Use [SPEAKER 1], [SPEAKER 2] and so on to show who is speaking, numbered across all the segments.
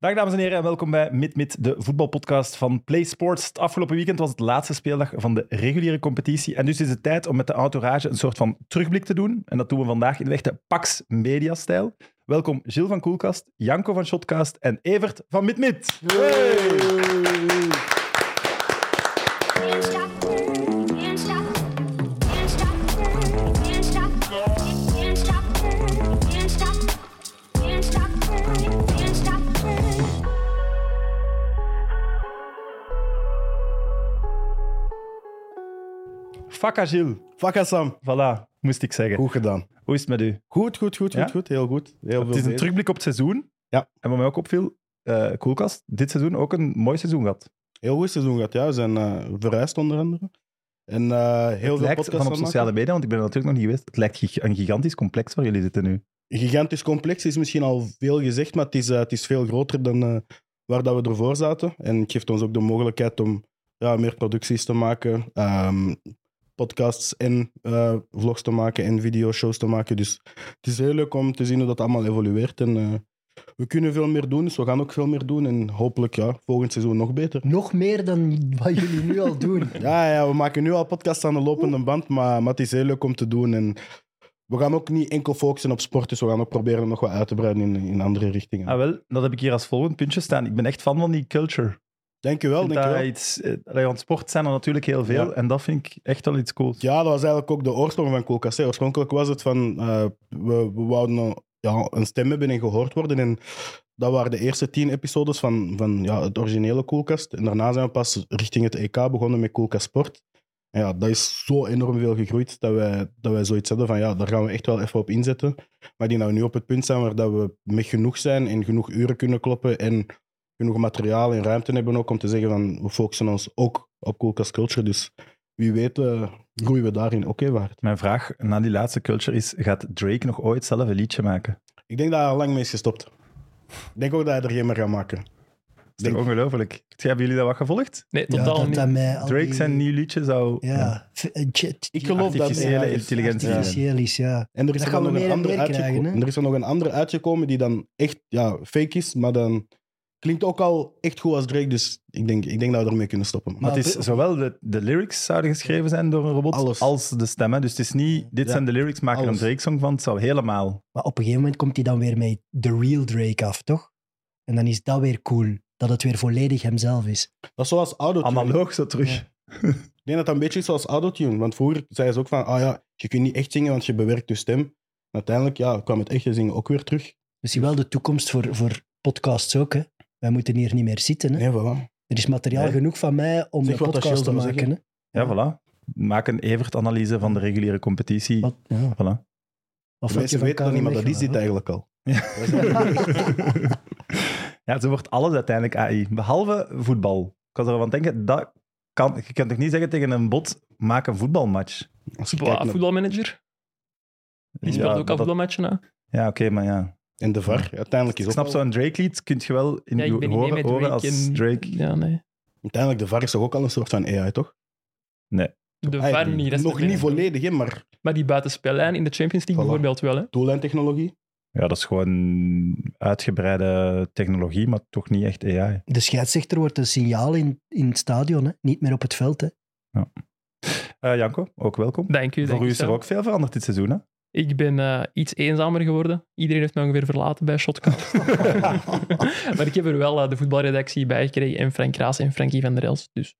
[SPEAKER 1] Dag dames en heren en welkom bij Mid Mid, de voetbalpodcast van Play Sports. Het afgelopen weekend was het laatste speeldag van de reguliere competitie en dus is het tijd om met de autorage een soort van terugblik te doen. En dat doen we vandaag in de echte Pax Media-stijl. Welkom Gilles van Koelkast, Janko van Shotcast en Evert van Mid Mid.
[SPEAKER 2] Can't stop, can't stop, can't stop, can't stop, can't stop, can't stop, can't stop, can't stop.
[SPEAKER 1] Fakka Gilles,
[SPEAKER 3] Vakka Sam,
[SPEAKER 1] voilà, moest ik zeggen.
[SPEAKER 3] goed gedaan.
[SPEAKER 1] Hoe is het met u?
[SPEAKER 3] Goed, goed, goed,
[SPEAKER 1] Ja?
[SPEAKER 3] goed, goed. Heel goed. Heel
[SPEAKER 1] Het is
[SPEAKER 3] veel
[SPEAKER 1] een terugblik op het seizoen.
[SPEAKER 3] Ja.
[SPEAKER 1] En wat mij ook opviel, eh Koelkast, dit seizoen ook een mooi seizoen gehad.
[SPEAKER 3] Heel goed seizoen gehad, ja. We zijn eh, verhuisd onder andere. En eh, heel
[SPEAKER 1] Het
[SPEAKER 3] veel
[SPEAKER 1] lijkt
[SPEAKER 3] podcasts
[SPEAKER 1] van op
[SPEAKER 3] aan het
[SPEAKER 1] sociale media, want ik ben er natuurlijk nog niet geweest. Het lijkt gig- een gigantisch complex waar jullie zitten nu.
[SPEAKER 3] maken. Gigantisch complex is misschien al veel gezegd, maar het is, eh, het is veel groter dan eh, waar dat we ervoor zaten. En het geeft ons ook de mogelijkheid om ja, meer producties te maken, ehm, podcasts en eh, vlogs te maken en videoshows te maken. Dus het is heel leuk om te zien hoe dat allemaal evolueert. En eh, we kunnen veel meer doen, dus we gaan ook veel meer doen. En hopelijk ja, volgend seizoen nog beter.
[SPEAKER 4] Nog meer dan wat jullie nu al doen.
[SPEAKER 3] Ja, ja, we maken nu al podcasts aan de lopende band, maar, maar het is heel leuk om te doen. En we gaan ook niet enkel focussen op sport, dus we gaan ook proberen nog wat uit te breiden in, in andere richtingen.
[SPEAKER 1] Ah, wel, dat heb ik hier als volgend puntje staan. Ik ben echt fan van die culture.
[SPEAKER 3] dankjewel,
[SPEAKER 1] Ik vind dat
[SPEAKER 3] dankjewel.
[SPEAKER 1] iets, eh, allee, want sport zijn er natuurlijk heel veel
[SPEAKER 3] Ja.
[SPEAKER 1] en dat vind ik echt wel iets cools.
[SPEAKER 3] Ja, dat was eigenlijk ook de oorsprong van Koelkast. hè. Oorspronkelijk was het van, eh, we, we wouden eh, ja, een stem hebben en gehoord worden. En dat waren de eerste tien episodes van, van ja, het originele Koelkast. En daarna zijn we pas richting het EK begonnen met Koelkast Sport. En ja, dat is zo enorm veel gegroeid dat wij, dat wij zoiets hebben van ja, daar gaan we echt wel even op inzetten. Maar ik denk dat we nu op het punt zijn waar dat we met genoeg zijn en genoeg uren kunnen kloppen en genoeg materiaal en ruimte hebben ook om te zeggen van we focussen ons ook op Koelkast Culture. Dus wie weet eh, groeien we daarin ook even hard.
[SPEAKER 1] Mijn vraag na die laatste culture is, gaat Drake nog ooit zelf een liedje maken?
[SPEAKER 3] Ik denk dat hij al lang mee is gestopt. Ik denk ook dat hij er geen meer gaat maken.
[SPEAKER 1] Dat is
[SPEAKER 3] Denk-
[SPEAKER 1] toch ongelooflijk? Hebben jullie dat wat gevolgd?
[SPEAKER 5] Nee,
[SPEAKER 4] Ja,
[SPEAKER 5] totaal
[SPEAKER 4] dat
[SPEAKER 5] niet.
[SPEAKER 4] dat mij al
[SPEAKER 1] Drake
[SPEAKER 4] die-
[SPEAKER 1] zijn nieuw liedje zou...
[SPEAKER 4] Ja, v- eh, chat-
[SPEAKER 3] Ik geloof dat
[SPEAKER 1] Artificiële
[SPEAKER 3] ja,
[SPEAKER 1] intelligentie. intelligentie.
[SPEAKER 4] Artificieel is, ja.
[SPEAKER 3] En er is
[SPEAKER 4] Dat
[SPEAKER 3] er dan
[SPEAKER 4] gaan we
[SPEAKER 3] nog
[SPEAKER 4] meer
[SPEAKER 3] een
[SPEAKER 4] en
[SPEAKER 3] andere
[SPEAKER 4] meer krijgen,
[SPEAKER 3] uitgekomen.
[SPEAKER 4] hè?
[SPEAKER 3] En er is er nog een andere uitgekomen die dan echt ja, fake is, maar dan klinkt ook al echt goed als Drake. Dus ik denk, ik denk dat we ermee kunnen stoppen.
[SPEAKER 1] Maar het is
[SPEAKER 4] be-
[SPEAKER 1] zowel de, de lyrics zouden geschreven zijn door een robot
[SPEAKER 3] Alles.
[SPEAKER 1] als de stemmen. Dus het is niet, dit
[SPEAKER 3] Ja.
[SPEAKER 1] zijn de lyrics, maak er een
[SPEAKER 3] Alles.
[SPEAKER 1] Drake-song van. Het zou helemaal...
[SPEAKER 4] Maar op een gegeven moment komt hij dan weer met The Real Drake af, toch? En dan is dat weer cool. Dat het weer volledig hemzelf is.
[SPEAKER 3] dat is zoals autotune.
[SPEAKER 1] Analoog zo terug.
[SPEAKER 4] Ja.
[SPEAKER 3] Ik denk dat dat een beetje is zoals autotune. Want vroeger zeiden ze ook van, ah ja, je kunt niet echt zingen, want je bewerkt je stem. En uiteindelijk ja, kwam het echte zingen ook weer terug.
[SPEAKER 4] Dus zie wel de toekomst voor, voor podcasts ook, hè. Wij moeten hier niet meer zitten, hè.
[SPEAKER 3] Nee, voilà.
[SPEAKER 4] Er is materiaal
[SPEAKER 1] Nee.
[SPEAKER 4] genoeg van mij om
[SPEAKER 3] Zeg
[SPEAKER 4] een
[SPEAKER 3] wat dat
[SPEAKER 4] podcast te
[SPEAKER 3] Gilles zou
[SPEAKER 4] maken, hè.
[SPEAKER 1] Ja, voilà. Maak een Evert-analyse van de reguliere competitie.
[SPEAKER 4] Wat, ja.
[SPEAKER 1] Voilà.
[SPEAKER 4] Of
[SPEAKER 3] De
[SPEAKER 4] wat je
[SPEAKER 3] mensen
[SPEAKER 4] van
[SPEAKER 3] weten dat niet, maar dat
[SPEAKER 4] Karel
[SPEAKER 3] is dit
[SPEAKER 4] Mechelen,
[SPEAKER 3] eigenlijk al.
[SPEAKER 1] ja, zo wordt alles uiteindelijk AI. Behalve voetbal. Ik was ervan aan het denken, dat kan, je kunt toch niet zeggen tegen een bot, maak een voetbalmatch.
[SPEAKER 3] Als je
[SPEAKER 5] Voilà,
[SPEAKER 3] kijkt naar-
[SPEAKER 5] voetbalmanager. Die speelt ook al
[SPEAKER 1] dat-
[SPEAKER 5] voetbalmatchen na.
[SPEAKER 1] Ja, oké, maar ja.
[SPEAKER 3] En de VAR, uiteindelijk is
[SPEAKER 1] Ik
[SPEAKER 3] ook
[SPEAKER 1] snap
[SPEAKER 3] al-
[SPEAKER 1] zo'n Drake-lied, kun je wel in
[SPEAKER 5] Ja,
[SPEAKER 1] je
[SPEAKER 5] ik ben niet mee
[SPEAKER 1] horen,
[SPEAKER 5] met
[SPEAKER 1] horen
[SPEAKER 5] Drake.
[SPEAKER 1] als
[SPEAKER 5] en-
[SPEAKER 1] Drake.
[SPEAKER 5] Ja, nee.
[SPEAKER 3] Uiteindelijk, de VAR is toch ook al een soort van AI, toch?
[SPEAKER 5] De
[SPEAKER 3] Ah ja,
[SPEAKER 5] VAR niet. dat is
[SPEAKER 3] nog
[SPEAKER 5] het
[SPEAKER 3] niet
[SPEAKER 5] enige.
[SPEAKER 3] volledig, hè, maar
[SPEAKER 5] Maar die buitenspellijn in de Champions League
[SPEAKER 3] Voilà.
[SPEAKER 5] bijvoorbeeld wel. Hè.
[SPEAKER 3] doellijntechnologie.
[SPEAKER 1] Ja, dat is gewoon uitgebreide technologie, maar toch niet echt AI.
[SPEAKER 4] De scheidsrechter wordt een signaal in, in het stadion, hè. Niet meer op het veld, hè.
[SPEAKER 1] Eh, Janko, ook welkom.
[SPEAKER 5] Dank u. dank
[SPEAKER 1] Voor u
[SPEAKER 5] u,
[SPEAKER 1] is er
[SPEAKER 5] Sam.
[SPEAKER 1] ook veel veranderd dit seizoen, hè?
[SPEAKER 5] Ik ben eh, iets eenzamer geworden. Iedereen heeft mij ongeveer verlaten bij Shotcast. maar ik heb er wel eh, de voetbalredactie bij gekregen. En Frank Raas en Frankie van der Els. Dus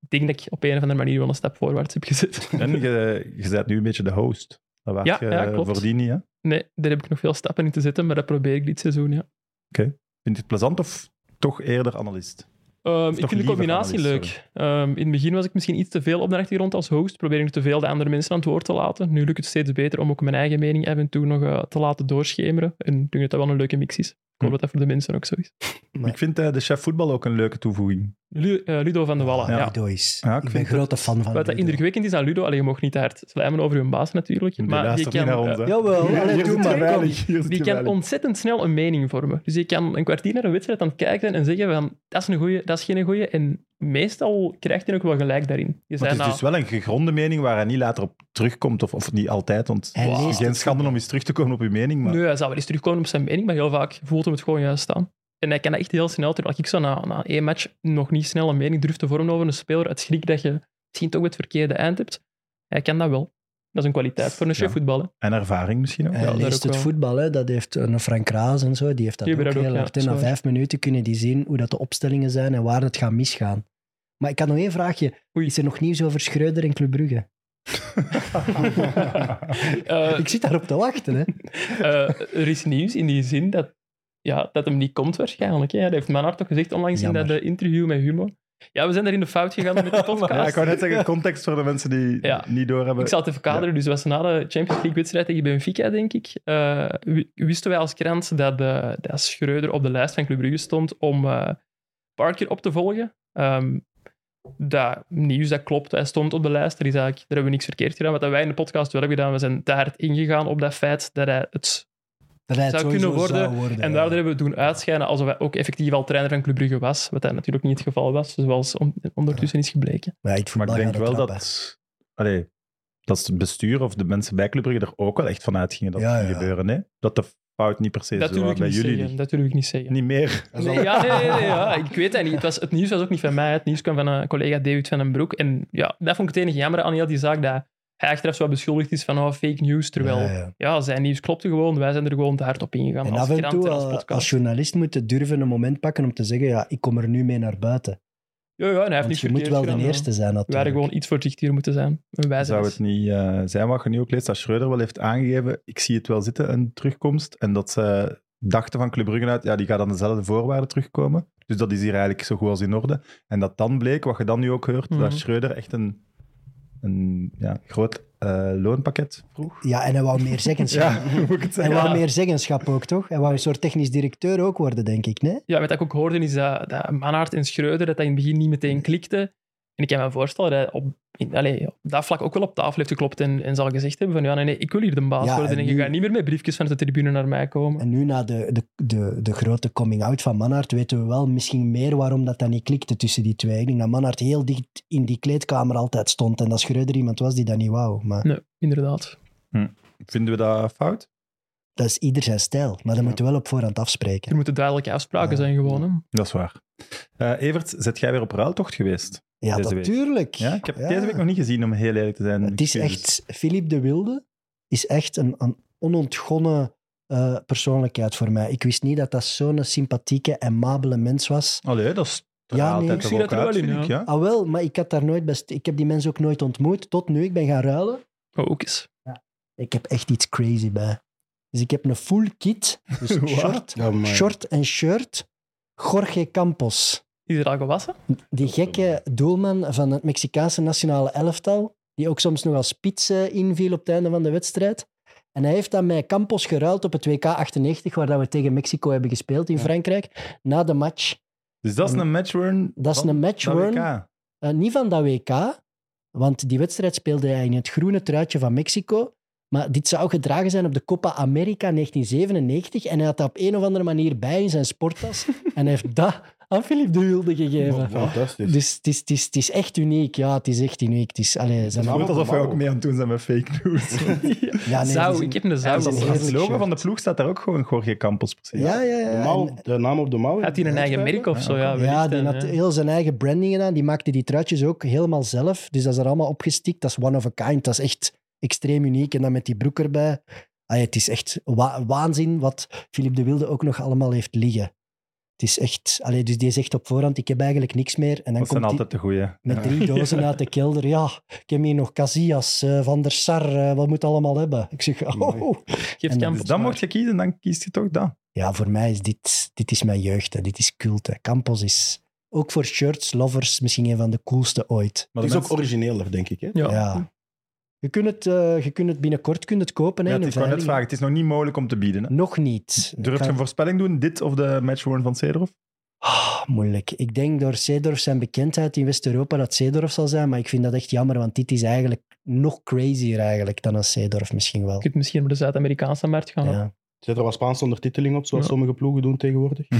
[SPEAKER 5] ik denk dat ik op een of andere manier wel een stap voorwaarts heb gezet.
[SPEAKER 1] En je, je bent nu een beetje de host. Dat waart
[SPEAKER 5] Ja,
[SPEAKER 1] je
[SPEAKER 5] ja, klopt.
[SPEAKER 1] voordien niet, hè?
[SPEAKER 5] Nee, daar heb ik nog veel stappen in te zetten. Maar dat probeer ik dit seizoen, ja.
[SPEAKER 1] Vind je het plezant of toch eerder analist?
[SPEAKER 5] Ehm, ik
[SPEAKER 1] toch
[SPEAKER 5] vind de
[SPEAKER 1] liever
[SPEAKER 5] combinatie
[SPEAKER 1] analist,
[SPEAKER 5] leuk. Ehm, in het begin was ik misschien iets te veel op de achtergrond als host. Probeer ik te veel de andere mensen aan het woord te laten. Nu lukt het steeds beter om ook mijn eigen mening af en toe nog eh, te laten doorschemeren. En ik denk dat dat wel een leuke mix is. Ik
[SPEAKER 1] Hm.
[SPEAKER 5] hoop dat dat voor de mensen ook zo is.
[SPEAKER 4] Maar-
[SPEAKER 1] Ik vind eh, de chef voetbal ook een leuke toevoeging.
[SPEAKER 5] Lu- eh, Ludo van de Wallen.
[SPEAKER 1] Ja.
[SPEAKER 5] Ja.
[SPEAKER 4] Ludo is.
[SPEAKER 1] Ja, ik
[SPEAKER 4] ik ben
[SPEAKER 1] vind
[SPEAKER 4] grote fan van
[SPEAKER 5] Wat dat
[SPEAKER 4] Ludo.
[SPEAKER 5] indrukwekkend is aan Ludo, alleen je mag niet te hard slijmen over hun baas natuurlijk.
[SPEAKER 1] Die
[SPEAKER 5] Maar je
[SPEAKER 1] luistert niet
[SPEAKER 5] kan,
[SPEAKER 1] naar
[SPEAKER 5] eh,
[SPEAKER 1] ons, hè?
[SPEAKER 4] Jawel,
[SPEAKER 3] Ja,
[SPEAKER 4] allee,
[SPEAKER 3] hier
[SPEAKER 4] doe
[SPEAKER 3] zit je
[SPEAKER 4] maar.
[SPEAKER 3] weinig.
[SPEAKER 4] kom.
[SPEAKER 5] die kan ontzettend snel een mening vormen. Dus je kan een kwartier naar een wedstrijd aan het kijken zijn en zeggen van dat is een goeie, dat is geen goeie. En meestal krijgt hij ook wel gelijk daarin. Je
[SPEAKER 1] Maar
[SPEAKER 5] zei
[SPEAKER 1] het is
[SPEAKER 5] na-
[SPEAKER 1] dus wel een gegronde mening waar hij niet later op terugkomt, of, of niet altijd, want
[SPEAKER 4] Hij
[SPEAKER 1] het is
[SPEAKER 4] leest
[SPEAKER 1] geen
[SPEAKER 4] het
[SPEAKER 1] schande om eens terug te komen op uw mening, maar
[SPEAKER 5] Nee, hij zou wel eens terugkomen op zijn mening, maar heel vaak voelt hem het gewoon juist aan. En hij kan dat echt heel snel terug. Als ik zo na, na één match nog niet snel een mening durf te vormen over een speler, uit schrik dat je misschien toch het verkeerde eind hebt, hij kan dat wel. Dat is een kwaliteit voor een chefvoetballer.
[SPEAKER 1] En ervaring misschien ook.
[SPEAKER 4] Hij
[SPEAKER 5] Ja, daar ook
[SPEAKER 4] leest het
[SPEAKER 5] wel.
[SPEAKER 4] voetbal, hè. dat heeft een Frank Raas en zo, die heeft dat
[SPEAKER 5] Die
[SPEAKER 4] ook
[SPEAKER 5] hebben dat
[SPEAKER 4] heel
[SPEAKER 5] ook, ja,
[SPEAKER 4] hard. hè.
[SPEAKER 5] dat
[SPEAKER 4] Na
[SPEAKER 5] is waar.
[SPEAKER 4] vijf minuten kunnen die zien hoe dat de opstellingen zijn en waar het gaat misgaan. Maar ik had nog één vraagje.
[SPEAKER 5] Oei.
[SPEAKER 4] Is er nog nieuws over Schreuder en Club Brugge?
[SPEAKER 5] Eh,
[SPEAKER 4] Ik zit daarop te wachten. Hè.
[SPEAKER 5] eh, er is nieuws in die zin dat, ja, dat hem niet komt waarschijnlijk. Hè. Dat heeft Manhart ook gezegd onlangs in dat
[SPEAKER 4] Jammer.
[SPEAKER 5] eh, interview met Humo. Ja, we zijn er in de fout gegaan met de podcast.
[SPEAKER 1] Ja, ik wou net zeggen, context voor de mensen die
[SPEAKER 5] Ja.
[SPEAKER 1] niet doorhebben.
[SPEAKER 5] Ik zal het even kaderen. Dus was na de Champions League-wedstrijd tegen Benfica, denk ik. eh, wi- wisten wij als krant dat, eh dat Schreuder op de lijst van Club Brugge stond om eh, Parker op te volgen. Ehm, dat nieuws, dat klopt. Hij stond op de lijst. Er is eigenlijk, daar hebben we niks verkeerd gedaan. Wat dat wij in de podcast wel hebben gedaan, we zijn daar hard ingegaan op dat feit dat hij het...
[SPEAKER 4] Dat hij het
[SPEAKER 5] Zou
[SPEAKER 4] sowieso
[SPEAKER 5] kunnen worden,
[SPEAKER 4] zou worden.
[SPEAKER 5] En
[SPEAKER 4] ja.
[SPEAKER 5] daardoor hebben we het doen uitschijnen alsof hij ook effectief al trainer van Club Brugge was. Wat dat natuurlijk niet het geval was, zoals on- ondertussen is gebleken.
[SPEAKER 4] Maar ja, in het
[SPEAKER 1] Maar ik
[SPEAKER 4] voetbal
[SPEAKER 1] denk
[SPEAKER 4] gaat
[SPEAKER 1] wel
[SPEAKER 4] het rap,
[SPEAKER 1] dat, allee, dat het bestuur of de mensen bij Club Brugge er ook wel echt van uitgingen dat
[SPEAKER 4] Ja,
[SPEAKER 1] het ging
[SPEAKER 4] ja.
[SPEAKER 1] gebeuren. Hè? Dat de fout niet per se
[SPEAKER 5] Dat
[SPEAKER 1] zo
[SPEAKER 5] durf
[SPEAKER 1] was
[SPEAKER 5] ik
[SPEAKER 1] bij
[SPEAKER 5] niet
[SPEAKER 1] jullie.
[SPEAKER 5] zeggen.
[SPEAKER 1] ligt.
[SPEAKER 5] Dat durf ik niet zeggen.
[SPEAKER 1] Niet meer.
[SPEAKER 3] Is
[SPEAKER 5] Nee,
[SPEAKER 3] dat-
[SPEAKER 5] ja, nee, nee, nee, ja, ik weet dat niet. Het, was, het nieuws was ook niet van mij. Het nieuws kwam van een collega David van den Broek. En ja, dat vond ik het enige jammer aan heel die zaak, dat hij achteraf zo beschuldigd is van oh, fake news, terwijl
[SPEAKER 4] Ja,
[SPEAKER 5] ja,
[SPEAKER 4] ja.
[SPEAKER 5] zijn nieuws klopte gewoon. Wij zijn er gewoon te hard op ingegaan
[SPEAKER 4] En
[SPEAKER 5] als
[SPEAKER 4] af en
[SPEAKER 5] krant
[SPEAKER 4] toe,
[SPEAKER 5] en als
[SPEAKER 4] eh,
[SPEAKER 5] podcast.
[SPEAKER 4] als journalist, moet je durven een moment pakken om te zeggen: ja, ik kom er nu mee naar buiten.
[SPEAKER 5] ja, ja, en hij heeft
[SPEAKER 4] Want
[SPEAKER 5] niet
[SPEAKER 4] je moet wel de eerste zijn,
[SPEAKER 5] We hadden
[SPEAKER 4] natuurlijk.
[SPEAKER 5] gewoon iets voorzichtiger moeten zijn. En wij zijn
[SPEAKER 1] Zou het niet eh, zijn wat je nu ook leest, dat Schreuder wel heeft aangegeven, ik zie het wel zitten, een terugkomst. En dat ze dachten van Club Brugge uit, ja, die gaat aan dezelfde voorwaarden terugkomen. Dus dat is hier eigenlijk zo goed als in orde. En dat dan bleek, wat je dan nu ook hoort,
[SPEAKER 5] Mhm.
[SPEAKER 1] dat Schreuder echt een, een ja, groot eh, loonpakket vroeg.
[SPEAKER 4] Ja, en hij wou meer zeggenschap.
[SPEAKER 1] Ja, hoe moet ik het
[SPEAKER 4] Hij
[SPEAKER 1] zeggen?
[SPEAKER 4] wou
[SPEAKER 5] Ja.
[SPEAKER 4] meer zeggenschap ook, toch? Hij wou een soort technisch directeur ook worden, denk ik, nee?
[SPEAKER 5] Ja, wat ik ook hoorde is dat, dat Manhart en Schreuder dat dat in het begin niet meteen klikte. En ik kan me voorstellen dat hij op, in, allee, op dat vlak ook wel op tafel heeft geklopt en, en zal gezegd hebben van ja, nee, nee, ik wil hier de baas
[SPEAKER 4] Ja,
[SPEAKER 5] worden en,
[SPEAKER 4] en
[SPEAKER 5] je
[SPEAKER 4] nu-
[SPEAKER 5] gaat niet meer met briefjes van de tribune naar mij komen.
[SPEAKER 4] En nu, na de, de, de, de grote coming-out van Manhart, weten we wel misschien meer waarom dat dan niet klikte tussen die twee. Ik denk dat Manhart heel dicht in die kleedkamer altijd stond en dat Schreuder iemand was die dat niet wou. Maar
[SPEAKER 5] Nee, inderdaad.
[SPEAKER 1] Vinden we dat fout?
[SPEAKER 4] dat is ieder zijn stijl. Maar dat moeten we wel op voorhand afspreken.
[SPEAKER 5] Er moeten duidelijke afspraken
[SPEAKER 4] Ja.
[SPEAKER 5] zijn gewoon. Hè.
[SPEAKER 1] Dat is waar. Eh, Evert, zet jij weer op ruiltocht geweest?
[SPEAKER 4] Ja,
[SPEAKER 1] Deze week.
[SPEAKER 4] natuurlijk.
[SPEAKER 1] Ja, ik heb
[SPEAKER 4] Ja.
[SPEAKER 1] deze week nog niet gezien, om heel eerlijk te zijn.
[SPEAKER 4] Het is
[SPEAKER 1] Excuses.
[SPEAKER 4] echt... Philippe de Wilde is echt een, een onontgonnen eh, persoonlijkheid voor mij. Ik wist niet dat dat zo'n sympathieke, aimabele mens was.
[SPEAKER 1] Allee, dat is er
[SPEAKER 4] Ja, nee.
[SPEAKER 1] altijd
[SPEAKER 4] Ik
[SPEAKER 5] zie
[SPEAKER 1] er ook
[SPEAKER 5] dat er
[SPEAKER 1] uit,
[SPEAKER 5] wel in,
[SPEAKER 1] vind ik,
[SPEAKER 5] ja.
[SPEAKER 1] ja.
[SPEAKER 4] Ah wel, maar ik, had daar nooit best, ik heb die mensen ook nooit ontmoet. Tot nu, ik ben gaan ruilen.
[SPEAKER 5] Oh, ook eens.
[SPEAKER 4] Ik heb echt iets crazy bij. Dus ik heb een full kit. Dus
[SPEAKER 1] Wat?
[SPEAKER 4] short,
[SPEAKER 3] Ja, maar-
[SPEAKER 4] short en shirt. Jorge Campos.
[SPEAKER 5] Is er al gewassen?
[SPEAKER 4] Die gekke doelman van het Mexicaanse nationale elftal. Die ook soms nog als spits eh, inviel op het einde van de wedstrijd. En hij heeft dan met Campos geruild op het WK 98, waar dat we tegen Mexico hebben gespeeld in Frankrijk. Na de match.
[SPEAKER 1] Dus dat is een matchworn.
[SPEAKER 4] Dat is
[SPEAKER 3] Oh,
[SPEAKER 1] van
[SPEAKER 4] een match
[SPEAKER 1] dat
[SPEAKER 4] worn.
[SPEAKER 1] WK.
[SPEAKER 4] Eh, niet van dat WK, want die wedstrijd speelde hij in het groene truitje van Mexico. Maar dit zou gedragen zijn op de Copa America 1997. En hij had dat op een of andere manier bij in zijn sporttas. en hij heeft dat aan Philippe de Wilde gegeven.
[SPEAKER 3] Fantastisch.
[SPEAKER 4] Dus het is, het, is, het is echt uniek. Ja, het is echt uniek. Het is, allee, zijn
[SPEAKER 1] Het voelt
[SPEAKER 4] allemaal-
[SPEAKER 1] alsof wij ook mee aan het doen zijn met fake news.
[SPEAKER 4] Ja, nee,
[SPEAKER 5] zou,
[SPEAKER 4] die zijn-
[SPEAKER 5] ik heb een
[SPEAKER 4] die
[SPEAKER 5] zou.
[SPEAKER 4] zijn
[SPEAKER 5] gewassen.
[SPEAKER 1] Als
[SPEAKER 4] heerlijk
[SPEAKER 1] het logo
[SPEAKER 4] shirt.
[SPEAKER 1] van de ploeg staat daar ook gewoon Jorge Campos precies.
[SPEAKER 4] ja, ja, ja.
[SPEAKER 3] De,
[SPEAKER 1] eh,
[SPEAKER 3] mouw op- de naam op de mouw.
[SPEAKER 5] Had hij een eigen merk of zo? Ja,
[SPEAKER 4] Ja,
[SPEAKER 5] wellicht
[SPEAKER 4] die
[SPEAKER 5] dan,
[SPEAKER 4] had
[SPEAKER 5] ja.
[SPEAKER 4] heel zijn eigen branding gedaan. Die maakte die truitjes ook helemaal zelf. Dus dat is er allemaal opgestikt. Dat is one of a kind. Dat is echt extreem uniek. En dan met die broek erbij. Ah, ja, het is echt wa- waanzin wat Philippe de Wilde ook nog allemaal heeft liggen. Het is echt... Allee, dus die zegt op voorhand, ik heb eigenlijk niks meer. En dan
[SPEAKER 1] Dat
[SPEAKER 4] komt
[SPEAKER 1] zijn
[SPEAKER 4] die
[SPEAKER 1] altijd de goeie.
[SPEAKER 4] met
[SPEAKER 1] Ja. Dus
[SPEAKER 4] drie dozen uit de kelder. Ja, ik heb hier nog Casillas, eh, Van der Sar, eh, wat moet allemaal hebben? Ik zeg, oh,
[SPEAKER 3] Mooi.
[SPEAKER 5] Geeft
[SPEAKER 4] en
[SPEAKER 5] Campos
[SPEAKER 1] Dus dan
[SPEAKER 5] maar.
[SPEAKER 1] mocht je kiezen, dan kiest je toch dat.
[SPEAKER 4] Ja, voor mij is dit, dit is mijn jeugd. Hè. Dit is cult. Hè. Campos is ook voor shirts, lovers, misschien een van de coolste ooit.
[SPEAKER 1] Maar
[SPEAKER 3] Het
[SPEAKER 1] de
[SPEAKER 3] is ook
[SPEAKER 1] mensen-
[SPEAKER 3] origineeler, denk ik. Hè?
[SPEAKER 5] Ja.
[SPEAKER 4] Ja. Je, kunt het, eh, je kunt het binnenkort kunt het kopen. Hè,
[SPEAKER 1] Ja,
[SPEAKER 4] in
[SPEAKER 1] het
[SPEAKER 4] een
[SPEAKER 1] is, ik wou net vragen,
[SPEAKER 4] veiling.
[SPEAKER 1] het is nog niet mogelijk om te bieden. Hè?
[SPEAKER 4] Nog niet.
[SPEAKER 1] Durf je
[SPEAKER 4] Kan-
[SPEAKER 1] een voorspelling doen, dit of de matchworn van Cederhof?
[SPEAKER 4] Ah, moeilijk. Ik denk door Seedorf zijn bekendheid in West-Europa dat Seedorf zal zijn, maar ik vind dat echt jammer, want dit is eigenlijk nog crazier eigenlijk dan een Seedorf misschien wel.
[SPEAKER 5] Je kunt misschien op de Zuid-Amerikaanse markt gaan. hè.
[SPEAKER 4] Ja.
[SPEAKER 3] Zit er wat Spaanse ondertiteling op, zoals
[SPEAKER 5] Ja.
[SPEAKER 3] sommige ploegen doen tegenwoordig?
[SPEAKER 1] Hm.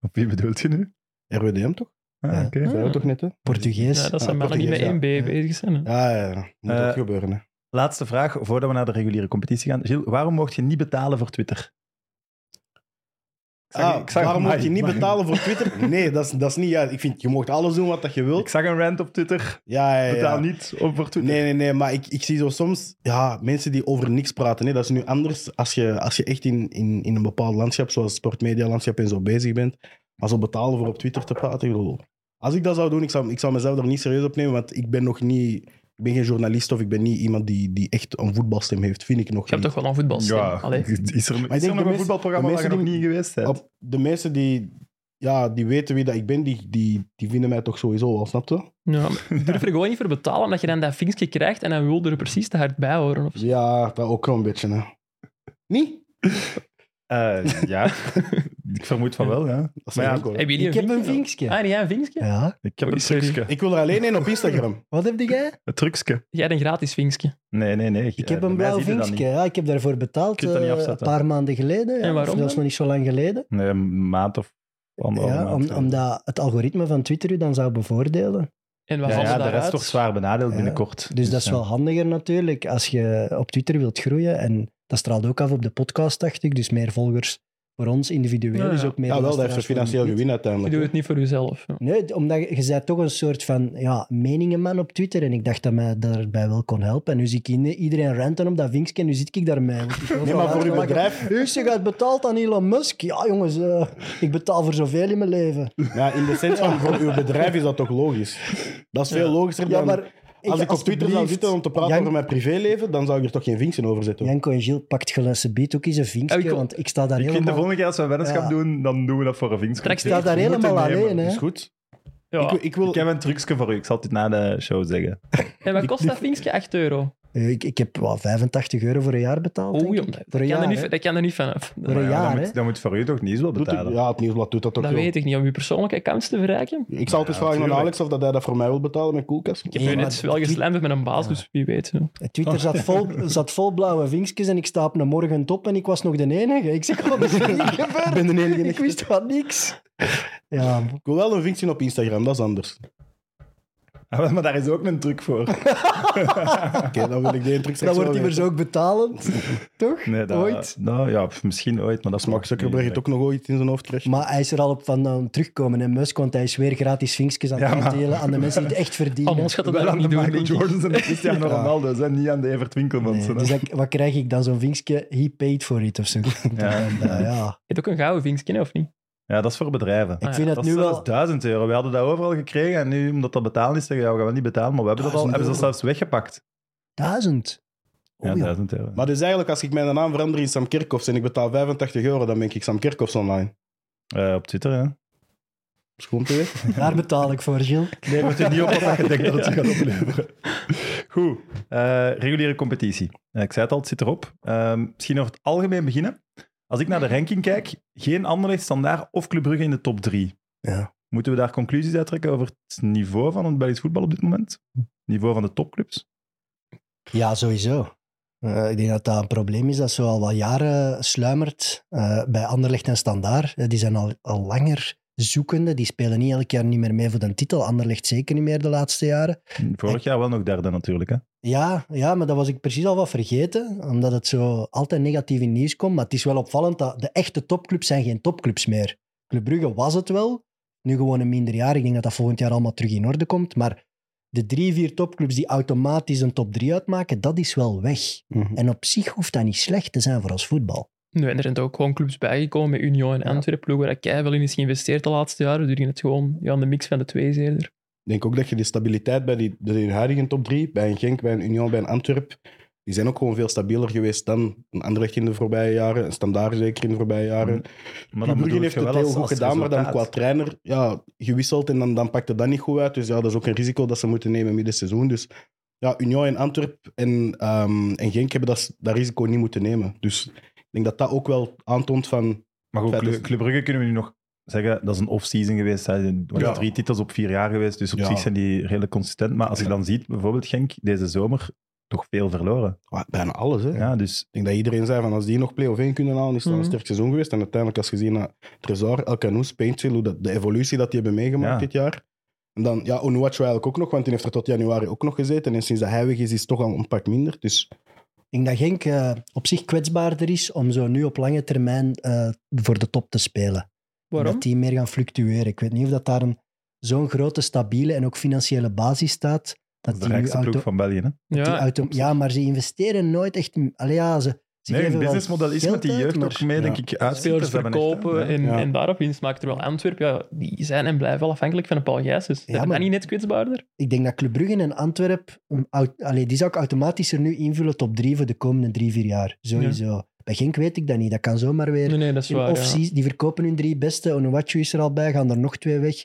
[SPEAKER 1] Of wie bedoelt je nu?
[SPEAKER 3] RWDM toch?
[SPEAKER 1] Ah,
[SPEAKER 4] Ja.
[SPEAKER 1] oké.
[SPEAKER 3] Dat zei
[SPEAKER 5] Ah.
[SPEAKER 3] we toch net, hè?
[SPEAKER 4] Portugees.
[SPEAKER 5] Ja, dat zijn
[SPEAKER 3] Ah,
[SPEAKER 5] mannen die met
[SPEAKER 3] Portugees,
[SPEAKER 5] 1B
[SPEAKER 3] ja.
[SPEAKER 5] bezig zijn. hè.
[SPEAKER 3] Ja, ja, ja. Moet
[SPEAKER 1] Eh,
[SPEAKER 3] ook gebeuren, hè.
[SPEAKER 1] Laatste vraag, voordat we naar de reguliere competitie gaan. Gilles, waarom mocht je niet betalen voor Twitter? zag-
[SPEAKER 3] Ah,
[SPEAKER 1] ik zag-
[SPEAKER 3] waarom moet
[SPEAKER 1] Amai.
[SPEAKER 3] je niet betalen voor Twitter? Nee, dat is, dat is niet juist. Ik vind, je mag alles doen wat dat je
[SPEAKER 1] Ik
[SPEAKER 3] wilt.
[SPEAKER 1] zag een rant op Twitter.
[SPEAKER 3] Ja, ja, ja.
[SPEAKER 1] Betaal niet op voor Twitter.
[SPEAKER 3] Nee, nee, nee, maar ik, ik zie zo soms ja, mensen die over niks praten. Hè. Dat is nu anders als je, als je echt in, in, in een bepaald landschap, zoals sportmedia-landschap en zo bezig bent. Maar zo betalen voor op Twitter te praten. Ik bedoel, als ik dat zou doen, ik zou, ik zou mezelf er niet serieus op nemen, want ik ben nog niet. Ik ben geen journalist of ik ben niet iemand die, die echt een voetbalstem heeft, vind ik nog
[SPEAKER 5] Je hebt
[SPEAKER 3] niet.
[SPEAKER 5] toch wel een voetbalstem?
[SPEAKER 1] Ja,
[SPEAKER 5] Allee.
[SPEAKER 1] is er,
[SPEAKER 3] denk
[SPEAKER 1] is er nog
[SPEAKER 3] de
[SPEAKER 1] een
[SPEAKER 3] meeste-
[SPEAKER 1] voetbalprogramma
[SPEAKER 3] de
[SPEAKER 1] waar je nog
[SPEAKER 3] meeste
[SPEAKER 1] niet geweest bent?
[SPEAKER 3] Op- de mensen die, ja, die weten wie dat ik ben, die, die, die vinden mij toch sowieso wel, snap je?
[SPEAKER 5] Ja, maar je durft er gewoon niet voor betalen, omdat je dan dat vinkje krijgt en dan wil je er precies te hard bij horen. Of zo.
[SPEAKER 3] Ja, dat ook wel een beetje, hè. Niet?
[SPEAKER 1] Eh, ja, ik vermoed van wel, ja.
[SPEAKER 3] Dat is
[SPEAKER 1] Maar ja,
[SPEAKER 3] ook hoor.
[SPEAKER 5] Hebben jullie
[SPEAKER 4] Ik heb een
[SPEAKER 5] vinkje?
[SPEAKER 4] vinkje.
[SPEAKER 5] Ah, en jij een vinkje?
[SPEAKER 4] Ja.
[SPEAKER 1] Ik heb een
[SPEAKER 5] Sorry.
[SPEAKER 1] trucje.
[SPEAKER 3] Ik wil er alleen één op Instagram.
[SPEAKER 4] Wat heb jij?
[SPEAKER 1] Een trucje.
[SPEAKER 5] Jij hebt een gratis vinkje.
[SPEAKER 1] Nee, nee, nee.
[SPEAKER 4] Ik heb
[SPEAKER 1] bij
[SPEAKER 4] een
[SPEAKER 1] mij
[SPEAKER 4] blauw
[SPEAKER 1] zie je dat
[SPEAKER 4] vinkje. Ja, ik heb daarvoor betaald
[SPEAKER 1] Je kunt dat niet
[SPEAKER 4] eh, een
[SPEAKER 1] afzetten.
[SPEAKER 4] paar maanden geleden.
[SPEAKER 5] En waarom
[SPEAKER 4] Dat is
[SPEAKER 5] dan?
[SPEAKER 4] nog niet zo lang geleden.
[SPEAKER 1] niet. Nee, een maand of anderhalve
[SPEAKER 4] Ja,
[SPEAKER 1] maand.
[SPEAKER 4] om- omdat het algoritme van Twitter u dan zou bevoordelen.
[SPEAKER 5] En wat
[SPEAKER 1] Ja,
[SPEAKER 5] valt
[SPEAKER 1] ja,
[SPEAKER 5] er
[SPEAKER 1] de rest
[SPEAKER 5] daaruit?
[SPEAKER 1] toch zwaar benadeeld
[SPEAKER 4] Ja.
[SPEAKER 1] binnenkort.
[SPEAKER 4] Dus dat is
[SPEAKER 1] ja.
[SPEAKER 4] wel handiger natuurlijk als je op Twitter wilt groeien. En dat straalt ook af op de podcast, dacht ik. Dus meer volgers voor ons individueel.
[SPEAKER 5] Ja, ja.
[SPEAKER 4] Dus ook meer
[SPEAKER 3] Ja, wel, dat heeft een
[SPEAKER 4] luisteraars voor
[SPEAKER 3] financieel
[SPEAKER 4] ons.
[SPEAKER 3] gewin
[SPEAKER 5] Je doet
[SPEAKER 3] uiteindelijk.
[SPEAKER 5] het niet voor jezelf. Ja.
[SPEAKER 4] Nee, omdat je, je bent toch een soort van ja, meningenman op Twitter. En ik dacht dat mij daarbij wel kon helpen. En nu zie ik in- iedereen ranten op dat vinkje. En nu zit ik daarmee.
[SPEAKER 3] Nee, maar voor uw bedrijf...
[SPEAKER 4] Dus je gaat betaald aan Elon Musk. Ja, jongens, eh, ik betaal voor zoveel in mijn leven.
[SPEAKER 3] Ja, in de sens van, voor uw bedrijf is dat toch logisch? Dat is veel logischer
[SPEAKER 4] Ja,
[SPEAKER 3] dan...
[SPEAKER 4] maar
[SPEAKER 3] als ik op Twitter zou
[SPEAKER 4] alsjeblieft,
[SPEAKER 3] zitten om te praten
[SPEAKER 4] Jan-
[SPEAKER 3] over mijn privéleven, dan zou ik er toch geen vinkje over zetten.
[SPEAKER 4] Janko en Gilles pakt gelukkig ook eens een vinkje,
[SPEAKER 5] Ja, ik-
[SPEAKER 4] want ik sta daar
[SPEAKER 1] Ik vind de
[SPEAKER 4] helemaal...
[SPEAKER 1] volgende keer als we een weddenschap
[SPEAKER 4] Ja.
[SPEAKER 1] doen, dan doen we dat voor een vinkje.
[SPEAKER 5] Straks
[SPEAKER 4] Ik sta daar
[SPEAKER 1] Je moet
[SPEAKER 4] helemaal
[SPEAKER 1] het nemen.
[SPEAKER 4] alleen, hè.
[SPEAKER 3] Is goed.
[SPEAKER 5] Ja.
[SPEAKER 3] Ik, ik wil...
[SPEAKER 1] Ik heb een trucje voor u. Ik zal het na de show zeggen.
[SPEAKER 5] En wat kost dat vinkje? 8 euro.
[SPEAKER 4] Eh, Ik, ik heb wel 85 euro voor een jaar betaald. denk
[SPEAKER 5] Oei,
[SPEAKER 4] ik.
[SPEAKER 5] jong, dat,
[SPEAKER 4] Voor een
[SPEAKER 5] kan er
[SPEAKER 4] jaar,
[SPEAKER 5] niet,
[SPEAKER 4] hè.
[SPEAKER 5] dat kan er niet vanaf.
[SPEAKER 4] Voor een
[SPEAKER 1] Maar ja,
[SPEAKER 4] jaar,
[SPEAKER 1] dan,
[SPEAKER 4] hè.
[SPEAKER 1] moet, dan moet voor u toch niet zo
[SPEAKER 3] doet het-
[SPEAKER 1] betalen.
[SPEAKER 3] ja, het nieuwsblad doet dat toch
[SPEAKER 5] Dat
[SPEAKER 3] wel.
[SPEAKER 5] weet ik niet. Om je persoonlijke accounts te verrijken?
[SPEAKER 3] Ik zal het eens
[SPEAKER 1] Ja,
[SPEAKER 3] vragen aan
[SPEAKER 1] tuurlijk.
[SPEAKER 3] Alex of dat hij dat voor mij wil betalen met koelkast.
[SPEAKER 5] Ik heb
[SPEAKER 4] Nee,
[SPEAKER 5] je
[SPEAKER 4] maar
[SPEAKER 5] net
[SPEAKER 4] de
[SPEAKER 5] wel
[SPEAKER 4] tweet-
[SPEAKER 5] geslamd met een baas, dus wie weet. ja.
[SPEAKER 4] Twitter zat vol, zat vol blauwe vinkjes en ik sta op een morgen op en ik was nog de enige. Ik zeg, wat is er hier gebeurd?
[SPEAKER 3] ben de enige
[SPEAKER 4] Ik wist van niks. Ja,
[SPEAKER 3] Ik wil wel een vinkje op Instagram, dat is anders.
[SPEAKER 1] Ah, Maar daar is ook een truc voor.
[SPEAKER 3] Oké, dan wil ik die truc
[SPEAKER 4] dan wordt immers ook betalend, toch?
[SPEAKER 1] Nee, dat,
[SPEAKER 4] Ooit.
[SPEAKER 1] Nou ja, pff, misschien ooit, maar dat
[SPEAKER 3] Als
[SPEAKER 1] is
[SPEAKER 3] Mark Zuckerberg het ook nog ooit in zijn hoofd krijgt.
[SPEAKER 4] Maar hij is er al op van aan het terugkomen, hè, Musk, want hij is weer gratis vinkjes aan het
[SPEAKER 1] Ja, maar-
[SPEAKER 4] uitdelen aan de mensen die het echt verdienen.
[SPEAKER 5] Oh, ons gaat dat
[SPEAKER 1] Wel
[SPEAKER 5] daar
[SPEAKER 1] aan de
[SPEAKER 5] niet doen,
[SPEAKER 1] Michael
[SPEAKER 5] denk ik.
[SPEAKER 1] Jordans en de Cristiano Ronaldo's, hè, niet aan de Evert Winkelmans.
[SPEAKER 4] Nee,
[SPEAKER 1] hè.
[SPEAKER 4] dus ik- wat krijg ik dan? Zo'n vinkje, he paid for it of zo.
[SPEAKER 1] Ja.
[SPEAKER 4] Nou ja,
[SPEAKER 5] Je hebt ook een gouden vinkje, hè, of niet?
[SPEAKER 1] Ja, dat is voor bedrijven.
[SPEAKER 4] ik
[SPEAKER 5] ja,
[SPEAKER 4] vind
[SPEAKER 1] Dat
[SPEAKER 4] dat
[SPEAKER 1] is
[SPEAKER 4] nu
[SPEAKER 1] zelfs
[SPEAKER 4] wel...
[SPEAKER 1] 1000 euro. We hadden dat overal gekregen en nu, omdat dat betaald is, zeggen we, ja, we gaan het niet betalen, maar we hebben dat al,
[SPEAKER 3] 1000
[SPEAKER 1] hebben ze dat zelfs weggepakt.
[SPEAKER 4] Duizend? Oh,
[SPEAKER 1] Ja,
[SPEAKER 4] ja.
[SPEAKER 1] 1000 euro.
[SPEAKER 3] Maar dus eigenlijk, als ik mijn naam verander in Sam Kerkhoffs en ik betaal 85 euro, dan ben ik Sam Kerkhoffs online.
[SPEAKER 1] Eh, op Twitter, hè.
[SPEAKER 3] Is goed om te weten.
[SPEAKER 4] Daar betaal ik voor, Gilles.
[SPEAKER 1] Neem het u niet op wat je denkt dat het je gaat opleveren. Goed, eh, reguliere competitie. Eh, ik zei het al, het zit erop. Ehm, misschien over het algemeen beginnen. Als ik naar
[SPEAKER 3] Mhm.
[SPEAKER 1] de ranking kijk, geen Anderlecht, Standaard of Club Brugge in de top drie.
[SPEAKER 4] Ja.
[SPEAKER 1] Moeten we daar conclusies uit trekken over het niveau van het Belgisch voetbal op dit moment? Niveau van de topclubs?
[SPEAKER 4] Ja, sowieso. Eh, ik denk dat dat een probleem is dat zo al wat jaren sluimert eh, bij Anderlecht en Standaard. Eh, die zijn al, al langer zoekende. Die spelen niet elk jaar niet meer mee voor de titel. Anderlecht zeker niet meer de laatste jaren.
[SPEAKER 1] Vorig jaar wel nog derde natuurlijk. Hè?
[SPEAKER 4] Ja, ja, maar dat was ik precies al wat vergeten. Omdat het zo altijd negatief in nieuws komt. Maar het is wel opvallend dat de echte topclubs zijn geen topclubs meer. Club Brugge was het wel. Nu gewoon een minder jaar. Ik denk dat dat volgend jaar allemaal terug in orde komt. Maar de drie, vier topclubs die automatisch een top drie uitmaken, dat is wel weg. En op zich hoeft dat niet slecht te zijn voor ons voetbal.
[SPEAKER 5] Nee, en er zijn ook gewoon clubs bijgekomen met Union en Antwerpen, ploeg waar ik wel in is geïnvesteerd de laatste jaren. Dus die het gewoon ja, aan de mix van de twee is eerder.
[SPEAKER 3] Ik denk ook dat je die stabiliteit bij die, bij die huidige top 3, bij een Genk, bij een Union, bij een Antwerp, die zijn ook gewoon veel stabieler geweest dan een Anderlecht in de voorbije jaren, een Standaard zeker in de voorbije jaren.
[SPEAKER 1] Maar
[SPEAKER 3] Club Brugge
[SPEAKER 1] bedoel
[SPEAKER 3] heeft
[SPEAKER 1] je
[SPEAKER 3] het
[SPEAKER 1] wel
[SPEAKER 3] heel
[SPEAKER 1] als-
[SPEAKER 3] goed
[SPEAKER 1] als
[SPEAKER 3] gedaan, maar dan
[SPEAKER 1] resultaat.
[SPEAKER 3] qua trainer ja, gewisseld en dan, dan pakte dat niet goed uit. Dus ja, dat is ook een risico dat ze moeten nemen midden seizoen. Dus ja, Union en Antwerp en, ehm, en Genk hebben dat, dat risico niet moeten nemen. Dus ik denk dat dat ook wel aantoont van...
[SPEAKER 1] Maar goed,
[SPEAKER 3] Feit
[SPEAKER 1] Club,
[SPEAKER 3] is-
[SPEAKER 1] Club Brugge kunnen we nu nog zeggen, dat is een off-season geweest. Hij zijn
[SPEAKER 3] Ja.
[SPEAKER 1] drie titels op vier jaar geweest, dus op
[SPEAKER 3] Ja.
[SPEAKER 1] zich zijn die redelijk consistent. Maar als je dan ziet, bijvoorbeeld Genk, deze zomer toch veel verloren.
[SPEAKER 3] ah, bijna alles, hè.
[SPEAKER 1] Ja, dus
[SPEAKER 3] Ik denk dat iedereen zei van als die nog play-off 1 kunnen halen, is dat een
[SPEAKER 5] Mhm.
[SPEAKER 3] sterk seizoen geweest. En uiteindelijk als je ziet naar Trezor, El Canoes, Paintsel, hoe dat, de evolutie dat die hebben meegemaakt
[SPEAKER 1] Ja.
[SPEAKER 3] dit jaar. En dan, ja, Onuachu eigenlijk ook nog, want die heeft er tot januari ook nog gezeten. En sinds dat hij weg is, is het toch al een pak minder. Dus
[SPEAKER 4] Ik denk dat Genk eh, op zich kwetsbaarder is om zo nu op lange termijn eh, voor de top te spelen.
[SPEAKER 5] Waarom?
[SPEAKER 4] Dat die meer gaan fluctueren. Ik weet niet of dat daar een- zo'n grote, stabiele en ook financiële basis staat. Dat
[SPEAKER 1] Dat is de
[SPEAKER 4] die nu
[SPEAKER 1] rijkste
[SPEAKER 4] auto-
[SPEAKER 1] ploeg van België. Hè?
[SPEAKER 4] die
[SPEAKER 5] Ja,
[SPEAKER 4] auto- ja, maar ze investeren nooit echt... in- Allee, ja, ze, ze
[SPEAKER 1] Nee,
[SPEAKER 4] geven
[SPEAKER 1] hun
[SPEAKER 4] wel
[SPEAKER 1] businessmodel is
[SPEAKER 4] geld
[SPEAKER 1] met die
[SPEAKER 4] uit,
[SPEAKER 1] jeugd
[SPEAKER 4] maar-
[SPEAKER 1] ook mee,
[SPEAKER 3] Ja.
[SPEAKER 1] denk ik, uit.
[SPEAKER 5] spelers verkopen en,
[SPEAKER 3] Ja.
[SPEAKER 5] en daarop winst maken. Terwijl Antwerpen, ja, die zijn en blijven wel afhankelijk van een Paul Gijsens. Zijn
[SPEAKER 4] maar-
[SPEAKER 5] dat niet net kwetsbaarder?
[SPEAKER 4] Ik denk dat Club Brugge en Antwerp... een au- Allee, die zou ik automatisch er nu invullen top drie voor de komende drie, vier jaar. Sowieso. Bij Genk weet ik dat niet. Dat kan zomaar weer...
[SPEAKER 5] Nee, nee, dat is
[SPEAKER 4] In
[SPEAKER 5] waar. ja.
[SPEAKER 4] off-season, die verkopen hun drie beste. Onuwatju is er al bij, gaan er nog twee weg.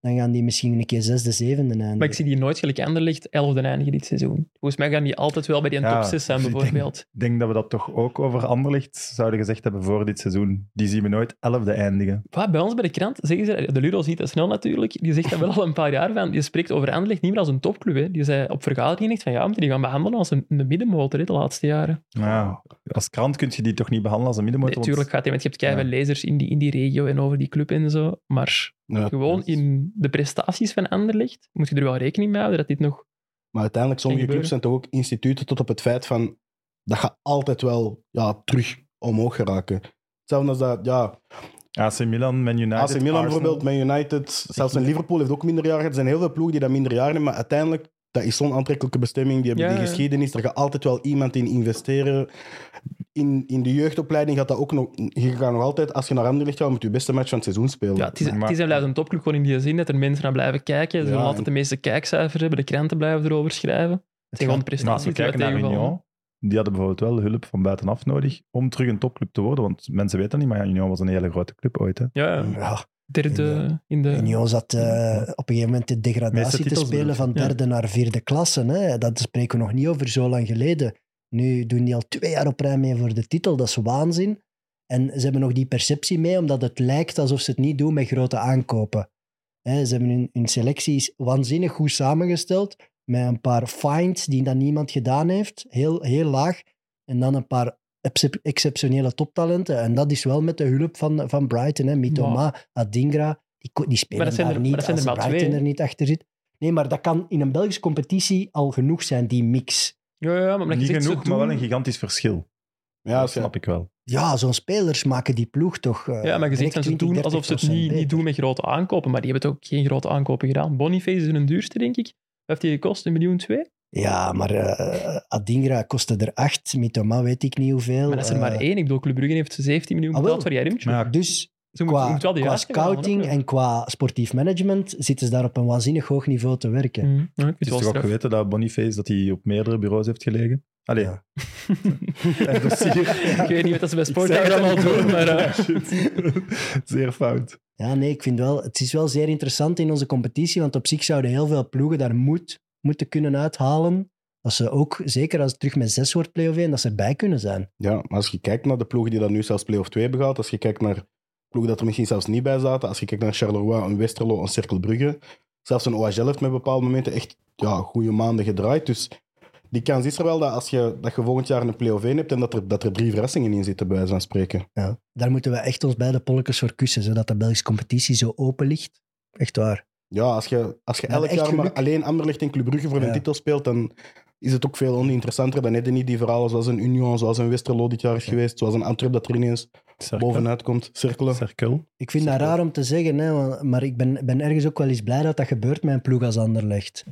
[SPEAKER 4] Dan gaan die misschien een keer zesde, zevende eindigen.
[SPEAKER 5] Maar ik zie die nooit gelijk anderlicht 11e eindigen dit seizoen. Volgens mij gaan die altijd wel bij die
[SPEAKER 1] Ja, dus
[SPEAKER 5] top 6 zijn,
[SPEAKER 1] ik
[SPEAKER 4] dus
[SPEAKER 1] denk-
[SPEAKER 5] bijvoorbeeld.
[SPEAKER 1] Ik denk dat we dat toch ook over Anderlicht zouden gezegd hebben voor dit seizoen. Die zien we nooit elfde eindigen.
[SPEAKER 5] Wat, bij ons bij de krant zeggen ze, de Ludo ziet dat snel natuurlijk, die zegt dat wel al een paar jaar van, die spreekt over Anderlecht niet meer als een topclub. Hè. Die zei op vergadering echt van, ja, we moeten die gaan behandelen als een, een middenmotor hè, de laatste jaren.
[SPEAKER 1] Nou, als krant kun je die toch niet behandelen als een middenmotor? want-
[SPEAKER 5] Natuurlijk gaat hij, want je hebt keihard lezers in die, in die regio en over die club en zo, maar
[SPEAKER 3] Ja.
[SPEAKER 5] gewoon in de prestaties van Anderlecht moet je er wel rekening mee houden dat dit nog...
[SPEAKER 3] Maar uiteindelijk, sommige
[SPEAKER 5] Kan
[SPEAKER 3] clubs zijn toch ook instituten tot op het feit van dat gaat altijd wel ja, terug omhoog geraken. Hetzelfde als dat, ja,
[SPEAKER 1] AC Milan, Man United,
[SPEAKER 3] AC Milan
[SPEAKER 1] Arsenal.
[SPEAKER 3] bijvoorbeeld, Man United, zelfs in Liverpool heeft ook minderjarigen. Er zijn heel veel ploegen die dat minderjarigen hebben, maar uiteindelijk, dat is zo'n aantrekkelijke bestemming, die hebben
[SPEAKER 5] Ja,
[SPEAKER 3] die
[SPEAKER 5] ja.
[SPEAKER 3] geschiedenis, er gaat altijd wel iemand in investeren. In, in de jeugdopleiding gaat dat ook nog, je gaat nog altijd, als je naar Anderlecht gaat, moet je beste match van het seizoen spelen.
[SPEAKER 5] Ja, het is,
[SPEAKER 1] Maar-
[SPEAKER 5] het is en blijft een topclub gewoon in die zin dat er mensen naar blijven kijken. Ze
[SPEAKER 3] Ja,
[SPEAKER 5] zullen
[SPEAKER 3] en-
[SPEAKER 5] altijd de meeste kijkcijfers hebben, de kranten blijven erover schrijven. Het
[SPEAKER 4] Het
[SPEAKER 5] zijn gewoon
[SPEAKER 4] gaat-
[SPEAKER 5] de
[SPEAKER 1] Maar als we
[SPEAKER 5] prestaties die
[SPEAKER 1] kijken naar
[SPEAKER 5] tegenvallen.
[SPEAKER 1] Union, die hadden bijvoorbeeld wel hulp van buitenaf nodig om terug een topclub te worden. Want mensen weten dat niet, maar ja, Union was een hele grote club ooit. Hè.
[SPEAKER 5] Ja,
[SPEAKER 4] Ja,
[SPEAKER 5] derde in de...
[SPEAKER 4] Union zat eh, op een gegeven moment de
[SPEAKER 1] Meeste
[SPEAKER 4] degradatie te
[SPEAKER 1] titels
[SPEAKER 4] spelen
[SPEAKER 1] bedoelt.
[SPEAKER 4] van
[SPEAKER 5] Ja.
[SPEAKER 4] derde naar vierde klasse. Hè. Dat spreken we nog niet over zo lang geleden. Nu doen die al twee jaar op rij mee voor de titel. Dat is waanzin. En ze hebben nog die perceptie mee, omdat het lijkt alsof ze het niet doen met grote aankopen. Hè, ze hebben hun, hun selecties waanzinnig goed samengesteld. Met een paar finds die dan niemand gedaan heeft. Heel, heel laag. En dan een paar excep- exceptionele toptalenten. En dat is wel met de hulp van, van Brighton. Hè. Mitoma, Adingra. Die, ko- die spelen
[SPEAKER 5] Maar dat zijn
[SPEAKER 4] daar
[SPEAKER 5] er-
[SPEAKER 4] niet
[SPEAKER 5] maar dat zijn
[SPEAKER 4] als
[SPEAKER 5] er maar
[SPEAKER 4] Brighton
[SPEAKER 5] twee, hè.
[SPEAKER 4] er niet achter zit. Nee, maar dat kan in een Belgische competitie al genoeg zijn, die mix.
[SPEAKER 5] Ja, ja, maar omdat je
[SPEAKER 1] Niet
[SPEAKER 5] zegt, ze
[SPEAKER 1] genoeg, maar wel
[SPEAKER 5] doen-
[SPEAKER 1] een gigantisch verschil.
[SPEAKER 3] Ja,
[SPEAKER 1] dat
[SPEAKER 3] als je-
[SPEAKER 1] snap ik wel.
[SPEAKER 4] Ja, zo'n spelers maken die ploeg toch... eh,
[SPEAKER 5] Ja, maar je zegt
[SPEAKER 4] direct
[SPEAKER 5] dat ze
[SPEAKER 4] 20,
[SPEAKER 5] doen alsof ze het
[SPEAKER 4] 30%
[SPEAKER 5] niet, niet
[SPEAKER 4] beter.
[SPEAKER 5] doen met grote aankopen, maar die hebben toch ook geen grote aankopen gedaan. Boniface is hun duurste, denk ik. Wat heeft die gekost? Een miljoen twee?
[SPEAKER 4] Ja, maar eh, Adingra kostte er acht. Mitoma weet ik niet hoeveel.
[SPEAKER 5] Maar dat is er maar
[SPEAKER 4] eh,
[SPEAKER 5] één. Ik bedoel, Club Brugge heeft 17 miljoen
[SPEAKER 4] Ah, wel.
[SPEAKER 5] betaald voor Jarimtje.
[SPEAKER 1] Maar ja,
[SPEAKER 4] Dus
[SPEAKER 5] Ze moeten-
[SPEAKER 4] qua,
[SPEAKER 5] moeten wel de
[SPEAKER 4] qua
[SPEAKER 5] juiste gaan halen,
[SPEAKER 4] scouting
[SPEAKER 5] hè.
[SPEAKER 4] en qua sportief management zitten ze daar op een waanzinnig hoog niveau te werken.
[SPEAKER 5] Mm, ja, ik vind
[SPEAKER 1] het is
[SPEAKER 5] wel
[SPEAKER 1] toch ook
[SPEAKER 5] straf.
[SPEAKER 1] geweten dat Boniface dat hij op meerdere bureaus heeft gelegen? Allee,
[SPEAKER 4] Ja.
[SPEAKER 1] en dossier.
[SPEAKER 5] Ik weet niet wat ze bij
[SPEAKER 1] Ik zeg
[SPEAKER 5] Sportdag allemaal
[SPEAKER 1] dat
[SPEAKER 5] doen,
[SPEAKER 1] niet.
[SPEAKER 5] maar... eh,
[SPEAKER 1] Ja, shit. Zeer fout.
[SPEAKER 4] Ja, nee, ik vind wel... Het is wel zeer interessant in onze competitie, want op zich zouden heel veel ploegen daar moed moeten kunnen uithalen. Dat ze ook, zeker als het terug met zes wordt play-off één, dat ze erbij kunnen zijn.
[SPEAKER 3] Ja, maar als je kijkt naar de ploegen die dat nu zelfs play-off 2 hebben gehaald, als je kijkt naar ploegen dat er misschien zelfs niet bij zaten, als je kijkt naar Charleroi, een Westerlo, een Cercle Brugge, zelfs een OHL heeft met bepaalde momenten echt ja, goede maanden gedraaid. Dus die kans is er wel dat als je, dat je volgend jaar een play-off 1 hebt en dat er, dat er drie verrassingen in zitten, bij wijze van spreken.
[SPEAKER 4] Ja. Daar moeten we echt ons beide polletjes voor kussen, zodat de Belgische competitie zo open ligt. Echt waar.
[SPEAKER 3] Ja, als je, als je
[SPEAKER 4] Ja,
[SPEAKER 3] elk
[SPEAKER 4] echt
[SPEAKER 3] jaar maar
[SPEAKER 4] geluk.
[SPEAKER 3] alleen Anderlecht en Club Brugge voor
[SPEAKER 4] Ja.
[SPEAKER 3] een titel speelt, dan is het ook veel oninteressanter. Dan heb je niet die verhalen zoals een Union, zoals een Westerlo dit jaar is geweest, zoals een Antwerp dat er ineens bovenuit komt, cirkelen.
[SPEAKER 1] Cirkel.
[SPEAKER 4] Ik vind dat
[SPEAKER 3] Zeker.
[SPEAKER 4] raar om te zeggen, hè, wa- maar ik ben, ben ergens ook wel eens blij dat dat gebeurt met een ploeg als Anderlecht.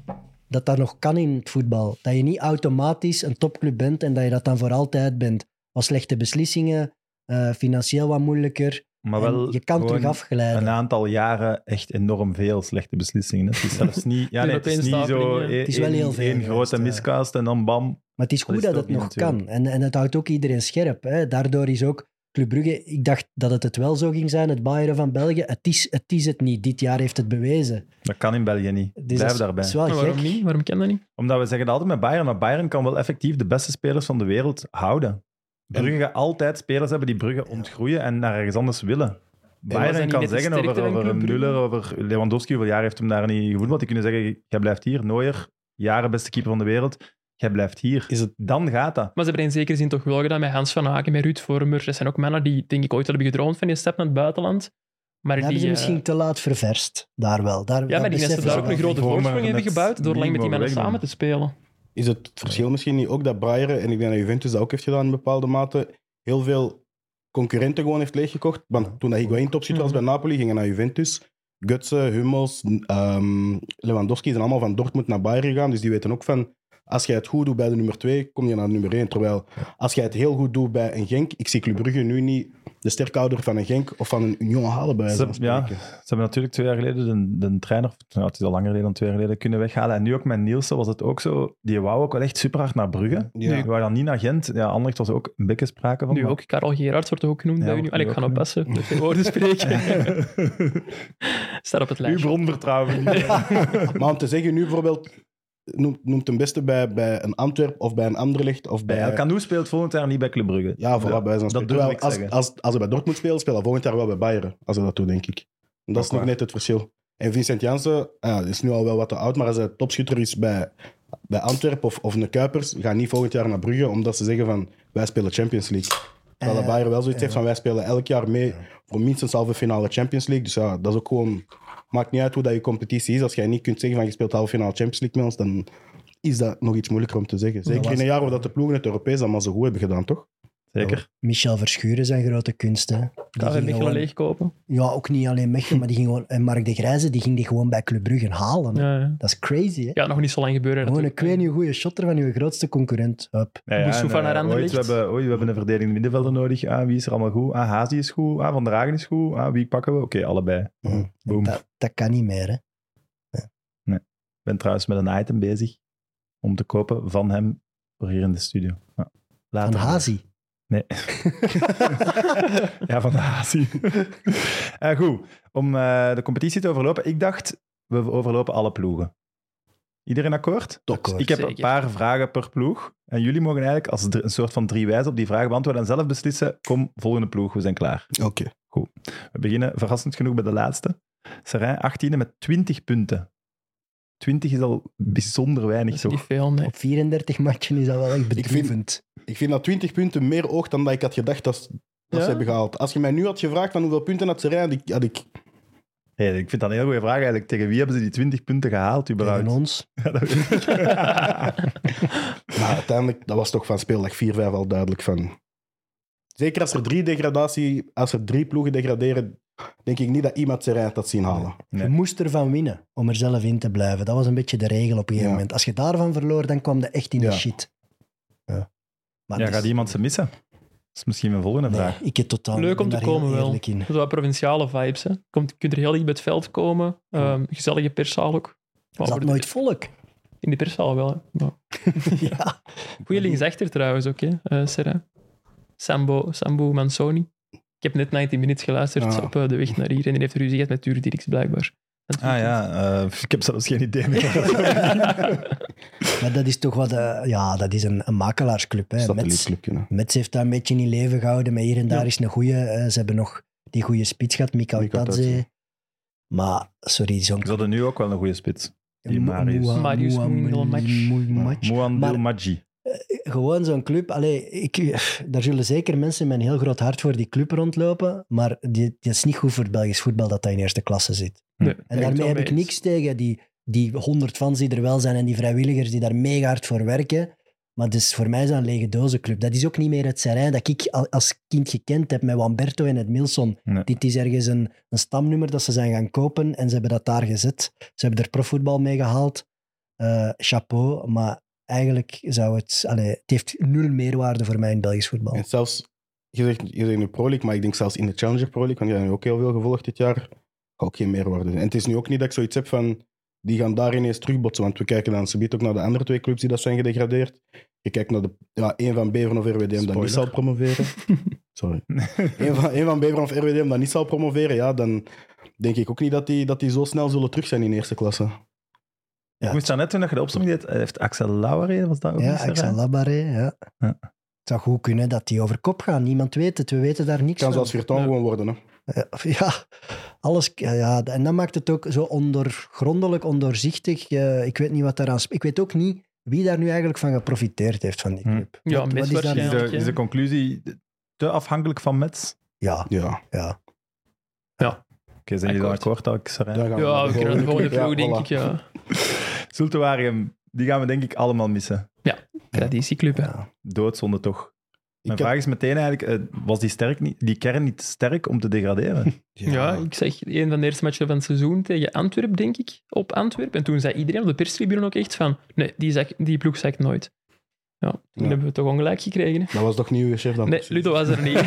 [SPEAKER 4] Dat dat nog kan in het voetbal. Dat je niet automatisch een topclub bent en dat je dat dan voor altijd bent. Wat slechte beslissingen, eh, financieel wat moeilijker.
[SPEAKER 1] Maar
[SPEAKER 4] En
[SPEAKER 1] wel
[SPEAKER 4] je kan
[SPEAKER 1] gewoon
[SPEAKER 4] terug afgeleiden.
[SPEAKER 1] een aantal jaren echt enorm veel slechte beslissingen. hè. Het is zelfs niet, ja,
[SPEAKER 5] De
[SPEAKER 1] nee, het is niet
[SPEAKER 5] opeenstapeling,
[SPEAKER 1] zo e-
[SPEAKER 5] ja.
[SPEAKER 1] één-
[SPEAKER 5] Het
[SPEAKER 4] is wel heel veel
[SPEAKER 1] één
[SPEAKER 4] geweest,
[SPEAKER 1] grote
[SPEAKER 4] ja.
[SPEAKER 1] miscast en dan bam.
[SPEAKER 4] Maar het is goed
[SPEAKER 1] is
[SPEAKER 4] dat,
[SPEAKER 1] het
[SPEAKER 4] het
[SPEAKER 1] ook
[SPEAKER 4] nog
[SPEAKER 1] niet
[SPEAKER 4] kan. En, en het houdt ook iedereen scherp. Hè. Daardoor is ook Club Brugge... Ik dacht dat het het wel zo ging zijn, het Bayern van België. Het is het, is het niet. Dit jaar heeft het bewezen.
[SPEAKER 1] Dat kan in België niet.
[SPEAKER 4] Dus dat
[SPEAKER 1] Blijf
[SPEAKER 4] is-
[SPEAKER 1] daarbij.
[SPEAKER 4] is wel
[SPEAKER 5] maar waarom
[SPEAKER 4] gek.
[SPEAKER 5] niet? Waarom kan dat niet?
[SPEAKER 1] Omdat we zeggen dat altijd met Bayern, maar Bayern kan wel effectief de beste spelers van de wereld houden. Brugge gaat altijd spelers hebben die Brugge ontgroeien en naar ergens anders willen.
[SPEAKER 5] dat
[SPEAKER 1] Bayern
[SPEAKER 5] niet
[SPEAKER 1] kan
[SPEAKER 5] net de
[SPEAKER 1] zeggen
[SPEAKER 5] sterkte
[SPEAKER 1] over,
[SPEAKER 5] van
[SPEAKER 1] over
[SPEAKER 5] Club Brugge?
[SPEAKER 1] Müller, over Lewandowski, hoeveel jaar heeft hem daar niet gevoetbald. Die kunnen zeggen, jij blijft hier. Neuer, jaren beste keeper van de wereld, jij blijft hier.
[SPEAKER 3] Is het
[SPEAKER 1] Dan gaat dat.
[SPEAKER 5] Maar ze hebben in zekere zin toch wel gedaan met Hans van Haken, met Ruud Vormer. Dat zijn ook mannen die, denk ik, ooit hebben gedroomd van die stap naar het buitenland. Maar
[SPEAKER 4] Dat
[SPEAKER 5] die,
[SPEAKER 4] hebben ze
[SPEAKER 5] eh,
[SPEAKER 4] misschien te laat ververst. Daar wel. Daar,
[SPEAKER 5] Ja,
[SPEAKER 4] dat
[SPEAKER 5] maar die mensen
[SPEAKER 4] beseffen
[SPEAKER 5] daar
[SPEAKER 4] ze
[SPEAKER 5] ook
[SPEAKER 4] wel.
[SPEAKER 5] een grote
[SPEAKER 1] Vormer
[SPEAKER 5] voorsprong hebben
[SPEAKER 1] net
[SPEAKER 5] gebouwd door
[SPEAKER 1] niet
[SPEAKER 5] lang met
[SPEAKER 1] mogen
[SPEAKER 5] die mannen
[SPEAKER 1] wegdoen.
[SPEAKER 5] samen te spelen.
[SPEAKER 3] is het verschil misschien niet ook dat Bayern, en ik denk dat Juventus dat ook heeft gedaan in bepaalde mate, heel veel concurrenten gewoon heeft leeggekocht. Want toen dat Higuain topschutter
[SPEAKER 1] Mhm.
[SPEAKER 3] was bij Napoli, gingen naar Juventus. Götze, Hummels, ehm, Lewandowski zijn allemaal van Dortmund naar Bayern gegaan. Dus die weten ook van, als jij het goed doet bij de nummer 2, kom je naar de nummer 1. Terwijl, als jij het heel goed doet bij een Genk, ik zie Club Brugge nu niet de sterkhouder van een Genk of van een Union halen bij wijze van
[SPEAKER 1] Ze- ja.
[SPEAKER 3] spreken.
[SPEAKER 1] Ze hebben natuurlijk twee jaar geleden de, de trainer, nou, het is al langer geleden dan twee jaar geleden, kunnen weghalen. En nu ook met Nielsen was het ook zo. Die wou ook wel echt super hard naar Brugge.
[SPEAKER 3] Ja.
[SPEAKER 1] Die wou dan niet naar Gent. Ja, Anderlecht was er ook een beetje sprake van.
[SPEAKER 5] Nu
[SPEAKER 1] maar-
[SPEAKER 5] ook, Karel Gerards wordt toch ook genoemd
[SPEAKER 1] Ja,
[SPEAKER 5] bij Unie.
[SPEAKER 1] wordt
[SPEAKER 5] Allee, ik
[SPEAKER 1] ook
[SPEAKER 5] ga oppassen, met geen woorden spreken. Staat op het
[SPEAKER 1] Uw
[SPEAKER 5] lijstje.
[SPEAKER 1] bron vertrouwen. we niet.
[SPEAKER 3] Maar om te zeggen, nu bijvoorbeeld, noemt, noemt een beste bij, bij een Antwerp of bij een Anderlecht of bij...
[SPEAKER 1] Bij El Canu speelt volgend jaar niet bij Club Brugge.
[SPEAKER 3] Ja, voilà, bij zo'n
[SPEAKER 1] Dat
[SPEAKER 3] spelen.
[SPEAKER 1] durf
[SPEAKER 3] Terwijl
[SPEAKER 1] ik
[SPEAKER 3] als,
[SPEAKER 1] zeggen.
[SPEAKER 3] als, als ze bij Dortmund spelen, spelen ze volgend jaar wel bij Bayern. Als ze dat doen, denk ik. En dat is
[SPEAKER 1] Ook
[SPEAKER 3] nog
[SPEAKER 1] waar.
[SPEAKER 3] net het verschil. En Vincent Janssen ah, is nu al wel wat te oud, maar als hij topschutter is bij, bij Antwerpen of, of een Kuipers, gaan niet volgend jaar naar Brugge, omdat ze zeggen van, wij spelen Champions League. Terwijl
[SPEAKER 4] Eh,
[SPEAKER 3] de Bayern wel zoiets heeft van, wij spelen elk jaar mee voor minstens halve finale Champions League. Dus ja, dat is ook gewoon... Maakt niet uit hoe dat je competitie is. Als jij niet kunt zeggen van, je speelt halve finale Champions League met ons, dan is dat nog iets moeilijker om te zeggen. Zeker in een jaar waar dat de ploegen het Europees allemaal zo goed hebben gedaan, toch?
[SPEAKER 1] Zeker.
[SPEAKER 4] Michel Verschuren zijn grote kunst. Hè. Die
[SPEAKER 5] Daar
[SPEAKER 4] ging
[SPEAKER 5] heb ik
[SPEAKER 4] gewoon-
[SPEAKER 5] gewoon leegkopen.
[SPEAKER 4] Ja, ook niet alleen Mechelen, maar die ging gewoon, en Mark de Grijze die ging die gewoon bij Club Brugge halen. hè.
[SPEAKER 5] Ja, ja.
[SPEAKER 4] Dat is crazy, hè?
[SPEAKER 5] ja, nog niet zo lang gebeuren.
[SPEAKER 4] gewoon een
[SPEAKER 5] natuurlijk.
[SPEAKER 4] kwijnie goede shotter van uw grootste concurrent. Hup.
[SPEAKER 1] Ja, ja, en,
[SPEAKER 5] Moestofa
[SPEAKER 1] eh,
[SPEAKER 5] naar
[SPEAKER 1] ooit,
[SPEAKER 5] Anderlecht.
[SPEAKER 1] we, hebben, oei, we hebben een verdediging middenvelder nodig. Ah, wie is er allemaal goed? Ah, Hazi is goed. Ah, Van der Hagen is goed. Ah, wie pakken we? Oké, allebei.
[SPEAKER 4] Mm.
[SPEAKER 1] Boom.
[SPEAKER 4] Dat, dat kan niet meer, hè?
[SPEAKER 1] Ik ben trouwens met een item bezig om te kopen van hem voor hier in de studio. Ja.
[SPEAKER 4] Van
[SPEAKER 1] Later.
[SPEAKER 4] Hazi.
[SPEAKER 1] Ja, van de Hazi. Eh, goed, om eh, de competitie te overlopen. Ik dacht, we overlopen alle ploegen. Iedereen akkoord?
[SPEAKER 4] Akkoord.
[SPEAKER 1] Ik heb een
[SPEAKER 5] Zeker.
[SPEAKER 1] paar vragen per ploeg. En jullie mogen eigenlijk als dr- een soort van drie wijzen op die vragen beantwoorden en zelf beslissen. Kom, volgende ploeg, we zijn klaar.
[SPEAKER 3] Oké.
[SPEAKER 1] We beginnen verrassend genoeg bij de laatste. Serijn, 18e met 20 punten. 20 is al bijzonder
[SPEAKER 5] Dat
[SPEAKER 1] weinig,
[SPEAKER 5] is
[SPEAKER 1] zo.
[SPEAKER 5] niet veel, nee.
[SPEAKER 4] Op 34 matchen is dat wel echt
[SPEAKER 3] vind-
[SPEAKER 4] bedroevend.
[SPEAKER 3] Ik vind dat 20 punten meer oog dan dat ik had gedacht dat, dat
[SPEAKER 5] Ja?
[SPEAKER 3] ze hebben gehaald. Als je mij nu had gevraagd van hoeveel punten had ze rijden, had ik, had ik
[SPEAKER 1] Hey, ik vind dat een heel goede vraag eigenlijk. Tegen wie hebben ze die 20 punten gehaald,
[SPEAKER 4] Tegen
[SPEAKER 1] überhaupt?
[SPEAKER 4] ons.
[SPEAKER 1] Ja, dat weet ik.
[SPEAKER 3] Maar uiteindelijk, dat was toch van speeldag 4-5 al duidelijk van. Zeker als er drie degradatie, als er drie ploegen degraderen, denk ik niet dat iemand zijn rijdt had zien halen.
[SPEAKER 1] Nee.
[SPEAKER 4] Je moest ervan winnen om er zelf in te blijven. Dat was een beetje de regel op een gegeven
[SPEAKER 3] Ja.
[SPEAKER 4] moment. Als je daarvan verloor, dan kwam je echt in
[SPEAKER 3] Ja.
[SPEAKER 4] de shit. Ja. Maar
[SPEAKER 1] Ja,
[SPEAKER 4] dus-
[SPEAKER 1] gaat iemand ze missen? Dat is misschien mijn volgende
[SPEAKER 4] Nee,
[SPEAKER 1] vraag.
[SPEAKER 4] ik heb totaal
[SPEAKER 5] Leuk
[SPEAKER 4] ik ben
[SPEAKER 5] om te
[SPEAKER 4] daar heel
[SPEAKER 5] komen wel.
[SPEAKER 4] eerlijk in.
[SPEAKER 5] Zo wat provinciale vibes. Hè. Komt, je kunt er heel dicht bij het veld komen. Ehm, gezellige perszaal ook.
[SPEAKER 4] Er
[SPEAKER 5] Maar voor
[SPEAKER 4] zat
[SPEAKER 5] de-
[SPEAKER 4] nooit volk.
[SPEAKER 5] In de perszaal wel. Hè. Maar-
[SPEAKER 4] ja.
[SPEAKER 5] Goeie linksachter trouwens ook, hè, eh, Serra. Sambo, Sambo Mansoni. Ik heb net 19 minutes geluisterd
[SPEAKER 3] Ah.
[SPEAKER 5] op eh, de weg naar hier en die heeft ruzie gehad met Tuur Dirks blijkbaar.
[SPEAKER 4] Hm.
[SPEAKER 5] Dat
[SPEAKER 1] Ah ja, eh, ik heb zelfs geen idee meer.
[SPEAKER 4] Maar dat is toch wat... eh, ja, dat is een, een makelaarsclub. Hè. Mets,
[SPEAKER 3] Satellietclub, ja.
[SPEAKER 4] Mets heeft dat een beetje in leven gehouden, maar hier en daar is een goeie. eh, ze hebben nog die goede spits gehad, Mikael
[SPEAKER 3] Mika Tadze.
[SPEAKER 4] Tadze. Maar, sorry, zo'n...
[SPEAKER 1] Ze hadden nu ook wel een goede spits. die
[SPEAKER 4] Moe-
[SPEAKER 1] Marius.
[SPEAKER 4] Moe-
[SPEAKER 5] Marius
[SPEAKER 4] Moe-
[SPEAKER 5] Moendelmatch.
[SPEAKER 4] Moe- Match.
[SPEAKER 1] Moandil
[SPEAKER 4] Maar-
[SPEAKER 1] Maggi.
[SPEAKER 4] Gewoon zo'n club. Allee, ik, daar zullen zeker mensen met een heel groot hart voor die club rondlopen. Maar die- dat is niet goed voor het Belgisch voetbal dat dat in eerste klasse zit.
[SPEAKER 1] Nee,
[SPEAKER 4] en
[SPEAKER 5] ik het
[SPEAKER 4] daarmee
[SPEAKER 5] wel
[SPEAKER 4] heb
[SPEAKER 5] mee
[SPEAKER 4] ik
[SPEAKER 5] eens.
[SPEAKER 4] niks tegen die, die honderd fans die er wel zijn en die vrijwilligers die daar mega hard voor werken. Maar dus voor mij is dat een lege dozenclub. Dat is ook niet meer het serijn dat ik al- als kind gekend heb met Wamberto en het Milson.
[SPEAKER 1] Nee.
[SPEAKER 4] Dit is ergens een, een stamnummer dat ze zijn gaan kopen en ze hebben dat daar gezet. Ze hebben er profvoetbal mee gehaald. Eh, chapeau, maar eigenlijk zou het... Allee, het heeft nul meerwaarde voor mij in Belgisch voetbal.
[SPEAKER 3] En zelfs, je zegt, je zegt in de Pro League, maar ik denk zelfs in de Challenger Pro League, want jij hebt nu ook heel veel gevolgd dit jaar, gaat ook geen meerwaarde zijn. En het is nu ook niet dat ik zoiets heb van, die gaan daar ineens terugbotsen, want we kijken dan subiet ook naar de andere twee clubs die dat zijn gedegradeerd. Je kijkt naar de, ja, één van Beveren of RWDM dat
[SPEAKER 1] Spoiler.
[SPEAKER 3] niet zal promoveren. Sorry. Eén van, één van Beveren of RWDM dat niet zal promoveren, ja, dan denk ik ook niet dat die, dat die zo snel zullen terug zijn in eerste klasse.
[SPEAKER 1] Ik moest daarnet toen dat je de opzomming deed, eh, heeft Axel Lauwer was dat ook
[SPEAKER 4] Ja,
[SPEAKER 1] niet zo
[SPEAKER 4] Axel
[SPEAKER 1] raar?
[SPEAKER 4] Labaré, ja.
[SPEAKER 1] Ja.
[SPEAKER 4] Het zou goed kunnen dat die over kop gaan. Niemand weet het. We weten daar niks
[SPEAKER 3] Het kan
[SPEAKER 4] van.
[SPEAKER 3] zelfs Virton gewoon worden. Hè.
[SPEAKER 4] Eh, Ja, alles. Ja, en dat maakt het ook zo ondergrondelijk, ondoorzichtig. Eh, ik weet niet wat daaraan... sp- Ik weet ook niet wie daar nu eigenlijk van geprofiteerd heeft van die
[SPEAKER 1] Hm.
[SPEAKER 4] club.
[SPEAKER 5] Ja,
[SPEAKER 4] Wat-
[SPEAKER 5] Mets
[SPEAKER 4] wat is daar-
[SPEAKER 1] Is
[SPEAKER 5] waarschijnlijk.
[SPEAKER 1] de, is de conclusie te afhankelijk van Mets?
[SPEAKER 4] Ja,
[SPEAKER 3] Ja,
[SPEAKER 4] ja.
[SPEAKER 1] Oké, zijn jullie dan
[SPEAKER 5] Akkoord.
[SPEAKER 1] akkoord dat ik Sarijn?
[SPEAKER 3] daar gaan
[SPEAKER 5] Ja, we kunnen
[SPEAKER 3] naar
[SPEAKER 5] de volgende
[SPEAKER 3] Ja,
[SPEAKER 5] ploeg, denk
[SPEAKER 3] voilà.
[SPEAKER 5] ik. Ja.
[SPEAKER 1] Zultuarium, Die gaan we denk ik allemaal missen.
[SPEAKER 5] Traditieclub, hè.
[SPEAKER 1] Doodzonde toch. Mijn
[SPEAKER 3] Ik heb-
[SPEAKER 1] vraag is meteen eigenlijk, eh, was die, sterk niet, die kern niet sterk om te degraderen?
[SPEAKER 5] Ja. ik zeg een van de eerste matchen van het seizoen tegen Antwerpen, denk ik, op Antwerpen. En toen zei iedereen op de perstribune ook echt van, nee, die, zag, die ploeg zag ik nooit. Ja, toen
[SPEAKER 3] Ja.
[SPEAKER 5] hebben we toch ongelijk gekregen. hè.
[SPEAKER 3] Dat was toch niet uw chef dan?
[SPEAKER 5] Nee, Ludo was er niet.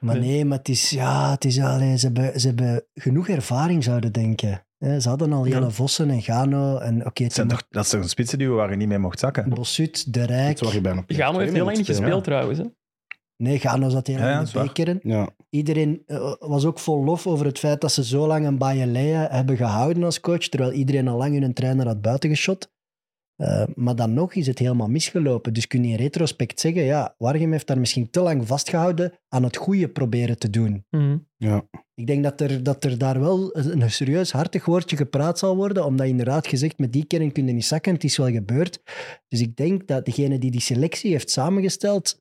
[SPEAKER 4] Maar nee, maar het is, ja, het is alleen, ze, hebben, ze hebben genoeg ervaring, zouden denken. Hè, Ze hadden al
[SPEAKER 5] Ja.
[SPEAKER 4] Jelle Vossen en Gano en oké,
[SPEAKER 1] Het zijn toch, dat is toch een spitsenduo waar je niet mee mocht zakken?
[SPEAKER 4] Bossut, De
[SPEAKER 3] Dat
[SPEAKER 4] Rijk.
[SPEAKER 3] was je bijna. op.
[SPEAKER 5] Gano heeft heel lang niet
[SPEAKER 3] Twee
[SPEAKER 5] gespeeld trouwens. Hè.
[SPEAKER 4] Nee, Gano zat heel
[SPEAKER 1] Ja,
[SPEAKER 4] lang
[SPEAKER 1] ja,
[SPEAKER 4] in
[SPEAKER 1] is
[SPEAKER 4] de
[SPEAKER 1] waar.
[SPEAKER 4] bekeren.
[SPEAKER 3] Ja,
[SPEAKER 4] Iedereen eh, was ook vol lof over het feit dat ze zo lang een Bayelea hebben gehouden als coach, terwijl iedereen al lang hun trainer had buitengeschot. Eh, maar dan nog is het helemaal misgelopen. Dus kun je in retrospect zeggen, ja, Wargem heeft daar misschien te lang vastgehouden aan het goede proberen te doen.
[SPEAKER 5] Mhm.
[SPEAKER 4] Ik denk dat er, dat er daar wel een een serieus hartig woordje gepraat zal worden, omdat inderdaad gezegd, met die kern kun je niet zakken, het is wel gebeurd. Dus ik denk dat degene die die selectie heeft samengesteld,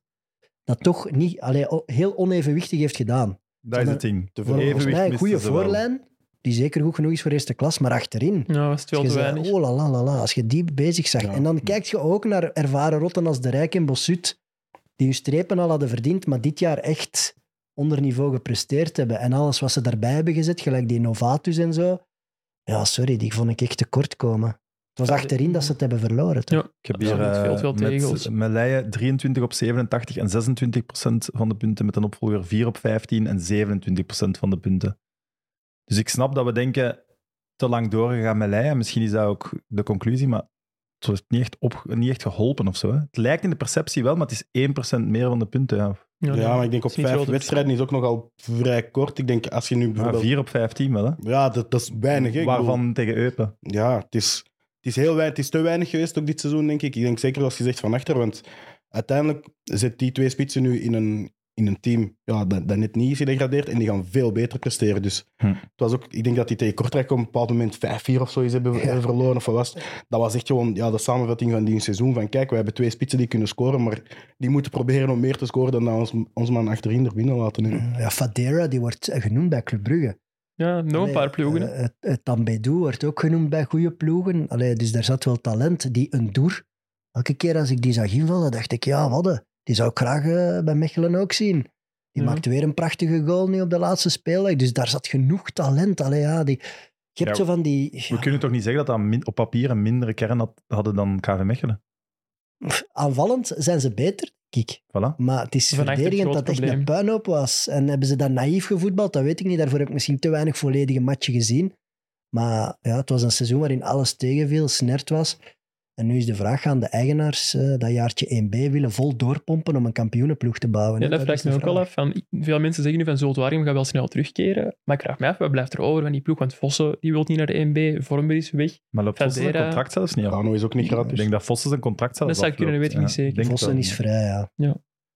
[SPEAKER 4] dat toch niet, allee, o- heel onevenwichtig heeft gedaan.
[SPEAKER 1] Dat is het ding.
[SPEAKER 3] Te veel.
[SPEAKER 4] Volgens
[SPEAKER 1] Evenwicht
[SPEAKER 4] mij een goede
[SPEAKER 1] misten ze wel.
[SPEAKER 4] voorlijn, die zeker goed genoeg is voor eerste klas, maar achterin.
[SPEAKER 5] Ja, was het wel
[SPEAKER 4] Als
[SPEAKER 5] te
[SPEAKER 4] je zei,
[SPEAKER 5] weinig.
[SPEAKER 4] oh la la la la, als je die bezig zag.
[SPEAKER 3] Ja.
[SPEAKER 4] En dan kijk je ook naar ervaren rotten als De Rijk en Bossut, die hun strepen al hadden verdiend, maar dit jaar echt onder niveau gepresteerd hebben. En alles wat ze daarbij hebben gezet, gelijk die Novatus en zo. Ja, sorry, die vond ik echt tekort komen. Het was
[SPEAKER 5] Ja,
[SPEAKER 4] achterin
[SPEAKER 5] die-
[SPEAKER 4] dat ze het hebben verloren. toch?
[SPEAKER 5] Ja.
[SPEAKER 1] Ik heb
[SPEAKER 5] Ja,
[SPEAKER 1] hier
[SPEAKER 5] met
[SPEAKER 1] eh,
[SPEAKER 5] veel, veel tegels.
[SPEAKER 1] met Meleije 23 op 87 en 26 van de punten. Met een opvolger 4 op 15 en 27 van de punten. Dus ik snap dat we denken, te lang doorgegaan Meleije. Misschien is dat ook de conclusie, maar het heeft niet echt, op, niet echt geholpen of zo. Hè. Het lijkt in de perceptie wel, maar het is 1% meer van de punten. Ja.
[SPEAKER 5] Ja,
[SPEAKER 3] ja, maar ik denk op
[SPEAKER 5] Is niet
[SPEAKER 3] vijf
[SPEAKER 5] groot.
[SPEAKER 3] wedstrijden is ook nogal vrij kort. Ik denk als je nu
[SPEAKER 1] Maar
[SPEAKER 3] bijvoorbeeld...
[SPEAKER 1] 4 op 15 wel, hè.
[SPEAKER 3] Ja, dat, dat is weinig. Hè? Ik bedoel-
[SPEAKER 1] Waarvan tegen Eupen.
[SPEAKER 3] ja, het is, het is heel weinig. Het is te weinig geweest ook dit seizoen, denk ik. Ik denk zeker als je zegt van achter, want uiteindelijk zit die twee spitsen nu in een, in een team ja, dat, dat net niet is gedegradeerd en die gaan veel beter presteren. Dus
[SPEAKER 1] Hm.
[SPEAKER 3] het was ook, ik denk dat die tegen Kortrijk op een bepaald moment 5-4 of zoiets hebben eh, verloren of wat was. het. Dat was echt gewoon ja, de samenvatting van die seizoen. Van kijk, we hebben twee spitsen die kunnen scoren, maar die moeten proberen om meer te scoren dan dat ons, ons man achterin er binnen laten. hè.
[SPEAKER 4] Ja, Fadera, die wordt eh, genoemd bij Club Brugge.
[SPEAKER 5] ja nog een
[SPEAKER 4] Allee,
[SPEAKER 5] paar ploegen. hè.
[SPEAKER 4] eh, eh, eh, Tambedou wordt ook genoemd bij goede ploegen. Allee, dus daar zat wel talent. Die een doer. Elke keer als ik die zag invallen, dacht ik, ja, wat een. Die zou ik graag eh, bij Mechelen ook zien. Die
[SPEAKER 5] Ja.
[SPEAKER 4] maakt weer een prachtige goal nu op de laatste speeldag. Dus daar zat genoeg talent. Allee, ja, die... Je hebt
[SPEAKER 1] Ja,
[SPEAKER 4] zo van die...
[SPEAKER 1] We kunnen toch niet zeggen dat dat min- op papier een mindere kern had, hadden dan KV Mechelen?
[SPEAKER 4] Aanvallend zijn ze beter, kijk.
[SPEAKER 1] Voilà.
[SPEAKER 4] Maar het is
[SPEAKER 5] Van Aert heeft
[SPEAKER 4] verdedigend
[SPEAKER 5] groot
[SPEAKER 4] dat echt
[SPEAKER 5] probleem.
[SPEAKER 4] een puinhoop was. En hebben ze dan naïef gevoetbald? Dat weet ik niet. Daarvoor heb ik misschien te weinig volledige matchen gezien. Maar ja, het was een seizoen waarin alles tegenviel, snert was. En nu is de vraag aan de eigenaars eh, dat jaartje 1B willen vol doorpompen om een kampioenenploeg te bouwen.
[SPEAKER 5] Ja,
[SPEAKER 4] hè?
[SPEAKER 5] dat
[SPEAKER 4] is
[SPEAKER 5] vraagt
[SPEAKER 4] de
[SPEAKER 5] me ook
[SPEAKER 4] vraag.
[SPEAKER 5] wel af. Van, veel mensen zeggen nu van Zultwarium gaat wel snel terugkeren. Maar ik vraag mij af, wat blijft er over van die ploeg? Want Vossen die wil niet naar de 1B, Vormer is weg.
[SPEAKER 1] Maar loopt Vossen zijn
[SPEAKER 5] Fadera-
[SPEAKER 1] contract zelfs niet af?
[SPEAKER 3] Rano is ook niet gratis.
[SPEAKER 1] Ik denk dat Vossen zijn contract zelfs
[SPEAKER 5] Dus Dat zou kunnen,
[SPEAKER 1] afloopt.
[SPEAKER 5] dat weet ik
[SPEAKER 1] Ja,
[SPEAKER 5] niet zeker.
[SPEAKER 1] denk het
[SPEAKER 4] Vossen
[SPEAKER 1] wel.
[SPEAKER 4] is vrij, ja.
[SPEAKER 5] Ja.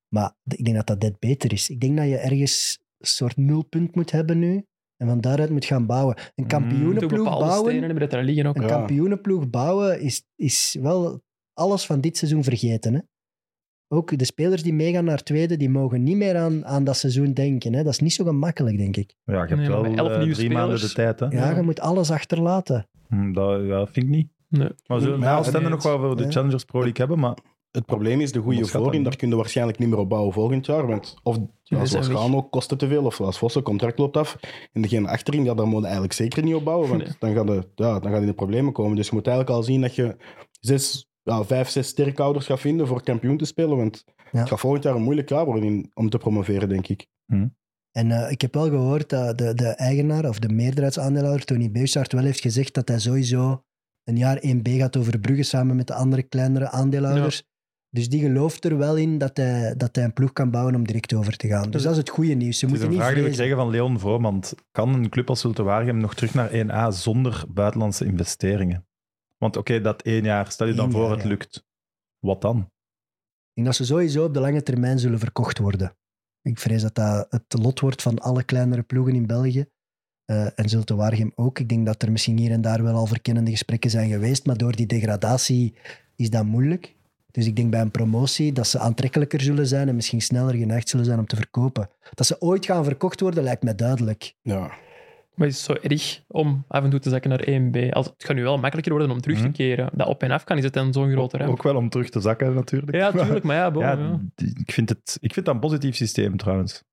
[SPEAKER 4] Maar ik denk dat dat dit beter is. Ik denk dat je ergens een soort nulpunt moet hebben nu. En van daaruit moet gaan bouwen. Een
[SPEAKER 1] Mm,
[SPEAKER 5] Toch
[SPEAKER 4] kampioenenploeg
[SPEAKER 5] bepaalde
[SPEAKER 4] bouwen...
[SPEAKER 5] stenen hebben dat daar liggen ook.
[SPEAKER 4] Een
[SPEAKER 3] Ja.
[SPEAKER 4] kampioenenploeg bouwen is, is wel alles van dit seizoen vergeten. Hè? Ook de spelers die meegaan naar tweede, die mogen niet meer aan, aan dat seizoen denken. Hè? Dat is niet zo gemakkelijk, denk ik.
[SPEAKER 1] Ja, je hebt
[SPEAKER 5] Nee, maar
[SPEAKER 1] wel
[SPEAKER 5] met elf
[SPEAKER 1] eh,
[SPEAKER 5] nieuwe
[SPEAKER 1] drie maanden de
[SPEAKER 5] spelers-
[SPEAKER 1] tijd. Hè?
[SPEAKER 4] Ja,
[SPEAKER 5] Ja.
[SPEAKER 4] je moet alles achterlaten.
[SPEAKER 1] Hm, Dat ja, vind ik niet.
[SPEAKER 5] Nee.
[SPEAKER 1] Maar we zullen
[SPEAKER 3] Maar ja,
[SPEAKER 1] na stemmen
[SPEAKER 5] nee,
[SPEAKER 1] nog wel voor de
[SPEAKER 4] ja.
[SPEAKER 1] Challengers Pro League hebben, maar
[SPEAKER 3] Het probleem is de goede
[SPEAKER 1] Onderschat
[SPEAKER 3] voorin,
[SPEAKER 1] dat
[SPEAKER 3] daar kun je waarschijnlijk niet meer op bouwen volgend jaar. Want of ja,
[SPEAKER 5] Die zijn
[SPEAKER 3] zoals
[SPEAKER 5] weg.
[SPEAKER 3] gaan ook kosten te veel, of als Vossen contract loopt af. En degene achterin, ja, daar moet je eigenlijk zeker niet op bouwen, want
[SPEAKER 5] Nee.
[SPEAKER 3] dan, gaat het, ja, dan gaat het in de problemen komen. Dus je moet eigenlijk al zien dat je zes, ja, vijf, zes sterkouders gaat vinden voor kampioen te spelen. Want
[SPEAKER 4] Ja.
[SPEAKER 3] het gaat volgend jaar een moeilijk jaar worden in- om te promoveren, denk ik.
[SPEAKER 4] En eh, ik heb wel gehoord dat de, de eigenaar of de meerderheidsaandeelhouder, Tony Beusaert, wel heeft gezegd dat hij sowieso een jaar 1B gaat overbruggen samen met de andere kleinere aandeelhouders. Dus die gelooft er wel in dat hij, dat hij een ploeg kan bouwen om direct over te gaan. Dus dat is het goede nieuws. Ze
[SPEAKER 1] het is
[SPEAKER 4] moeten
[SPEAKER 1] een
[SPEAKER 4] niet
[SPEAKER 1] vraag die we
[SPEAKER 4] vrezen.
[SPEAKER 1] krijgen van Leon Vromand. Kan een club als Zulte Waregem nog terug naar 1A zonder buitenlandse investeringen? Want oké, dat één jaar, stel je dan
[SPEAKER 4] Eén
[SPEAKER 1] voor
[SPEAKER 4] jaar,
[SPEAKER 1] het
[SPEAKER 4] ja.
[SPEAKER 1] lukt. Wat dan?
[SPEAKER 4] Ik denk dat ze sowieso op de lange termijn zullen verkocht worden. Ik vrees dat dat het lot wordt van alle kleinere ploegen in België. Eh en Zulte Waregem ook. Ik denk dat er misschien hier en daar wel al verkennende gesprekken zijn geweest, maar door die degradatie is dat moeilijk. Dus ik denk bij een promotie dat ze aantrekkelijker zullen zijn en misschien sneller geneigd zullen zijn om te verkopen. Dat ze ooit gaan verkocht worden lijkt mij duidelijk.
[SPEAKER 3] Ja.
[SPEAKER 5] Maar het is zo erg om af en toe te zakken naar 1B. Als, het gaat nu wel makkelijker worden om terug te
[SPEAKER 1] Mhm.
[SPEAKER 5] keren. Dat op en af kan, is het dan zo'n grote ruimte.
[SPEAKER 1] Ook wel om terug te zakken, natuurlijk.
[SPEAKER 5] Ja,
[SPEAKER 1] Maar-
[SPEAKER 5] tuurlijk, maar ja, bon,
[SPEAKER 1] Ja,
[SPEAKER 5] ja.
[SPEAKER 1] die- ik, vind het, ik vind dat een positief systeem trouwens.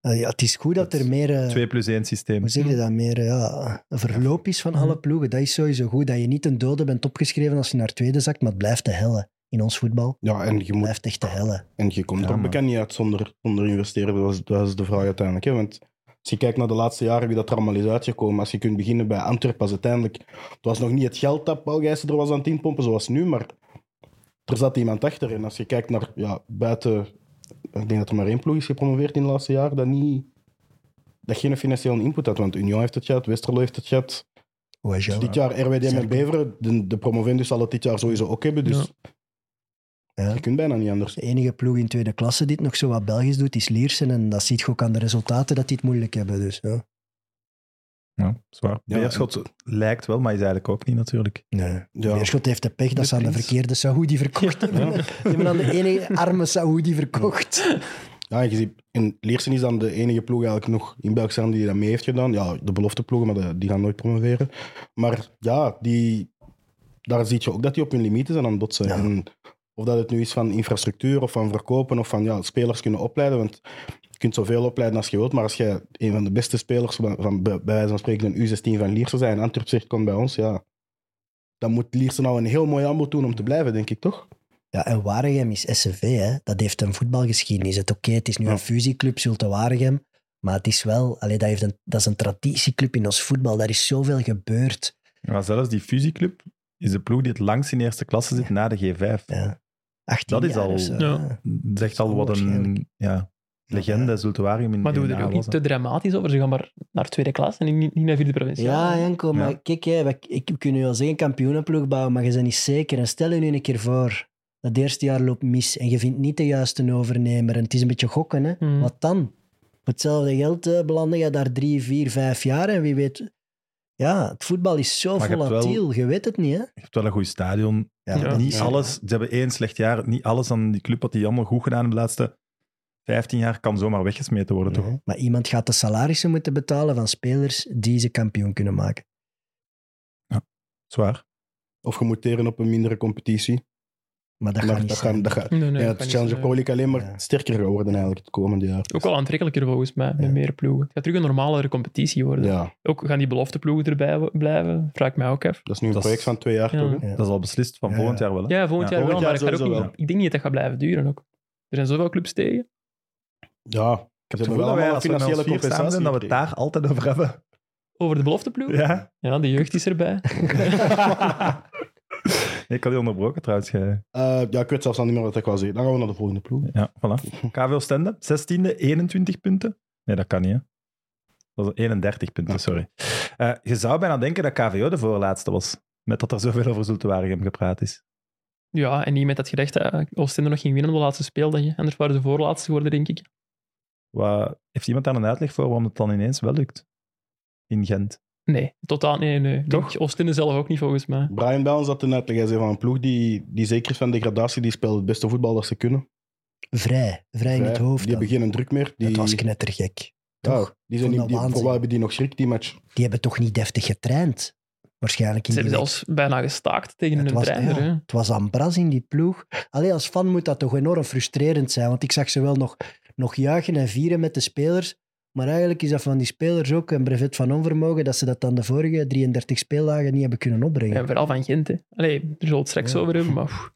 [SPEAKER 4] Eh, ja, het is goed dat er meer... eh,
[SPEAKER 1] 2 plus 1 systeem.
[SPEAKER 4] hoe zeg je dat? Meer eh, ja, een verloop is van alle ploegen. Dat is sowieso goed. Dat je niet een dode bent opgeschreven als je naar tweede zakt, maar het blijft de helle. In ons voetbal
[SPEAKER 3] Ja, en je,
[SPEAKER 4] het
[SPEAKER 3] moet,
[SPEAKER 4] blijft echt de helle.
[SPEAKER 3] en je komt
[SPEAKER 1] Ja,
[SPEAKER 3] er
[SPEAKER 1] man.
[SPEAKER 3] bekend niet uit zonder, zonder investeren. Dat is, dat is de vraag uiteindelijk. Hè? Want als je kijkt naar de laatste jaren wie dat er allemaal is uitgekomen. Als je kunt beginnen bij Antwerpen, was uiteindelijk... Het was nog niet het geld dat Paul Gijssen er was aan het inpompen, zoals nu, maar er zat iemand achter. En als je kijkt naar ja, buiten... Ik denk dat er maar één ploeg is gepromoveerd in de laatste jaren, dat niet... Dat geen financiële input had, want Union heeft het gehad, Westerlo heeft het gehad,
[SPEAKER 4] Hoe is
[SPEAKER 3] Dus
[SPEAKER 4] jou?
[SPEAKER 3] dit jaar RWDM en
[SPEAKER 4] Sterk.
[SPEAKER 3] Beveren, de, de promovendus zal het dit jaar sowieso ook hebben. Dus
[SPEAKER 4] Ja.
[SPEAKER 3] je kunt bijna niet anders.
[SPEAKER 4] De enige ploeg in tweede klasse die het nog zo wat Belgisch doet, is Liersen. En dat ziet je ook aan de resultaten dat die het moeilijk hebben. Dus, ja.
[SPEAKER 1] Ja, zwaar.
[SPEAKER 3] Ja,
[SPEAKER 1] Beerschot lijkt wel, maar is eigenlijk ook niet natuurlijk.
[SPEAKER 4] nee.
[SPEAKER 3] Ja.
[SPEAKER 4] Beerschot heeft de pech dat
[SPEAKER 1] De
[SPEAKER 4] ze aan de
[SPEAKER 1] prins.
[SPEAKER 4] verkeerde Saoedi verkocht hebben. Ze hebben aan de enige arme Saoedi verkocht.
[SPEAKER 3] Ja, en je ziet, en Leersen is dan de enige ploeg eigenlijk nog in Belgisch land die dat mee heeft gedaan. Ja, de belofteploegen, maar de- die gaan nooit promoveren. Maar ja, die, daar zie je ook dat die op hun limieten zijn aan het botsen.
[SPEAKER 4] Ja.
[SPEAKER 3] En of dat het nu is van infrastructuur of van verkopen of van ja, spelers kunnen opleiden. Want je kunt zoveel opleiden als je wilt, maar als jij een van de beste spelers van, van bij wijze van spreken een U16 van Liersen zijn en Antwerp zegt kom bij ons, ja. Dan moet Liersen nou een heel mooi aanbod doen om te blijven, denk ik toch?
[SPEAKER 4] Ja, en Waregem is SCV, hè. dat heeft een voetbalgeschiedenis. Het, oké, het is nu
[SPEAKER 3] Ja.
[SPEAKER 4] een fusieclub, Zulte Waregem, maar het is wel, allee, dat, heeft een, dat is een traditieclub in ons voetbal. Daar is zoveel gebeurd.
[SPEAKER 1] Maar zelfs die fusieclub is de ploeg die het langst in eerste klasse zit na de G5.
[SPEAKER 4] Ja. 18
[SPEAKER 1] Dat is
[SPEAKER 4] jaar
[SPEAKER 1] al-
[SPEAKER 4] of zo,
[SPEAKER 5] Ja.
[SPEAKER 4] ja.
[SPEAKER 1] Dat is echt al wat een
[SPEAKER 4] Onwaarschijnlijk.
[SPEAKER 1] ja, legende, Zultuarium in
[SPEAKER 5] Maar doen
[SPEAKER 1] in
[SPEAKER 5] we er ook
[SPEAKER 1] Naarden
[SPEAKER 5] niet te
[SPEAKER 1] was,
[SPEAKER 5] dramatisch over? Ze gaan maar naar tweede klas en niet, niet naar vierde provincie.
[SPEAKER 4] Ja, Janko, maar
[SPEAKER 1] Ja.
[SPEAKER 4] kijk, hè, wij- ik, we kunnen nu wel zeggen kampioenenploeg bouwen, maar je bent niet zeker. En stel je nu een keer voor dat het eerste jaar loopt mis en je vindt niet de juiste overnemer en het is een beetje gokken, hè.
[SPEAKER 5] Hmm.
[SPEAKER 4] wat dan? Voor hetzelfde geld eh, belandde je daar drie, vier, vijf jaar en wie weet... Ja, het voetbal is zo
[SPEAKER 1] Maar je hebt wel-
[SPEAKER 4] volatiel, je weet het niet, hè.
[SPEAKER 1] hè. Je hebt wel een goed stadion.
[SPEAKER 4] Ja,
[SPEAKER 5] Ja.
[SPEAKER 4] dat
[SPEAKER 1] Niet
[SPEAKER 4] is-
[SPEAKER 1] alles, ze hebben één slecht jaar. Niet alles aan die club wat die allemaal goed gedaan hebben de laatste 15 jaar kan zomaar weggesmeten worden, toch?
[SPEAKER 4] Nee, Maar iemand gaat de salarissen moeten betalen van spelers die ze kampioen kunnen maken.
[SPEAKER 1] Zwaar.
[SPEAKER 3] Of je moet teren op een mindere competitie.
[SPEAKER 4] Maar dat gaat
[SPEAKER 3] Maar
[SPEAKER 4] niet
[SPEAKER 3] dat
[SPEAKER 4] zijn.
[SPEAKER 3] gaan, dat gaat,
[SPEAKER 5] Nee, nee, dat
[SPEAKER 3] ja,
[SPEAKER 5] kan
[SPEAKER 3] het
[SPEAKER 5] niet eh,
[SPEAKER 3] Challenger
[SPEAKER 5] zijn.
[SPEAKER 3] Pro League alleen maar
[SPEAKER 4] Ja.
[SPEAKER 3] sterker gaat worden eigenlijk het komende jaar.
[SPEAKER 5] Ook wel aantrekkelijker volgens mij, met
[SPEAKER 4] Ja.
[SPEAKER 5] meer ploegen. Het gaat terug een normalere competitie worden.
[SPEAKER 3] Ja,
[SPEAKER 5] Ook gaan die belofteploegen erbij w- blijven? Vraag ik mij ook af.
[SPEAKER 3] dat is nu een
[SPEAKER 1] Dat is-
[SPEAKER 3] project van twee jaar
[SPEAKER 5] Ja.
[SPEAKER 3] toch? hè?
[SPEAKER 1] Dat is al beslist van
[SPEAKER 4] Ja,
[SPEAKER 1] volgend
[SPEAKER 4] ja.
[SPEAKER 1] jaar wel. hè?
[SPEAKER 5] Ja, volgend
[SPEAKER 1] Ja,
[SPEAKER 5] jaar wel,
[SPEAKER 3] volgend jaar
[SPEAKER 5] maar het gaat ook
[SPEAKER 3] sowieso
[SPEAKER 5] niet, ik denk niet dat dat gaat blijven duren ook. Er zijn zoveel clubs tegen.
[SPEAKER 3] Ja,
[SPEAKER 1] Ik heb
[SPEAKER 3] Ze
[SPEAKER 1] het gevoel
[SPEAKER 3] hebben wel
[SPEAKER 1] dat wij
[SPEAKER 3] allemaal
[SPEAKER 1] als we met ons
[SPEAKER 3] financiële
[SPEAKER 1] vier samen zijn,
[SPEAKER 3] compensatie
[SPEAKER 1] dat we het daar altijd over hebben.
[SPEAKER 5] Over de belofteploegen? Ja.
[SPEAKER 1] Ja.
[SPEAKER 5] de jeugd is erbij.
[SPEAKER 1] Nee, ik had je onderbroken trouwens. jij.
[SPEAKER 3] Eh, ja, ik weet zelfs al niet meer wat ik wou zeggen. Dan gaan we naar de volgende ploeg.
[SPEAKER 1] Ja, voilà. KV Stende, 16e, 21 punten. Nee, dat kan niet, hè. Dat is 31 punten,
[SPEAKER 3] Ja.
[SPEAKER 1] sorry. Eh, je zou bijna denken dat KVO de voorlaatste was. Met dat er zoveel over Zultuarium gepraat is.
[SPEAKER 5] Ja, en niet met dat gerecht dat eh, Oostende nog ging winnen op de laatste speeldag. Anders waren ze voorlaatste geworden, denk ik.
[SPEAKER 1] Wat, heeft iemand daar een uitleg voor waarom het dan ineens wel lukt? In Gent.
[SPEAKER 5] Nee, totaal nee, nee. Ik
[SPEAKER 1] Toch?
[SPEAKER 5] Denk Oostende zelf ook niet, volgens mij.
[SPEAKER 3] Brian Bellens had een uitleg. Hij zei van een ploeg die, die zeker is van degradatie, die speelt het beste voetbal dat ze kunnen.
[SPEAKER 4] Vrij, vrij in het
[SPEAKER 3] Vrij.
[SPEAKER 4] hoofd.
[SPEAKER 3] Die
[SPEAKER 4] dan.
[SPEAKER 3] hebben geen druk meer. Die, Oh.
[SPEAKER 4] Dat was knettergek.
[SPEAKER 3] Ja,
[SPEAKER 4] Toch?
[SPEAKER 3] die zijn
[SPEAKER 4] Vond
[SPEAKER 3] niet,
[SPEAKER 4] dat
[SPEAKER 3] die- voor
[SPEAKER 4] waanzin.
[SPEAKER 3] wat hebben die nog schrik, die match?
[SPEAKER 4] Die hebben toch niet deftig getraind? Waarschijnlijk
[SPEAKER 5] Ze
[SPEAKER 4] in die
[SPEAKER 5] hebben
[SPEAKER 4] week.
[SPEAKER 5] zelfs bijna gestaakt tegen
[SPEAKER 4] Ja, het
[SPEAKER 5] een
[SPEAKER 4] was-
[SPEAKER 5] trainer.
[SPEAKER 4] ja.
[SPEAKER 5] hè.
[SPEAKER 4] Het was Ambras in die ploeg. Allee, als fan moet dat toch enorm frustrerend zijn. Want ik zag ze wel nog, nog juichen en vieren met de spelers. Maar eigenlijk is dat van die spelers ook een brevet van onvermogen dat ze dat dan de vorige 33 speeldagen niet hebben kunnen opbrengen.
[SPEAKER 5] Ja, vooral van Gent. Hè. Allee, daar zullen we het straks
[SPEAKER 4] Ja.
[SPEAKER 5] over hebben, maar pff,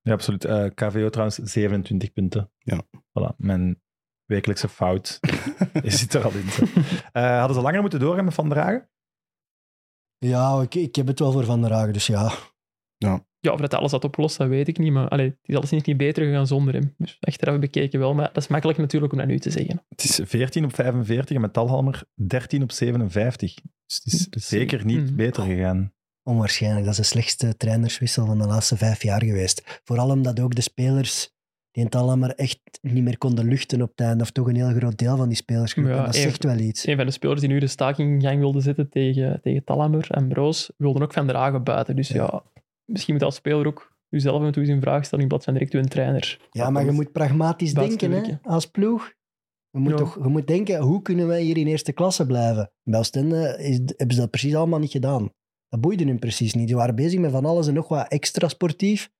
[SPEAKER 1] Ja, absoluut. Eh, KVO trouwens 27 punten.
[SPEAKER 3] Ja.
[SPEAKER 1] Voilà, mijn wekelijkse fout zit er al in. zeg. Eh, hadden ze langer moeten doorgaan met Van Dragen?
[SPEAKER 4] Ja, ik, ik heb het wel voor Van der Hagen, dus ja.
[SPEAKER 5] ja, of dat alles dat oplost, dat weet ik niet. Maar allee, het is alles niet beter gegaan zonder hem. Dus achteraf bekeken wel, maar dat is makkelijk natuurlijk om dat nu te zeggen.
[SPEAKER 1] Het is 14 op 45 en met Talhalmer 13 op 57. Dus het is
[SPEAKER 5] Dat is-
[SPEAKER 1] zeker niet
[SPEAKER 5] Mm.
[SPEAKER 1] beter gegaan.
[SPEAKER 4] Onwaarschijnlijk. Dat is de slechtste trainerswissel van de laatste vijf jaar geweest. Vooral omdat ook de spelers die het allemaal echt niet meer konden luchten op het einde, of toch een heel groot deel van die spelersgroep.
[SPEAKER 5] Ja,
[SPEAKER 4] en dat
[SPEAKER 5] even-
[SPEAKER 4] zegt wel iets.
[SPEAKER 5] Een van de spelers die nu de staking in gang wilde zetten tegen, tegen Talamer en Broos, wilden ook Van der Hagen buiten. Dus ja, misschien moet als speler ook jezelf en toe eens in vraag stellen in plaats van direct uw trainer.
[SPEAKER 4] Ja, maar je moet pragmatisch
[SPEAKER 5] Dat
[SPEAKER 4] denken hè,
[SPEAKER 5] natuurlijk,
[SPEAKER 4] als ploeg. Je moet,
[SPEAKER 5] Ja.
[SPEAKER 4] toch, je moet denken, hoe kunnen wij hier in eerste klasse blijven? Bij Oostende is, hebben ze dat precies allemaal niet gedaan. Dat boeide hun precies niet. Die waren bezig met van alles en nog wat extra sportief.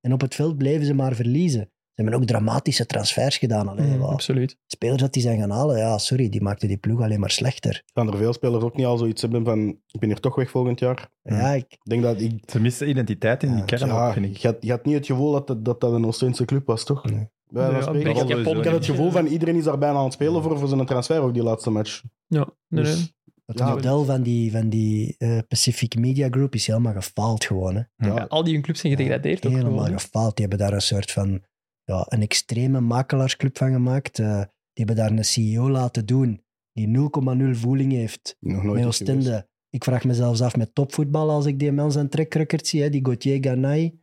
[SPEAKER 4] En op het veld bleven ze maar verliezen. Ze hebben ook dramatische transfers gedaan. Alleen,
[SPEAKER 5] Mm, Absoluut.
[SPEAKER 4] Spelers dat die zijn gaan halen, ja, sorry, die maakten die ploeg alleen maar slechter.
[SPEAKER 3] Gaan er veel spelers ook niet al zoiets hebben van ik ben hier toch weg volgend jaar?
[SPEAKER 1] Ja.
[SPEAKER 4] Ja, ik,
[SPEAKER 3] Ik denk dat ik...
[SPEAKER 1] Ze missen identiteit in die
[SPEAKER 4] Ja,
[SPEAKER 1] kern ook,
[SPEAKER 3] ja,
[SPEAKER 1] vind ik.
[SPEAKER 3] je, had, je had niet het gevoel dat dat, dat dat een Oostense club was, toch?
[SPEAKER 4] Nee.
[SPEAKER 3] Bij wijze van
[SPEAKER 5] Ja,
[SPEAKER 3] spreken.
[SPEAKER 5] Brink-
[SPEAKER 1] dat wel
[SPEAKER 5] Japon-
[SPEAKER 1] sowieso.
[SPEAKER 3] ik had het gevoel van iedereen is daar bijna aan het spelen voor, voor zijn transfer, ook die laatste match.
[SPEAKER 5] Ja, nee,
[SPEAKER 3] Dus-
[SPEAKER 5] nee.
[SPEAKER 4] het
[SPEAKER 3] Ja,
[SPEAKER 4] model van die, van die eh, Pacific Media Group is helemaal gefaald gewoon. Hè.
[SPEAKER 1] Ja,
[SPEAKER 5] Ja, al die hun clubs zijn gedegradeerd. ook
[SPEAKER 4] helemaal
[SPEAKER 5] gewoon.
[SPEAKER 4] gefaald. Die hebben daar een soort van ja, een extreme makelaarsclub van gemaakt. Eh, die hebben daar een CEO laten doen die 0,0 voeling heeft
[SPEAKER 3] Nog nooit
[SPEAKER 4] met
[SPEAKER 3] iets geweest.
[SPEAKER 4] Oostende. Ik vraag me zelfs af met topvoetbal als ik die mens aan trekrekkerd zie, hè, die Gauthier Ganay,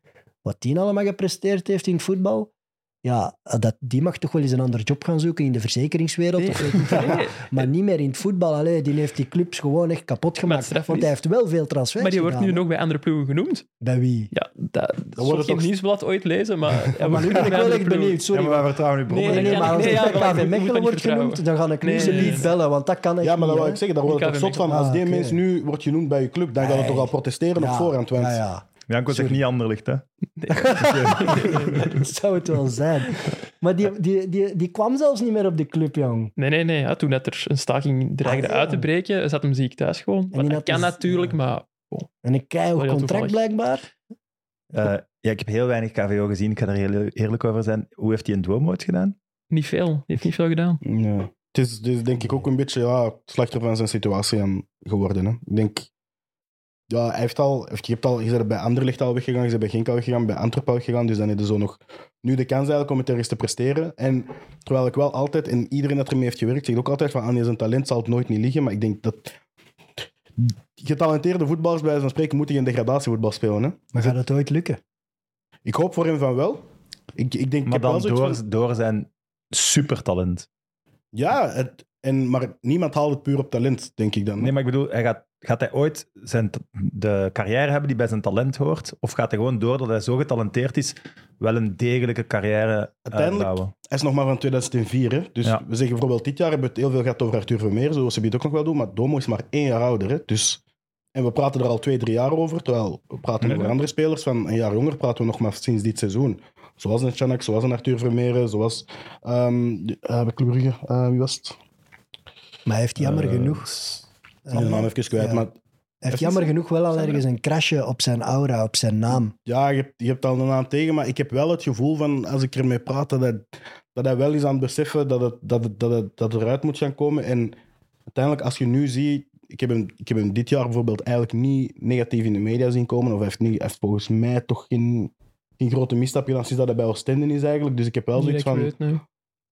[SPEAKER 4] wat die allemaal gepresteerd heeft in het voetbal. Ja, eh, dat, die mag toch wel eens een ander job gaan zoeken in de verzekeringswereld.
[SPEAKER 5] Nee,
[SPEAKER 4] Of weet ik veel.
[SPEAKER 5] nee, nee.
[SPEAKER 4] Maar niet meer in het voetbal. Allee, die heeft die clubs gewoon echt kapot gemaakt.
[SPEAKER 5] straf
[SPEAKER 4] Want
[SPEAKER 5] is-
[SPEAKER 4] hij heeft wel veel transfers
[SPEAKER 5] Maar die wordt nu
[SPEAKER 4] gedaan,
[SPEAKER 5] nog bij andere ploegen genoemd.
[SPEAKER 4] hè. Bij wie?
[SPEAKER 5] Ja, dat, dat
[SPEAKER 3] wordt
[SPEAKER 5] zal
[SPEAKER 3] het
[SPEAKER 5] geen
[SPEAKER 3] toch-
[SPEAKER 5] nieuwsblad ooit lezen, maar... Ja,
[SPEAKER 4] Maar nu ben ik wel echt benieuwd.
[SPEAKER 1] Ja,
[SPEAKER 4] Sorry.
[SPEAKER 1] maar wij vertrouwen nu bronnen.
[SPEAKER 4] Nee,
[SPEAKER 5] Nee,
[SPEAKER 4] nee,
[SPEAKER 5] ja,
[SPEAKER 4] maar als
[SPEAKER 5] nee,
[SPEAKER 4] ik
[SPEAKER 5] ja,
[SPEAKER 4] bij
[SPEAKER 5] gelijk,
[SPEAKER 4] KV
[SPEAKER 5] je moet dat
[SPEAKER 4] Mechelen
[SPEAKER 5] niet
[SPEAKER 4] wordt
[SPEAKER 5] vertrouwen.
[SPEAKER 4] genoemd, dan ga ik nu
[SPEAKER 5] Nee,
[SPEAKER 4] ze
[SPEAKER 5] nee,
[SPEAKER 4] niet
[SPEAKER 5] nee.
[SPEAKER 4] bellen, want dat kan echt
[SPEAKER 3] Ja, maar
[SPEAKER 4] niet,
[SPEAKER 3] dat wil
[SPEAKER 4] hè.
[SPEAKER 3] ik zeggen, daar wordt
[SPEAKER 5] Ik
[SPEAKER 3] het
[SPEAKER 5] had
[SPEAKER 3] toch zot
[SPEAKER 5] hem
[SPEAKER 3] van. Als
[SPEAKER 4] Ah,
[SPEAKER 3] die
[SPEAKER 4] oké.
[SPEAKER 3] mens nu wordt genoemd bij je club, dan gaat het
[SPEAKER 4] Nee.
[SPEAKER 3] toch al protesteren op
[SPEAKER 4] Ja,
[SPEAKER 3] voorhand. Want
[SPEAKER 4] Ja, ja.
[SPEAKER 1] Janko zegt niet ander licht, hè.
[SPEAKER 4] Dat zou het wel zijn. Maar die, die, die, die kwam zelfs niet meer op de club, jong.
[SPEAKER 5] Nee, nee, nee. Ja, toen dat er een staking dreigde
[SPEAKER 4] Ah, ja.
[SPEAKER 5] uit te breken, zat hem ziek thuis gewoon. Maar
[SPEAKER 4] die
[SPEAKER 5] dat
[SPEAKER 4] had
[SPEAKER 5] kan
[SPEAKER 4] dus-
[SPEAKER 5] natuurlijk,
[SPEAKER 4] ja.
[SPEAKER 5] maar...
[SPEAKER 4] En een
[SPEAKER 5] Oh
[SPEAKER 4] keihard
[SPEAKER 5] ja,
[SPEAKER 4] contract,
[SPEAKER 5] toevallig.
[SPEAKER 4] blijkbaar.
[SPEAKER 1] Eh, ja, ik heb heel weinig KVO gezien. Ik ga er heel e- eerlijk over zijn. Hoe heeft hij een Duomo ooit gedaan?
[SPEAKER 5] Niet veel. Die heeft niet veel gedaan.
[SPEAKER 3] Ja. Het is, het is denk ik ook een beetje ja, het slachtoffer van zijn situatie aan geworden. Hè. Ik denk, ja, hij heeft al, heeft- je hebt al, je bent bij Anderlecht al weggegaan, je bent bij Genk al weggegaan, bij Antwerpen al weggegaan, dus dan heb je zo nog nu de kans eigenlijk om het ergens te presteren. En terwijl ik wel altijd, en iedereen dat ermee heeft gewerkt, zegt ook altijd van, aan zijn talent zal het nooit niet liggen, maar ik denk dat getalenteerde voetballers bij wijze van spreken moeten geen degradatievoetbal spelen. Hè.
[SPEAKER 4] Maar gaat het ooit lukken?
[SPEAKER 3] Ik hoop voor hem van wel. Ik, ik denk, ik
[SPEAKER 1] Maar
[SPEAKER 3] heb wel
[SPEAKER 1] dan
[SPEAKER 3] zoiets
[SPEAKER 1] door,
[SPEAKER 3] van-
[SPEAKER 1] door zijn supertalent.
[SPEAKER 3] Ja, het, en, maar niemand haalt het puur op talent, denk ik dan.
[SPEAKER 1] Nee, maar ik bedoel, hij gaat, gaat hij ooit zijn, t- de carrière hebben die bij zijn talent hoort? Of gaat hij gewoon door dat hij zo getalenteerd is, wel een degelijke carrière eh,
[SPEAKER 3] Uiteindelijk-
[SPEAKER 1] uitbouwen?
[SPEAKER 3] Hij is nog maar van 2004. Hè? Dus
[SPEAKER 1] Ja.
[SPEAKER 3] we zeggen bijvoorbeeld, dit jaar hebben we het heel veel gehad over Arthur Vermeer, zoals ze het ook nog wel doen, maar Domo is maar één jaar ouder. Hè? Dus, en we praten er al twee, drie jaar over, terwijl we praten
[SPEAKER 1] Nee,
[SPEAKER 3] over
[SPEAKER 1] nee.
[SPEAKER 3] andere spelers. Van een jaar jonger praten we nog maar sinds dit seizoen. Zoals een Chanak, zoals een Arthur Vermeer, zoals ehm die- eh, bij Club Brugge, eh, wie was het?
[SPEAKER 4] Maar hij heeft jammer
[SPEAKER 1] Eh,
[SPEAKER 4] genoeg...
[SPEAKER 3] Ik ben de naam even kwijt,
[SPEAKER 4] ja.
[SPEAKER 3] maar
[SPEAKER 4] Hij heeft jammer genoeg wel al ergens een crashje op zijn aura, op zijn naam.
[SPEAKER 3] ja, je hebt, je hebt al een naam tegen, maar ik heb wel het gevoel van, als ik ermee praat, dat hij, dat hij wel is aan het beseffen dat het, dat, het, dat, het, dat het eruit moet gaan komen. En uiteindelijk, als je nu ziet, ik heb, hem, ik heb hem dit jaar bijvoorbeeld eigenlijk niet negatief in de media zien komen, of hij heeft, niet, hij heeft volgens mij toch geen, geen grote misstap gedaan sinds dat hij bij Oostende is eigenlijk. Dus ik heb wel
[SPEAKER 5] Niet
[SPEAKER 3] zoiets
[SPEAKER 5] dat ik
[SPEAKER 3] van,
[SPEAKER 5] weet, nee.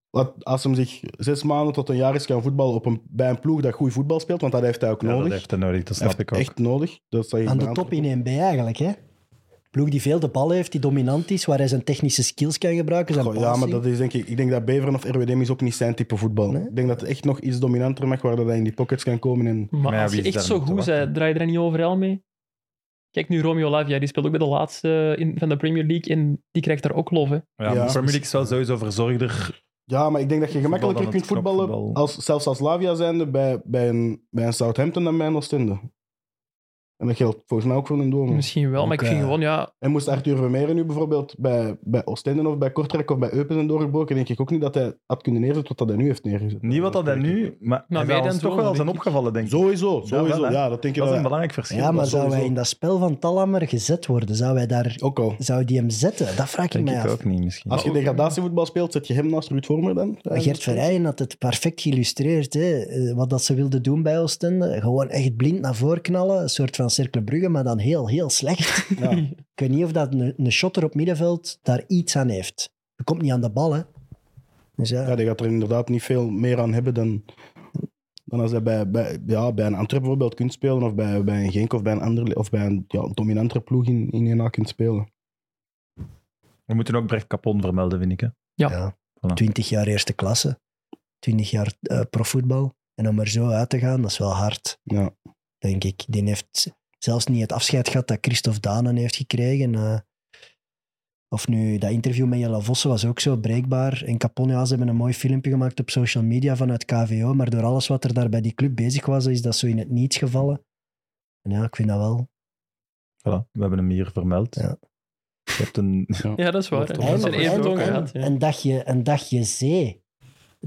[SPEAKER 3] laat- als hem zich zes maanden tot een jaar is gaan voetballen op een, bij een ploeg dat goed voetbal speelt, want dat heeft hij ook
[SPEAKER 1] Ja, dat
[SPEAKER 3] nodig.
[SPEAKER 1] heeft hij nodig, dat
[SPEAKER 3] Hij
[SPEAKER 1] snap
[SPEAKER 3] heeft
[SPEAKER 1] ik ook.
[SPEAKER 3] echt nodig. Dat zag ik
[SPEAKER 4] Aan
[SPEAKER 3] bij
[SPEAKER 4] de top
[SPEAKER 3] Antwerpen.
[SPEAKER 4] in 1B eigenlijk, hè. Ploeg die veel de bal heeft, die dominant is, waar hij zijn technische skills kan gebruiken, zijn
[SPEAKER 3] Goh, ja, maar
[SPEAKER 4] passing.
[SPEAKER 3] dat is denk ik. Ik denk dat Beveren of RWDM is ook niet zijn type voetbal.
[SPEAKER 4] Nee?
[SPEAKER 3] Ik denk dat het echt nog iets dominanter mag worden dat hij in die pockets kan komen. En...
[SPEAKER 5] Maar,
[SPEAKER 1] Maar ja,
[SPEAKER 5] als
[SPEAKER 1] wie
[SPEAKER 5] je
[SPEAKER 1] is
[SPEAKER 5] echt
[SPEAKER 1] daar
[SPEAKER 5] zo
[SPEAKER 1] nog te
[SPEAKER 5] goed
[SPEAKER 1] wachten?
[SPEAKER 5] bent, draai je er niet overal mee. Kijk nu, Romeo Lavia, die speelt ook bij de laatste in, van de Premier League en die krijgt daar ook lof. Hè.
[SPEAKER 1] Ja,
[SPEAKER 3] Ja.
[SPEAKER 1] maar Premier League is wel sowieso verzorgder.
[SPEAKER 3] Ja, maar ik denk dat je gemakkelijker
[SPEAKER 1] dan
[SPEAKER 3] kunt
[SPEAKER 1] het
[SPEAKER 3] voetballen,
[SPEAKER 1] knopvoetbal.
[SPEAKER 3] als, zelfs als Lavia zijnde, bij, bij, een, bij een Southampton dan bij een Oostende. En dat geldt volgens mij ook voor een domo.
[SPEAKER 5] Misschien wel, maar ik
[SPEAKER 4] Ook,
[SPEAKER 5] vind
[SPEAKER 4] eh,
[SPEAKER 5] gewoon, ja,
[SPEAKER 3] En moest Arthur Vermeer nu bijvoorbeeld bij, bij Oostende of bij Kortrijk of bij Eupen zijn doorgebroken, denk ik ook niet dat hij had kunnen neerzetten wat dat hij nu heeft neergezet.
[SPEAKER 1] Niet wat dat hij nu, maar
[SPEAKER 5] meer
[SPEAKER 1] hij zou
[SPEAKER 5] dan
[SPEAKER 1] ons Nou, toch
[SPEAKER 5] Duomo,
[SPEAKER 1] wel
[SPEAKER 5] denk
[SPEAKER 1] zijn
[SPEAKER 5] ik.
[SPEAKER 1] opgevallen, denk ik.
[SPEAKER 3] Sowieso,
[SPEAKER 1] Ja,
[SPEAKER 3] sowieso.
[SPEAKER 1] wel, hè.
[SPEAKER 3] ja, dat denk je
[SPEAKER 1] dat is
[SPEAKER 3] dat
[SPEAKER 1] een
[SPEAKER 3] hij-
[SPEAKER 1] belangrijk verschil.
[SPEAKER 4] ja, maar
[SPEAKER 3] dat
[SPEAKER 4] zou hij
[SPEAKER 3] sowieso.
[SPEAKER 4] in dat spel van Talammer gezet worden? Zou, hij daar,
[SPEAKER 3] ook al.
[SPEAKER 4] zou die hem zetten? Dat vraag ik
[SPEAKER 1] denk
[SPEAKER 4] mij
[SPEAKER 1] ik
[SPEAKER 4] af.
[SPEAKER 1] ook niet, misschien.
[SPEAKER 3] Als je
[SPEAKER 5] Maar ook-
[SPEAKER 3] degradatievoetbal speelt, zet je hem naast Ruud Vormer dan?
[SPEAKER 4] Gert Verheyen had het perfect geïllustreerd. Hè? eh, Wat dat ze wilden doen bij Oostende. Gewoon echt blind naar voren knallen. Een soort van Cercle Brugge, maar dan heel, heel slecht.
[SPEAKER 3] Ja.
[SPEAKER 4] Ik weet niet of dat een, een shotter op middenveld daar iets aan heeft. Je komt niet aan de bal, hè. Dus ja,
[SPEAKER 3] Ja, die gaat er inderdaad niet veel meer aan hebben dan, dan als hij bij, bij, ja, bij een Antwerp bijvoorbeeld kunt spelen, of bij, bij een Genk of bij een, ander, of bij een ja, dominantere ploeg in, in een kunt spelen.
[SPEAKER 1] We moeten ook Brecht Capon vermelden, vind ik. Hè.
[SPEAKER 4] ja.
[SPEAKER 1] Voilà.
[SPEAKER 4] 20 jaar eerste klasse. 20 jaar eh, profvoetbal. En om er zo uit te gaan, dat is wel hard,
[SPEAKER 3] Ja.
[SPEAKER 4] denk ik. Die heeft zelfs niet het afscheid gehad dat Christophe Danen heeft gekregen. eh. Of nu, dat interview met Jelle Vossen was ook zo breekbaar. En Capone, ja, ze hebben een mooi filmpje gemaakt op social media vanuit KVO. Maar door alles wat er daar bij die club bezig was, is dat zo in het niets gevallen. En ja, ik vind dat wel.
[SPEAKER 1] Voilà, we hebben hem hier vermeld.
[SPEAKER 4] Ja.
[SPEAKER 1] Je hebt een...
[SPEAKER 5] Ja, dat is waar.
[SPEAKER 1] Hoofd-
[SPEAKER 5] Dat is er
[SPEAKER 1] Eindelijk-
[SPEAKER 5] eerder ook
[SPEAKER 4] en-
[SPEAKER 5] gehad. ja.
[SPEAKER 4] Een, dagje, een dagje zee.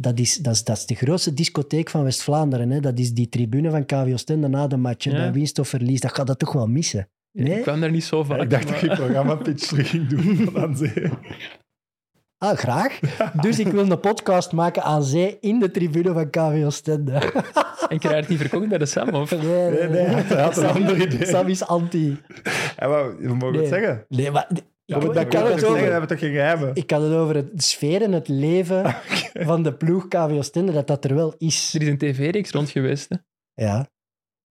[SPEAKER 4] Dat is, dat, is, dat is de grootste discotheek van West-Vlaanderen. hè. Dat is die tribune van KVO Stende na de match. hè.
[SPEAKER 5] Ja.
[SPEAKER 4] Bij winst of verlies, dat gaat dat toch wel missen. Nee?
[SPEAKER 5] Ik kwam daar niet zo vaak.
[SPEAKER 1] ik dacht
[SPEAKER 5] maar-
[SPEAKER 1] dat ik programma pitch terug ging doen van aan zee.
[SPEAKER 4] Ah, graag. Dus ik wil een podcast maken aan zee in de tribune van KVO Stende.
[SPEAKER 5] En ik krijg het niet verkocht bij de Sam, of?
[SPEAKER 4] Nee,
[SPEAKER 1] Nee, nee, hij had een ander idee.
[SPEAKER 4] Sam is anti.
[SPEAKER 1] Hij wou- we mogen
[SPEAKER 4] Nee.
[SPEAKER 1] het zeggen.
[SPEAKER 4] Nee, maar ik,
[SPEAKER 1] Ja, maar
[SPEAKER 4] ik kan
[SPEAKER 1] we
[SPEAKER 4] het
[SPEAKER 1] zeggen,
[SPEAKER 4] over,
[SPEAKER 1] hebben we toch geen geheimen?
[SPEAKER 4] ik kan het over het sfeer en het leven van de ploeg KVO Stende, dat dat er wel is.
[SPEAKER 5] Er is een tv-reeks rond geweest. Hè.
[SPEAKER 4] Ja.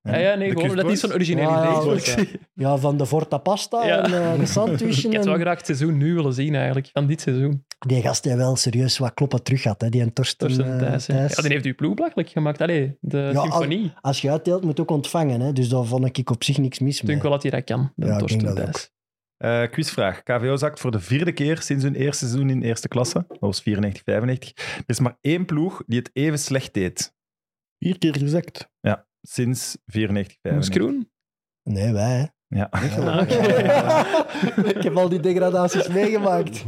[SPEAKER 5] Ja, ja, nee,
[SPEAKER 1] De
[SPEAKER 5] gewoon, dat is
[SPEAKER 1] Kustboys?
[SPEAKER 5] zo'n originele
[SPEAKER 4] Ja, ja,
[SPEAKER 5] reeks. wat
[SPEAKER 3] ja.
[SPEAKER 5] ik zie.
[SPEAKER 4] ja, van de Forta Pasta
[SPEAKER 5] Ja.
[SPEAKER 4] en eh, de sandwichen.
[SPEAKER 5] Ik had wel
[SPEAKER 4] en...
[SPEAKER 5] graag het seizoen nu willen zien, eigenlijk. Van dit seizoen.
[SPEAKER 4] Die gast die wel serieus wat kloppen terug had, hè. die en Torsten,
[SPEAKER 5] Torsten
[SPEAKER 4] eh,
[SPEAKER 5] Thijs. hè.
[SPEAKER 4] Thijs.
[SPEAKER 5] Ja, die heeft uw ploeg belachelijk gemaakt. Allee, de
[SPEAKER 4] al-
[SPEAKER 5] symfonie.
[SPEAKER 4] Als je uitdeelt, moet je ook ontvangen. Hè. Dus daar vond ik op zich niks mis
[SPEAKER 5] Ik denk
[SPEAKER 4] mee.
[SPEAKER 5] wel dat hij dat kan, de
[SPEAKER 4] Ja, ik
[SPEAKER 5] Torsten
[SPEAKER 4] denk dat
[SPEAKER 5] Thijs.
[SPEAKER 1] Eh, quizvraag. KVO zakt voor de vierde keer sinds hun eerste seizoen in eerste klasse. Dat was 94-95. Er is maar één ploeg die het even slecht deed
[SPEAKER 3] Vier keer gezegd.
[SPEAKER 1] sinds 94-95.
[SPEAKER 5] Moes Kroen?
[SPEAKER 4] Nee, wij. hè.
[SPEAKER 1] Ja.
[SPEAKER 5] Ah, oké.
[SPEAKER 4] ik heb al die degradaties meegemaakt.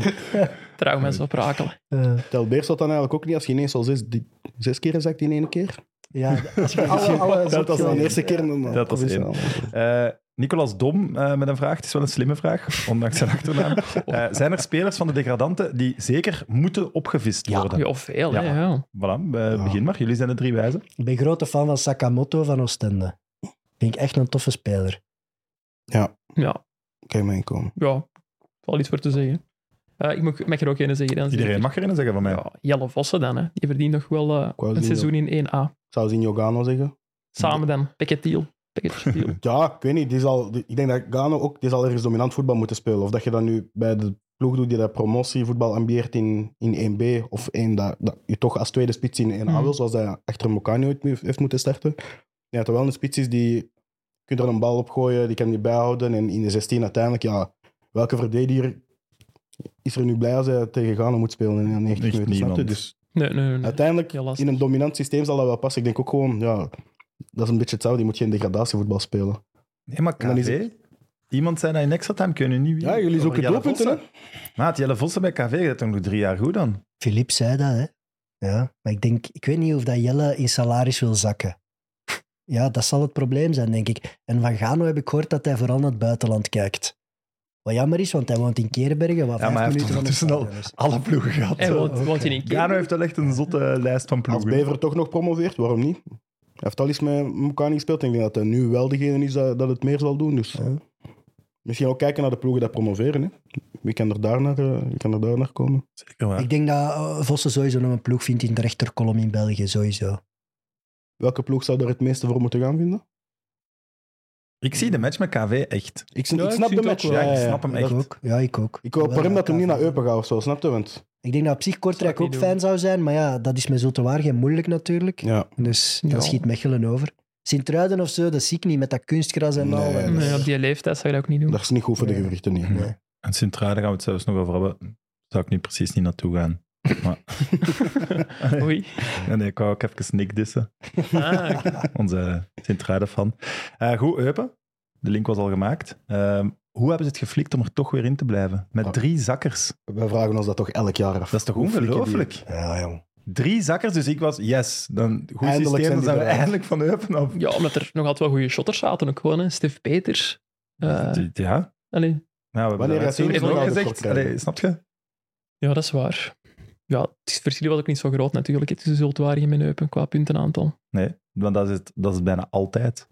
[SPEAKER 5] Trouw mensen op rakelen.
[SPEAKER 4] Eh,
[SPEAKER 3] Tel Beers dat dan eigenlijk ook niet als je ineens al zes, die- zes keer gezegd in één keer.
[SPEAKER 4] ja, als je alle, alle
[SPEAKER 3] Dat was dan de
[SPEAKER 4] zotgeleiden-
[SPEAKER 3] eerste keer. dan- dan-
[SPEAKER 1] Dat was
[SPEAKER 3] dan-
[SPEAKER 1] één. Eh, Nicolas Dom eh, met een vraag. Het is wel een slimme vraag, ondanks zijn achternaam.
[SPEAKER 5] Oh.
[SPEAKER 1] Eh, zijn er spelers van de degradanten die zeker moeten opgevist
[SPEAKER 4] Ja.
[SPEAKER 1] worden?
[SPEAKER 5] Ja, of veel,
[SPEAKER 1] Ja.
[SPEAKER 5] hè, ja.
[SPEAKER 1] Voilà, eh, begin maar. Jullie zijn de drie wijzen.
[SPEAKER 4] Ik ben grote fan van Sakamoto van Oostende. Vind ik echt een toffe speler.
[SPEAKER 5] Ja,
[SPEAKER 3] Kan je mee komen.
[SPEAKER 5] ja. Valt iets voor te zeggen. Eh, ik mag, mag er ook een zeggen. Dan
[SPEAKER 1] Iedereen mag erin zeggen van mij.
[SPEAKER 5] Ja, Jelle Vossen dan, hè. die verdient nog wel eh,
[SPEAKER 3] wou
[SPEAKER 5] een
[SPEAKER 3] zien
[SPEAKER 5] seizoen in 1A.
[SPEAKER 3] Ik zou zien Jogano zeggen.
[SPEAKER 5] Samen dan, Pekketiel. Pekketiel.
[SPEAKER 3] Ja, ik weet niet. Die zal, die- ik denk dat Gano ook die zal ergens dominant voetbal moeten spelen. Of dat je dat nu bij de ploeg doet die dat promotievoetbal ambieert in, in 1B. Of één dat, dat je toch als tweede spits in 1A
[SPEAKER 5] Hmm.
[SPEAKER 3] wil, zoals dat achter Mokani ooit heeft heeft moeten starten. Ja, terwijl een spits is die je kunt er een bal op gooien, die kan die bijhouden. En in de 16 uiteindelijk, ja, welke verdediger is er nu blij als hij tegen Gano moet spelen in 90
[SPEAKER 1] Echt
[SPEAKER 3] minuten? snap je?
[SPEAKER 1] niemand.
[SPEAKER 3] Dus
[SPEAKER 5] Nee, nee, nee.
[SPEAKER 3] uiteindelijk,
[SPEAKER 5] Heel lastig.
[SPEAKER 3] in een dominant systeem zal dat wel passen. Ik denk ook gewoon, ja, dat is een beetje hetzelfde. Die moet geen degradatievoetbal spelen.
[SPEAKER 1] Nee, maar
[SPEAKER 3] En dan is
[SPEAKER 1] KV... Iemand zei dat in extra time kunnen niet
[SPEAKER 3] Ja, jullie zoeken doelpunten, hè?
[SPEAKER 1] Maat, Jelle Vossen bij KV, dat toch nog drie jaar goed dan?
[SPEAKER 4] Filip zei dat, hè. Ja, maar ik denk... Ik weet niet of dat Jelle in salaris wil zakken. Ja, dat zal het probleem zijn, denk ik. En van Gano heb ik gehoord dat hij vooral naar het buitenland kijkt. Wat jammer is, want hij woont in Keerbergen, wat
[SPEAKER 1] Ja, maar
[SPEAKER 4] vijf
[SPEAKER 1] hij heeft
[SPEAKER 4] minuten van het
[SPEAKER 1] ondertussen al
[SPEAKER 4] stadion is.
[SPEAKER 1] alle ploegen gehad.
[SPEAKER 5] En woont, woont hij in
[SPEAKER 1] Gano
[SPEAKER 5] Keren?
[SPEAKER 1] heeft wel echt een zotte lijst van
[SPEAKER 3] Als
[SPEAKER 1] ploegen.
[SPEAKER 3] Bever toch nog promoveert, waarom niet? Hij heeft al eens met Mokani gespeeld. Ik denk dat hij nu wel degene is dat, dat het meer zal doen. Dus.
[SPEAKER 4] Ja.
[SPEAKER 3] Misschien ook kijken naar de ploegen dat promoveren. Hè. Wie kan er daar naar, eh, wie kan er daar naar komen?
[SPEAKER 1] Zeker waar.
[SPEAKER 4] Ik denk dat eh, Vossen sowieso nog een ploeg vindt in de rechterkolom in België, sowieso.
[SPEAKER 3] Welke ploeg zou daar het meeste voor moeten gaan vinden?
[SPEAKER 1] Ik zie de match met KV echt.
[SPEAKER 3] Ik, sn-
[SPEAKER 5] Ja,
[SPEAKER 3] ik
[SPEAKER 5] ik
[SPEAKER 3] snap
[SPEAKER 5] zie
[SPEAKER 3] de
[SPEAKER 5] het
[SPEAKER 3] match.
[SPEAKER 1] wel.
[SPEAKER 5] ook
[SPEAKER 1] Ja, ik
[SPEAKER 3] ja, ja.
[SPEAKER 1] snap hem
[SPEAKER 3] Dat-
[SPEAKER 1] echt.
[SPEAKER 4] Ik ook. Ja, ik ook.
[SPEAKER 3] Ik hoop voor hem dat hij
[SPEAKER 4] hij
[SPEAKER 3] niet naar Eupen gaat of zo, snap je? Want,
[SPEAKER 4] Ik denk dat op zich Kortrijk
[SPEAKER 5] Zou ik
[SPEAKER 4] ook
[SPEAKER 5] niet
[SPEAKER 4] fijn
[SPEAKER 5] doen.
[SPEAKER 4] zou zijn, maar ja, dat is met Zultewaargen moeilijk natuurlijk.
[SPEAKER 3] ja.
[SPEAKER 4] Dus dan
[SPEAKER 5] Ja.
[SPEAKER 4] schiet Mechelen over. Sint-Truiden of zo, dat zie ik niet met dat kunstgras en al.
[SPEAKER 3] Nee,
[SPEAKER 4] Dat
[SPEAKER 5] Nee,
[SPEAKER 4] is-
[SPEAKER 5] op die leeftijd zou je dat ook niet doen.
[SPEAKER 3] Dat is niet goed voor de
[SPEAKER 4] Nee.
[SPEAKER 3] gewrichten. Nee.
[SPEAKER 4] Nee.
[SPEAKER 1] En Sint-Truiden gaan we het zelfs nog over hebben. Daar zou ik nu precies niet naartoe gaan. Maar,
[SPEAKER 5] Oei.
[SPEAKER 1] Ja, nee, ik wou ook even Nick dissen,
[SPEAKER 5] Ah, oké.
[SPEAKER 1] onze Sint-Truiden-fan. Eh, goed, Eupen. De link was al gemaakt. Ehm, hoe hebben ze het geflikt om er toch weer in te blijven? Met
[SPEAKER 3] Oh.
[SPEAKER 1] drie zakkers.
[SPEAKER 3] Wij vragen ons dat toch elk jaar af.
[SPEAKER 1] Dat is toch
[SPEAKER 3] Hoe flikken die-
[SPEAKER 1] ongelooflijk?
[SPEAKER 4] Ja, jong.
[SPEAKER 1] Drie zakkers, dus ik was yes. Dan goed
[SPEAKER 3] Eindelijk
[SPEAKER 1] systeem,
[SPEAKER 3] zijn
[SPEAKER 1] dan
[SPEAKER 3] die
[SPEAKER 1] zijn we
[SPEAKER 3] eruit.
[SPEAKER 1] eindelijk van Eupen af.
[SPEAKER 5] Ja, omdat er nog altijd wel goede shotters zaten ook gewoon. Hè. Steve Peters. Eh,
[SPEAKER 1] ja.
[SPEAKER 5] allee.
[SPEAKER 1] Nou, we hebben
[SPEAKER 3] Wanneer
[SPEAKER 1] daar
[SPEAKER 3] gaat
[SPEAKER 1] toen
[SPEAKER 3] Siemens
[SPEAKER 1] ook
[SPEAKER 3] nog ouder
[SPEAKER 1] gezegd.
[SPEAKER 3] krijgen?
[SPEAKER 1] Allee, snap je?
[SPEAKER 5] Ja, dat is waar. Ja, het verschil was ook niet zo groot natuurlijk. hè, Tussen Zultwaardigen en Neupen qua puntenaantal.
[SPEAKER 1] Nee, want dat is, het, dat is bijna altijd.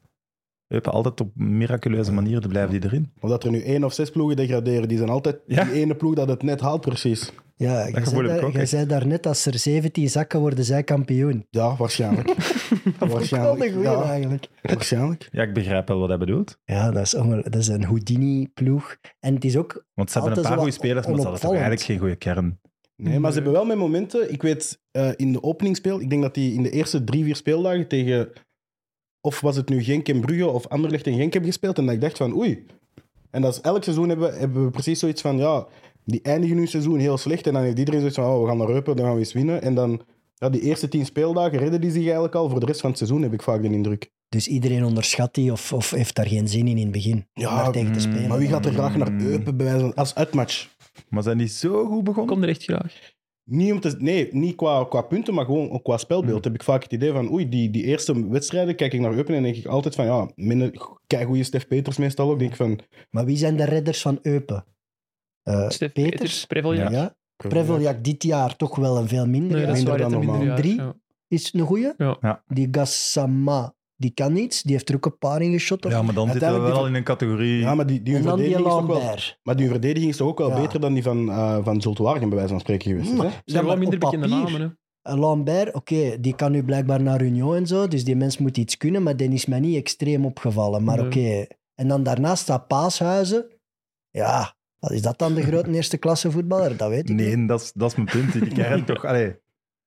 [SPEAKER 1] Eupen altijd op miraculeuze manier te blijven die erin.
[SPEAKER 3] Omdat er nu één of zes ploegen degraderen, die zijn altijd
[SPEAKER 1] Ja.
[SPEAKER 3] die ene ploeg dat het net haalt, precies.
[SPEAKER 4] Ja, jij
[SPEAKER 1] gevoel
[SPEAKER 4] zei,
[SPEAKER 1] heb ik
[SPEAKER 4] daar,
[SPEAKER 1] ook
[SPEAKER 4] jij
[SPEAKER 1] echt.
[SPEAKER 4] zei daarnet, als er 17 zakken worden, zij kampioen.
[SPEAKER 3] Ja, waarschijnlijk.
[SPEAKER 4] Wel een
[SPEAKER 3] waarschijnlijk.
[SPEAKER 4] goeie
[SPEAKER 3] Ja,
[SPEAKER 4] eigenlijk.
[SPEAKER 3] waarschijnlijk.
[SPEAKER 1] Ja, ik begrijp wel wat hij bedoelt.
[SPEAKER 4] Ja, dat is, ongel- dat is een Houdini-ploeg. En het is ook...
[SPEAKER 1] Want ze hebben een
[SPEAKER 4] Altijd
[SPEAKER 1] paar goede
[SPEAKER 4] zo
[SPEAKER 1] spelers, maar ze hadden toch
[SPEAKER 4] onopvallend.
[SPEAKER 1] eigenlijk geen goede kern.
[SPEAKER 3] Nee, maar ze hebben wel met momenten. Ik weet, eh, in de openingspeel, ik denk dat die in de eerste drie, vier speeldagen tegen. Of was het nu Genk en Brugge of Anderlecht en Genk hebben gespeeld. En dat ik dacht van oei. En dat is elk seizoen hebben, we- hebben we precies zoiets van ja. Die eindigen hun seizoen heel slecht. En dan heeft iedereen zoiets van, oh, we gaan naar Eupen, dan gaan we eens winnen. En dan, ja, die eerste tien speeldagen redden die zich eigenlijk al. Voor de rest van het seizoen heb ik vaak de indruk.
[SPEAKER 4] Dus iedereen onderschat die of, of heeft daar geen zin in in het begin.
[SPEAKER 3] Ja,
[SPEAKER 4] om daar tegen te
[SPEAKER 1] mm,
[SPEAKER 4] spelen.
[SPEAKER 3] Maar wie gaat er graag naar
[SPEAKER 1] Mm.
[SPEAKER 3] Eupen bij wijze van- als uitmatch?
[SPEAKER 1] Maar zijn die zo goed
[SPEAKER 5] Ik
[SPEAKER 1] begonnen?
[SPEAKER 5] kom er echt graag.
[SPEAKER 3] Niet om te, nee, niet qua, qua punten, maar gewoon ook qua spelbeeld. Heb ik vaak het idee van, oei, die, die eerste wedstrijden kijk ik naar Eupen en denk ik altijd van, ja, minder goede Stef Peters meestal ook. Denk ik van,
[SPEAKER 4] Maar wie zijn de redders van Eupen? Eh,
[SPEAKER 5] Stef Peters,
[SPEAKER 4] Peters?
[SPEAKER 5] Preveljak.
[SPEAKER 4] Ja. Preveljak dit jaar toch wel een veel minder.
[SPEAKER 5] Nee, Eh, dat is
[SPEAKER 3] Minder dan
[SPEAKER 5] waar. dat minder
[SPEAKER 3] normaal.
[SPEAKER 5] jaar,
[SPEAKER 4] Drie?
[SPEAKER 5] ja.
[SPEAKER 4] is een goeie.
[SPEAKER 5] Ja.
[SPEAKER 1] Ja.
[SPEAKER 4] Die Gassama, die kan niets. Die heeft er ook een paar ingeschot.
[SPEAKER 1] Ja, maar dan zitten we
[SPEAKER 3] Uiteindelijk
[SPEAKER 1] wel
[SPEAKER 3] die
[SPEAKER 1] in een categorie.
[SPEAKER 3] ja, maar die, die,
[SPEAKER 4] en dan die
[SPEAKER 3] verdediging is toch wel,
[SPEAKER 4] Lambert.
[SPEAKER 3] maar die verdediging is toch ook wel
[SPEAKER 4] Ja.
[SPEAKER 3] beter dan die van, eh van Zulte Waregem, bij wijze van spreken geweest. is, hè?
[SPEAKER 5] Er zijn
[SPEAKER 4] Ja,
[SPEAKER 5] wel
[SPEAKER 4] maar
[SPEAKER 5] minder
[SPEAKER 4] op
[SPEAKER 5] bekende
[SPEAKER 4] papier.
[SPEAKER 5] namen. Hè.
[SPEAKER 4] En Lambert, oké, die kan nu blijkbaar naar Union en zo. Dus die mens moet iets kunnen. Maar die is mij niet extreem opgevallen. Maar
[SPEAKER 5] Nee.
[SPEAKER 4] oké. En dan daarnaast staat Paashuizen. Ja, wat is dat dan de grote eerste klasse voetballer? Dat weet ik niet.
[SPEAKER 1] Nee, dat is, dat is mijn punt. Die kern toch. Allee.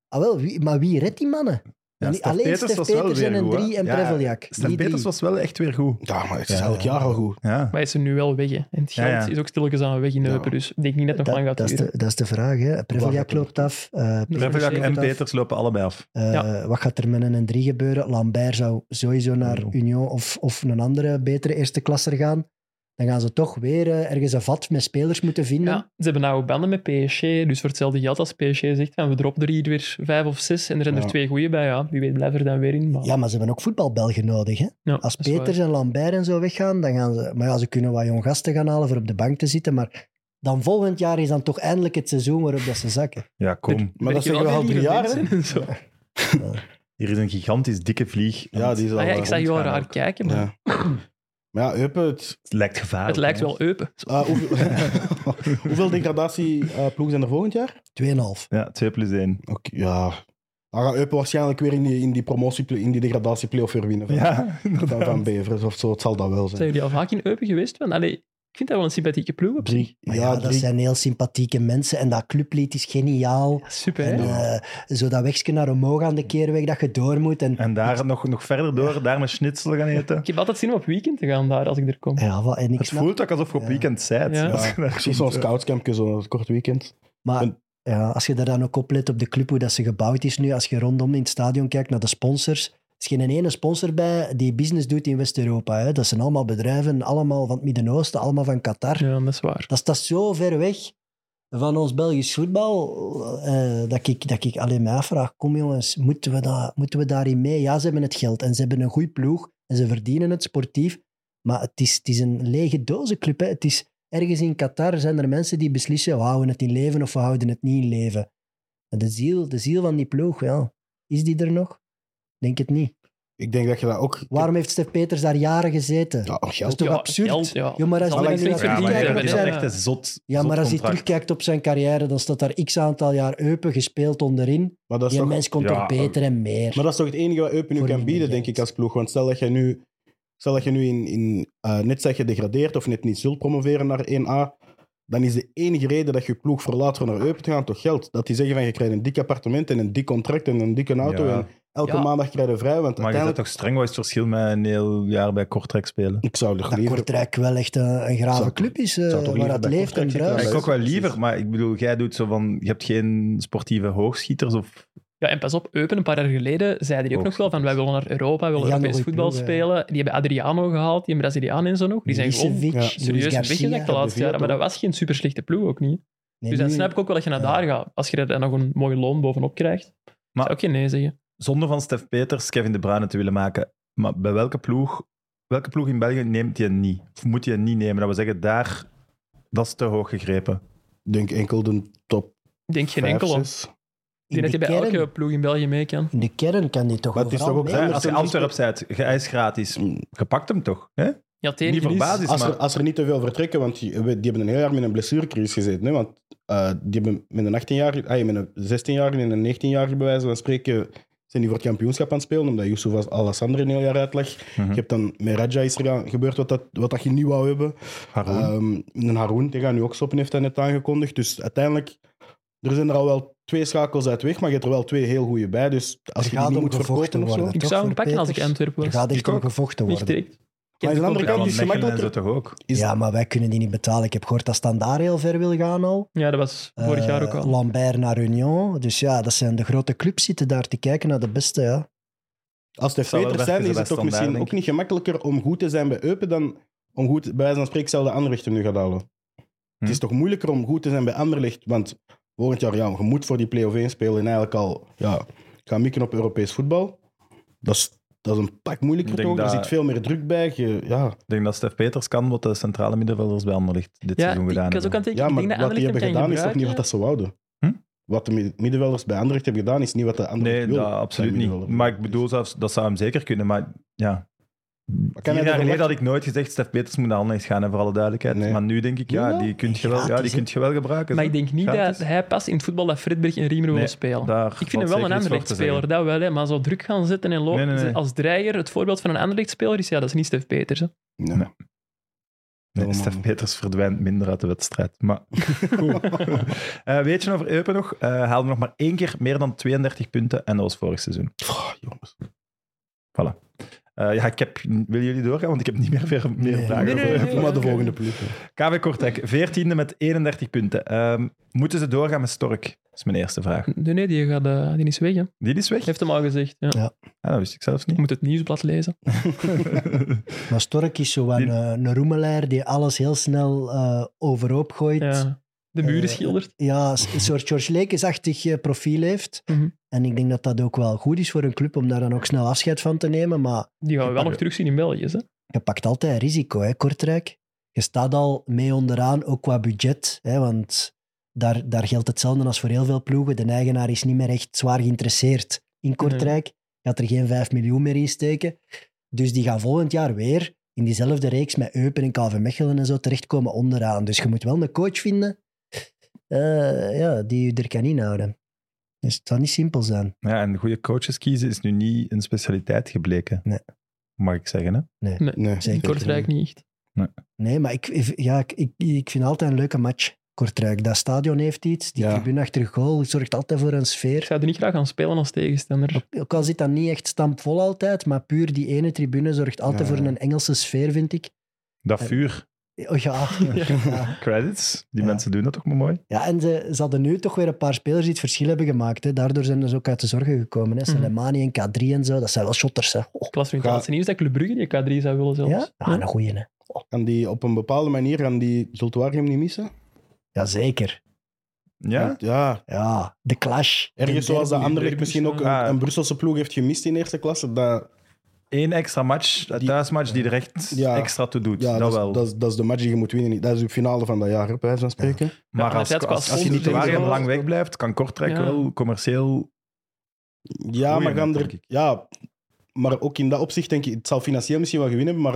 [SPEAKER 4] Ah, wel, wie, maar wie redt die mannen?
[SPEAKER 1] Ja,
[SPEAKER 4] Niet
[SPEAKER 1] Stef
[SPEAKER 4] alleen
[SPEAKER 1] Peters
[SPEAKER 4] Stef
[SPEAKER 1] was wel
[SPEAKER 4] Peters
[SPEAKER 1] weer
[SPEAKER 4] en een
[SPEAKER 1] goed, hè?
[SPEAKER 4] drie en
[SPEAKER 1] Ja,
[SPEAKER 4] Preveljak.
[SPEAKER 1] Stef
[SPEAKER 4] Die
[SPEAKER 1] Peters
[SPEAKER 4] drie.
[SPEAKER 1] was wel echt weer goed.
[SPEAKER 3] Ja, maar het is
[SPEAKER 4] Ja,
[SPEAKER 3] elk
[SPEAKER 4] ja.
[SPEAKER 3] jaar al goed.
[SPEAKER 1] Ja.
[SPEAKER 5] Maar hij is er nu wel weg. Hè. En het
[SPEAKER 1] Ja,
[SPEAKER 5] geld
[SPEAKER 1] ja.
[SPEAKER 5] is ook stilletjes aan de weg in Eupen. Dus ik denk niet dat het nog lang
[SPEAKER 4] Dat,
[SPEAKER 5] gaat
[SPEAKER 4] dat, is
[SPEAKER 5] duren.
[SPEAKER 4] de, dat is de vraag. hè. Preveljak loopt af. eh
[SPEAKER 1] Preveljak en
[SPEAKER 5] Zeker dat.
[SPEAKER 1] Peters lopen allebei af.
[SPEAKER 4] Eh,
[SPEAKER 5] Ja.
[SPEAKER 4] Wat gaat er met een 3 gebeuren? Lambert zou sowieso naar
[SPEAKER 1] Union.
[SPEAKER 4] Union of, of een andere betere eerste klasser gaan. Dan gaan ze toch weer eh, ergens een vat met spelers moeten vinden.
[SPEAKER 5] Ja, ze hebben nauwe banden met PSG. Dus voor hetzelfde geld als PSG zegt, van, we droppen er hier weer vijf of zes. En er zijn
[SPEAKER 3] Ja.
[SPEAKER 5] er twee goeie bij. Ja, wie weet blijft er dan weer in. Maar,
[SPEAKER 4] Ja, maar ze hebben ook voetbalbelgen nodig. Hè?
[SPEAKER 5] Ja,
[SPEAKER 4] Als
[SPEAKER 5] dat is waar.
[SPEAKER 4] Peters en Lambert en zo weggaan, dan gaan ze... Maar ja, ze kunnen wat jong gasten gaan halen voor op de bank te zitten. Maar dan volgend jaar is dan toch eindelijk het seizoen waarop dat ze zakken.
[SPEAKER 1] Ja, kom.
[SPEAKER 5] Werk-
[SPEAKER 3] Maar dat
[SPEAKER 5] werken
[SPEAKER 3] zeggen we al
[SPEAKER 5] weer
[SPEAKER 3] drie
[SPEAKER 5] hier
[SPEAKER 3] jaar,
[SPEAKER 5] mensen en zo.
[SPEAKER 1] Hier is een gigantisch dikke vlieg.
[SPEAKER 3] Ja, die is al,
[SPEAKER 5] Ah ja, ik
[SPEAKER 3] eh,
[SPEAKER 5] zag je wel
[SPEAKER 1] rondgaan
[SPEAKER 5] raar
[SPEAKER 1] ook.
[SPEAKER 5] kijken, maar
[SPEAKER 3] Ja. Maar ja, Eupen, het,
[SPEAKER 1] Het lijkt gevaarlijk.
[SPEAKER 5] het lijkt
[SPEAKER 1] hè.
[SPEAKER 5] wel Eupen.
[SPEAKER 3] ah, hoeveel, hoeveel degradatieploegen zijn er volgend jaar?
[SPEAKER 4] 2,5.
[SPEAKER 1] Ja, 2 plus 1.
[SPEAKER 3] Oké, ja. Dan gaat Eupen waarschijnlijk weer in die, in die promotie, in die degradatieplayoff weer winnen. Van,
[SPEAKER 1] Ja,
[SPEAKER 3] van,
[SPEAKER 1] inderdaad.
[SPEAKER 3] van Beveren of zo, het zal dat wel zijn.
[SPEAKER 5] Zijn jullie al vaak in Eupen geweest? Want, allee, ik vind dat wel een sympathieke ploeg. op zich.
[SPEAKER 3] Drie.
[SPEAKER 4] Maar
[SPEAKER 3] Ja,
[SPEAKER 4] ja, dat
[SPEAKER 3] drie.
[SPEAKER 4] zijn heel sympathieke mensen. En dat clublied is geniaal.
[SPEAKER 5] Super,
[SPEAKER 4] En
[SPEAKER 5] hè?
[SPEAKER 4] eh, zo dat wegje naar omhoog aan de keerweg dat je door moet. En
[SPEAKER 1] En daar nog, nog verder door, daar een schnitzel gaan eten.
[SPEAKER 5] Ik heb altijd zin om op weekend te gaan daar, als ik er kom.
[SPEAKER 4] Ja, wat- en ik
[SPEAKER 1] Het
[SPEAKER 4] snap...
[SPEAKER 1] voelt ook alsof je op
[SPEAKER 4] Ja.
[SPEAKER 1] weekend zijt.
[SPEAKER 5] Ja.
[SPEAKER 1] Als je daar
[SPEAKER 3] Precies zo'n
[SPEAKER 1] komt.
[SPEAKER 3] scoutscampje, zo'n kort weekend.
[SPEAKER 4] Maar
[SPEAKER 3] en-
[SPEAKER 4] ja, als je daar dan ook op let op de club, hoe dat ze gebouwd is nu, als je rondom in het stadion kijkt naar de sponsors, er is geen ene sponsor bij die business doet in West-Europa. hè. Dat zijn allemaal bedrijven, allemaal van het Midden-Oosten, allemaal van Qatar.
[SPEAKER 5] Ja, dat is waar.
[SPEAKER 4] Dat staat zo ver weg van ons Belgisch voetbal, eh, dat, ik, dat ik alleen mij afvraag, kom jongens, moeten we, daar moeten we daarin mee? Ja, ze hebben het geld en ze hebben een goede ploeg en ze verdienen het sportief, maar het is, het is een lege dozenclub. Hè. Het is, ergens in Qatar zijn er mensen die beslissen, we houden het in leven of we houden het niet in leven. En De ziel, de ziel van die ploeg, ja, is die er nog? Denk het niet.
[SPEAKER 3] Ik denk dat je dat ook...
[SPEAKER 4] Waarom heeft Stef Peters daar jaren gezeten?
[SPEAKER 3] Ja, oh,
[SPEAKER 4] dat is
[SPEAKER 3] geld.
[SPEAKER 4] toch
[SPEAKER 5] Ja,
[SPEAKER 4] absurd?
[SPEAKER 5] geld, ja.
[SPEAKER 4] Ja, maar als
[SPEAKER 5] Zal
[SPEAKER 4] we
[SPEAKER 5] ik
[SPEAKER 4] dan
[SPEAKER 5] flink
[SPEAKER 4] nu naar
[SPEAKER 1] Ja,
[SPEAKER 5] verdienen
[SPEAKER 1] maar
[SPEAKER 4] kijken,
[SPEAKER 1] dat
[SPEAKER 5] hebben,
[SPEAKER 1] is
[SPEAKER 5] hè?
[SPEAKER 1] wel echt een zot
[SPEAKER 4] Ja,
[SPEAKER 1] zot
[SPEAKER 4] maar als hij
[SPEAKER 1] contract.
[SPEAKER 4] terugkijkt op zijn carrière, dan staat daar x aantal jaar Eupen gespeeld onderin.
[SPEAKER 3] Maar dat is
[SPEAKER 4] Die
[SPEAKER 3] toch...
[SPEAKER 4] mens komt
[SPEAKER 1] ja,
[SPEAKER 4] er beter en meer.
[SPEAKER 3] Maar dat is toch het enige wat Eupen nu
[SPEAKER 4] Voor
[SPEAKER 3] kan
[SPEAKER 4] minder
[SPEAKER 3] bieden,
[SPEAKER 4] geld.
[SPEAKER 3] denk ik, als ploeg. Want stel dat je nu, stel dat je nu in, in, eh, net zeg gedegradeerd of net niet zult promoveren naar 1A, dan is de enige reden dat je ploeg verlaat om naar Eupen te gaan toch geld. Dat die zeggen van je krijgt een dik appartement en een dik contract en een dikke auto
[SPEAKER 1] Ja.
[SPEAKER 3] en elke
[SPEAKER 5] Ja.
[SPEAKER 3] maandag krijg je vrij. Want
[SPEAKER 1] Maar je zet
[SPEAKER 3] uiteindelijk...
[SPEAKER 1] toch streng wat is het verschil met een heel jaar bij Kortrijk spelen?
[SPEAKER 3] Ik zou er
[SPEAKER 4] dat
[SPEAKER 3] liever...
[SPEAKER 4] Kortrijk wel echt een, een grave
[SPEAKER 3] Zou-
[SPEAKER 4] club is, eh,
[SPEAKER 3] zou toch
[SPEAKER 4] waar
[SPEAKER 3] liever
[SPEAKER 4] het
[SPEAKER 3] bij
[SPEAKER 4] leeft en
[SPEAKER 1] Ja,
[SPEAKER 3] Kortrijk zitten
[SPEAKER 1] ik ook
[SPEAKER 4] bruist.
[SPEAKER 1] wel
[SPEAKER 3] precies.
[SPEAKER 1] liever, maar ik bedoel, jij doet zo van... Je hebt geen sportieve hoogschieters of...
[SPEAKER 5] Ja, en pas op, Eupen, een paar jaar geleden, zeiden die ook
[SPEAKER 1] Ook.
[SPEAKER 5] nog wel van wij willen naar Europa, we willen
[SPEAKER 4] Ja,
[SPEAKER 5] Europees
[SPEAKER 4] nog een
[SPEAKER 5] voetbal
[SPEAKER 4] ploeg, hè.
[SPEAKER 5] spelen. Die hebben Adriano gehaald, die hebben Braziliaan en zo nog. Die zijn gewoon
[SPEAKER 4] Milicevic,
[SPEAKER 3] Ja.
[SPEAKER 4] Luis
[SPEAKER 5] serieus
[SPEAKER 4] Garcia.
[SPEAKER 5] weggezakt de laatste
[SPEAKER 3] de
[SPEAKER 5] jaren, maar dat was geen super slechte ploeg ook niet.
[SPEAKER 4] Nee,
[SPEAKER 5] dus dan
[SPEAKER 4] nu-
[SPEAKER 5] snap ik ook wel dat je naar
[SPEAKER 4] Ja.
[SPEAKER 5] daar gaat. Als je daar dan nog een mooi loon bovenop krijgt,
[SPEAKER 1] Maar-
[SPEAKER 5] zou ik geen nee zeggen.
[SPEAKER 1] Zonder van Stef Peters Kevin De Bruyne te willen maken. Maar bij welke ploeg... Welke ploeg in België neemt je niet? Of moet je niet nemen? Dat we zeggen, daar... Dat is te hoog gegrepen.
[SPEAKER 3] Ik denk enkel de top
[SPEAKER 5] Ik denk geen
[SPEAKER 3] vijf,
[SPEAKER 5] enkele. Ik
[SPEAKER 3] zes.
[SPEAKER 4] in,
[SPEAKER 5] denk dat
[SPEAKER 4] de
[SPEAKER 5] je bij elke
[SPEAKER 4] kern,
[SPEAKER 5] ploeg in België mee kan.
[SPEAKER 4] in de kern kan die toch
[SPEAKER 3] Maar het is
[SPEAKER 4] overal
[SPEAKER 3] toch ook
[SPEAKER 4] mee.
[SPEAKER 1] Hè,
[SPEAKER 3] dat
[SPEAKER 1] als je
[SPEAKER 3] is-
[SPEAKER 1] Antwerp zijt, je hij is gratis. Je pakt hem toch? Hè? Mhm.
[SPEAKER 5] Ja, het enige
[SPEAKER 1] Niet voor
[SPEAKER 5] is-
[SPEAKER 1] basis,
[SPEAKER 3] Mm, Als er,
[SPEAKER 1] maar...
[SPEAKER 3] als er niet te veel vertrekken, want die, we- die hebben een heel jaar met een blessurecrisis gezeten. Hè? Want eh, die hebben met een 18 jaar, ah, met een 16 jaar en een 19 jaar bij wijze van spreken, zijn die voor het kampioenschap aan het spelen, omdat Yusuf Alassandre een heel jaar uitlag.
[SPEAKER 1] Mhm.
[SPEAKER 3] Je hebt dan met Raja is er aan- gebeurd wat, dat, wat dat je niet wou hebben.
[SPEAKER 1] Haroun.
[SPEAKER 3] Ehm, een Haroun, die gaat nu ook stoppen, heeft hij net aangekondigd. Dus uiteindelijk, er zijn er al wel twee schakels uit weg, maar je hebt er wel twee heel goede bij. Dus als
[SPEAKER 4] Er
[SPEAKER 3] je die
[SPEAKER 4] gaat
[SPEAKER 3] niet
[SPEAKER 4] om
[SPEAKER 3] moet
[SPEAKER 4] gevochten
[SPEAKER 3] verkopen of zo...
[SPEAKER 4] worden.
[SPEAKER 5] Ik
[SPEAKER 4] Toch
[SPEAKER 5] zou hem
[SPEAKER 4] voor
[SPEAKER 5] pakken als ik
[SPEAKER 4] Peters?
[SPEAKER 5] Antwerpen
[SPEAKER 4] Er
[SPEAKER 5] was.
[SPEAKER 4] gaat echt
[SPEAKER 1] Ik ook.
[SPEAKER 4] om gevochten
[SPEAKER 5] Niet
[SPEAKER 4] worden.
[SPEAKER 5] direct.
[SPEAKER 3] Maar aan de andere
[SPEAKER 1] Ja,
[SPEAKER 3] kant
[SPEAKER 1] want
[SPEAKER 3] is
[SPEAKER 5] competitie.
[SPEAKER 1] Mechelen en
[SPEAKER 3] gemakkelijk-
[SPEAKER 1] zo toch ook?
[SPEAKER 3] Is-
[SPEAKER 4] Ja, maar wij kunnen die niet betalen. Ik heb gehoord dat Standaard heel ver wil gaan al.
[SPEAKER 5] Ja, dat was vorig
[SPEAKER 4] Eh,
[SPEAKER 5] jaar ook al.
[SPEAKER 4] Lambert naar Union. Dus ja, dat zijn de grote clubs zitten daar te kijken naar de beste. Ja.
[SPEAKER 3] Als de
[SPEAKER 1] Zou wel
[SPEAKER 3] veters
[SPEAKER 1] werken
[SPEAKER 3] zijn, is
[SPEAKER 1] bij
[SPEAKER 3] het toch
[SPEAKER 1] Standaard,
[SPEAKER 3] misschien
[SPEAKER 1] denk
[SPEAKER 3] ook
[SPEAKER 1] ik.
[SPEAKER 3] niet gemakkelijker om goed te zijn bij Eupen dan om goed, bij wijze van spreken, zelf de Anderlecht er nu gaat halen. Het
[SPEAKER 1] Hm.
[SPEAKER 3] is toch moeilijker om goed te zijn bij Anderlecht, want volgend jaar, ja, je moet voor die play-off 1 spelen en eigenlijk al ja, gaan mikken op Europees voetbal. Dat is, dat is een pak moeilijker
[SPEAKER 1] Ik denk
[SPEAKER 3] toch? Er
[SPEAKER 1] dat-
[SPEAKER 3] zit veel meer druk bij. Je, ja.
[SPEAKER 1] Ik denk dat Stef Peters kan wat de centrale middenvelders bij Anderlecht dit
[SPEAKER 5] Ja,
[SPEAKER 1] seizoen
[SPEAKER 5] ik
[SPEAKER 1] gedaan
[SPEAKER 5] was ook
[SPEAKER 1] hebben.
[SPEAKER 5] aan het denken,
[SPEAKER 3] ja,
[SPEAKER 5] ik
[SPEAKER 3] maar
[SPEAKER 5] denk dat
[SPEAKER 3] wat die hebben
[SPEAKER 5] Anderlecht hem
[SPEAKER 3] gedaan
[SPEAKER 5] kan
[SPEAKER 3] is toch niet wat
[SPEAKER 5] gebruiken.
[SPEAKER 3] dat ze wouden?
[SPEAKER 1] Hm?
[SPEAKER 3] Wat de mid- middenvelders bij Anderlecht hebben gedaan, is niet wat de Anderlecht
[SPEAKER 1] Nee,
[SPEAKER 3] wilde.
[SPEAKER 1] dat, absoluut
[SPEAKER 3] Zijn
[SPEAKER 1] niet.
[SPEAKER 3] middenvelder.
[SPEAKER 1] Maar ik bedoel zelfs, dat zou hem zeker kunnen. Maar ja,
[SPEAKER 3] Maar
[SPEAKER 1] Vier
[SPEAKER 3] hij
[SPEAKER 1] jaar
[SPEAKER 3] dat
[SPEAKER 1] geleden
[SPEAKER 3] verwachten?
[SPEAKER 1] had ik nooit gezegd, Stef Peters moet naar Anderlecht gaan, hè, voor alle duidelijkheid.
[SPEAKER 3] Nee.
[SPEAKER 1] Maar nu denk ik, ja,
[SPEAKER 4] Jawel.
[SPEAKER 1] die kun je wel, ja, die
[SPEAKER 4] Gratis, hè.
[SPEAKER 1] kunt je wel gebruiken.
[SPEAKER 5] Maar
[SPEAKER 1] zo.
[SPEAKER 5] ik denk niet
[SPEAKER 1] Gratis.
[SPEAKER 5] dat hij past in het voetbal dat Fredberg en Riemer
[SPEAKER 1] Nee,
[SPEAKER 5] wil spelen.
[SPEAKER 1] Daar
[SPEAKER 5] Ik
[SPEAKER 1] valt
[SPEAKER 5] vind hem wel
[SPEAKER 1] zeker
[SPEAKER 5] een
[SPEAKER 1] iets voor te
[SPEAKER 5] Anderlecht-speler, dat wel, hè, maar zo druk gaan zitten en lopen
[SPEAKER 1] Nee, nee, nee.
[SPEAKER 5] als dreiger, het voorbeeld van een Anderlecht-speler is, ja, dat is niet Stef Peters. Hè.
[SPEAKER 3] Nee.
[SPEAKER 1] Nee. zeggen. Nee,
[SPEAKER 3] Helemaal
[SPEAKER 1] Stef
[SPEAKER 3] niet.
[SPEAKER 1] Peters verdwijnt minder uit de wedstrijd. Maar goed. Eh, weet je over Eupen nog? Eh haalde nog maar één keer meer dan 32 punten en dat was vorig seizoen.
[SPEAKER 3] Pff, jongens.
[SPEAKER 1] Eh, ja, ik heb, willen jullie doorgaan? Want ik heb niet meer, meer, meer
[SPEAKER 4] Nee.
[SPEAKER 1] vragen
[SPEAKER 5] Nee, nee,
[SPEAKER 1] voor
[SPEAKER 5] nee.
[SPEAKER 1] Eupen.
[SPEAKER 3] Maar de volgende ploeg. hè.
[SPEAKER 1] KV Kortrijk, 14e met 31 punten. Ehm, moeten ze doorgaan met Stork? Dat is mijn eerste vraag.
[SPEAKER 5] Nee, nee, die, gaat, eh, die is weg. Hè.
[SPEAKER 1] Die is weg?
[SPEAKER 5] Heeft hem al gezegd. Ja.
[SPEAKER 1] Ah, dat wist ik zelfs
[SPEAKER 5] Je
[SPEAKER 1] niet.
[SPEAKER 5] moet het nieuwsblad lezen.
[SPEAKER 4] Maar Stork is zo een,
[SPEAKER 1] Die-
[SPEAKER 4] eh, een roemelaar die alles heel snel eh, overhoop gooit. Ja.
[SPEAKER 5] Ja. De muren
[SPEAKER 4] Eh,
[SPEAKER 5] schildert.
[SPEAKER 4] s- een soort George Lekes-achtig eh, profiel heeft.
[SPEAKER 5] Mhm.
[SPEAKER 4] En ik denk dat dat ook wel goed is voor een club om daar dan ook snel afscheid van te nemen. Maar
[SPEAKER 5] Die gaan we wel
[SPEAKER 1] pak-
[SPEAKER 5] nog terugzien in België. Hè.
[SPEAKER 4] je pakt altijd risico, hè, Kortrijk. Je staat al mee onderaan, ook qua budget. Hè, want daar, daar geldt hetzelfde als voor heel veel ploegen. De eigenaar is niet meer echt zwaar geïnteresseerd in Kortrijk. Gaat er geen 5 miljoen meer in steken. Dus die gaan volgend jaar weer in diezelfde reeks met Eupen en KV Mechelen en zo terechtkomen onderaan. Dus je moet wel een coach vinden eh, ja, die je er kan inhouden. Dus het zal niet simpel zijn.
[SPEAKER 1] Ja, en goede coaches kiezen is nu niet een specialiteit gebleken.
[SPEAKER 4] Nee.
[SPEAKER 1] Mag ik zeggen, hè?
[SPEAKER 3] Nee,
[SPEAKER 4] Zeker.
[SPEAKER 5] In Kortrijk niet echt.
[SPEAKER 4] Nee, maar ik, ik- ja, ik, ik, ik vind altijd een leuke match, Kortrijk. Dat stadion heeft iets, die
[SPEAKER 3] Ja.
[SPEAKER 4] tribune achter goal zorgt altijd voor een
[SPEAKER 5] Ik
[SPEAKER 4] sfeer.
[SPEAKER 5] zou er niet graag gaan spelen als tegenstander.
[SPEAKER 4] Ook al zit dat niet echt stampvol altijd, maar puur die ene tribune zorgt altijd
[SPEAKER 3] Ja, ja.
[SPEAKER 4] voor een Engelse sfeer, vind ik.
[SPEAKER 1] Dat
[SPEAKER 4] Ja.
[SPEAKER 1] vuur.
[SPEAKER 4] Oh, ja. ja.
[SPEAKER 1] Credits. Die
[SPEAKER 4] Ja.
[SPEAKER 1] mensen doen dat toch maar mooi.
[SPEAKER 4] ja, en ze, ze hadden nu toch weer een paar spelers die het verschil hebben gemaakt. Hè. Daardoor zijn ze ook uit de zorgen gekomen. Hè.
[SPEAKER 5] Mhm.
[SPEAKER 4] Soleimani en K3 en zo, dat zijn wel shotters. Hè. Oh,
[SPEAKER 5] Ik las nu in het
[SPEAKER 3] Ga-
[SPEAKER 5] laatste nieuws dat Club Brugge die K3 zou willen zelfs.
[SPEAKER 4] ja? Ah, een goeie, hè.
[SPEAKER 3] Kan die op een bepaalde manier gaan die Zultuari hem niet missen?
[SPEAKER 4] Jazeker.
[SPEAKER 1] Ja?
[SPEAKER 3] Want, ja.
[SPEAKER 4] Ja, de clash.
[SPEAKER 3] Ergens
[SPEAKER 4] De
[SPEAKER 3] zoals de
[SPEAKER 4] derby.
[SPEAKER 3] Anderlecht misschien ook
[SPEAKER 1] Ah.
[SPEAKER 3] een, een Brusselse ploeg heeft gemist in eerste klasse. Dat,
[SPEAKER 1] Eén extra match, een
[SPEAKER 3] Die-
[SPEAKER 1] thuismatch, die er echt
[SPEAKER 3] Ja.
[SPEAKER 1] extra toe doet.
[SPEAKER 3] ja,
[SPEAKER 1] dat,
[SPEAKER 3] dat,
[SPEAKER 1] wel.
[SPEAKER 3] is, dat, is, dat is de match die je moet winnen. Dat is de finale van dat jaar, hè, bij wijze van spreken.
[SPEAKER 1] maar als, als,
[SPEAKER 5] inderdaad, qua
[SPEAKER 1] als, je niet
[SPEAKER 5] sponsors
[SPEAKER 1] te
[SPEAKER 5] en zo.
[SPEAKER 1] lang wegblijft, kan Kortrijk
[SPEAKER 5] Ja.
[SPEAKER 1] wel commercieel...
[SPEAKER 3] Ja,
[SPEAKER 1] Goeie
[SPEAKER 3] maar gaan
[SPEAKER 1] net,
[SPEAKER 3] er,
[SPEAKER 1] denk ik.
[SPEAKER 3] ja, maar ook in dat opzicht denk ik, het zal financieel misschien wel gewinnen, maar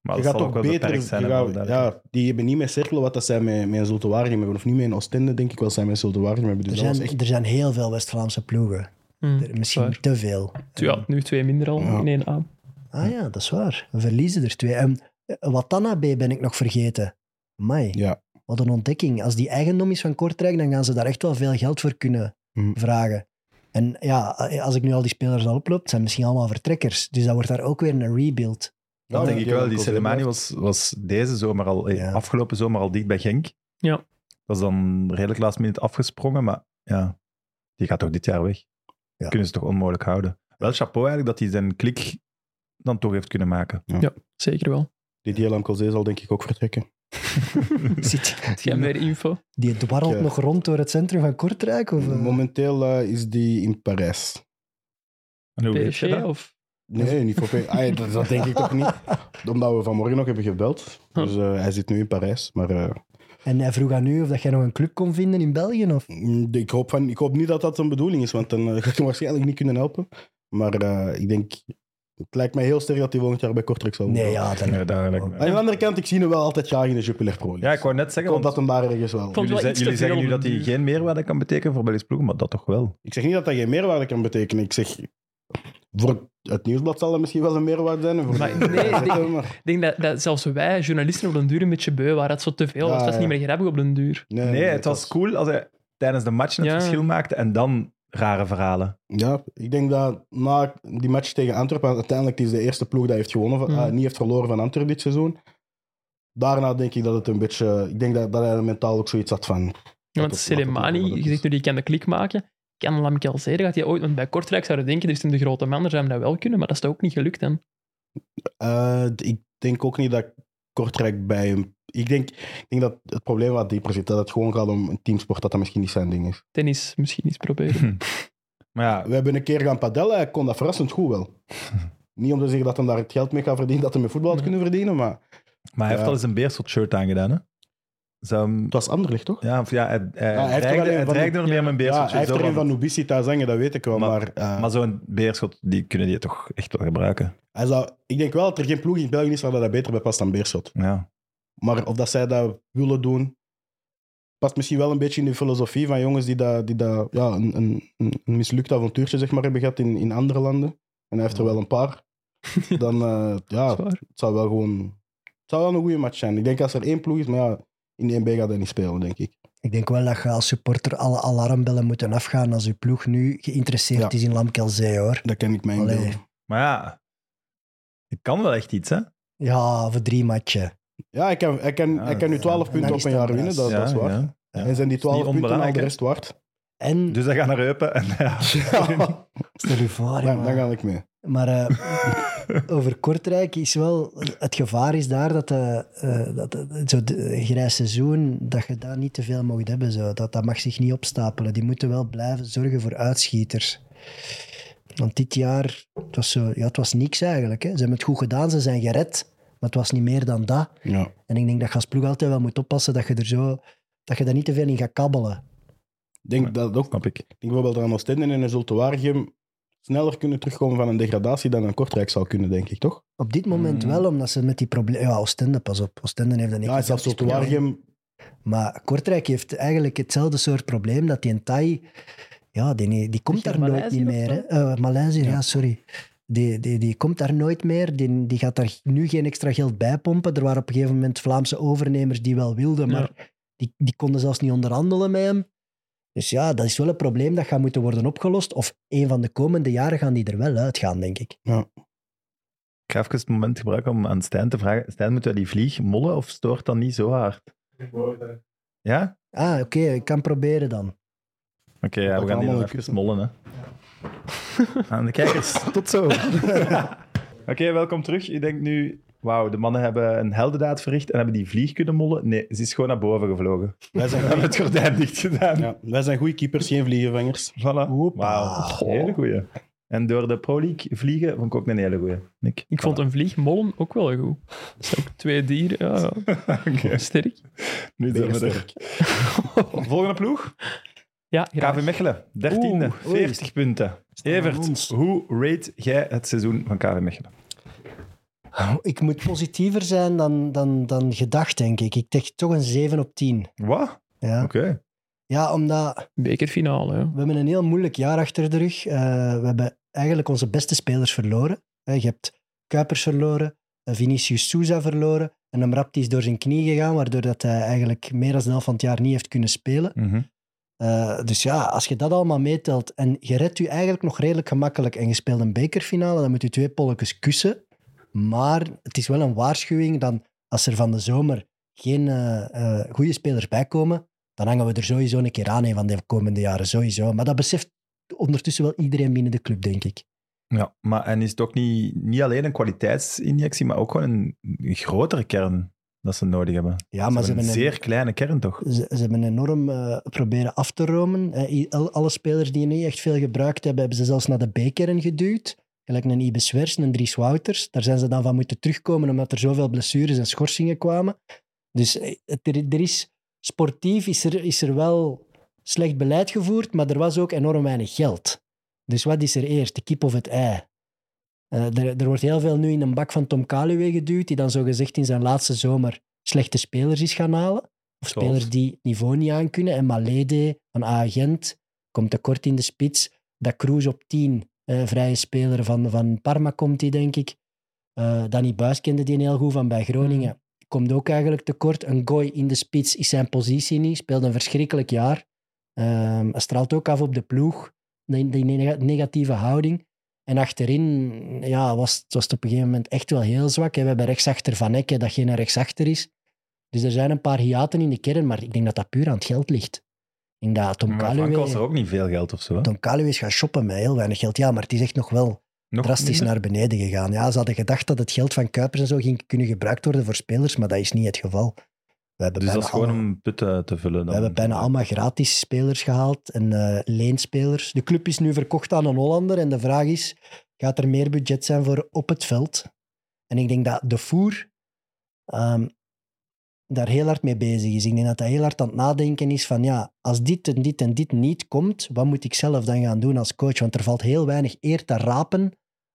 [SPEAKER 1] Maar dat
[SPEAKER 3] je gaat
[SPEAKER 1] zal ook
[SPEAKER 3] toch
[SPEAKER 1] wel
[SPEAKER 3] beter.
[SPEAKER 1] beperkt zijn.
[SPEAKER 3] je
[SPEAKER 1] hè,
[SPEAKER 3] gaat-
[SPEAKER 1] voor alle duidelijkheid.
[SPEAKER 3] ja, die hebben niet met Cercle wat dat zij met, met een Zultuari hebben, of niet met een Oostende, denk ik wel, zij met Zultuari hebben. Dus
[SPEAKER 4] Er
[SPEAKER 3] dat was
[SPEAKER 4] zijn,
[SPEAKER 3] echt
[SPEAKER 4] er zijn heel veel West-Vlaamse ploegen.
[SPEAKER 5] Hm.
[SPEAKER 4] Er- misschien
[SPEAKER 5] Waar.
[SPEAKER 4] te veel.
[SPEAKER 5] Ja, nu twee minder al
[SPEAKER 3] Ja.
[SPEAKER 5] in één aan.
[SPEAKER 4] Ah ja, dat is waar. We verliezen er twee. En eh, Watanabe ben ik nog vergeten. Mai,
[SPEAKER 3] Ja.
[SPEAKER 4] wat een ontdekking. Als die eigendom is van Kortrijk, dan gaan ze daar echt wel veel geld voor kunnen
[SPEAKER 3] Mhm.
[SPEAKER 4] vragen. En ja, eh, als ik nu al die spelers al oploop, het zijn misschien allemaal vertrekkers. Dus dat wordt daar ook weer een rebuild. Eh,
[SPEAKER 1] Dat
[SPEAKER 3] Ja,
[SPEAKER 4] Nou,
[SPEAKER 1] denk
[SPEAKER 3] ja,
[SPEAKER 1] ik
[SPEAKER 3] ja,
[SPEAKER 1] wel.
[SPEAKER 3] dat
[SPEAKER 1] Die
[SPEAKER 3] klopt,
[SPEAKER 1] Selemani
[SPEAKER 3] ja.
[SPEAKER 1] was, was deze zomer al, eh,
[SPEAKER 4] Ja.
[SPEAKER 1] afgelopen zomer al dicht bij Genk.
[SPEAKER 5] Ja.
[SPEAKER 1] Dat is dan redelijk last minute afgesprongen, maar ja, die gaat toch dit jaar weg.
[SPEAKER 4] Ja.
[SPEAKER 1] Kunnen ze toch onmogelijk houden. Wel chapeau eigenlijk dat hij zijn klik dan toch heeft kunnen maken.
[SPEAKER 5] Zeker wel.
[SPEAKER 3] Die DLM Colzee zal denk ik ook vertrekken.
[SPEAKER 4] Zit,
[SPEAKER 5] Heb jij meer info?
[SPEAKER 4] die dwarrelt
[SPEAKER 3] Ja.
[SPEAKER 4] nog rond door het centrum van Kortrijk? Of, eh?
[SPEAKER 3] Momenteel eh, is die in Parijs.
[SPEAKER 1] En hoe weet
[SPEAKER 5] PSG
[SPEAKER 1] je dat?
[SPEAKER 5] of...
[SPEAKER 3] Nee, niet voor P- Ah, dat, dat denk ik toch niet. Omdat we vanmorgen nog hebben gebeld. Dus
[SPEAKER 1] Hm.
[SPEAKER 3] eh, hij zit nu in Parijs. Maar eh,
[SPEAKER 4] En hij vroeg aan u of dat jij nog een club kon vinden in België? Of?
[SPEAKER 3] mm, ik, hoop van, ik hoop niet dat dat een bedoeling is, want dan eh, ga ik hem waarschijnlijk niet kunnen helpen. Maar eh, ik denk, het lijkt mij heel sterk dat hij volgend jaar bij Kortrijk zal
[SPEAKER 4] Nee,
[SPEAKER 3] voetballen.
[SPEAKER 4] ja, dan...
[SPEAKER 1] Ja, daar lijkt me-
[SPEAKER 3] Aan de andere kant, ik zie hem wel altijd graag in de Jupiler Pro League.
[SPEAKER 1] Ja, ik wou net
[SPEAKER 3] ik
[SPEAKER 1] zeggen,
[SPEAKER 3] hoop
[SPEAKER 1] want
[SPEAKER 3] dat hem daar ergens wel.
[SPEAKER 5] Vond
[SPEAKER 1] jullie,
[SPEAKER 5] wel
[SPEAKER 1] ze-
[SPEAKER 5] iets
[SPEAKER 1] jullie
[SPEAKER 5] te
[SPEAKER 1] zeggen
[SPEAKER 5] veel
[SPEAKER 1] nu dat
[SPEAKER 5] op de
[SPEAKER 1] hij
[SPEAKER 5] duur.
[SPEAKER 1] geen meerwaarde kan betekenen voor Belgisch ploeg, maar dat toch wel.
[SPEAKER 3] Ik zeg niet dat dat geen meerwaarde kan betekenen. Ik zeg, voor het nieuwsblad zal dat misschien wel een meerwaarde zijn. en Voor
[SPEAKER 5] Maar nee,
[SPEAKER 3] Ja,
[SPEAKER 5] nee.
[SPEAKER 3] maar-
[SPEAKER 5] Ik denk dat, dat zelfs wij, journalisten, op den duur een beetje beu waren. Dat zo te veel
[SPEAKER 3] Ja,
[SPEAKER 5] was. Dat is
[SPEAKER 3] ja.
[SPEAKER 5] niet meer grappig op den duur.
[SPEAKER 1] Nee, het was cool als hij tijdens de match het
[SPEAKER 5] Ja.
[SPEAKER 1] verschil maakte en dan rare verhalen.
[SPEAKER 3] Ja, ik denk dat na die match tegen Antwerpen, uiteindelijk het is de eerste ploeg dat heeft gewonnen, van,
[SPEAKER 5] Mm.
[SPEAKER 3] eh, niet heeft verloren van Antwerpen dit seizoen. Daarna denk ik dat het een beetje... Ik denk dat, dat hij mentaal ook zoiets had van...
[SPEAKER 5] Ja,
[SPEAKER 3] Dat
[SPEAKER 5] want
[SPEAKER 3] is- dat is- dat
[SPEAKER 5] Selemani,
[SPEAKER 3] is-
[SPEAKER 5] je zegt nu, die kan de klik maken. Kan Lamkel zeer gaat hij ooit... Want bij Kortrijk zouden denken, er is hem de grote man, daar zou hem dat wel kunnen, maar dat is toch ook niet gelukt dan?
[SPEAKER 3] eh, ik denk ook niet dat Kortrijk bij hem... Ik denk, ik denk dat het probleem wat dieper zit. Dat het gewoon gaat om een teamsport, dat dat misschien niet zijn ding is.
[SPEAKER 5] Tennis misschien eens proberen.
[SPEAKER 1] Maar ja,
[SPEAKER 3] We hebben een keer gaan padellen, hij kon dat verrassend goed wel. niet om te zeggen dat hij daar het geld mee gaat verdienen, dat hij met voetbal had
[SPEAKER 5] Nee.
[SPEAKER 3] kunnen verdienen, maar
[SPEAKER 1] maar hij
[SPEAKER 3] Ja.
[SPEAKER 1] heeft al eens een Beerschot shirt aangedaan, hè? Zou hem-
[SPEAKER 3] het was anderlicht, toch?
[SPEAKER 1] ja, of ja, eh, hij, hij
[SPEAKER 3] hij heeft
[SPEAKER 1] dreigde,
[SPEAKER 3] er wel een
[SPEAKER 1] hij
[SPEAKER 3] van die-
[SPEAKER 1] dreigde nog meer met een Beerschot
[SPEAKER 3] Ja,
[SPEAKER 1] shirt.
[SPEAKER 3] hij heeft
[SPEAKER 1] zo
[SPEAKER 3] er een
[SPEAKER 1] was
[SPEAKER 3] van
[SPEAKER 1] het.
[SPEAKER 3] Nubisita zangen, dat weet ik wel.
[SPEAKER 1] Maar-
[SPEAKER 3] Maar, eh,
[SPEAKER 1] Maar zo'n Beerschot, die kunnen die toch echt wel gebruiken.
[SPEAKER 3] hij zou, ik denk wel dat er geen ploeg in België is waar dat beter bij past dan Beerschot.
[SPEAKER 1] Ja.
[SPEAKER 3] Maar of dat zij dat willen doen, past misschien wel een beetje in de filosofie van jongens die, dat, die dat, ja, een, een, een mislukt avontuurtje zeg maar, hebben gehad in, in andere landen. En hij heeft er wel een paar. Dan eh, ja,
[SPEAKER 5] Dat is waar.
[SPEAKER 3] het zou wel gewoon het zou wel een goede match zijn. Ik denk als er één ploeg is, maar ja, in de NBA gaat hij niet spelen, denk ik.
[SPEAKER 4] Ik denk wel dat je als supporter alle alarmbellen moeten afgaan als je ploeg nu geïnteresseerd
[SPEAKER 3] Ja.
[SPEAKER 4] is in Lamkelzee, hoor.
[SPEAKER 3] Dat ken ik mij
[SPEAKER 4] Allee.
[SPEAKER 3] inbeelden.
[SPEAKER 1] Maar ja, het kan wel echt iets, hè?
[SPEAKER 4] Ja, voor drie matchen.
[SPEAKER 3] Ja, hij kan, hij kan,
[SPEAKER 1] Ja,
[SPEAKER 3] hij kan nu
[SPEAKER 1] ja.
[SPEAKER 3] 12
[SPEAKER 4] En
[SPEAKER 3] punten
[SPEAKER 4] dan
[SPEAKER 3] op
[SPEAKER 4] is
[SPEAKER 3] een
[SPEAKER 4] het
[SPEAKER 3] jaar
[SPEAKER 4] een
[SPEAKER 3] winnen, dat,
[SPEAKER 4] prijs.
[SPEAKER 3] dat is waar.
[SPEAKER 1] ja. ja.
[SPEAKER 3] En zijn die
[SPEAKER 1] niet
[SPEAKER 3] 12 punten al
[SPEAKER 1] onbelangrijk,
[SPEAKER 3] de
[SPEAKER 1] hè?
[SPEAKER 3] rest waard?
[SPEAKER 4] En,
[SPEAKER 1] Dus hij gaat naar Eupen en ja.
[SPEAKER 3] Hm. Ja,
[SPEAKER 4] stel je voor,
[SPEAKER 3] dan,
[SPEAKER 4] man.
[SPEAKER 3] dan ga ik mee.
[SPEAKER 4] Maar eh, over Kortrijk is wel... Het gevaar is daar dat, de, eh, dat de- zo de- grijs seizoen, dat je daar niet te veel mag hebben. Zo. Dat, dat mag zich niet opstapelen. Die moeten wel blijven zorgen voor uitschieters. Want dit jaar, het was, zo, ja, het was niks eigenlijk. Hè. Ze hebben het goed gedaan, ze zijn gered. Maar het was niet meer dan dat.
[SPEAKER 3] Ja.
[SPEAKER 4] En ik denk dat je als ploeg altijd wel moet oppassen dat je er zo... Dat je daar niet te veel in gaat kabbelen.
[SPEAKER 3] Ik denk dat ook.
[SPEAKER 1] Snap ik.
[SPEAKER 3] Ik denk bijvoorbeeld aan Oostende en een Zulte Waregem sneller kunnen terugkomen van een degradatie dan een Kortrijk zou kunnen, denk ik, toch?
[SPEAKER 4] Op dit moment
[SPEAKER 1] Mm.
[SPEAKER 4] wel, omdat ze met die problemen... Ja, Oostende, pas op. Oostende heeft dan niks.
[SPEAKER 3] Ja, zelfs Zulte Waregem...
[SPEAKER 4] Maar Kortrijk heeft eigenlijk hetzelfde soort probleem dat die Thai, ja, die, die komt
[SPEAKER 5] Zeg,
[SPEAKER 4] daar nooit
[SPEAKER 5] Maleisië
[SPEAKER 4] niet
[SPEAKER 5] of
[SPEAKER 4] meer.
[SPEAKER 5] zo?
[SPEAKER 4] hè. Eh, Maleisië, ja, sorry. Die, die, die komt daar nooit meer. Die, die gaat daar nu geen extra geld bij pompen. Er waren op een gegeven moment Vlaamse overnemers die wel wilden, maar die, die konden zelfs niet onderhandelen met hem. Dus ja, dat is wel een probleem dat gaat moeten worden opgelost. Of een van de komende jaren gaan die er wel uitgaan, denk ik.
[SPEAKER 1] Ik ga even het moment gebruiken om aan Stijn te vragen. Stijn, moeten wij die vlieg mollen of stoort dat niet zo hard? Ja?
[SPEAKER 4] Ah, oké, ik kan proberen dan.
[SPEAKER 1] Oké, ja,
[SPEAKER 3] Dat
[SPEAKER 1] we
[SPEAKER 3] kan
[SPEAKER 1] gaan die
[SPEAKER 3] allemaal
[SPEAKER 1] nog
[SPEAKER 3] een
[SPEAKER 1] even mollen, hè. Aan de kijkers, tot zo. Oké, welkom terug. Je denkt nu, wauw, de mannen hebben een heldendaad verricht en hebben die vlieg kunnen mollen. Nee, ze is gewoon naar boven gevlogen.
[SPEAKER 3] Wij
[SPEAKER 1] We
[SPEAKER 3] zijn,
[SPEAKER 1] hebben het gordijn dicht gedaan.
[SPEAKER 3] ja, wij zijn goede keepers, geen vliegenvangers.
[SPEAKER 1] Voilà.
[SPEAKER 4] Hoppa.
[SPEAKER 1] Wauw, een hele goeie. En door de Pro League vliegen vond ik ook een hele goeie. Nick.
[SPEAKER 5] Ik vond een vlieg mollen ook wel goed. Dat zijn ook twee dieren, ja,
[SPEAKER 1] Oké,
[SPEAKER 5] ja. sterk.
[SPEAKER 1] nu zijn we er. Volgende ploeg.
[SPEAKER 5] Ja, graag.
[SPEAKER 1] KV Mechelen, 13e,
[SPEAKER 4] Oeh, oei.
[SPEAKER 1] 40 punten. Evert, hoe rate jij het seizoen van KV Mechelen?
[SPEAKER 4] Oh, Ik moet positiever zijn dan, dan, dan gedacht, denk ik. Ik denk toch een 7 op 10.
[SPEAKER 1] Wat?
[SPEAKER 4] Ja.
[SPEAKER 1] Oké.
[SPEAKER 4] Ja, omdat
[SPEAKER 5] Bekerfinale, ja.
[SPEAKER 4] we hebben een heel moeilijk jaar achter de rug. Eh, we hebben eigenlijk onze beste spelers verloren. Hè, je hebt Kuipers verloren, eh, Vinicius Souza verloren. En Amrapti is door zijn knie gegaan, waardoor dat hij eigenlijk meer dan de helft van het jaar niet heeft kunnen spelen.
[SPEAKER 1] Mhm.
[SPEAKER 4] Eh, dus ja, als je dat allemaal meetelt en je redt u eigenlijk nog redelijk gemakkelijk en je speelt een bekerfinale, dan moet je twee polletjes kussen. Maar het is wel een waarschuwing dan als er van de zomer geen eh, eh, goede spelers bij komen, dan hangen we er sowieso een keer aan een van de komende jaren, sowieso. Maar dat beseft ondertussen wel iedereen binnen de club, denk ik.
[SPEAKER 1] Ja, maar en is het ook niet, niet alleen een kwaliteitsinjectie, maar ook gewoon een, een grotere kern dat ze nodig hebben.
[SPEAKER 4] Ja, maar ze
[SPEAKER 1] een
[SPEAKER 4] hebben een-
[SPEAKER 1] zeer kleine kern, toch?
[SPEAKER 4] Ze, ze hebben enorm eh, proberen af te romen. Eh, i- al- alle spelers die niet echt veel gebruikt hebben, hebben ze zelfs naar de B-kern geduwd. Gelijk een Ibe Swers, een Dries Wouters. Daar zijn ze dan van moeten terugkomen omdat er zoveel blessures en schorsingen kwamen. Dus eh, het- er, er is, sportief is er, is er wel slecht beleid gevoerd, maar er was ook enorm weinig geld. Dus wat is er eerst, de kip of het ei? Eh, er, er wordt heel veel nu in een bak van Tom Kaluwe geduwd, die dan zogezegd in zijn laatste zomer slechte spelers is gaan halen. Of
[SPEAKER 1] Klopt.
[SPEAKER 4] spelers die het niveau niet aankunnen. En Malede van A-agent komt tekort in de spits. Dat Cruz op 10, eh, vrije speler van, van Parma komt die, denk ik. Eh, Danny Buis kende die heel goed van bij Groningen. Komt ook eigenlijk tekort. Een gooi in de spits is zijn positie niet. Speelt een verschrikkelijk jaar. Ehm, hij straalt ook af op de ploeg. die, die nega- negatieve houding. En achterin ja, was, het- was het op een gegeven moment echt wel heel zwak. hè. We hebben rechtsachter Van Ecke, dat geen rechtsachter is. Dus er zijn een paar hiaten in de kern, maar ik denk dat dat puur aan het geld ligt. Ik denk dat Tom
[SPEAKER 1] Maar Frank was er
[SPEAKER 4] Kaluwe...
[SPEAKER 1] ook niet veel geld of zo. hè?
[SPEAKER 4] Tom Kaluwe is gaan shoppen met heel weinig geld. Ja, maar het is echt nog wel
[SPEAKER 1] Nog
[SPEAKER 4] drastisch
[SPEAKER 1] minder?
[SPEAKER 4] naar beneden gegaan. Ja, ze hadden gedacht dat het geld van Kuipers en zo ging kunnen gebruikt worden voor spelers, maar dat is niet het geval. We hebben
[SPEAKER 1] Dus dat
[SPEAKER 4] bijna
[SPEAKER 1] is gewoon
[SPEAKER 4] allemaal-
[SPEAKER 1] om put eh, te vullen.
[SPEAKER 4] we
[SPEAKER 1] dan.
[SPEAKER 4] hebben bijna allemaal gratis spelers gehaald en eh, leenspelers. De club is nu verkocht aan een Hollander en de vraag is, gaat er meer budget zijn voor op het veld? En ik denk dat de voer ehm, daar heel hard mee bezig is. Ik denk dat hij heel hard aan het nadenken is van, ja, als dit en dit en dit niet komt, wat moet ik zelf dan gaan doen als coach? Want er valt heel weinig eer te rapen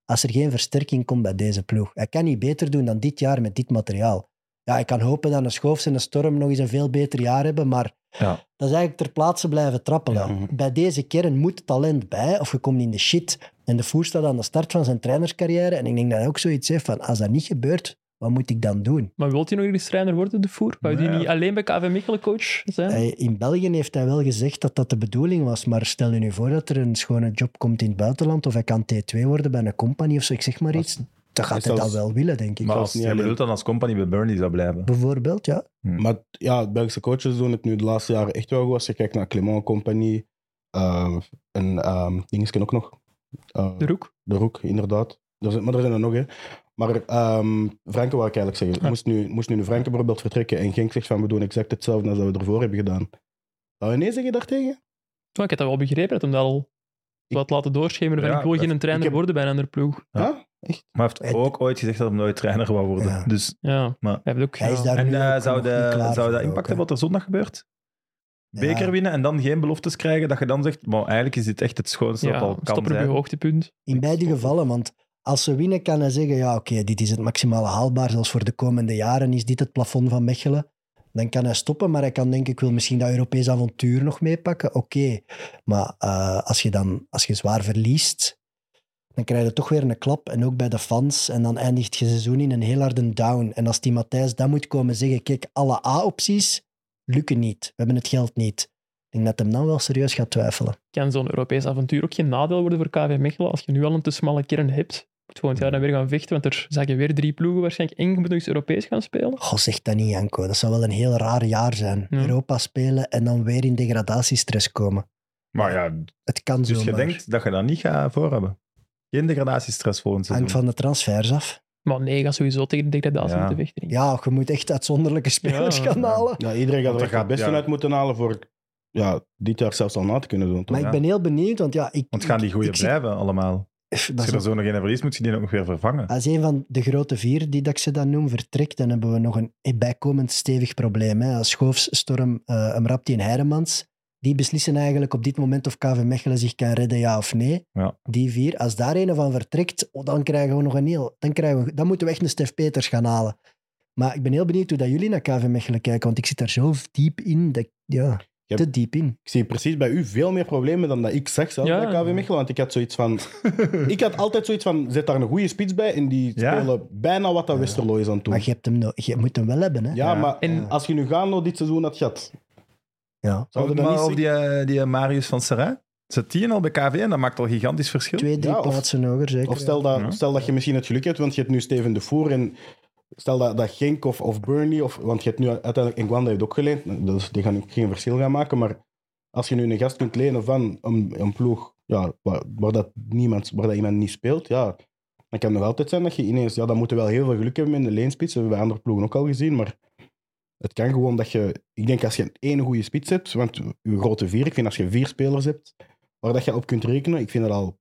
[SPEAKER 4] als er geen versterking komt bij deze ploeg. Hij kan niet beter doen dan dit jaar met dit materiaal. Ja, ik kan hopen dat een Schoofs en een Storm nog eens een veel beter jaar hebben, maar
[SPEAKER 1] Ja.
[SPEAKER 4] dat is eigenlijk ter plaatse blijven trappelen.
[SPEAKER 3] Ja.
[SPEAKER 4] Bij deze kern moet talent bij, of je komt in de shit. En de Voer staat aan de start van zijn trainerscarrière. En ik denk dat hij ook zoiets heeft van, als dat niet gebeurt, wat moet ik dan doen?
[SPEAKER 5] Maar wilt hij nog eens trainer worden, de voer? Wou die
[SPEAKER 1] Nee.
[SPEAKER 5] niet alleen bij KV Mechelen coach zijn?
[SPEAKER 4] Hij- Eh, in België heeft hij wel gezegd dat dat de bedoeling was. Maar stel je nu voor dat er een schone job komt in het buitenland, of hij kan T2 worden bij een compagnie of zo, ik zeg maar iets. Dan gaat
[SPEAKER 3] is
[SPEAKER 4] hij dat
[SPEAKER 3] Dus zelfs-
[SPEAKER 4] wel willen, denk ik.
[SPEAKER 1] Maar
[SPEAKER 3] was
[SPEAKER 1] als,
[SPEAKER 3] niet
[SPEAKER 1] jij
[SPEAKER 3] alleen.
[SPEAKER 1] bedoelt dan als company bij Burnley zou blijven.
[SPEAKER 4] Bijvoorbeeld, ja.
[SPEAKER 3] Maar ja, Belgische coaches doen het nu de laatste jaren echt wel goed. Als je kijkt naar Clement Company ehm, en ehm dingetje ook nog. Eh,
[SPEAKER 5] De Roek?
[SPEAKER 3] de Roek, inderdaad. Er zijn, maar er zijn er nog, hè. Maar ehm Franke wou ik eigenlijk zeggen.
[SPEAKER 5] Ja.
[SPEAKER 3] Moest, nu, moest nu de Franke bijvoorbeeld vertrekken en Genk zegt van we doen exact hetzelfde als dat we ervoor hebben gedaan. Zou je nee zeggen daartegen?
[SPEAKER 5] Ja, ik heb dat wel begrepen, dat hem dat al wat laten doorschemeren. van,
[SPEAKER 1] Ja,
[SPEAKER 5] ik wil
[SPEAKER 1] dat-
[SPEAKER 5] geen trainer
[SPEAKER 3] ik heb-
[SPEAKER 5] worden bij een ander ploeg.
[SPEAKER 1] Ja.
[SPEAKER 3] Ja.
[SPEAKER 1] Maar hij heeft ook ooit gezegd dat hij nooit trainer wou worden.
[SPEAKER 4] Ja.
[SPEAKER 1] Dus,
[SPEAKER 5] Ja,
[SPEAKER 1] Maar-
[SPEAKER 5] hij heeft ook...
[SPEAKER 4] Hij
[SPEAKER 5] ja.
[SPEAKER 4] is daar
[SPEAKER 1] en
[SPEAKER 4] nu
[SPEAKER 1] eh,
[SPEAKER 4] ook
[SPEAKER 1] zou,
[SPEAKER 4] nog niet
[SPEAKER 1] de,
[SPEAKER 4] klaar
[SPEAKER 1] zou
[SPEAKER 4] voor
[SPEAKER 1] dat
[SPEAKER 4] ook,
[SPEAKER 1] impact
[SPEAKER 4] hè.
[SPEAKER 1] hebben wat er zondag gebeurt?
[SPEAKER 4] Ja.
[SPEAKER 1] Beker winnen en dan geen beloftes krijgen. Dat je dan zegt, maar eigenlijk is dit echt het schoonste
[SPEAKER 5] Ja,
[SPEAKER 1] dat al kan
[SPEAKER 5] stop er op je
[SPEAKER 1] zijn.
[SPEAKER 5] hoogtepunt.
[SPEAKER 4] In beide gevallen, want als ze winnen kan hij zeggen, ja oké, dit is het maximale haalbaar, zelfs voor de komende jaren is dit het plafond van Mechelen. Dan kan hij stoppen, maar hij kan denken, ik wil misschien dat Europees avontuur nog meepakken. Oké, maar eh, als je dan als je zwaar verliest, dan krijg je toch weer een klap. En ook bij de fans. En dan eindigt je seizoen in een heel harde down. En als die Matthijs dan moet komen zeggen, kijk, alle A-opties lukken niet. We hebben het geld niet. Ik denk dat hem dan wel serieus gaat twijfelen.
[SPEAKER 5] Kan zo'n Europees avontuur ook geen nadeel worden voor KV Mechelen als je nu al een te smalle kern hebt? Moet volgend jaar dan weer gaan vechten, want er zagen weer drie ploegen waarschijnlijk. En je moet nog eens Europees gaan spelen.
[SPEAKER 4] Goh, zeg dat niet, Janko. Dat zou wel een heel raar jaar zijn.
[SPEAKER 5] Ja.
[SPEAKER 4] Europa spelen en dan weer in degradatiestress komen.
[SPEAKER 1] Maar ja,
[SPEAKER 4] Het kan zo
[SPEAKER 1] dus je
[SPEAKER 4] zomaar.
[SPEAKER 1] denkt dat je dat niet gaat voor hebben. Geen degradatiestress volgend seizoen.
[SPEAKER 4] Hangt van de transfers af.
[SPEAKER 5] Maar nee, je gaat sowieso tegen de degradatie
[SPEAKER 1] Ja.
[SPEAKER 5] moeten vechten.
[SPEAKER 4] Ja, je moet echt uitzonderlijke spelers
[SPEAKER 5] Ja.
[SPEAKER 4] gaan halen.
[SPEAKER 3] Ja, iedereen gaat
[SPEAKER 1] Want
[SPEAKER 3] er
[SPEAKER 1] dat
[SPEAKER 3] echt het
[SPEAKER 1] gaat-
[SPEAKER 3] beste
[SPEAKER 1] ja.
[SPEAKER 3] uit moeten halen voor ja, dit jaar zelfs al na te kunnen doen. toch?
[SPEAKER 4] Maar ik
[SPEAKER 1] ja.
[SPEAKER 4] ben heel benieuwd, want ja... Ik,
[SPEAKER 1] Want gaan die goeie
[SPEAKER 4] ik zie-
[SPEAKER 1] blijven allemaal?
[SPEAKER 4] Dat
[SPEAKER 1] Als
[SPEAKER 4] is
[SPEAKER 1] je er zo nog een verliest, moet je die ook nog weer vervangen.
[SPEAKER 4] Als een van de grote vier, die dat ik ze dan noem, vertrekt, dan hebben we nog een bijkomend stevig probleem. Hè. Als Schoofs, Storm, eh Mrapti en Heiremans, die beslissen eigenlijk op dit moment of KV Mechelen zich kan redden, ja of nee.
[SPEAKER 1] Ja.
[SPEAKER 4] Die vier, als daar een van vertrekt, oh, dan krijgen we nog een heel... Dan, krijgen we, dan moeten we echt een Stef Peters gaan halen. Maar ik ben heel benieuwd hoe dat jullie naar KV Mechelen kijken, want ik zit daar zo diep in, dat, ik- ja,
[SPEAKER 3] Je
[SPEAKER 4] te diep in.
[SPEAKER 3] Ik zie precies bij u veel meer problemen dan dat ik zeg zelf
[SPEAKER 5] Ja.
[SPEAKER 3] bij KV Mechelen. Want ik had zoiets van... ik had altijd zoiets van, zet daar een goede spits bij en die
[SPEAKER 1] Ja.
[SPEAKER 3] spelen bijna wat dat Westerlo is aan het doen.
[SPEAKER 4] Maar je, hebt hem, no- je moet hem wel hebben, hè.
[SPEAKER 3] Ja,
[SPEAKER 1] Ja.
[SPEAKER 3] maar
[SPEAKER 5] En-
[SPEAKER 3] als je nu Gano dit seizoen had gehad,
[SPEAKER 4] Ja.
[SPEAKER 3] zou je dan
[SPEAKER 1] maar
[SPEAKER 3] niet
[SPEAKER 1] of
[SPEAKER 3] zeggen-
[SPEAKER 1] die, eh, die Marius van Serrain? Zet die al bij KV en dat maakt al gigantisch verschil.
[SPEAKER 4] Twee, drie
[SPEAKER 3] Ja, of-
[SPEAKER 4] plaatsen hoger, zeker.
[SPEAKER 3] Of stel dat,
[SPEAKER 1] Ja.
[SPEAKER 3] stel dat je misschien het geluk hebt, want je hebt nu Steven de Voer en stel dat, dat Genk of, of Burnley, of, want je hebt nu uiteindelijk Engwanda heeft ook geleend, dus die gaan ook geen verschil gaan maken, maar als je nu een gast kunt lenen van een, een ploeg ja, waar, waar dat niemand, waar dat iemand niet speelt, ja, dan kan het nog altijd zijn dat je ineens, ja, dan moeten wel heel veel geluk hebben in de leenspits, dat hebben we bij andere ploegen ook al gezien, maar het kan gewoon dat je, ik denk als je één goede spits hebt, want je grote vier, ik vind als je vier spelers hebt waar dat je op kunt rekenen, ik vind dat al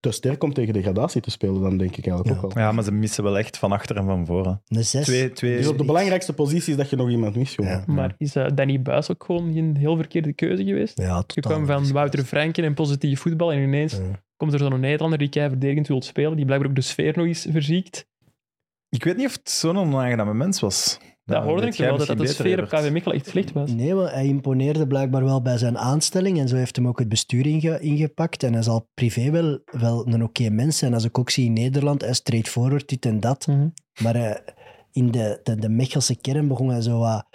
[SPEAKER 3] te sterk om tegen degradatie te spelen, dan denk ik eigenlijk
[SPEAKER 4] Ja.
[SPEAKER 3] ook wel.
[SPEAKER 1] Ja, maar ze missen wel echt van achter en van voren.
[SPEAKER 4] Een zes.
[SPEAKER 1] Twee, twee...
[SPEAKER 3] Dus op de
[SPEAKER 4] niks.
[SPEAKER 3] belangrijkste positie is dat je nog iemand mist, jongen.
[SPEAKER 4] Ja.
[SPEAKER 5] Maar is eh, Danny Buis ook gewoon geen heel verkeerde keuze geweest?
[SPEAKER 4] Ja,
[SPEAKER 5] Je
[SPEAKER 4] totaal
[SPEAKER 5] kwam van
[SPEAKER 4] niet.
[SPEAKER 5] Wouter Franken en positief voetbal en ineens
[SPEAKER 4] Ja.
[SPEAKER 5] komt er zo'n Nederlander die kei verdedigend wil spelen, die blijkbaar ook de sfeer nog eens verziekt.
[SPEAKER 1] Ik weet niet of het zo'n onaangename mens was.
[SPEAKER 3] Nou,
[SPEAKER 5] dat hoorde ik wel, dat dat de sfeer op KV Mechelen echt slecht was.
[SPEAKER 4] Nee, maar hij imponeerde blijkbaar wel bij zijn aanstelling. En zo heeft hem ook het bestuur inge- ingepakt. En hij zal privé wel, wel een oké mens zijn. Als ik ook zie in Nederland, hij is straightforward, dit en dat.
[SPEAKER 5] Mhm.
[SPEAKER 4] Maar eh, in de, de, de Mechelse kern begon hij zo wat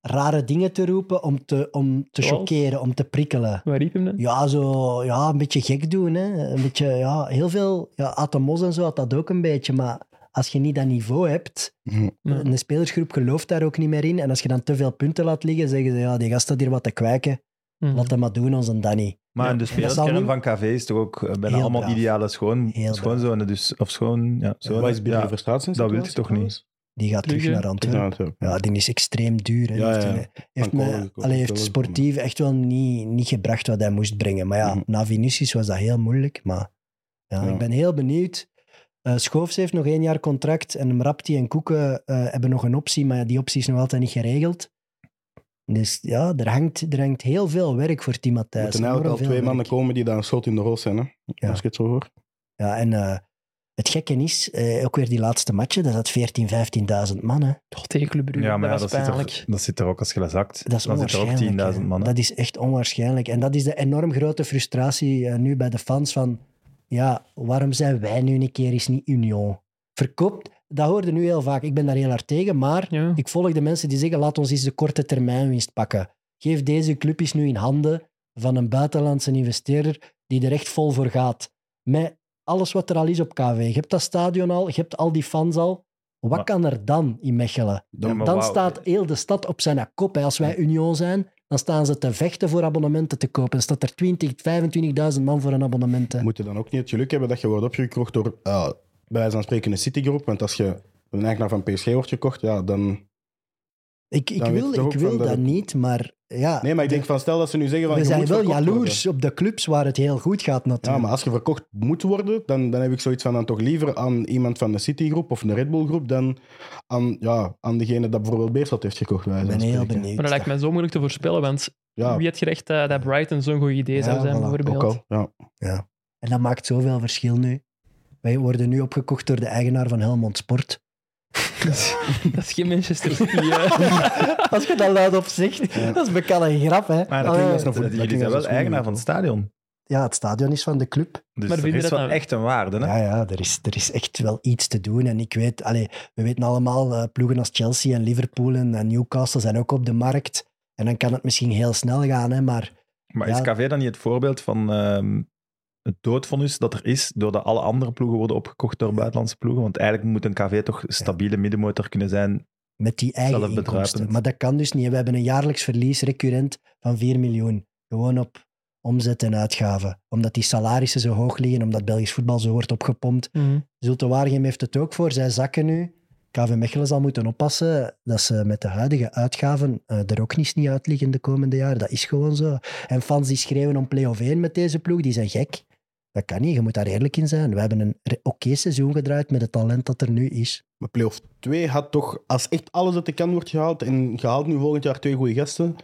[SPEAKER 4] rare dingen te roepen om te, om te
[SPEAKER 5] Zoals?
[SPEAKER 4] choqueren, om te prikkelen.
[SPEAKER 5] Waar riep hem dan?
[SPEAKER 4] Ja, zo, ja, een beetje gek doen. Hè? Een beetje, ja, heel veel. Ja, Atomos en zo had dat ook een beetje. Maar als je niet dat niveau hebt,
[SPEAKER 3] Hm.
[SPEAKER 5] Ja.
[SPEAKER 1] Mm.
[SPEAKER 4] een spelersgroep gelooft daar ook niet meer in. En als je dan te veel punten laat liggen, zeggen ze, ja, die gast staat hier wat te kwijken.
[SPEAKER 5] Mhm.
[SPEAKER 4] Laat hem maar doen, onze Danny.
[SPEAKER 1] Maar
[SPEAKER 5] Ja.
[SPEAKER 1] in de
[SPEAKER 4] En dat zal
[SPEAKER 1] speelkern
[SPEAKER 4] nu-
[SPEAKER 1] van KV is toch ook eh, bijna
[SPEAKER 4] Heel
[SPEAKER 1] allemaal
[SPEAKER 4] braaf.
[SPEAKER 1] ideale schoon,
[SPEAKER 4] Heel
[SPEAKER 1] schoonzone. Dus, of schoon, ja, zone.
[SPEAKER 3] Wat is binnen
[SPEAKER 1] Ja.
[SPEAKER 3] de frustratie?
[SPEAKER 1] dat wil je toch niet?
[SPEAKER 4] Die gaat terug
[SPEAKER 5] Brugge.
[SPEAKER 4] naar Antwerpen.
[SPEAKER 3] Ja, natuurlijk.
[SPEAKER 4] Ja, die is extreem duur. Hè.
[SPEAKER 3] Ja,
[SPEAKER 4] heeft,
[SPEAKER 3] ja.
[SPEAKER 4] een- heeft,
[SPEAKER 3] Van
[SPEAKER 4] me-
[SPEAKER 3] Kolen gekocht,
[SPEAKER 4] allee,
[SPEAKER 3] dat
[SPEAKER 4] heeft
[SPEAKER 3] is
[SPEAKER 4] sportief echt wel niet, niet gebracht wat hij moest brengen. Maar ja,
[SPEAKER 3] Mhm.
[SPEAKER 4] na Vinicius was dat heel moeilijk. Maar ja,
[SPEAKER 3] Ja.
[SPEAKER 4] ik ben heel benieuwd. Eh Schoofs heeft nog één jaar contract en Mrapti en Koeken eh, hebben nog een optie, maar die optie is nog altijd niet geregeld. Dus ja, er hangt, er hangt heel veel werk voor Tim
[SPEAKER 3] Er
[SPEAKER 4] Matthijs.
[SPEAKER 3] moeten eigenlijk al
[SPEAKER 4] Enorm veel
[SPEAKER 3] twee mannen
[SPEAKER 4] werk.
[SPEAKER 3] komen die daar een schot in de rol zijn, hè?
[SPEAKER 4] Ja.
[SPEAKER 3] als ik het zo hoor.
[SPEAKER 4] Ja, en eh, het gekke is, eh, ook weer die laatste matchen, dat had 14.000, 15.000 man. Hè.
[SPEAKER 5] Toch tegen Club Brugge,
[SPEAKER 1] Ja, maar ja,
[SPEAKER 5] dat
[SPEAKER 1] dat,
[SPEAKER 5] was
[SPEAKER 1] zit
[SPEAKER 5] pijnlijk.
[SPEAKER 1] er, dat zit er ook als je dat zakt.
[SPEAKER 4] Dat is
[SPEAKER 1] dan zit er ook
[SPEAKER 4] onwaarschijnlijk.
[SPEAKER 1] 10.000
[SPEAKER 4] hè.
[SPEAKER 1] man.
[SPEAKER 4] Dat is echt onwaarschijnlijk. En dat is de enorm grote frustratie eh, nu bij de fans van... Ja, waarom zijn wij nu een keer eens niet Union? Verkoopt, dat hoorde nu heel vaak. Ik ben daar heel hard tegen, maar
[SPEAKER 5] Ja.
[SPEAKER 4] ik volg de mensen die zeggen... Laat ons eens de korte termijn winst pakken. Geef deze club eens nu in handen van een buitenlandse investeerder die er echt vol voor gaat. Met alles wat er al is op KV. Je hebt dat stadion al, je hebt al die fans al. Wat
[SPEAKER 1] Maar-
[SPEAKER 4] kan er dan in Mechelen?
[SPEAKER 1] Ja, maar
[SPEAKER 4] Dan
[SPEAKER 1] wauw.
[SPEAKER 4] staat heel de stad op zijn kop. Hè. Als wij Union zijn, dan staan ze te vechten voor abonnementen te kopen. Dan staat er 20, 25.000 man voor een abonnement. hè.
[SPEAKER 3] Moet je dan ook niet het geluk hebben dat je wordt opgekocht door, eh, bij wijze van spreken, een Citygroep? Want als je een eigenaar van PSG wordt gekocht, ja, dan...
[SPEAKER 4] Ik, ik
[SPEAKER 3] dan weet je
[SPEAKER 4] wil,
[SPEAKER 3] toch ook
[SPEAKER 4] ik wil
[SPEAKER 3] van dat
[SPEAKER 4] dat
[SPEAKER 3] het-
[SPEAKER 4] niet, maar ja,
[SPEAKER 3] Nee, maar ik denk van, stel dat ze nu zeggen van...
[SPEAKER 4] we
[SPEAKER 3] je
[SPEAKER 4] zijn
[SPEAKER 3] moet
[SPEAKER 4] wel
[SPEAKER 3] verkocht worden.
[SPEAKER 4] jaloers op de clubs waar het heel goed gaat
[SPEAKER 3] Ja,
[SPEAKER 4] natuurlijk.
[SPEAKER 3] maar als je verkocht moet worden, dan, dan heb ik zoiets van dan toch liever aan iemand van de Citygroep of een Red Bull groep dan aan, ja, aan degene dat bijvoorbeeld Beerschot heeft gekocht. bij
[SPEAKER 4] ik
[SPEAKER 3] wijze
[SPEAKER 4] ben
[SPEAKER 3] van
[SPEAKER 4] heel
[SPEAKER 3] spreken.
[SPEAKER 4] benieuwd.
[SPEAKER 5] Maar dat lijkt mij zo moeilijk te voorspellen, want
[SPEAKER 3] Ja,
[SPEAKER 5] wie had gerecht eh, dat Brighton zo'n goed idee
[SPEAKER 4] Ja,
[SPEAKER 5] zou zijn,
[SPEAKER 4] voilà,
[SPEAKER 5] bijvoorbeeld?
[SPEAKER 3] ook al. Ja.
[SPEAKER 4] En dat maakt zoveel verschil nu. Wij worden nu opgekocht door de eigenaar van Helmond Sport.
[SPEAKER 5] Dat is geen Manchester City. eh.
[SPEAKER 4] Als je dat luidop zegt,
[SPEAKER 3] Ja.
[SPEAKER 4] dat is bekend een grap, hè.
[SPEAKER 1] Maar dat
[SPEAKER 4] Allee,
[SPEAKER 1] klinkt
[SPEAKER 3] als een
[SPEAKER 1] alsof-
[SPEAKER 3] voet- dat
[SPEAKER 1] jullie
[SPEAKER 3] klinkt
[SPEAKER 1] zijn
[SPEAKER 3] als
[SPEAKER 1] wel
[SPEAKER 3] een
[SPEAKER 1] eigenaar
[SPEAKER 3] schoenenmerk,
[SPEAKER 1] van het
[SPEAKER 3] hoor.
[SPEAKER 1] stadion.
[SPEAKER 4] Ja, het stadion is van de club.
[SPEAKER 1] Dus
[SPEAKER 5] Maar
[SPEAKER 1] er
[SPEAKER 5] vinden
[SPEAKER 1] is
[SPEAKER 5] dat
[SPEAKER 1] wel
[SPEAKER 5] nou-
[SPEAKER 1] echt een waarde. Hè?
[SPEAKER 4] Ja, ja er, is, er is echt wel iets te doen. En ik weet, allee, we weten allemaal, eh, ploegen als Chelsea en Liverpool en, en Newcastle zijn ook op de markt. En dan kan het misschien heel snel gaan, hè, maar
[SPEAKER 1] Maar
[SPEAKER 4] Ja.
[SPEAKER 1] is KV dan niet het voorbeeld van ehm, het doodvonnis dat er is doordat alle andere ploegen worden opgekocht door buitenlandse ploegen? Want eigenlijk moet een KV toch stabiele middenmotor kunnen zijn.
[SPEAKER 4] met die eigen
[SPEAKER 1] Zelfbedruipend.
[SPEAKER 4] inkomsten. Maar dat kan dus niet. We hebben een jaarlijks verlies, recurrent, van 4 miljoen. Gewoon op omzet en uitgaven. Omdat die salarissen zo hoog liggen, omdat Belgisch voetbal zo wordt opgepompt.
[SPEAKER 5] Mhm.
[SPEAKER 4] Zulte Waregem heeft het ook voor. Zij zakken nu. KV Mechelen zal moeten oppassen dat ze met de huidige uitgaven eh, er ook niet niet uit liggen de komende jaren. Dat is gewoon zo. En fans die schreeuwen om play-off 1 met deze ploeg, die zijn gek. Dat kan niet, je moet daar eerlijk in zijn. We hebben een re- oké seizoen gedraaid met het talent dat er nu is.
[SPEAKER 3] Maar playoff 2 had toch, als echt alles uit de kan wordt gehaald en gehaald nu volgend jaar twee goede gasten.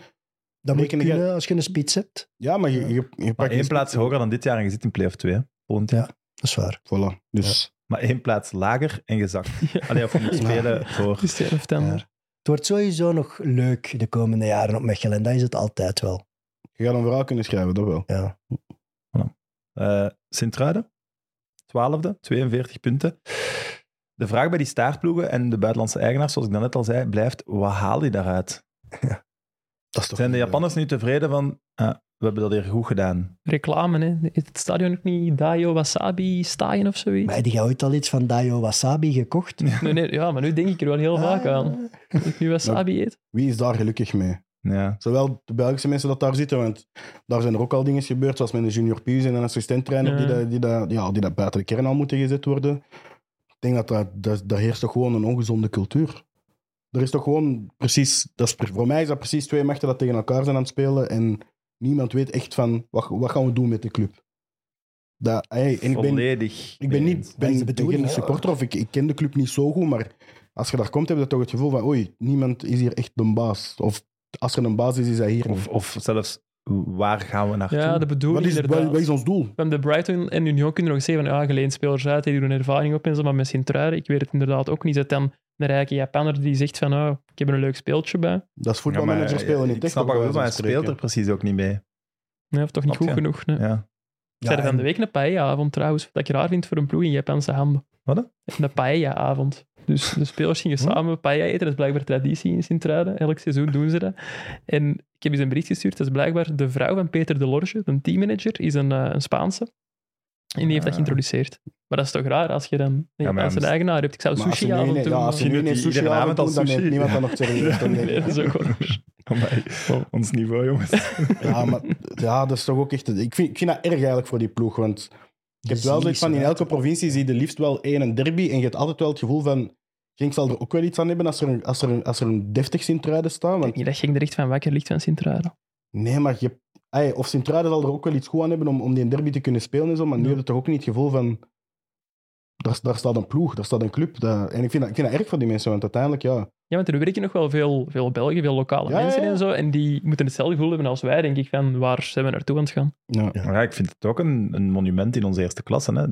[SPEAKER 4] Dat moet
[SPEAKER 3] Rekenen jij-
[SPEAKER 4] kunnen als je een spits hebt.
[SPEAKER 3] Ja, maar je, je, je pakt
[SPEAKER 1] Maar één
[SPEAKER 3] een-
[SPEAKER 1] plaats hoger dan dit jaar en je zit in play-off 2. Volgend jaar.
[SPEAKER 4] Dat is waar.
[SPEAKER 3] Voilà. Dus
[SPEAKER 1] Maar één plaats lager en gezakt. Alleen of je moet spelen voor.
[SPEAKER 5] Het is 11 september.
[SPEAKER 4] Ehm, Het wordt sowieso nog leuk de komende jaren op Mechelen. En dat is het altijd wel.
[SPEAKER 3] je gaat een verhaal kunnen schrijven, dat wel.
[SPEAKER 4] Ja.
[SPEAKER 1] eh Sint-Truiden, 12e, 42 punten. De vraag bij die staartploegen en de buitenlandse eigenaars, zoals ik daarnet al zei, blijft: wat haal je daaruit?
[SPEAKER 3] Dat is toch eh,
[SPEAKER 1] Zijn de Japanners nu tevreden van. ah, we hebben dat hier goed gedaan.
[SPEAKER 5] Reclame, hè. Is het stadion ook niet Dayo Wasabi staaien of zoiets?
[SPEAKER 4] Maar heb je ooit al iets van Dayo Wasabi gekocht?
[SPEAKER 5] Nee, nee, ja, maar nu denk ik er wel heel vaak aan.
[SPEAKER 4] Ah,
[SPEAKER 5] Dat ik nu Wasabi eet.
[SPEAKER 3] Wie is daar gelukkig mee?
[SPEAKER 1] Ja.
[SPEAKER 3] Zowel de Belgische mensen dat daar zitten, want daar zijn er ook al dingen gebeurd, zoals met een junior Pius en een assistenttrainer die,
[SPEAKER 5] Ja.
[SPEAKER 3] dat, die, dat, ja, die dat buiten de kern al moeten gezet worden. Ik denk dat daar dat, daar heerst toch gewoon een ongezonde cultuur. Er is toch gewoon precies, dat is, pre- voor mij is dat precies twee machten dat tegen elkaar zijn aan het spelen en niemand weet echt van wat, wat gaan we doen met de club. Dat, hey, en ik ben,
[SPEAKER 1] Volledig.
[SPEAKER 3] ik ben niet
[SPEAKER 4] Dat is de
[SPEAKER 3] ben, ben
[SPEAKER 4] bedoeling,
[SPEAKER 3] geen
[SPEAKER 4] hè?
[SPEAKER 3] supporter of ik, ik ken de club niet zo goed, maar als je daar komt, heb je toch het gevoel van oei, niemand is hier echt de baas. Of als er een baas is, is hij hier niet.
[SPEAKER 1] Of, of zelfs, waar gaan we naartoe?
[SPEAKER 5] Ja, de bedoeling
[SPEAKER 3] Wat is,
[SPEAKER 5] inderdaad.
[SPEAKER 3] wat, wat is ons doel?
[SPEAKER 5] We hebben de Brighton en Union kunnen nog zeggen van ja, geleend spelers uit, die doen ervaring op en zo, maar met Sint-Truiden, ik weet het inderdaad ook niet. Dat dan een rijke Japanner die zegt van oh, ik heb er een leuk speeltje bij.
[SPEAKER 3] Dat is
[SPEAKER 1] Ja, maar,
[SPEAKER 3] voetbalmanager
[SPEAKER 1] ja,
[SPEAKER 3] spelen niet
[SPEAKER 1] Ik
[SPEAKER 3] echt.
[SPEAKER 1] snap
[SPEAKER 3] op
[SPEAKER 1] wat je
[SPEAKER 3] wijze
[SPEAKER 1] bedoelt, maar
[SPEAKER 3] van
[SPEAKER 1] hij speelt er
[SPEAKER 3] spreken.
[SPEAKER 1] precies ook niet mee.
[SPEAKER 5] Nee, of toch niet
[SPEAKER 1] Snap
[SPEAKER 5] goed
[SPEAKER 1] je?
[SPEAKER 5] genoeg. nee.
[SPEAKER 1] Ja.
[SPEAKER 5] Ik zei er
[SPEAKER 4] en-
[SPEAKER 5] van de week een paella-avond trouwens. Wat ik raar vind voor een ploeg in Japanse handen.
[SPEAKER 1] Wat, hè?
[SPEAKER 5] Een paella-avond. Dus de spelers gingen samen paella eten. Dat is blijkbaar traditie in Sint-Truiden. Elk seizoen doen ze dat. En ik heb eens een bericht gestuurd. Dat is blijkbaar de vrouw van Peter de Lorge, een teammanager, is een, eh, een Spaanse. En die heeft dat
[SPEAKER 1] Ah.
[SPEAKER 5] geïntroduceerd. Maar dat is toch raar als je dan een
[SPEAKER 1] maar ja,
[SPEAKER 5] Japanse
[SPEAKER 1] mis-
[SPEAKER 5] eigenaar hebt. Ik zou
[SPEAKER 3] Maar als je nu
[SPEAKER 5] sushi-avond
[SPEAKER 3] niet-
[SPEAKER 5] doen.
[SPEAKER 3] ja, als je
[SPEAKER 1] Misschien
[SPEAKER 5] maar-
[SPEAKER 3] nu
[SPEAKER 1] doet
[SPEAKER 3] niet
[SPEAKER 1] hij
[SPEAKER 3] sushi
[SPEAKER 1] iedere avond
[SPEAKER 3] avond
[SPEAKER 1] al
[SPEAKER 3] doet, dan neemt
[SPEAKER 1] sushi.
[SPEAKER 3] niemand dat nog serieus. Dan denk
[SPEAKER 5] Nee,
[SPEAKER 3] ik-
[SPEAKER 5] dat is ook wel raar.
[SPEAKER 1] Amai.
[SPEAKER 5] Wow.
[SPEAKER 1] Ons niveau, jongens.
[SPEAKER 3] Ja, maar ja, dat is toch ook echt... Ik vind, ik vind dat erg eigenlijk voor die ploeg, want ik heb wel zoiets van, in elke provincie zie je liefst wel één en derby en je hebt altijd wel het gevoel van, Genk zal er ook wel iets aan hebben als er een, als er een, als er een deftig Sint-Truiden staat. Want
[SPEAKER 5] Ik denk niet dat ging er echt van wakker ligt van Sint-Truiden.
[SPEAKER 3] Nee, maar je, ey, of Sint-Truiden zal er ook wel iets goed aan hebben om, om die derby te kunnen spelen en zo, maar nu
[SPEAKER 5] Ja.
[SPEAKER 3] heb je toch ook niet het gevoel van... Daar, daar staat een ploeg, daar staat een club. dat- en ik vind, dat, ik vind dat erg voor die mensen, want uiteindelijk, ja...
[SPEAKER 5] Ja, want er werken nog wel veel, veel Belgen, veel lokale
[SPEAKER 3] Ja,
[SPEAKER 5] mensen
[SPEAKER 3] ja, ja.
[SPEAKER 5] en zo. En die moeten hetzelfde gevoel hebben als wij, denk ik, van waar zijn we naartoe aan het gaan.
[SPEAKER 3] ja.
[SPEAKER 1] Maar Ja, ik vind het ook een, een monument in onze eerste klasse. Hè.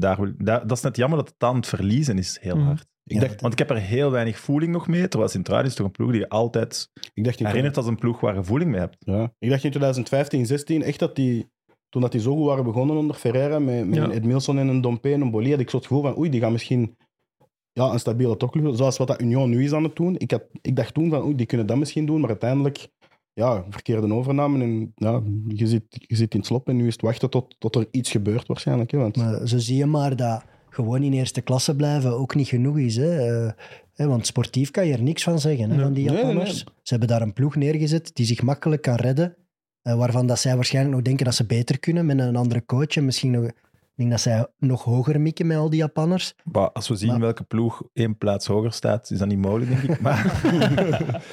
[SPEAKER 1] Daar, wil- daar- dat is net jammer dat het aan het verliezen is, heel
[SPEAKER 4] Mm.
[SPEAKER 5] Mhm.
[SPEAKER 1] hard.
[SPEAKER 3] Ik, dacht,
[SPEAKER 1] Want ik heb er heel weinig voeling nog mee, terwijl Sint-Truiden is toch een ploeg die je altijd
[SPEAKER 3] ik, dacht in,
[SPEAKER 1] herinnert als een ploeg waar je voeling mee hebt.
[SPEAKER 3] ja. ik dacht in 2015, 16, echt dat die... Toen dat die zo goed waren begonnen onder Ferreira, met, met
[SPEAKER 5] Ja.
[SPEAKER 3] een Edmilson en een Dompe en een Bolli, had ik zo het gevoel van, oei, die gaan misschien ja, een stabiele topclub, zoals wat dat Union nu is aan het doen. Ik, had, ik dacht toen van, oei, die kunnen dat misschien doen, maar uiteindelijk, ja, verkeerde overname en ja, je zit, je zit in het slop en nu is het wachten tot, tot er iets gebeurt waarschijnlijk. Hè, want,
[SPEAKER 4] Maar zo zie je maar dat gewoon in eerste klasse blijven ook niet genoeg is. Hè. Eh, hè, want sportief kan je er niks van zeggen, hè,
[SPEAKER 5] Nee.
[SPEAKER 4] van die
[SPEAKER 3] Nee, nee,
[SPEAKER 4] Japanners. Ze hebben daar een ploeg neergezet die zich makkelijk kan redden. eh, waarvan dat zij waarschijnlijk nog denken dat ze beter kunnen met een andere coach. En misschien nog, ik denk dat zij nog hoger mikken met al die Japanners.
[SPEAKER 1] Maar als we zien
[SPEAKER 4] Maar-
[SPEAKER 1] welke ploeg één plaats hoger staat, is dat niet mogelijk, denk ik. Maar,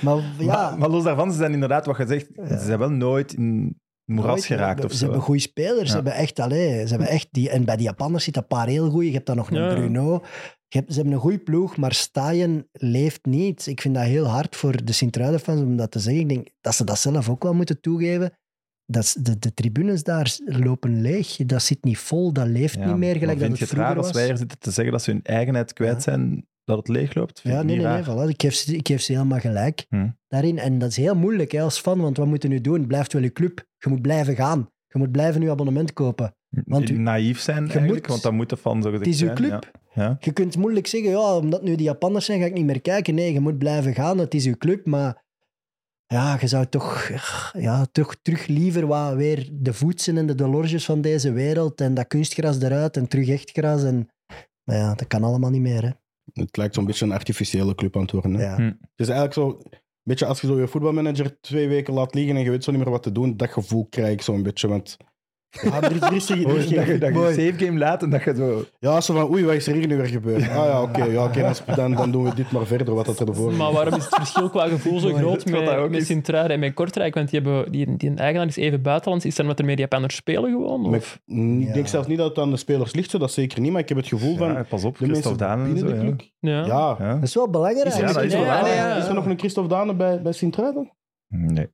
[SPEAKER 4] Maar ja,
[SPEAKER 1] maar, maar los daarvan, ze zijn inderdaad, wat je zegt, ze zijn wel nooit in het moeras
[SPEAKER 4] nooit-
[SPEAKER 1] geraakt of
[SPEAKER 4] Ze
[SPEAKER 1] zo.
[SPEAKER 4] hebben goede spelers. Ze
[SPEAKER 1] Ja.
[SPEAKER 4] hebben echt, allee, ze hebben echt die, en bij die Japanners zitten een paar heel goede. Je hebt dan nog een
[SPEAKER 5] Ja.
[SPEAKER 4] Bruno. Je hebt, ze hebben een goede ploeg, maar Staaien leeft niet. Ik vind dat heel hard voor de Sint-Truiden-fans om dat te zeggen. Ik denk dat ze dat zelf ook wel moeten toegeven. Dat is- de, de tribunes daar lopen leeg. Dat zit niet vol, dat leeft
[SPEAKER 1] Ja,
[SPEAKER 4] niet meer
[SPEAKER 1] maar
[SPEAKER 4] gelijk dat
[SPEAKER 1] vind
[SPEAKER 4] het
[SPEAKER 1] je het
[SPEAKER 4] vroeger
[SPEAKER 1] raar
[SPEAKER 4] was.
[SPEAKER 1] als wij hier zitten te zeggen dat ze hun eigenheid
[SPEAKER 4] Ja.
[SPEAKER 1] kwijt zijn, dat het leegloopt? Vind
[SPEAKER 4] Ja,
[SPEAKER 1] ik
[SPEAKER 4] nee,
[SPEAKER 1] niet
[SPEAKER 4] nee, nee.
[SPEAKER 1] raar.
[SPEAKER 4] voilà. Ik, geef ze, ik geef ze helemaal gelijk
[SPEAKER 1] Hm.
[SPEAKER 4] daarin. En dat is heel moeilijk hè, als fan, want wat moeten we nu doen? Blijft wel je club. Je moet blijven gaan. Je moet blijven je abonnement kopen. Want u-
[SPEAKER 1] Naïef zijn
[SPEAKER 4] je
[SPEAKER 1] eigenlijk,
[SPEAKER 4] moet-
[SPEAKER 1] want dan moet de fan zo gezegd
[SPEAKER 4] Het is uw
[SPEAKER 1] zijn,
[SPEAKER 4] club.
[SPEAKER 1] ja. Ja.
[SPEAKER 4] Je kunt moeilijk zeggen, ja, omdat nu die Japanners zijn, ga ik niet meer kijken. Nee, je moet blijven gaan, het is uw club. Maar ja, je zou toch, ja, toch terug liever wat weer de voetsen en de delorges van deze wereld en dat kunstgras eruit en terug echt gras. En, maar ja, dat kan allemaal niet meer. Hè.
[SPEAKER 3] Het lijkt zo'n beetje een artificiële club aan het worden. hè.
[SPEAKER 4] Ja.
[SPEAKER 1] Hm.
[SPEAKER 3] Het is eigenlijk zo, een beetje als je zo je voetbalmanager twee weken laat liggen en je weet zo niet meer wat te doen, dat gevoel krijg ik zo'n beetje. Want ja, er is, er is, er is
[SPEAKER 1] Oh, dat je,
[SPEAKER 3] geen-
[SPEAKER 1] dat je
[SPEAKER 3] Mooi.
[SPEAKER 1] een save game laat en dat je zo...
[SPEAKER 3] Ja, zo van, oei, wat is er hier nu weer gebeurd? Ah ja, oké, ja, oké, dan- dan, dan doen we dit maar verder, wat dat ervoor
[SPEAKER 5] Maar waarom is het verschil qua gevoel zo
[SPEAKER 1] Maar
[SPEAKER 5] groot
[SPEAKER 1] dat is wat dat
[SPEAKER 5] met,
[SPEAKER 1] ook
[SPEAKER 5] met
[SPEAKER 1] is.
[SPEAKER 5] Sint-Truiden en met Kortrijk? Want die, hebben, die, die eigenaar is even buitenlands. Is dat omdat er meer Japanners spelen gewoon? Of?
[SPEAKER 3] Met- mm, Ik denk
[SPEAKER 4] Ja.
[SPEAKER 3] zelfs niet dat het aan de spelers ligt, zo, dat zeker niet, maar ik heb het gevoel van...
[SPEAKER 1] Ja, pas op,
[SPEAKER 3] de
[SPEAKER 1] Christophe
[SPEAKER 3] mensen
[SPEAKER 1] Daan en
[SPEAKER 3] binnen
[SPEAKER 1] zo.
[SPEAKER 3] de
[SPEAKER 1] ja.
[SPEAKER 3] club. ah.
[SPEAKER 5] Ja. Ah,
[SPEAKER 3] Ja.
[SPEAKER 1] Ja.
[SPEAKER 4] Dat is wel belangrijk.
[SPEAKER 3] Is, er
[SPEAKER 1] Ja, dat
[SPEAKER 3] nog-
[SPEAKER 1] is wel
[SPEAKER 3] ja,
[SPEAKER 1] waar.
[SPEAKER 3] ja,
[SPEAKER 5] Ja, ja.
[SPEAKER 3] is er nog een Christophe Dane bij, bij Sint-Truiden?
[SPEAKER 1] Nee.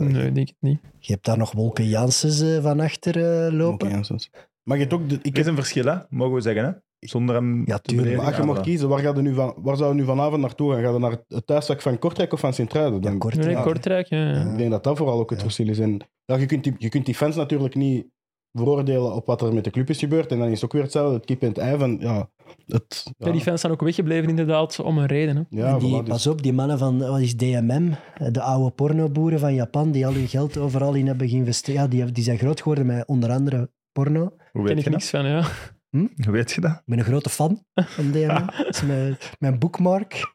[SPEAKER 5] Nee, ik denk het niet.
[SPEAKER 4] Eh, Je hebt daar nog Wolke Janssens eh, van achter eh, lopen.
[SPEAKER 3] Oké, ja, zo is- Maar je hebt ook... De, ik
[SPEAKER 1] Er is een verschil, hè? mogen we zeggen. Hè? Zonder hem
[SPEAKER 4] Ja,
[SPEAKER 1] te
[SPEAKER 4] tuurlijk.
[SPEAKER 1] beledigen.
[SPEAKER 3] maar als Ah, je mocht kiezen, waar, ga je nu van, waar zou je nu vanavond naartoe gaan? Ga je naar het thuisvak van Kortrijk of van Sint-Truiden?
[SPEAKER 4] Ja,
[SPEAKER 3] Dan-
[SPEAKER 4] kort.
[SPEAKER 5] Nee,
[SPEAKER 4] ja.
[SPEAKER 5] Kortrijk, ja. ja.
[SPEAKER 3] Ik denk dat dat vooral ook het
[SPEAKER 4] Ja.
[SPEAKER 3] verschil is. En ja, je, kunt die, je kunt die fans natuurlijk niet veroordelen op wat er met de club is gebeurd. En dan is het ook weer hetzelfde, het kip en het ei van... Ja, het, ja,
[SPEAKER 5] Ja, die fans zijn ook weggebleven inderdaad, om een reden. Hè.
[SPEAKER 3] ja,
[SPEAKER 4] En die,
[SPEAKER 3] voilà, dus-
[SPEAKER 4] Pas op, die mannen van wat is DMM, de oude pornoboeren van Japan, die al hun geld overal in hebben geïnvesteerd. Ja, die, die zijn groot geworden met onder andere porno.
[SPEAKER 1] Hoe
[SPEAKER 5] Daar
[SPEAKER 1] weet,
[SPEAKER 5] ken ik
[SPEAKER 1] je dat?
[SPEAKER 5] niks van, ja.
[SPEAKER 1] Hoe weet je dat?
[SPEAKER 4] Ik ben een grote fan van DMM. Dat is mijn, mijn bookmark.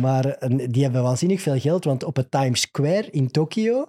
[SPEAKER 4] Maar eh, die hebben waanzinnig veel geld, want op het Times Square in Tokio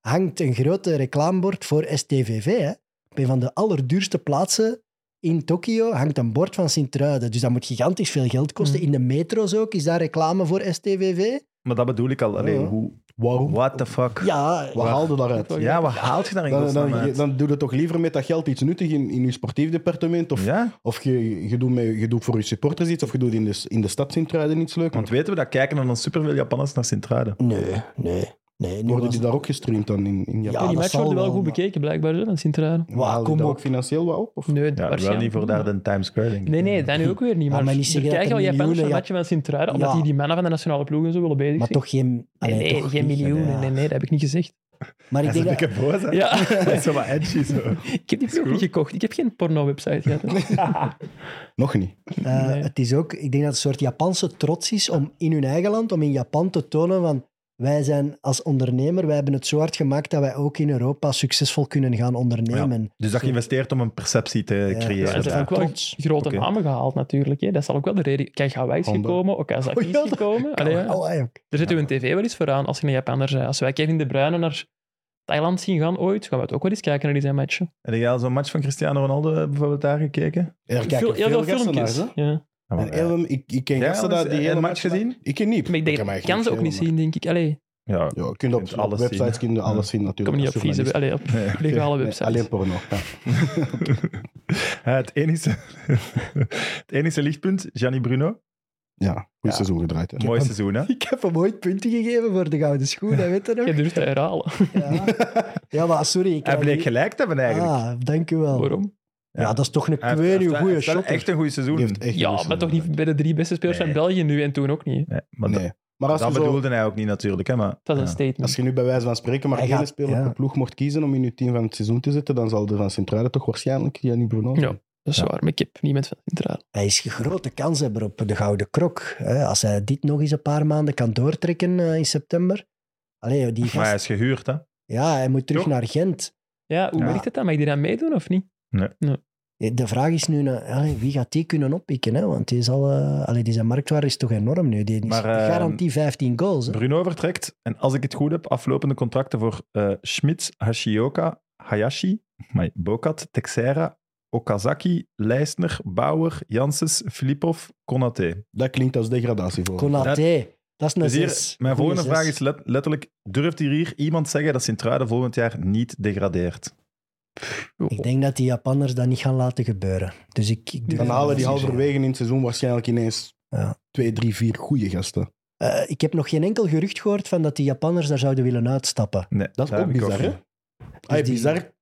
[SPEAKER 4] hangt een grote reclamebord voor STVV. Hè? Op een van de allerduurste plaatsen in Tokio hangt een bord van Sint-Truiden. Dus dat moet gigantisch veel geld kosten.
[SPEAKER 5] Mm.
[SPEAKER 4] In de metro's ook is daar reclame voor STVV.
[SPEAKER 1] Maar dat bedoel ik al. Allee,
[SPEAKER 3] Ja.
[SPEAKER 1] hoe,
[SPEAKER 3] waarom?
[SPEAKER 1] what the fuck? Ja,
[SPEAKER 4] Ja,
[SPEAKER 3] Wat haalde daaruit?
[SPEAKER 5] Dan-
[SPEAKER 1] wat haalt je daar in
[SPEAKER 3] Dan,
[SPEAKER 1] godsnaam
[SPEAKER 3] dan,
[SPEAKER 1] uit?
[SPEAKER 3] dan doe je toch liever met dat geld iets nuttig in, in je sportief departement. Of,
[SPEAKER 1] Ja,
[SPEAKER 3] of je, je, doet met, je doet voor je supporters iets. Of je doet in de, in de stad Sint-Truiden iets
[SPEAKER 1] want
[SPEAKER 3] leuks. Want
[SPEAKER 1] weten we dat kijken dan superveel Japanners naar Sint-Truiden?
[SPEAKER 4] nee, nee. nee nu
[SPEAKER 3] worden
[SPEAKER 4] was-
[SPEAKER 3] die daar ook gestreamd dan in, in
[SPEAKER 4] Ja,
[SPEAKER 3] Japan?
[SPEAKER 4] dat
[SPEAKER 5] die match
[SPEAKER 4] zal
[SPEAKER 5] worden wel
[SPEAKER 4] wel,
[SPEAKER 5] goed
[SPEAKER 4] maar-
[SPEAKER 5] bekeken, blijkbaar, hè, van Sint-Truiden.
[SPEAKER 3] Maar halen die
[SPEAKER 4] kom
[SPEAKER 3] daar
[SPEAKER 4] op.
[SPEAKER 3] ook financieel wat op? Of?
[SPEAKER 5] Nee,
[SPEAKER 1] Ja, wel
[SPEAKER 5] waarschijnlijk
[SPEAKER 1] niet voor daar de Times Square, denk ik.
[SPEAKER 5] Nee, nee, dat nu ook weer niet.
[SPEAKER 4] Ja,
[SPEAKER 5] Maar,
[SPEAKER 4] maar niet
[SPEAKER 5] er
[SPEAKER 4] zeggen dat
[SPEAKER 5] krijgen
[SPEAKER 4] er
[SPEAKER 5] wel Japanners een
[SPEAKER 4] miljoenen
[SPEAKER 5] matje van Sint-Truiden,
[SPEAKER 4] Ja.
[SPEAKER 5] omdat die die mannen van de nationale ploegen zo willen bezig
[SPEAKER 4] Maar
[SPEAKER 5] zijn.
[SPEAKER 4] toch geen...
[SPEAKER 5] Nee,
[SPEAKER 4] allee,
[SPEAKER 5] nee,
[SPEAKER 4] toch
[SPEAKER 5] geen
[SPEAKER 4] niet-
[SPEAKER 5] miljoenen.
[SPEAKER 4] Ja.
[SPEAKER 5] Nee, nee, dat heb ik niet gezegd.
[SPEAKER 4] Maar ik
[SPEAKER 1] Hij is
[SPEAKER 4] denk
[SPEAKER 1] een
[SPEAKER 4] dat...
[SPEAKER 1] dikke boos, hè?
[SPEAKER 5] Ja,
[SPEAKER 1] Hij is zo wat edgy, zo.
[SPEAKER 5] ik heb die film ook niet gekocht. Ik heb geen porno-website gehad. hè.
[SPEAKER 3] Nog niet.
[SPEAKER 4] Eh,
[SPEAKER 5] Nee.
[SPEAKER 4] Het is ook, ik denk dat het een soort Japanse trots is om in hun eigen land, om in Japan te tonen van wij zijn als ondernemer, wij hebben het zo hard gemaakt dat wij ook in Europa succesvol kunnen gaan ondernemen.
[SPEAKER 1] Dus dat je investeert om een perceptie te
[SPEAKER 4] Ja.
[SPEAKER 5] Ja,
[SPEAKER 1] creëren.
[SPEAKER 5] en ze
[SPEAKER 1] daar.
[SPEAKER 5] hebben Dus ook wel
[SPEAKER 4] trots.
[SPEAKER 5] grote
[SPEAKER 1] Oké.
[SPEAKER 5] namen gehaald natuurlijk. Hè. Dat zal ook wel de reden... Kijk, Hawaii is
[SPEAKER 3] Honda.
[SPEAKER 5] gekomen, Okazaki
[SPEAKER 4] Oh
[SPEAKER 5] is
[SPEAKER 4] ja, dat-
[SPEAKER 5] gekomen. Allee, ja.
[SPEAKER 4] Oh, ja.
[SPEAKER 5] Er zit uw tv wel eens vooraan als je een Japaner bent. Als wij Kevin De Bruyne naar Thailand zien gaan ooit, gaan we het ook wel eens kijken naar die zijn matchen.
[SPEAKER 1] Heb jij al zo'n match van Cristiano Ronaldo eh, bijvoorbeeld daar gekeken?
[SPEAKER 3] Er
[SPEAKER 5] Veel-
[SPEAKER 3] kijken
[SPEAKER 5] heel
[SPEAKER 3] veel gasten naar, hè.
[SPEAKER 5] Ja.
[SPEAKER 1] Ja, Ah, maar, eh,
[SPEAKER 3] En heel, ik, ik ken
[SPEAKER 1] Jij
[SPEAKER 3] gasten
[SPEAKER 1] al eens
[SPEAKER 3] dat die
[SPEAKER 1] een
[SPEAKER 3] hele
[SPEAKER 1] match gezien?
[SPEAKER 3] Ik ken niet.
[SPEAKER 5] Maar ik denk,
[SPEAKER 3] ken mij
[SPEAKER 5] dat kan
[SPEAKER 3] geen
[SPEAKER 5] ze ook
[SPEAKER 3] film,
[SPEAKER 5] niet
[SPEAKER 3] maar-
[SPEAKER 5] zien, denk ik. Allee, ik
[SPEAKER 1] ja.
[SPEAKER 3] Ja, je kunt
[SPEAKER 1] Je
[SPEAKER 3] op
[SPEAKER 1] kunt alles
[SPEAKER 3] websites
[SPEAKER 1] zien.
[SPEAKER 3] kun je alles zien
[SPEAKER 5] kom
[SPEAKER 3] natuurlijk.
[SPEAKER 5] niet
[SPEAKER 3] als
[SPEAKER 5] op vieze...
[SPEAKER 3] journalist.
[SPEAKER 5] Allee, op
[SPEAKER 1] Nee.
[SPEAKER 5] legale
[SPEAKER 3] Nee,
[SPEAKER 5] websites.
[SPEAKER 3] alleen porno. Ja.
[SPEAKER 1] Eh, het, enige, het enige lichtpunt, Gianni Bruno.
[SPEAKER 3] ja goed seizoen gedraaid. hè.
[SPEAKER 1] Mooi seizoen, hè?
[SPEAKER 4] Ik heb hem ooit punten gegeven voor de gouden schoen, dat weet je nog.
[SPEAKER 5] Je durft te herhalen.
[SPEAKER 4] Ja, ja maar sorry. Ik
[SPEAKER 1] Hij
[SPEAKER 4] krijg
[SPEAKER 1] bleek
[SPEAKER 4] niet-
[SPEAKER 1] gelijk te hebben, eigenlijk.
[SPEAKER 4] Ah, dank u wel.
[SPEAKER 5] Waarom?
[SPEAKER 4] Ja, dat is toch een
[SPEAKER 1] Hij heeft-
[SPEAKER 4] kwee
[SPEAKER 1] hij
[SPEAKER 4] goede
[SPEAKER 1] heeft wel
[SPEAKER 4] shot.
[SPEAKER 1] Echt een goed
[SPEAKER 3] Die
[SPEAKER 1] seizoen.
[SPEAKER 3] heeft echt
[SPEAKER 5] Ja,
[SPEAKER 3] goed
[SPEAKER 5] maar toch
[SPEAKER 3] seizoen
[SPEAKER 5] niet bij de drie beste spelers
[SPEAKER 1] Nee.
[SPEAKER 5] van België nu en toen ook niet. hè.
[SPEAKER 1] Nee, maar
[SPEAKER 3] gedraaid.
[SPEAKER 1] dat,
[SPEAKER 3] Nee. Maar als
[SPEAKER 1] dat
[SPEAKER 3] je, zo,
[SPEAKER 1] bedoelde hij ook niet natuurlijk. Hè, maar,
[SPEAKER 5] Dat is
[SPEAKER 1] ja.
[SPEAKER 5] een statement.
[SPEAKER 3] als je nu bij wijze van spreken maar
[SPEAKER 4] Hij
[SPEAKER 3] één
[SPEAKER 4] gaat-
[SPEAKER 3] speler
[SPEAKER 4] ja.
[SPEAKER 3] per ploeg mocht kiezen om in je team van het seizoen te zitten, dan zal er van Centrale toch waarschijnlijk Jannie Bruno zijn.
[SPEAKER 5] Ja, dat is
[SPEAKER 1] Ja.
[SPEAKER 5] waar. Maar ik heb niemand van Centraal.
[SPEAKER 4] Hij is een grote kanshebber op de Gouden Krok. hè. Als hij dit nog eens een paar maanden kan doortrekken eh, in september. Allee, die
[SPEAKER 1] Maar hij
[SPEAKER 4] gast,
[SPEAKER 1] is gehuurd, hè?
[SPEAKER 4] ja, hij moet terug
[SPEAKER 1] Toch?
[SPEAKER 4] naar Gent.
[SPEAKER 5] Ja, hoe
[SPEAKER 4] Ja.
[SPEAKER 5] werkt het dan? Mag ik die dan meedoen of niet?
[SPEAKER 4] Eh, De vraag is nu, nou, allee, wie gaat die kunnen oppikken? Hè? Want die, zal, eh, allee, die zijn marktwaarde is toch enorm nu. Die is
[SPEAKER 1] Maar, eh,
[SPEAKER 4] garantie 15 goals. Hè?
[SPEAKER 1] Bruno vertrekt. En als ik het goed heb, aflopende contracten voor eh Schmidt, Hashioka, Hayashi, amai, Bokat, Texera, Okazaki, Leisner, Bauer, Janssens, Filipov, Konaté.
[SPEAKER 3] Dat klinkt als degradatie voor hem.
[SPEAKER 4] Konaté. Dat is een
[SPEAKER 1] Dus hier,
[SPEAKER 4] zes.
[SPEAKER 1] mijn
[SPEAKER 4] Goeie
[SPEAKER 1] volgende
[SPEAKER 4] zes.
[SPEAKER 1] vraag is let- letterlijk, durft hier, hier iemand zeggen dat Sint-Truiden volgend jaar niet degradeert?
[SPEAKER 4] Ik denk dat die Japanners dat niet gaan laten gebeuren. Dus ik, ik durf
[SPEAKER 3] Dan halen die
[SPEAKER 4] dat niet te zeggen.
[SPEAKER 3] halverwege in het seizoen waarschijnlijk ineens
[SPEAKER 4] Ja.
[SPEAKER 3] twee, drie, vier goede gasten.
[SPEAKER 4] Eh, ik heb nog geen enkel gerucht gehoord van dat die Japanners daar zouden willen uitstappen.
[SPEAKER 1] Nee,
[SPEAKER 3] Dat is
[SPEAKER 1] daar
[SPEAKER 3] ook
[SPEAKER 1] heb ik
[SPEAKER 3] bizar, hè?
[SPEAKER 1] niet.
[SPEAKER 3] Ay,
[SPEAKER 4] die-
[SPEAKER 3] Ah, bizar,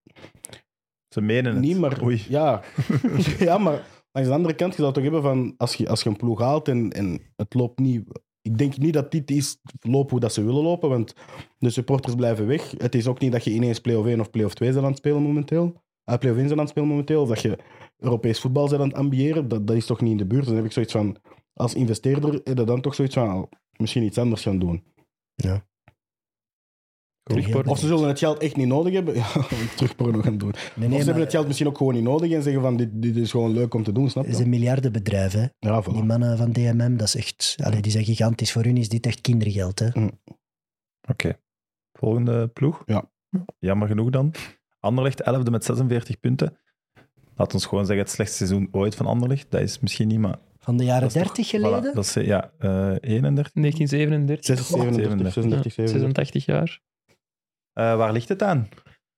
[SPEAKER 1] Ze menen het.
[SPEAKER 3] niet, maar...
[SPEAKER 1] Oei.
[SPEAKER 3] Ja. ja, maar langs de andere kant, je zou toch hebben van... Als je, als je een ploeg haalt en, en het loopt niet... Ik denk niet dat dit is lopen hoe dat ze willen lopen, want de supporters blijven weg. Het is ook niet dat je ineens play-off 1 of play-off 2 zijn aan het spelen momenteel. Ah, play-off 1 zijn aan het spelen momenteel. Of dat je Europees voetbal zijn aan het ambiëren. Dat, dat is toch niet in de buurt. Dan heb ik zoiets van... Als investeerder heb je dan toch zoiets van... ah, Misschien iets anders gaan doen.
[SPEAKER 5] Terugport.
[SPEAKER 3] Of ze zullen het geld echt niet nodig hebben. Ja, terug porno gaan doen.
[SPEAKER 4] Nee,
[SPEAKER 3] of
[SPEAKER 4] nee,
[SPEAKER 3] ze hebben
[SPEAKER 4] maar
[SPEAKER 3] het geld misschien ook gewoon niet nodig en zeggen van dit, dit is gewoon leuk om te doen, snap
[SPEAKER 4] het is
[SPEAKER 3] je?
[SPEAKER 4] een miljardenbedrijf. Hè?
[SPEAKER 3] Ja, voilà.
[SPEAKER 4] Die mannen van DMM, dat is echt... Allee, die zijn gigantisch. Voor hun is dit echt kindergeld. Hè?
[SPEAKER 1] Oké. Volgende ploeg?
[SPEAKER 3] Ja.
[SPEAKER 1] Jammer genoeg dan. Anderlecht 11e met 46 punten. Laat ons gewoon zeggen, het slechtste seizoen ooit van Anderlecht. Dat is misschien niet, maar...
[SPEAKER 4] Van de jaren
[SPEAKER 1] dat is toch-
[SPEAKER 4] 30
[SPEAKER 1] Voilà,
[SPEAKER 4] geleden?
[SPEAKER 1] dat is, ja, eh 31.
[SPEAKER 5] 1937.
[SPEAKER 3] 37, 36, 37.
[SPEAKER 5] 86 jaar.
[SPEAKER 1] Eh, waar ligt het aan?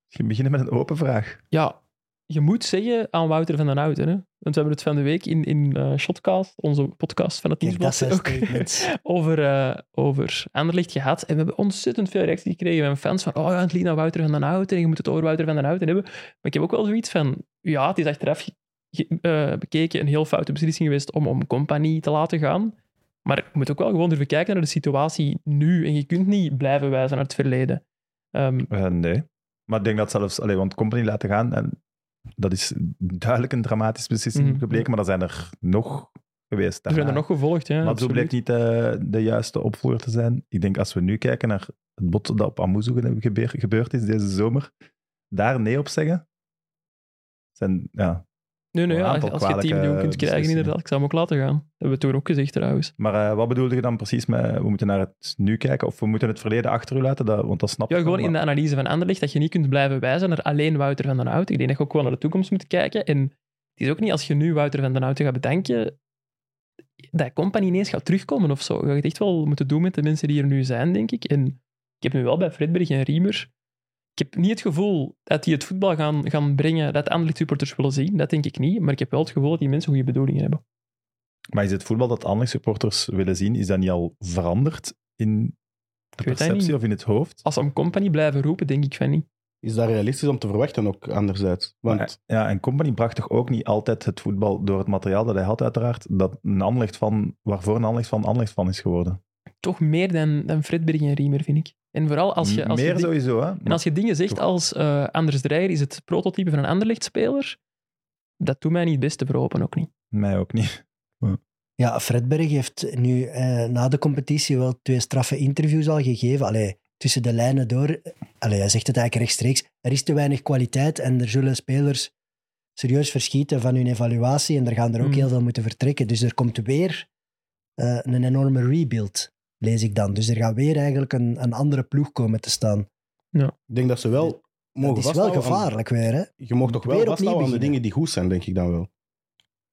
[SPEAKER 1] Je begint met een open vraag.
[SPEAKER 5] Ja, je moet zeggen aan Wouter van den Houten. Hè? Want we hebben het van de week in, in eh, Shotcast, onze podcast van het
[SPEAKER 4] Kijk, dat
[SPEAKER 5] Nieuwsblad,
[SPEAKER 4] zijn
[SPEAKER 5] ook
[SPEAKER 4] statements.
[SPEAKER 5] over, eh over Anderlicht gehad. En we hebben ontzettend veel reacties gekregen van fans van oh ja, het liet naar Wouter van den Houten en je moet het over Wouter van den Houten hebben. Maar ik heb ook wel zoiets van, ja, het is achteraf ge- ge- eh, bekeken een heel foute beslissing geweest om, om compagnie te laten gaan. Maar je moet ook wel gewoon durven kijken naar de situatie nu. En je kunt niet blijven wijzen naar het verleden. Ehm,
[SPEAKER 1] Eh, nee. Maar ik denk dat zelfs... Allee, want Company laten gaan, en dat is duidelijk een dramatische beslissing
[SPEAKER 5] Mhm.
[SPEAKER 1] gebleken, maar er zijn er nog geweest.
[SPEAKER 5] er zijn er
[SPEAKER 1] daarna.
[SPEAKER 5] nog gevolgd, ja.
[SPEAKER 1] maar zo
[SPEAKER 5] absoluut.
[SPEAKER 1] bleek niet eh, de juiste opvolger te zijn. Ik denk als we nu kijken naar het bot dat op Amuzu gebe- gebeurd, gebeurd is deze zomer, daar nee op zeggen, zijn, ja.
[SPEAKER 5] Nee, nee,
[SPEAKER 1] Een
[SPEAKER 5] ja, als,
[SPEAKER 1] aantal
[SPEAKER 5] als je 10 miljoen
[SPEAKER 1] kwalijke eh,
[SPEAKER 5] kunt krijgen,
[SPEAKER 1] beslissingen.
[SPEAKER 5] inderdaad. Ik zou hem ook laten gaan. Dat hebben we toen ook gezegd, trouwens.
[SPEAKER 1] Maar eh, wat bedoelde je dan precies met, we moeten naar het nu kijken, of we moeten het verleden achter u laten, dat, want dat snap
[SPEAKER 5] Ja,
[SPEAKER 1] ik wel,
[SPEAKER 5] gewoon in de
[SPEAKER 1] Oh, maar-
[SPEAKER 5] analyse van Anderlecht, dat je niet kunt blijven wijzen naar alleen Wouter van den Hout. Ik denk dat je ook gewoon naar de toekomst moet kijken. En het is ook niet als je nu Wouter van den Houten gaat bedanken, dat company ineens gaat terugkomen of zo. Je gaat het echt wel moeten doen met de mensen die er nu zijn, denk ik. En ik heb nu wel bij Fredberg en Riemer... Ik heb niet het gevoel dat die het voetbal gaan, gaan brengen dat Anderlecht supporters willen zien. Dat denk ik niet. Maar ik heb wel het gevoel dat die mensen goede bedoelingen hebben.
[SPEAKER 1] Maar is het voetbal dat andere supporters willen zien, is dat niet al veranderd in de
[SPEAKER 5] Ik weet dat niet.
[SPEAKER 1] perceptie of in het hoofd?
[SPEAKER 5] Als ze om company blijven roepen, denk ik van niet.
[SPEAKER 3] Is dat realistisch om te verwachten ook, anderzijds?
[SPEAKER 1] Maar,
[SPEAKER 3] Want
[SPEAKER 1] ja, en Company bracht toch ook niet altijd het voetbal door het materiaal dat hij had, uiteraard, dat een aanleg van, waarvoor een aanleg van aanleg van is geworden.
[SPEAKER 5] toch meer dan, dan Fredberg en Riemer, vind ik. En vooral als je... Als je
[SPEAKER 1] Meer
[SPEAKER 5] di-
[SPEAKER 1] sowieso, hè.
[SPEAKER 5] en als je dingen zegt als eh, Anders Dreyer is het prototype van een Anderlecht-speler, dat doet mij niet het beste verhopen ook niet.
[SPEAKER 1] Mij ook niet.
[SPEAKER 4] Ja, Fredberg heeft nu eh, na de competitie wel twee straffe interviews al gegeven. Allee, tussen de lijnen door. Allee, hij zegt het eigenlijk rechtstreeks. Er is te weinig kwaliteit en er zullen spelers serieus verschieten van hun evaluatie. En er gaan er ook
[SPEAKER 5] Hmm.
[SPEAKER 4] heel veel moeten vertrekken. Dus er komt weer eh, een enorme rebuild, lees ik dan. Dus er gaat weer eigenlijk een, een andere ploeg komen te staan.
[SPEAKER 3] Ik denk dat ze wel mogen
[SPEAKER 4] Dat is wel
[SPEAKER 3] vasthouden aan-
[SPEAKER 4] gevaarlijk weer, hè?
[SPEAKER 3] je mag toch wel
[SPEAKER 4] Weer opnieuw
[SPEAKER 3] vasthouden aan de
[SPEAKER 4] beginnen.
[SPEAKER 3] dingen die goed zijn, denk ik dan wel.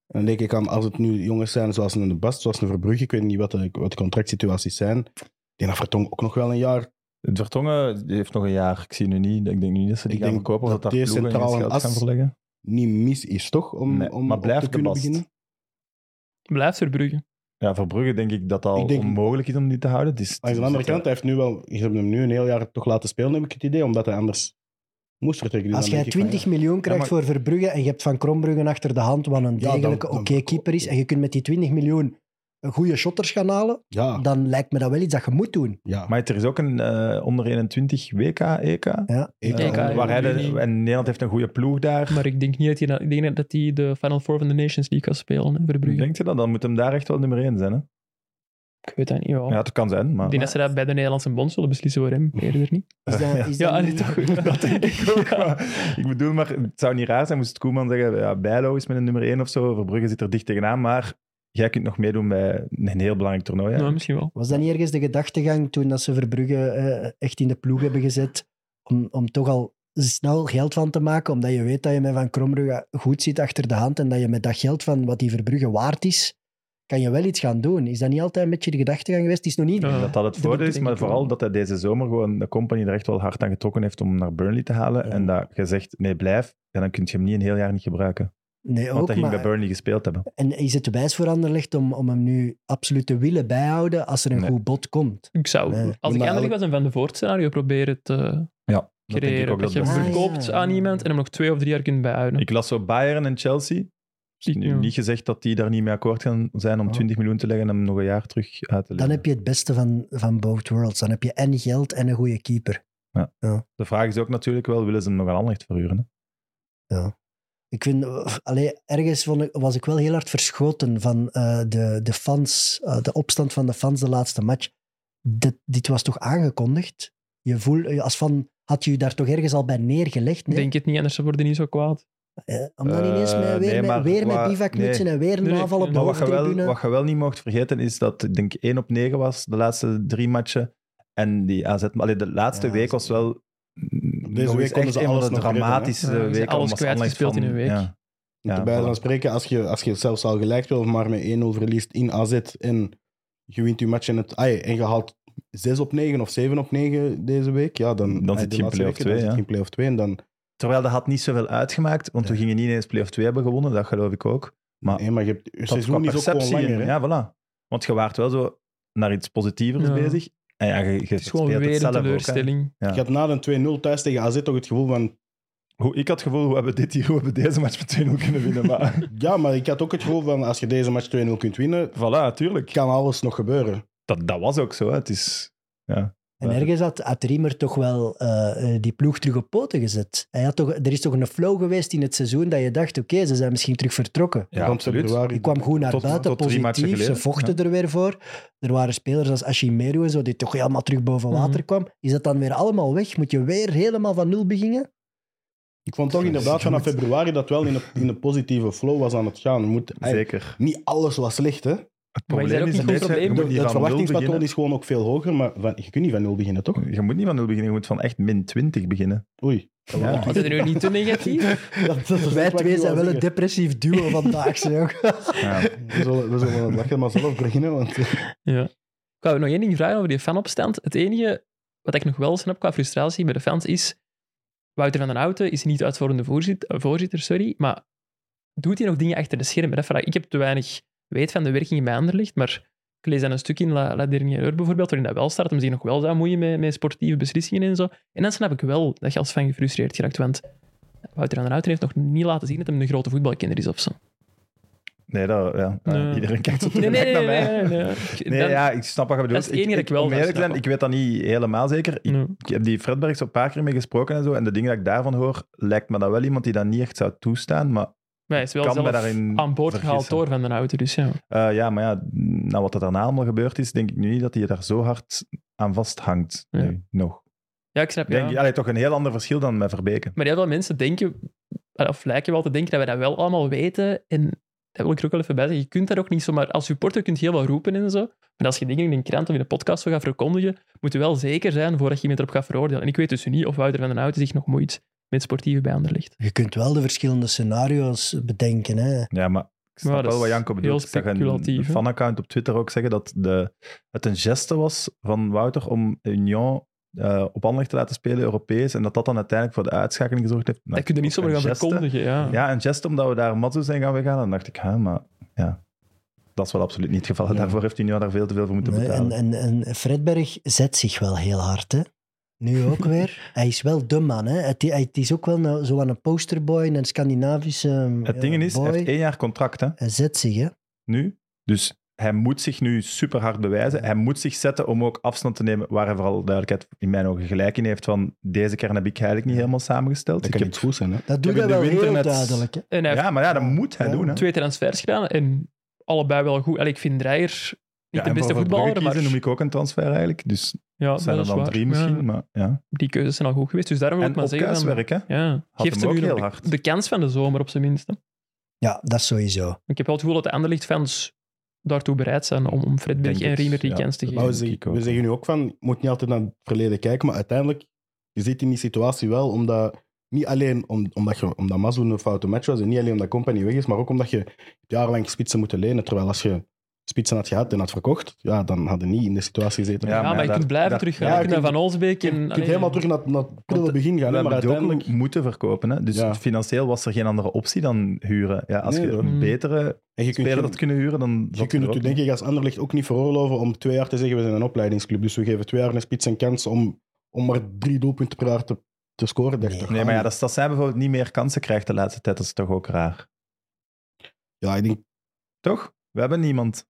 [SPEAKER 3] En dan denk ik aan, als het nu jongens zijn zoals een De Bast, zoals een Verbrugge, ik weet niet wat de, wat de contractsituaties zijn. Ik denk dat Vertong ook nog wel een jaar
[SPEAKER 1] Het Vertongen heeft nog een jaar. Ik zie nu niet. Ik denk nu niet dat ze die
[SPEAKER 3] Ik
[SPEAKER 1] gaan
[SPEAKER 3] denk
[SPEAKER 1] verkopen. Of dat,
[SPEAKER 3] dat
[SPEAKER 1] daar
[SPEAKER 3] deze
[SPEAKER 1] ploegen in het
[SPEAKER 3] centrale
[SPEAKER 1] geld gaan
[SPEAKER 3] as-
[SPEAKER 1] verleggen.
[SPEAKER 3] niet mis is, toch? Om,
[SPEAKER 1] Nee,
[SPEAKER 3] om
[SPEAKER 1] maar
[SPEAKER 3] op
[SPEAKER 1] blijft
[SPEAKER 3] te
[SPEAKER 1] De
[SPEAKER 3] kunnen
[SPEAKER 1] Bast.
[SPEAKER 3] beginnen.
[SPEAKER 5] Blijft Verbrugge.
[SPEAKER 1] Ja, voor Brugge denk ik dat al
[SPEAKER 3] Ik denk-
[SPEAKER 1] onmogelijk is om die te houden. Het is,
[SPEAKER 3] Maar aan de andere kant, hij heeft nu wel, ze hebben hem nu een heel jaar toch laten spelen, heb ik het idee, omdat hij anders moest vertrekken. Dus
[SPEAKER 4] Als
[SPEAKER 3] dan
[SPEAKER 4] jij
[SPEAKER 3] denk ik van,
[SPEAKER 4] 20 miljoen krijgt
[SPEAKER 1] maar-
[SPEAKER 4] voor Verbrugge en je hebt Van Krombruggen achter de hand, wat een
[SPEAKER 3] Ja, dan-
[SPEAKER 4] degelijke
[SPEAKER 3] dan- oh.
[SPEAKER 4] oké keeper is, en je kunt met die 20 miljoen een goede shotters gaan halen,
[SPEAKER 3] Ja, ja,
[SPEAKER 4] dan lijkt me dat wel iets dat je moet doen.
[SPEAKER 3] ja.
[SPEAKER 1] Maar er is ook een eh, onder 21 WK, EK.
[SPEAKER 3] Ik-
[SPEAKER 1] eh,
[SPEAKER 5] EK, ja.
[SPEAKER 1] waar hij de-
[SPEAKER 5] juni.
[SPEAKER 1] en Nederland heeft een goede ploeg daar.
[SPEAKER 5] Maar ik denk niet dat hij, dat- ik denk dat hij de Final Four van de Nations League gaat spelen, hè, Verbrugge.
[SPEAKER 1] Denkt je dat? Dan moet hem daar echt wel nummer 1 zijn. Hè?
[SPEAKER 5] Ik weet dat niet, ja.
[SPEAKER 1] Ja, het kan zijn. Maar,
[SPEAKER 5] ik denk dat ze dat bij de Nederlandse bond zullen beslissen voor hem, eerder niet.
[SPEAKER 4] Is dat, is
[SPEAKER 5] Ja,
[SPEAKER 4] dat
[SPEAKER 5] allee,
[SPEAKER 4] niet-
[SPEAKER 5] toch goed.
[SPEAKER 1] Dat denk ik ook. maar ik bedoel, maar het zou niet raar zijn moest Koeman zeggen, ja, Bijlo is met een nummer 1 of zo, Verbrugge zit er dicht tegenaan, maar jij kunt nog meedoen bij een heel belangrijk toernooi. hè.
[SPEAKER 5] Nou, misschien wel.
[SPEAKER 4] Was dat niet ergens de gedachtegang toen dat ze Verbrugge eh, echt in de ploeg hebben gezet, om, om toch al snel geld van te maken, omdat je weet dat je met Van Krombrugge goed zit achter de hand en dat je met dat geld van wat die Verbrugge waard is, kan je wel iets gaan doen. Is dat niet altijd een beetje de gedachtegang geweest? Het is nog niet
[SPEAKER 5] Ja.
[SPEAKER 1] Dat dat het
[SPEAKER 5] Dat
[SPEAKER 1] voordeel
[SPEAKER 5] denk
[SPEAKER 1] is,
[SPEAKER 5] ik
[SPEAKER 1] maar
[SPEAKER 5] wel.
[SPEAKER 1] vooral dat hij deze zomer gewoon de company er echt wel hard aan getrokken heeft om hem naar Burnley te halen.
[SPEAKER 4] Ja.
[SPEAKER 1] En dat je zegt, nee, blijf. En dan kun je hem niet een heel jaar niet gebruiken.
[SPEAKER 4] Nee,
[SPEAKER 1] Want
[SPEAKER 4] ook,
[SPEAKER 1] hij ging
[SPEAKER 4] maar-
[SPEAKER 1] bij Burnley gespeeld hebben.
[SPEAKER 4] En is het wijs voor Anderlecht om, om hem nu absoluut te willen bijhouden als er een
[SPEAKER 1] Nee.
[SPEAKER 4] goed bod komt?
[SPEAKER 5] Ik zou,
[SPEAKER 4] Nee.
[SPEAKER 5] als ik
[SPEAKER 3] Maar
[SPEAKER 5] eindelijk was, een Van de Voort scenario eh, proberen te
[SPEAKER 1] Ja, dat denk ik
[SPEAKER 5] creëren.
[SPEAKER 1] ook. Dat
[SPEAKER 5] Dat, je hem
[SPEAKER 1] best
[SPEAKER 4] Ah,
[SPEAKER 1] is.
[SPEAKER 4] ja.
[SPEAKER 5] verkoopt aan iemand en hem nog twee of drie jaar kunt bijhouden.
[SPEAKER 1] Ik las zo Bayern en Chelsea. Het is nu
[SPEAKER 5] Ja.
[SPEAKER 1] niet gezegd dat die daar niet mee akkoord gaan zijn om
[SPEAKER 4] Ja.
[SPEAKER 1] 20 miljoen te leggen en hem nog een jaar terug uit te leggen.
[SPEAKER 4] Dan heb je het beste van, van both worlds. Dan heb je en geld en een goede keeper.
[SPEAKER 1] De vraag is ook natuurlijk wel, willen ze hem nog aan Anderlecht verhuren? Hè?
[SPEAKER 4] Ik vind, allee, ergens vond ik, was ik wel heel hard verschoten van eh, de, de fans, eh, de opstand van de fans de laatste match. Dit, dit was toch aangekondigd? Je voel, als van, had je je daar toch ergens al bij neergelegd?
[SPEAKER 5] Ik
[SPEAKER 4] Nee?
[SPEAKER 5] Denk het niet, anders worden die niet zo kwaad.
[SPEAKER 4] Eh, om dan
[SPEAKER 1] Eh,
[SPEAKER 4] ineens met- weer,
[SPEAKER 1] nee,
[SPEAKER 4] met-
[SPEAKER 1] maar
[SPEAKER 4] weer
[SPEAKER 1] qua-
[SPEAKER 4] met bivakmutsen en weer een
[SPEAKER 5] Nee, nee,
[SPEAKER 4] aanval op de
[SPEAKER 5] maar
[SPEAKER 1] Maar wat je, wel,
[SPEAKER 4] hoofdtribune.
[SPEAKER 1] wat je wel niet mocht vergeten is dat ik denk 1 op 9 was de laatste drie matchen. En die AZ... maar Allee, de laatste
[SPEAKER 4] Ja,
[SPEAKER 1] week
[SPEAKER 4] zo.
[SPEAKER 1] was wel... nog
[SPEAKER 3] week
[SPEAKER 1] eens
[SPEAKER 3] konden
[SPEAKER 1] echt
[SPEAKER 3] ze
[SPEAKER 1] een van
[SPEAKER 3] alles
[SPEAKER 1] de
[SPEAKER 3] nog redden, hè?
[SPEAKER 1] dramatische
[SPEAKER 5] Ja, ze zijn
[SPEAKER 1] weken.
[SPEAKER 5] alles
[SPEAKER 1] omdat Anderlecht
[SPEAKER 5] kwijtgespeeld
[SPEAKER 1] van-
[SPEAKER 5] in een week.
[SPEAKER 1] Ja.
[SPEAKER 3] Om
[SPEAKER 1] Ja,
[SPEAKER 3] te bijna
[SPEAKER 1] voilà.
[SPEAKER 3] van spreken, als je, als je zelfs al gelijk speelt, of maar met 1-0 verliest in AZ en je wint je match en, het, ai, en je haalt 6 op 9 of 7 op 9 deze week, ja, dan,
[SPEAKER 1] Dan
[SPEAKER 3] ai,
[SPEAKER 1] zit
[SPEAKER 3] de
[SPEAKER 1] je in
[SPEAKER 3] laatste
[SPEAKER 1] play-off
[SPEAKER 3] weken,
[SPEAKER 1] twee,
[SPEAKER 3] dan zit
[SPEAKER 1] ja.
[SPEAKER 3] je in play-off 2 en dan
[SPEAKER 1] Terwijl dat had niet zoveel uitgemaakt, want we gingen niet ineens play-off 2 hebben gewonnen, dat geloof ik ook. Maar-
[SPEAKER 3] nee, maar je hebt, je
[SPEAKER 1] Dat qua
[SPEAKER 3] seizoen is ook gewoon
[SPEAKER 1] perceptie
[SPEAKER 3] langer.
[SPEAKER 1] en-
[SPEAKER 3] hè.
[SPEAKER 1] Ja, voilà. Want je waart wel zo naar iets positievers
[SPEAKER 5] Ja.
[SPEAKER 1] bezig. En ja, je, je
[SPEAKER 5] Het is gewoon
[SPEAKER 1] speelt
[SPEAKER 5] weer
[SPEAKER 1] zelf
[SPEAKER 5] een
[SPEAKER 1] ook, hè.
[SPEAKER 5] teleurstelling.
[SPEAKER 1] Ja.
[SPEAKER 3] Je had na een 2-0 thuis tegen AZ toch het gevoel van...
[SPEAKER 1] Hoe, ik had het gevoel, hoe hebben we dit hier, hoe hebben we deze match met 2-0 kunnen winnen? Maar
[SPEAKER 3] Ja, maar ik had ook het gevoel van, als je deze match 2-0 kunt winnen,
[SPEAKER 1] voilà, tuurlijk.
[SPEAKER 3] kan alles nog gebeuren.
[SPEAKER 1] Dat, dat was ook zo. hè. Het is...
[SPEAKER 4] En
[SPEAKER 1] Ja.
[SPEAKER 4] ergens had, had Riemer toch wel eh, eh, die ploeg terug op poten gezet. Hij had toch, er is toch een flow geweest in het seizoen dat je dacht, oké, ze zijn misschien terug vertrokken.
[SPEAKER 1] Ja,
[SPEAKER 3] Want
[SPEAKER 1] absoluut.
[SPEAKER 3] februari-
[SPEAKER 4] Die kwam goed naar
[SPEAKER 1] Tot-
[SPEAKER 4] buiten,
[SPEAKER 1] tot drie matchen
[SPEAKER 4] positief. Ze
[SPEAKER 1] geleden,
[SPEAKER 4] vochten er weer voor. Er waren spelers als Ashimeru en zo, die toch helemaal terug boven
[SPEAKER 5] Mhm.
[SPEAKER 4] water kwam. Is dat dan weer allemaal weg? Moet je weer helemaal van nul beginnen?
[SPEAKER 3] Ik vond toch
[SPEAKER 1] Dus
[SPEAKER 3] inderdaad
[SPEAKER 1] je
[SPEAKER 3] vanaf
[SPEAKER 1] moet-
[SPEAKER 3] februari dat wel in een, in een positieve flow was aan het gaan. Je Moet, ai,
[SPEAKER 1] Zeker.
[SPEAKER 3] Niet alles was slecht, hè.
[SPEAKER 1] Het
[SPEAKER 5] Maar is
[SPEAKER 1] probleem
[SPEAKER 5] dat ook
[SPEAKER 1] is
[SPEAKER 5] niet
[SPEAKER 1] een
[SPEAKER 5] goed
[SPEAKER 1] beetje... Je
[SPEAKER 3] De-
[SPEAKER 5] probleem?
[SPEAKER 1] moet niet
[SPEAKER 3] het
[SPEAKER 1] van nul
[SPEAKER 3] verwachtingspatroon
[SPEAKER 1] beginnen.
[SPEAKER 3] is gewoon ook veel hoger, maar van, je kunt niet van nul beginnen, toch?
[SPEAKER 1] Je moet niet van nul beginnen, je moet van echt min 20 beginnen.
[SPEAKER 3] Oei. Dat
[SPEAKER 1] Ja.
[SPEAKER 3] was-
[SPEAKER 5] Is het nu niet te negatief?
[SPEAKER 3] dat- dat is
[SPEAKER 4] Wij
[SPEAKER 3] wat ik
[SPEAKER 4] twee
[SPEAKER 3] wil
[SPEAKER 4] zijn wel een
[SPEAKER 3] zeggen.
[SPEAKER 4] depressief duo vandaag. zeg.
[SPEAKER 1] Ja.
[SPEAKER 3] We zullen, we zullen het lachen maar zelf beginnen, want eh,
[SPEAKER 5] Ja. Ik wou nog één ding vragen over die fanopstand. Het enige wat ik nog wel snap qua frustratie bij de fans is... Wouter van den Houten is niet uitvoerende voorzitter, eh, voorzitter sorry, maar doet hij nog dingen achter de schermen? Dat vraag ik. Ik heb te weinig weet van de werking bij Anderlicht, maar ik lees dan een stuk in La, La Dernière Heure bijvoorbeeld, waarin dat wel staat, dat hem zich nog wel zou moeien met, met sportieve beslissingen en zo. En dan snap ik wel dat je als fan gefrustreerd geraakt, want Wouter van den Houten heeft nog niet laten zien dat hij een grote voetbalkinder is of zo.
[SPEAKER 1] Nee, dat, ja. Ah,
[SPEAKER 5] Nee.
[SPEAKER 1] Iedereen kijkt zo
[SPEAKER 5] Nee,
[SPEAKER 1] tegelijk
[SPEAKER 5] nee, nee.
[SPEAKER 1] naar
[SPEAKER 5] nee,
[SPEAKER 1] mij.
[SPEAKER 5] nee, nee. Ik-
[SPEAKER 1] Nee,
[SPEAKER 5] dan-
[SPEAKER 1] ja, ik snap wat je bedoelt.
[SPEAKER 5] is het enige dat ik wel
[SPEAKER 1] om eerlijk te
[SPEAKER 5] snap,
[SPEAKER 1] zijn, ik weet dat niet helemaal zeker. Ik,
[SPEAKER 5] Nee.
[SPEAKER 1] ik heb die Fredbergs een paar keer mee gesproken en zo. En de dingen dat ik daarvan hoor, lijkt me dat wel iemand die dat niet echt zou toestaan. Maar
[SPEAKER 5] Maar hij is wel
[SPEAKER 1] kan
[SPEAKER 5] zelf
[SPEAKER 1] me daarin
[SPEAKER 5] aan boord gehaald
[SPEAKER 1] vergissen.
[SPEAKER 5] door Van den Houten, dus ja.
[SPEAKER 1] Eh, ja, maar ja, na wat er daarna allemaal gebeurd is, denk ik nu niet dat hij daar zo hard aan vasthangt.
[SPEAKER 5] Ja.
[SPEAKER 1] nu nog.
[SPEAKER 5] Ja, ik snap, ja.
[SPEAKER 1] Denk, ik- allee, toch een heel ander verschil dan met Verbeke.
[SPEAKER 5] Maar heel veel mensen denken, of lijken wel te denken, dat wij dat wel allemaal weten. En dat wil ik er ook wel even bij zeggen. Je kunt daar ook niet zomaar... Als supporter kun je heel wat roepen en zo. Maar als je dingen in een krant of in een podcast zo gaat verkondigen, moet je wel zeker zijn voordat je iemand erop gaat veroordelen. En ik weet dus niet of Wouter van den Houten zich nog moeit met sportieve bij ligt.
[SPEAKER 4] Je kunt wel de verschillende scenario's bedenken. Hè.
[SPEAKER 1] Ja, maar ik snap
[SPEAKER 5] Maar dat
[SPEAKER 1] wel wat
[SPEAKER 5] is
[SPEAKER 1] Janko bedoelt.
[SPEAKER 5] heel
[SPEAKER 1] Ik zag een
[SPEAKER 5] speculatief, hè?
[SPEAKER 1] fanaccount op Twitter ook zeggen dat de, het een geste was van Wouter om Union eh, op Anderlecht te laten spelen, Europees, en dat dat dan uiteindelijk voor de uitschakeling gezorgd heeft. Nou,
[SPEAKER 5] dat kun je niet zomaar
[SPEAKER 1] een
[SPEAKER 5] gaan
[SPEAKER 1] geste.
[SPEAKER 5] verkondigen, ja.
[SPEAKER 1] Ja, een geste omdat we daar Matsu zijn gaan weggaan. Dan dacht ik, hè, maar ja, dat is wel absoluut niet het geval. En
[SPEAKER 4] Ja.
[SPEAKER 1] Daarvoor heeft Union daar veel te veel voor moeten
[SPEAKER 4] Nee,
[SPEAKER 1] betalen.
[SPEAKER 4] en, en, en Fredberg zet zich wel heel hard. Hè. Nu ook weer. Hij is wel de man. Hè. Het, hij, het is ook wel een, zo aan een posterboy, een Scandinavische
[SPEAKER 1] het
[SPEAKER 4] ja,
[SPEAKER 1] ding is, E hij
[SPEAKER 4] boy.
[SPEAKER 1] heeft één jaar contract, hè?
[SPEAKER 4] Hij zet zich. Hè.
[SPEAKER 1] nu. Dus hij moet zich nu super hard bewijzen. Hij moet zich zetten om ook afstand te nemen, waar hij vooral duidelijkheid in mijn ogen gelijk in heeft van deze kern heb ik eigenlijk niet helemaal samengesteld.
[SPEAKER 3] Dat
[SPEAKER 1] Ik
[SPEAKER 3] kan
[SPEAKER 1] heb-
[SPEAKER 3] niet goed zijn, hè.
[SPEAKER 4] Dat doet
[SPEAKER 1] heb
[SPEAKER 4] hij
[SPEAKER 1] in de
[SPEAKER 4] wel
[SPEAKER 1] winter
[SPEAKER 4] heel
[SPEAKER 1] net-
[SPEAKER 4] duidelijk. Hè.
[SPEAKER 5] En hij heeft
[SPEAKER 1] ja, maar ja, dat moet hij
[SPEAKER 4] Ja.
[SPEAKER 1] doen. Hè.
[SPEAKER 5] twee transfers gedaan en allebei wel goed. Allee, ik vind Dreyer niet
[SPEAKER 1] Ja,
[SPEAKER 5] de
[SPEAKER 1] en
[SPEAKER 5] beste
[SPEAKER 1] voor Brugge
[SPEAKER 5] voetballer, maar...
[SPEAKER 1] kiezen noem ik ook een transfer eigenlijk. Dus
[SPEAKER 5] ja,
[SPEAKER 1] het zijn
[SPEAKER 5] dat
[SPEAKER 1] er
[SPEAKER 5] is
[SPEAKER 1] dan
[SPEAKER 5] waar.
[SPEAKER 1] drie
[SPEAKER 5] Ja,
[SPEAKER 1] misschien, maar ja.
[SPEAKER 5] die keuzes zijn al goed geweest, dus daarom wil
[SPEAKER 1] En
[SPEAKER 5] ik maar
[SPEAKER 1] op
[SPEAKER 5] zeggen... van-
[SPEAKER 1] kaaswerk, hè.
[SPEAKER 5] Ja,
[SPEAKER 1] Had
[SPEAKER 5] geeft
[SPEAKER 1] hem
[SPEAKER 5] hem
[SPEAKER 1] ook
[SPEAKER 5] nu
[SPEAKER 1] heel
[SPEAKER 5] nog de,
[SPEAKER 1] hard.
[SPEAKER 5] de kans van de zomer op zijn minst. hè.
[SPEAKER 4] Ja, dat sowieso.
[SPEAKER 5] Ik heb wel het gevoel dat de Anderlicht-fans daartoe bereid zijn om, om Fred Berg
[SPEAKER 1] Denk
[SPEAKER 5] en
[SPEAKER 1] het,
[SPEAKER 5] Riemer die
[SPEAKER 1] ja.
[SPEAKER 5] kans te
[SPEAKER 1] Dat
[SPEAKER 5] geven.
[SPEAKER 3] Maar we,
[SPEAKER 1] denk ik
[SPEAKER 3] zeggen,
[SPEAKER 1] ook,
[SPEAKER 3] we
[SPEAKER 1] ja.
[SPEAKER 3] zeggen nu ook van, je moet niet altijd naar het verleden kijken, maar uiteindelijk, je zit in die situatie wel omdat, niet alleen om, omdat, je, omdat Mazou een foute match was en niet alleen omdat Company weg is, maar ook omdat je jarenlang spitsen moeten lenen. Terwijl als je spitsen had gehad en had verkocht, ja, dan hadden die niet in de situatie gezeten.
[SPEAKER 1] Ja,
[SPEAKER 5] Ja,
[SPEAKER 1] maar
[SPEAKER 5] maar je
[SPEAKER 1] daar-
[SPEAKER 5] kunt blijven
[SPEAKER 1] daar-
[SPEAKER 5] teruggaan.
[SPEAKER 3] ja,
[SPEAKER 5] je kunt
[SPEAKER 3] je
[SPEAKER 5] naar Van Olsbeek
[SPEAKER 3] je
[SPEAKER 5] en...
[SPEAKER 3] kunt
[SPEAKER 5] allee,
[SPEAKER 3] helemaal terug naar, naar het prille
[SPEAKER 1] eh,
[SPEAKER 3] begin gaan, hè, maar
[SPEAKER 1] maar
[SPEAKER 3] uiteindelijk...
[SPEAKER 1] ook moeten verkopen. Hè? Dus
[SPEAKER 3] Ja.
[SPEAKER 1] financieel was er geen andere optie dan huren. Ja, als
[SPEAKER 3] Nee,
[SPEAKER 1] je
[SPEAKER 3] hoor.
[SPEAKER 5] Mm.
[SPEAKER 1] een betere
[SPEAKER 3] En je kunt,
[SPEAKER 1] speler
[SPEAKER 3] geen-
[SPEAKER 1] had kunnen huren, dan
[SPEAKER 3] je
[SPEAKER 1] zat
[SPEAKER 3] kunt
[SPEAKER 1] er
[SPEAKER 3] het je
[SPEAKER 1] ook
[SPEAKER 3] denk ik als Anderlecht ook niet veroorloven om twee jaar te zeggen, we zijn een opleidingsclub, dus we geven twee jaar een spits een kans om, om maar drie doelpunten per jaar te, te scoren. Ah, Dat is
[SPEAKER 4] Nee.
[SPEAKER 3] toch
[SPEAKER 1] Nee, maar ja,
[SPEAKER 3] aan-
[SPEAKER 1] dat, dat zij bijvoorbeeld niet meer kansen krijgt de laatste tijd, dat is toch ook raar.
[SPEAKER 3] Ja, ik denk,
[SPEAKER 1] Toch? We hebben niemand.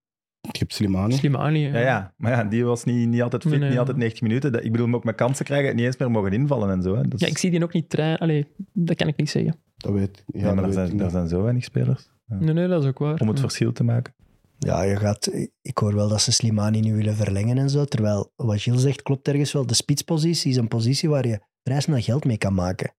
[SPEAKER 3] je hebt Slimani.
[SPEAKER 5] Slimani.
[SPEAKER 1] Ja, ja. maar ja, die was niet, niet altijd fit,
[SPEAKER 5] Nee, nee.
[SPEAKER 1] niet altijd 90 minuten. Dat- Ik bedoel, hem ook met kansen krijgen, niet eens meer mogen invallen en zo. Hè. Dat is-
[SPEAKER 5] Ja, ik zie die ook niet trainen. Allee, dat kan ik niet zeggen.
[SPEAKER 3] Dat weet ja,
[SPEAKER 1] Nee, maar
[SPEAKER 3] dat
[SPEAKER 1] daar
[SPEAKER 3] weet ik
[SPEAKER 1] zijn,
[SPEAKER 3] niet.
[SPEAKER 1] daar zijn zo weinig spelers
[SPEAKER 5] Nee, nee, dat is ook waar.
[SPEAKER 1] om het
[SPEAKER 5] Ja.
[SPEAKER 1] verschil te maken.
[SPEAKER 4] Ja, je gaat, ik hoor wel dat ze Slimani nu willen verlengen en zo. Terwijl wat Gilles zegt klopt ergens wel. De spitspositie is een positie waar je vrij snel geld mee kan maken.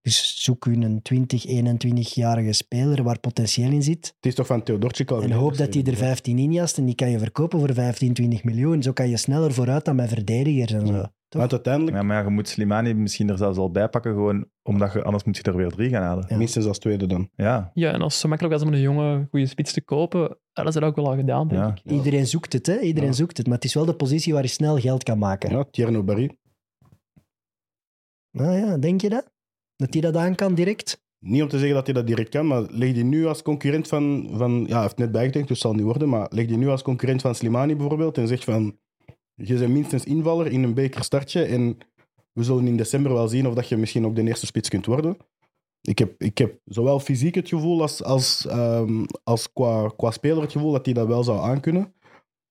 [SPEAKER 4] Dus zoek u een 20, 21-jarige speler waar potentieel in zit.
[SPEAKER 3] Het is toch van Theodortje
[SPEAKER 4] En hoop dat die er 15 in jast en die kan je verkopen voor 15, 20 miljoen. Zo kan je sneller vooruit dan met verdedigers en zo.
[SPEAKER 3] Want uiteindelijk,
[SPEAKER 1] Ja, maar ja, je moet Slimani misschien er zelfs al bij pakken, gewoon omdat je, anders moet je er weer drie gaan halen.
[SPEAKER 4] Ja.
[SPEAKER 3] minstens als tweede dan.
[SPEAKER 1] Ja,
[SPEAKER 5] Ja, en als het zo makkelijk was om een jonge, goede spits te kopen, dat is dat ook wel al gedaan, denk
[SPEAKER 1] Ja.
[SPEAKER 5] ik.
[SPEAKER 3] Ja.
[SPEAKER 4] Iedereen zoekt het, hè? Iedereen
[SPEAKER 3] Ja.
[SPEAKER 4] zoekt het. Maar het is wel de positie waar je snel geld kan maken.
[SPEAKER 3] Ja, Tierno Barry.
[SPEAKER 4] Nou ja, denk je dat? Dat hij dat aan kan direct?
[SPEAKER 3] Niet om te zeggen dat hij dat direct kan, maar leg die nu als concurrent van... van ja, hij heeft net bijgedenkt, dus het zal niet worden, maar leg die nu als concurrent van Slimani bijvoorbeeld en zeg van... Je bent minstens invaller in een beker startje en we zullen in december wel zien of dat je misschien ook de eerste spits kunt worden. Ik heb, ik heb zowel fysiek het gevoel als, als, ehm, als qua, qua speler het gevoel dat hij dat wel zou aankunnen.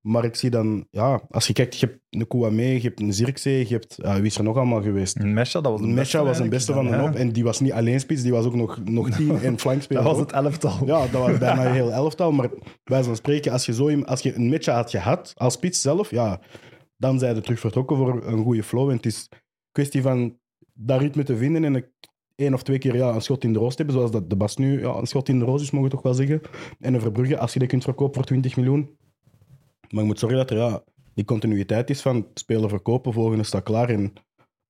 [SPEAKER 3] Maar ik zie dan, ja, als je kijkt, je hebt een Kouame, je hebt een Zirkzee, je hebt, eh, wie is er nog allemaal geweest?
[SPEAKER 1] Mesha, dat was een
[SPEAKER 3] Mesha was een beste van de
[SPEAKER 1] Ja.
[SPEAKER 3] hoop en die was niet alleen spits, die was ook nog, nog tien en flankspeler.
[SPEAKER 1] Dat was
[SPEAKER 3] ook.
[SPEAKER 1] het elftal.
[SPEAKER 3] Ja, dat was bijna een heel elftal. Maar wij van spreken, als je, zo, iemand- als je een match had gehad, als spits zelf, ja, dan zijn ze terug vertrokken voor een goede flow. En het is kwestie van dat ritme te vinden en een- één of twee keer ja, een schot in de roos te hebben, zoals dat de Bas nu ja, een schot in de roos is, mogen we toch wel zeggen. En een Verbrugge, als je die kunt verkopen voor 20 miljoen. Maar je moet zorgen dat er ja, die continuïteit is van spelen verkopen, volgende staat klaar. En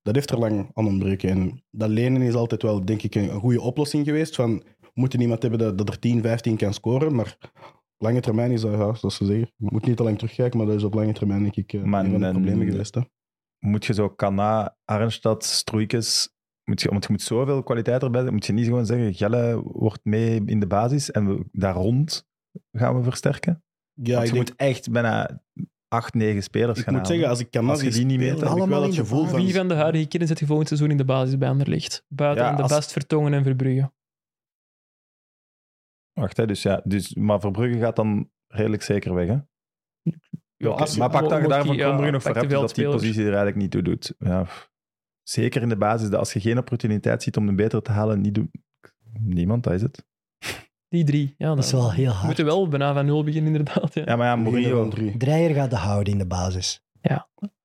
[SPEAKER 3] dat heeft er lang aan ontbreken. En dat lenen is altijd wel, denk ik, een, een goede oplossing geweest. Van, we moeten iemand hebben dat, dat er 10, 15 kan scoren, maar op lange termijn is dat, ja, zoals ze zeggen, je moet niet te lang terugkijken, maar dat is op lange termijn, denk ik, eh,
[SPEAKER 1] Maar
[SPEAKER 3] een van de
[SPEAKER 1] een-
[SPEAKER 3] problemen geweest. Hè.
[SPEAKER 1] moet je zo Kana, Arnstad, Stroeikes... Moet je, want je moet zoveel kwaliteit erbij zetten. Moet je niet gewoon zeggen, Gelle wordt mee in de basis en we, daar rond gaan we versterken.
[SPEAKER 3] Ja,
[SPEAKER 1] want je
[SPEAKER 3] ik denk,
[SPEAKER 1] moet echt bijna acht, negen spelers
[SPEAKER 3] ik
[SPEAKER 1] gaan
[SPEAKER 3] moet
[SPEAKER 1] halen.
[SPEAKER 3] zeggen, als ik kan
[SPEAKER 1] Als je die niet meer hebt,
[SPEAKER 3] heb ik wel
[SPEAKER 4] allemaal
[SPEAKER 3] het
[SPEAKER 4] in de
[SPEAKER 3] gevoel
[SPEAKER 5] Wie
[SPEAKER 3] van...
[SPEAKER 5] van de huidige kinderen zit je volgend seizoen in de basis bij Anderlicht? Buiten
[SPEAKER 1] Ja,
[SPEAKER 5] aan de
[SPEAKER 1] als-
[SPEAKER 5] best Vertongen en Verbrugge.
[SPEAKER 1] Wacht, hè, dus ja, dus, maar Verbrugge gaat dan redelijk zeker weg, hè?
[SPEAKER 5] Ja,
[SPEAKER 1] Oké,
[SPEAKER 5] als-
[SPEAKER 1] maar pak
[SPEAKER 5] mo-
[SPEAKER 1] daar,
[SPEAKER 5] mocht
[SPEAKER 1] daarvan
[SPEAKER 5] hij, ja,
[SPEAKER 1] komen we nog
[SPEAKER 5] pak
[SPEAKER 1] voor
[SPEAKER 5] de
[SPEAKER 1] hebt, dat die
[SPEAKER 5] veldspelers.
[SPEAKER 1] positie er eigenlijk niet toe doet. Ja. pff. Zeker in de basis, dat als je geen opportuniteit ziet om een betere te halen, niet doen. Niemand, dat is het.
[SPEAKER 5] Die drie. Ja,
[SPEAKER 4] Dat is wel heel
[SPEAKER 5] We
[SPEAKER 4] hard.
[SPEAKER 5] moeten wel bijna van nul beginnen, inderdaad. Ja.
[SPEAKER 1] Ja, maar ja, Mourinho...
[SPEAKER 3] drie.
[SPEAKER 4] Dreyer gaat de houden in de basis.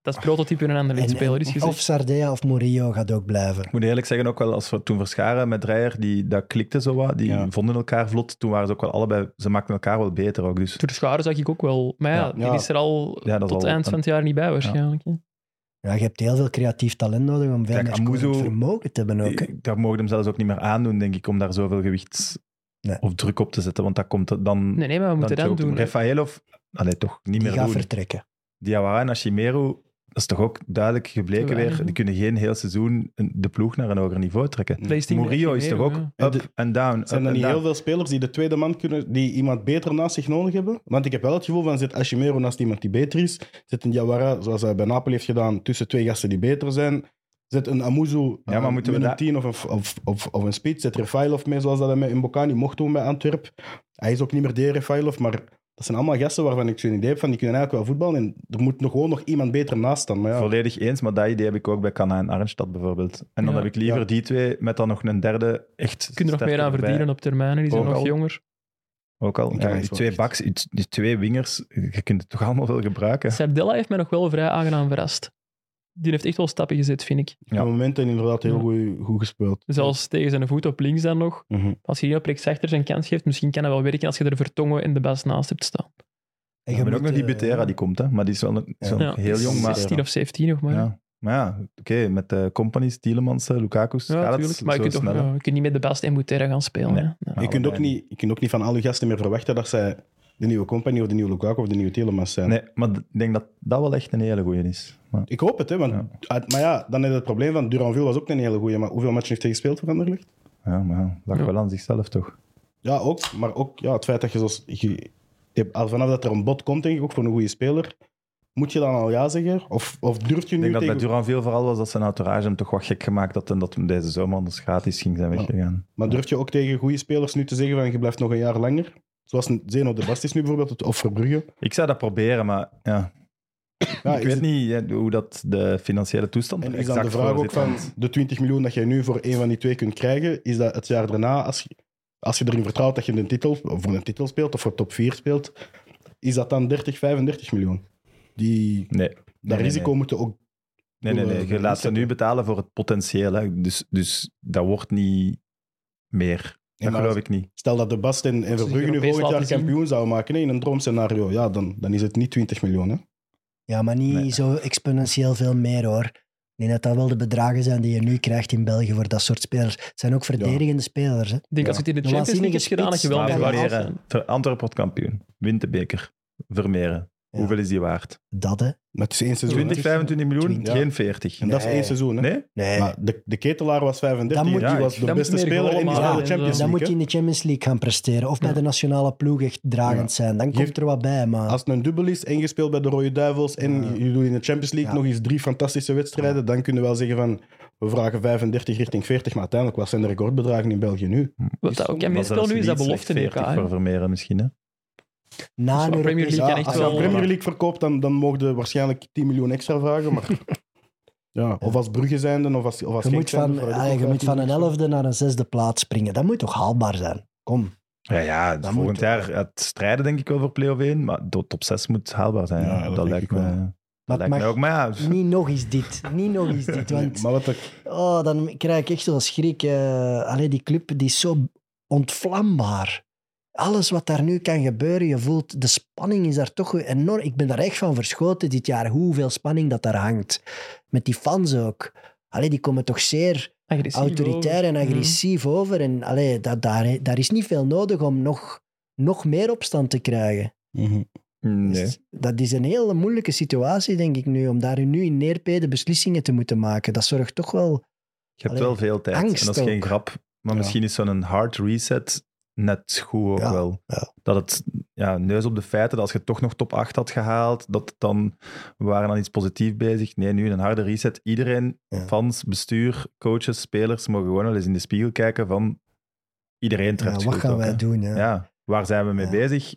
[SPEAKER 5] Dat is prototype in een ander
[SPEAKER 4] En-
[SPEAKER 5] speler dus is
[SPEAKER 4] en-
[SPEAKER 5] gezegd.
[SPEAKER 4] of Sardea of Murillo gaat ook blijven.
[SPEAKER 1] Ik moet eerlijk zeggen, ook wel als we toen verscharen met Dreyer, die, dat klikte zo wat. Die
[SPEAKER 3] Ja.
[SPEAKER 1] vonden elkaar vlot. Toen waren ze ook wel allebei... Ze maakten elkaar wel beter ook, dus...
[SPEAKER 5] Door de scharen zag ik ook wel. Maar ja,
[SPEAKER 1] Ja.
[SPEAKER 5] die
[SPEAKER 3] Ja.
[SPEAKER 5] is er al
[SPEAKER 1] Ja, dat is
[SPEAKER 5] tot
[SPEAKER 1] al-
[SPEAKER 5] eind van het jaar niet bij waarschijnlijk. hè.
[SPEAKER 4] Ja, je hebt heel veel creatief talent nodig om veel
[SPEAKER 1] Kijk,
[SPEAKER 4] meer scorend
[SPEAKER 1] Amuzo-
[SPEAKER 4] vermogen te hebben ook. hè.
[SPEAKER 1] Ik- Dat mogen hem zelfs ook niet meer aandoen, denk ik, om daar zoveel gewicht
[SPEAKER 4] Nee.
[SPEAKER 1] of druk op te zetten. Want dat komt dan...
[SPEAKER 5] Nee, nee, maar we moeten
[SPEAKER 1] dan
[SPEAKER 5] dat
[SPEAKER 1] choked hem.
[SPEAKER 5] doen.
[SPEAKER 1] Rafael of... Allee, toch niet
[SPEAKER 4] Die
[SPEAKER 1] meer
[SPEAKER 4] gaat
[SPEAKER 1] doen.
[SPEAKER 4] vertrekken.
[SPEAKER 1] Diawara en Ashimeru, dat is toch ook duidelijk
[SPEAKER 5] Te
[SPEAKER 1] gebleken
[SPEAKER 5] weinig,
[SPEAKER 1] weer. Die kunnen geen heel seizoen een- de ploeg naar een hoger niveau trekken.
[SPEAKER 5] PlayStation
[SPEAKER 1] Murillo is toch
[SPEAKER 5] Casemiro,
[SPEAKER 1] ook
[SPEAKER 5] ja.
[SPEAKER 3] En
[SPEAKER 1] up
[SPEAKER 3] de-
[SPEAKER 1] en down. up
[SPEAKER 3] Zijn er
[SPEAKER 1] and
[SPEAKER 3] niet
[SPEAKER 1] down.
[SPEAKER 3] heel veel spelers die de tweede man kunnen, die iemand beter naast zich nodig hebben? Want ik heb wel het gevoel van zit Ashimero naast iemand die beter is, zit een Diawara, zoals hij bij Napoli heeft gedaan, tussen twee gasten die beter zijn, zit een Amuzu
[SPEAKER 1] Ja, maar
[SPEAKER 3] eh,
[SPEAKER 1] moeten we
[SPEAKER 3] met een
[SPEAKER 1] dat-
[SPEAKER 3] 10 of een, of, of, of een speed, zit Refailov mee, zoals dat hij met Mbokani mocht doen bij Antwerp. Hij is ook niet meer de Refailov, maar dat zijn allemaal gasten waarvan ik zo'n idee heb van die kunnen eigenlijk wel voetballen en er moet nog gewoon nog iemand beter naast staan. Maar ja,
[SPEAKER 1] Volledig eens, maar dat idee heb ik ook bij Kana en Arnstad bijvoorbeeld. En dan
[SPEAKER 5] Ja.
[SPEAKER 1] heb ik liever
[SPEAKER 3] Ja.
[SPEAKER 1] die twee met dan nog een derde echt
[SPEAKER 5] Kun je er nog
[SPEAKER 1] sterker
[SPEAKER 5] meer aan
[SPEAKER 1] erbij.
[SPEAKER 5] verdienen op termijn. hè. Die zijn
[SPEAKER 1] Ook
[SPEAKER 5] nog
[SPEAKER 1] al.
[SPEAKER 5] jonger.
[SPEAKER 1] Ook al.
[SPEAKER 3] Ja,
[SPEAKER 1] Ja, die
[SPEAKER 3] is wel
[SPEAKER 1] twee
[SPEAKER 3] echt.
[SPEAKER 1] backs, die, die twee wingers, je kunt het toch allemaal wel gebruiken.
[SPEAKER 5] Sardella heeft mij nog wel vrij aangenaam verrast. Die heeft echt wel stappen gezet, vind ik.
[SPEAKER 1] Ja.
[SPEAKER 3] op momenten inderdaad heel
[SPEAKER 5] Ja. Dus
[SPEAKER 3] goed, goed gespeeld.
[SPEAKER 5] Zelfs tegen zijn voet op links dan nog.
[SPEAKER 3] Mhm.
[SPEAKER 5] Als je die op rechts achter zijn kans geeft, misschien kan dat wel werken als je er Vertongen in de bas naast hebt staan.
[SPEAKER 4] En
[SPEAKER 1] Ik
[SPEAKER 4] je
[SPEAKER 1] heb ook
[SPEAKER 4] moet,
[SPEAKER 1] nog die
[SPEAKER 4] eh,
[SPEAKER 1] Butera die komt, hè. maar die is wel, nog- is wel
[SPEAKER 3] Ja.
[SPEAKER 1] nog heel jong. Maar
[SPEAKER 5] 16 of 17 nog maar. Ja,
[SPEAKER 1] ja, maar ja oké, met de companies, Tielemans, eh, Lukaku's, gaat
[SPEAKER 5] tuurlijk.
[SPEAKER 1] het
[SPEAKER 5] Maar je
[SPEAKER 1] zo
[SPEAKER 5] kunt, toch,
[SPEAKER 1] snel, hè.
[SPEAKER 5] ja, je kunt niet met de best en Butera gaan spelen.
[SPEAKER 1] Nee.
[SPEAKER 5] hè. Ja.
[SPEAKER 1] Maar
[SPEAKER 3] je, kunt ook
[SPEAKER 1] allebei
[SPEAKER 3] niet, je kunt ook niet van al je gasten meer verwachten dat zij de nieuwe company of de nieuwe Lukaku of de nieuwe Telemans zijn.
[SPEAKER 1] Nee, maar d- ik denk dat dat wel echt een hele goeie is. Maar,
[SPEAKER 3] Ik hoop het, hè, want,
[SPEAKER 1] Ja.
[SPEAKER 3] uit- maar ja, dan is het probleem van Duranville was ook een hele goeie, maar hoeveel matchen heeft hij gespeeld voor Anderlecht?
[SPEAKER 1] ja, maar ja, lag
[SPEAKER 5] Ja.
[SPEAKER 1] wel aan zichzelf, toch?
[SPEAKER 3] Ja, ook, maar ook ja, het feit dat je zoals... Je, je- al vanaf dat er een bod komt, denk ik, ook voor een goede speler, moet je dan al ja zeggen? Of, of durf je
[SPEAKER 1] Ik
[SPEAKER 3] nu
[SPEAKER 1] denk dat bij
[SPEAKER 3] tegen...
[SPEAKER 1] Duranveel vooral was dat zijn entourage hem toch wat gek gemaakt had en dat hem deze zomer anders gratis ging zijn
[SPEAKER 3] Ja.
[SPEAKER 1] weggegaan.
[SPEAKER 3] Maar durf je ook tegen goede spelers nu te zeggen van je blijft nog een jaar langer? Zoals een Zeno de Bast is nu bijvoorbeeld, of Verbrugge.
[SPEAKER 1] Ik zou dat proberen, maar ja,
[SPEAKER 3] Ja,
[SPEAKER 1] ik
[SPEAKER 3] is
[SPEAKER 1] weet
[SPEAKER 3] het-
[SPEAKER 1] niet hè, hoe dat de financiële toestand
[SPEAKER 3] Ah, En
[SPEAKER 1] er
[SPEAKER 3] is dan de
[SPEAKER 1] exact
[SPEAKER 3] vraag
[SPEAKER 1] voor
[SPEAKER 3] ook
[SPEAKER 1] zit,
[SPEAKER 3] van
[SPEAKER 1] want-
[SPEAKER 3] de 20 miljoen dat jij nu voor een van die twee kunt krijgen, is dat het jaar daarna, als je, als je erin vertrouwt dat je een titel, of voor een titel speelt of voor top 4 speelt, is dat dan 30, 35 miljoen? Die,
[SPEAKER 1] Nee.
[SPEAKER 3] dat
[SPEAKER 1] nee,
[SPEAKER 3] risico
[SPEAKER 1] nee.
[SPEAKER 3] moeten ook.
[SPEAKER 1] Nee, nee, nee. Je
[SPEAKER 3] Bedoel,
[SPEAKER 1] laat ze
[SPEAKER 3] eh,
[SPEAKER 1] nu betalen voor het potentieel. Hè. Dus, dus dat wordt niet meer.
[SPEAKER 3] Nee,
[SPEAKER 1] Dat
[SPEAKER 3] maar-
[SPEAKER 1] geloof ik niet.
[SPEAKER 3] Stel dat de Bast en, en
[SPEAKER 5] ze
[SPEAKER 3] Verbrugge nu
[SPEAKER 5] Europees
[SPEAKER 3] volgend jaar
[SPEAKER 5] laten zien.
[SPEAKER 3] kampioen zouden maken hè, in een droomscenario, ja, dan, dan is het niet 20 miljoen. Hè?
[SPEAKER 4] Ja, maar niet
[SPEAKER 1] Nee.
[SPEAKER 4] zo exponentieel veel meer hoor. Ik denk dat dat wel de bedragen zijn die je nu krijgt in België voor dat soort spelers. Het zijn ook verdedigende spelers. Hè?
[SPEAKER 5] Ik denk
[SPEAKER 3] Ja.
[SPEAKER 5] als je het in
[SPEAKER 4] De
[SPEAKER 5] de Champions League
[SPEAKER 4] waanzinnige
[SPEAKER 5] hebt gedaan, dat je wel
[SPEAKER 1] Maar
[SPEAKER 5] bij
[SPEAKER 4] spits.
[SPEAKER 5] de
[SPEAKER 4] Vermeeren.
[SPEAKER 5] best bent.
[SPEAKER 1] Ver- Antwerpen wordt kampioen. Wint de beker. Vermeeren.
[SPEAKER 4] Ja.
[SPEAKER 1] Hoeveel is die waard?
[SPEAKER 4] Dat hè?
[SPEAKER 3] Maar het is één seizoen. hè.
[SPEAKER 1] 20, 25 miljoen?
[SPEAKER 3] 20, ja.
[SPEAKER 1] Geen 40.
[SPEAKER 3] En dat is
[SPEAKER 4] Nee.
[SPEAKER 3] één seizoen. Hè?
[SPEAKER 1] Nee?
[SPEAKER 4] Nee.
[SPEAKER 3] Maar de, de ketelaar was 35,
[SPEAKER 4] Dan moet-
[SPEAKER 3] die
[SPEAKER 1] Ja,
[SPEAKER 3] was
[SPEAKER 5] dan
[SPEAKER 3] de beste
[SPEAKER 5] moet je meer
[SPEAKER 3] speler in
[SPEAKER 5] goalen
[SPEAKER 3] die
[SPEAKER 4] maken.
[SPEAKER 3] hele
[SPEAKER 5] Ja,
[SPEAKER 3] Champions League.
[SPEAKER 4] dan moet
[SPEAKER 3] hè.
[SPEAKER 4] je in de Champions League gaan presteren. Of bij
[SPEAKER 5] Ja.
[SPEAKER 4] de nationale ploeg echt dragend zijn. Dan
[SPEAKER 3] Geef-
[SPEAKER 4] komt er wat bij. Maar
[SPEAKER 3] Als het een dubbel is en je speelt bij de Rode Duivels en
[SPEAKER 4] Ja.
[SPEAKER 3] je doet in de Champions League
[SPEAKER 4] Ja.
[SPEAKER 3] nog eens drie fantastische wedstrijden, dan kunnen we wel zeggen van we vragen 35 richting 40, maar uiteindelijk wat zijn de recordbedragen in België nu?
[SPEAKER 5] Wat dat ook kan meespelen nu, is dat belofte in elkaar. hè.
[SPEAKER 1] voor Vermeeren misschien. Hè?
[SPEAKER 4] na
[SPEAKER 5] Zo'n
[SPEAKER 4] een
[SPEAKER 5] Premier
[SPEAKER 4] Europese-
[SPEAKER 5] League
[SPEAKER 3] Ja,
[SPEAKER 5] kan echt
[SPEAKER 3] als je
[SPEAKER 5] wel-
[SPEAKER 3] aan Premier League verkoopt, dan, dan mogen we waarschijnlijk 10 miljoen extra vragen. Maar, ja, of als Brugge zijnde, of als, of als
[SPEAKER 4] Je
[SPEAKER 3] Genk
[SPEAKER 4] moet
[SPEAKER 3] zijnde,
[SPEAKER 4] van,
[SPEAKER 3] vraag ik
[SPEAKER 4] ah,
[SPEAKER 3] ook
[SPEAKER 4] je
[SPEAKER 3] wel
[SPEAKER 4] moet
[SPEAKER 3] 10
[SPEAKER 4] van een
[SPEAKER 3] miljoen extra.
[SPEAKER 4] elfde naar een zesde plaats springen. Dat moet toch haalbaar zijn? Kom.
[SPEAKER 1] Ja, ja
[SPEAKER 4] Dat
[SPEAKER 1] volgend
[SPEAKER 4] moet-
[SPEAKER 1] jaar het strijden denk ik wel voor play-off 1, maar de top 6 moet haalbaar zijn. hè.
[SPEAKER 3] Ja, dat
[SPEAKER 1] dat
[SPEAKER 3] denk
[SPEAKER 1] lijkt
[SPEAKER 3] ik
[SPEAKER 1] me,
[SPEAKER 3] wel.
[SPEAKER 1] dat
[SPEAKER 4] Maar
[SPEAKER 1] lijkt
[SPEAKER 4] het
[SPEAKER 1] me
[SPEAKER 4] mag
[SPEAKER 1] ook. Maar ja,
[SPEAKER 4] niet nog eens dit. Niet nog eens dit.
[SPEAKER 3] Nee,
[SPEAKER 4] Want
[SPEAKER 3] maar wat ik,
[SPEAKER 4] oh, dan krijg ik echt zo'n schrik. eh allee, die club die is zo ontvlambaar. Alles wat daar nu kan gebeuren, je voelt de spanning is daar toch weer enorm. Ik ben daar echt van verschoten dit jaar, hoeveel spanning dat daar hangt. Met die fans ook. Allee, die komen toch zeer
[SPEAKER 5] Agressief
[SPEAKER 4] autoritair en
[SPEAKER 5] over. Mhm.
[SPEAKER 4] agressief over. En allee, dat, daar, daar is niet veel nodig om nog, nog meer opstand te krijgen.
[SPEAKER 1] nee.
[SPEAKER 4] Dus dat is een hele moeilijke situatie, denk ik nu, om daar nu in neerpeden beslissingen te moeten maken. Dat zorgt toch wel
[SPEAKER 1] Je hebt
[SPEAKER 4] Allee,
[SPEAKER 1] wel veel tijd. En dat is
[SPEAKER 4] angst
[SPEAKER 1] geen
[SPEAKER 4] ook.
[SPEAKER 1] grap. Maar
[SPEAKER 3] Ja.
[SPEAKER 1] misschien is zo'n hard reset net goed ook
[SPEAKER 4] Ja,
[SPEAKER 1] wel.
[SPEAKER 4] ja.
[SPEAKER 1] Dat het ja, neus op de feiten, dat als je toch nog top 8 had gehaald, dat het dan, we waren dan iets positiefs bezig. Nee, nu een harde reset. Iedereen,
[SPEAKER 4] Ja.
[SPEAKER 1] fans, bestuur, coaches, spelers, mogen gewoon wel eens in de spiegel kijken van iedereen
[SPEAKER 4] Ja,
[SPEAKER 1] treft
[SPEAKER 4] wat
[SPEAKER 1] schuld
[SPEAKER 4] gaan
[SPEAKER 1] ook,
[SPEAKER 4] wij
[SPEAKER 1] hè.
[SPEAKER 4] doen? Ja.
[SPEAKER 1] Ja, waar zijn we mee
[SPEAKER 4] Ja.
[SPEAKER 1] bezig?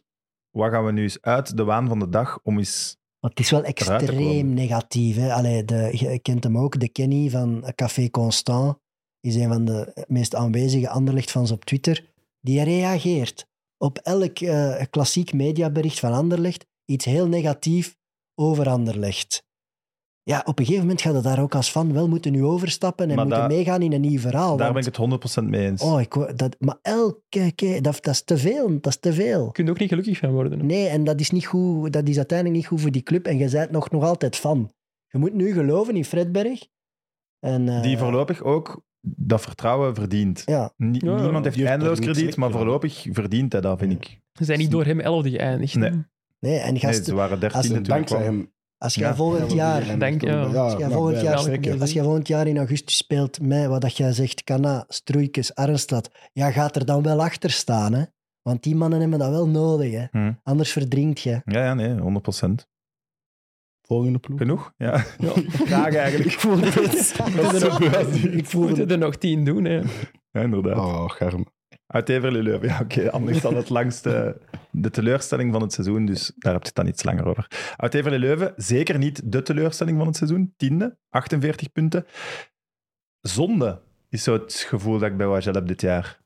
[SPEAKER 1] Wat gaan we nu eens uit de waan van de dag om eens...
[SPEAKER 4] Want het is wel
[SPEAKER 1] te
[SPEAKER 4] extreem
[SPEAKER 1] komen.
[SPEAKER 4] negatief. Hè? Allee, de, je kent hem ook, de Kenny van Café Constant is een van de meest aanwezige Anderlechtfans op Twitter. Die reageert op elk eh, klassiek mediabericht van Anderlecht iets heel negatief over Anderlecht. Ja, op een gegeven moment gaat het daar ook als fan wel moeten nu overstappen en
[SPEAKER 1] Maar
[SPEAKER 4] moeten
[SPEAKER 1] daar-
[SPEAKER 4] meegaan in een nieuw verhaal.
[SPEAKER 1] Daar ben ik
[SPEAKER 4] want-
[SPEAKER 1] het 100% mee eens.
[SPEAKER 4] oh, ik, wou- dat, maar elke keer, dat, dat is te veel, dat is te veel.
[SPEAKER 5] kunt er ook niet gelukkig van worden. hè.
[SPEAKER 4] Nee, en dat is, niet goed, dat is uiteindelijk niet goed voor die club. En je bent nog, nog altijd fan. Je moet nu geloven in Fredberg. En, eh,
[SPEAKER 1] Die voorlopig ook dat vertrouwen verdient.
[SPEAKER 4] Ja,
[SPEAKER 1] Nie-
[SPEAKER 5] Ja,
[SPEAKER 1] niemand
[SPEAKER 3] die
[SPEAKER 1] heeft
[SPEAKER 3] heeft er
[SPEAKER 1] eindeloos
[SPEAKER 3] niet
[SPEAKER 1] krediet,
[SPEAKER 3] slecht
[SPEAKER 1] maar
[SPEAKER 3] gedaan.
[SPEAKER 1] voorlopig verdient hij dat, vind ik.
[SPEAKER 5] Ze zijn niet door hem elfde geëindigd. hè.
[SPEAKER 1] Nee.
[SPEAKER 4] nee, en
[SPEAKER 1] Nee,
[SPEAKER 4] gasten,
[SPEAKER 1] ze waren
[SPEAKER 4] als het
[SPEAKER 1] dertien natuurlijk.
[SPEAKER 3] Dankzij
[SPEAKER 1] wel.
[SPEAKER 3] hem.
[SPEAKER 4] als jij
[SPEAKER 1] Ja,
[SPEAKER 4] volgend jaar...
[SPEAKER 3] En-
[SPEAKER 5] Dank, ja.
[SPEAKER 4] Als jij,
[SPEAKER 3] maar
[SPEAKER 4] volgend
[SPEAKER 3] blijf
[SPEAKER 4] jaar,
[SPEAKER 5] zeker.
[SPEAKER 4] als jij volgend jaar in augustus speelt met wat dat jij zegt, Kana, Stroeikens, Arnstad, ja, gaat er dan wel achter staan, hè? Want die mannen hebben dat wel nodig, hè?
[SPEAKER 1] Hm.
[SPEAKER 4] Anders verdrinkt je.
[SPEAKER 1] Ja, ja, nee, 100%.
[SPEAKER 3] Volgende ploeg.
[SPEAKER 1] Genoeg? Ja.
[SPEAKER 5] Ja.
[SPEAKER 1] Graag eigenlijk.
[SPEAKER 4] Ik voel
[SPEAKER 5] Dat is ook-
[SPEAKER 4] Ik
[SPEAKER 5] We
[SPEAKER 4] voelde
[SPEAKER 5] moeten er nog tien doen. Hè.
[SPEAKER 1] Ja, inderdaad.
[SPEAKER 3] Oh, Germ.
[SPEAKER 1] Uit Everly-Leuven, ja, oké. Anders dan het langste... De teleurstelling van het seizoen, dus daar heb je het dan iets langer over. Uit Everly-Leuven, zeker niet de teleurstelling van het seizoen. Tiende, 48 punten. Zonde is zo het gevoel dat ik bij Wajal heb dit jaar. Snap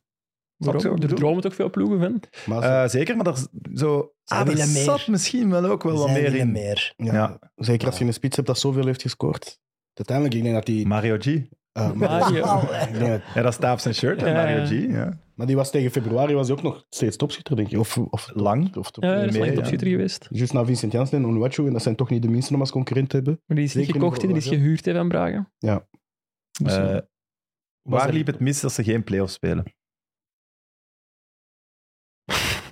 [SPEAKER 1] je wat ik
[SPEAKER 5] Waarom? Er
[SPEAKER 1] bedoel?
[SPEAKER 5] dromen toch veel ploegen van?
[SPEAKER 3] Maar ze-
[SPEAKER 1] Eh, zeker, maar daar, is zo,
[SPEAKER 4] Zij
[SPEAKER 1] ah, daar
[SPEAKER 4] willen meer.
[SPEAKER 1] zat misschien wel ook wel wat
[SPEAKER 4] Zij
[SPEAKER 1] meer
[SPEAKER 4] willen
[SPEAKER 1] in.
[SPEAKER 4] meer.
[SPEAKER 3] ja,
[SPEAKER 1] ja.
[SPEAKER 3] Zeker als je een spits hebt dat zoveel heeft gescoord. Uiteindelijk, ik denk dat die...
[SPEAKER 1] Mario G.
[SPEAKER 3] eh,
[SPEAKER 5] Mario.
[SPEAKER 3] ik denk dat-
[SPEAKER 1] Ja, dat staat op zijn shirt, hè,
[SPEAKER 5] Ja,
[SPEAKER 1] Mario
[SPEAKER 5] ja.
[SPEAKER 1] G. Ja.
[SPEAKER 3] maar die was tegen februari was hij ook nog steeds topschutter, denk ik. Of, of
[SPEAKER 1] Lang.
[SPEAKER 3] Of top,
[SPEAKER 5] Ja, dat is
[SPEAKER 1] Meer,
[SPEAKER 5] lang
[SPEAKER 1] ja.
[SPEAKER 5] topschutter geweest.
[SPEAKER 3] Juist na Vincent Janssen en Onuachu. En dat zijn toch niet de minste om als concurrent te hebben.
[SPEAKER 5] Maar die is niet
[SPEAKER 3] Zeker
[SPEAKER 5] gekocht, hè,
[SPEAKER 3] niet
[SPEAKER 5] die is
[SPEAKER 3] voor-
[SPEAKER 5] gehuurd hè, van Braga.
[SPEAKER 3] Ja.
[SPEAKER 5] Dus,
[SPEAKER 1] Eh,
[SPEAKER 5] eh,
[SPEAKER 1] waar
[SPEAKER 3] er-
[SPEAKER 1] liep het mis dat ze geen play-offs spelen?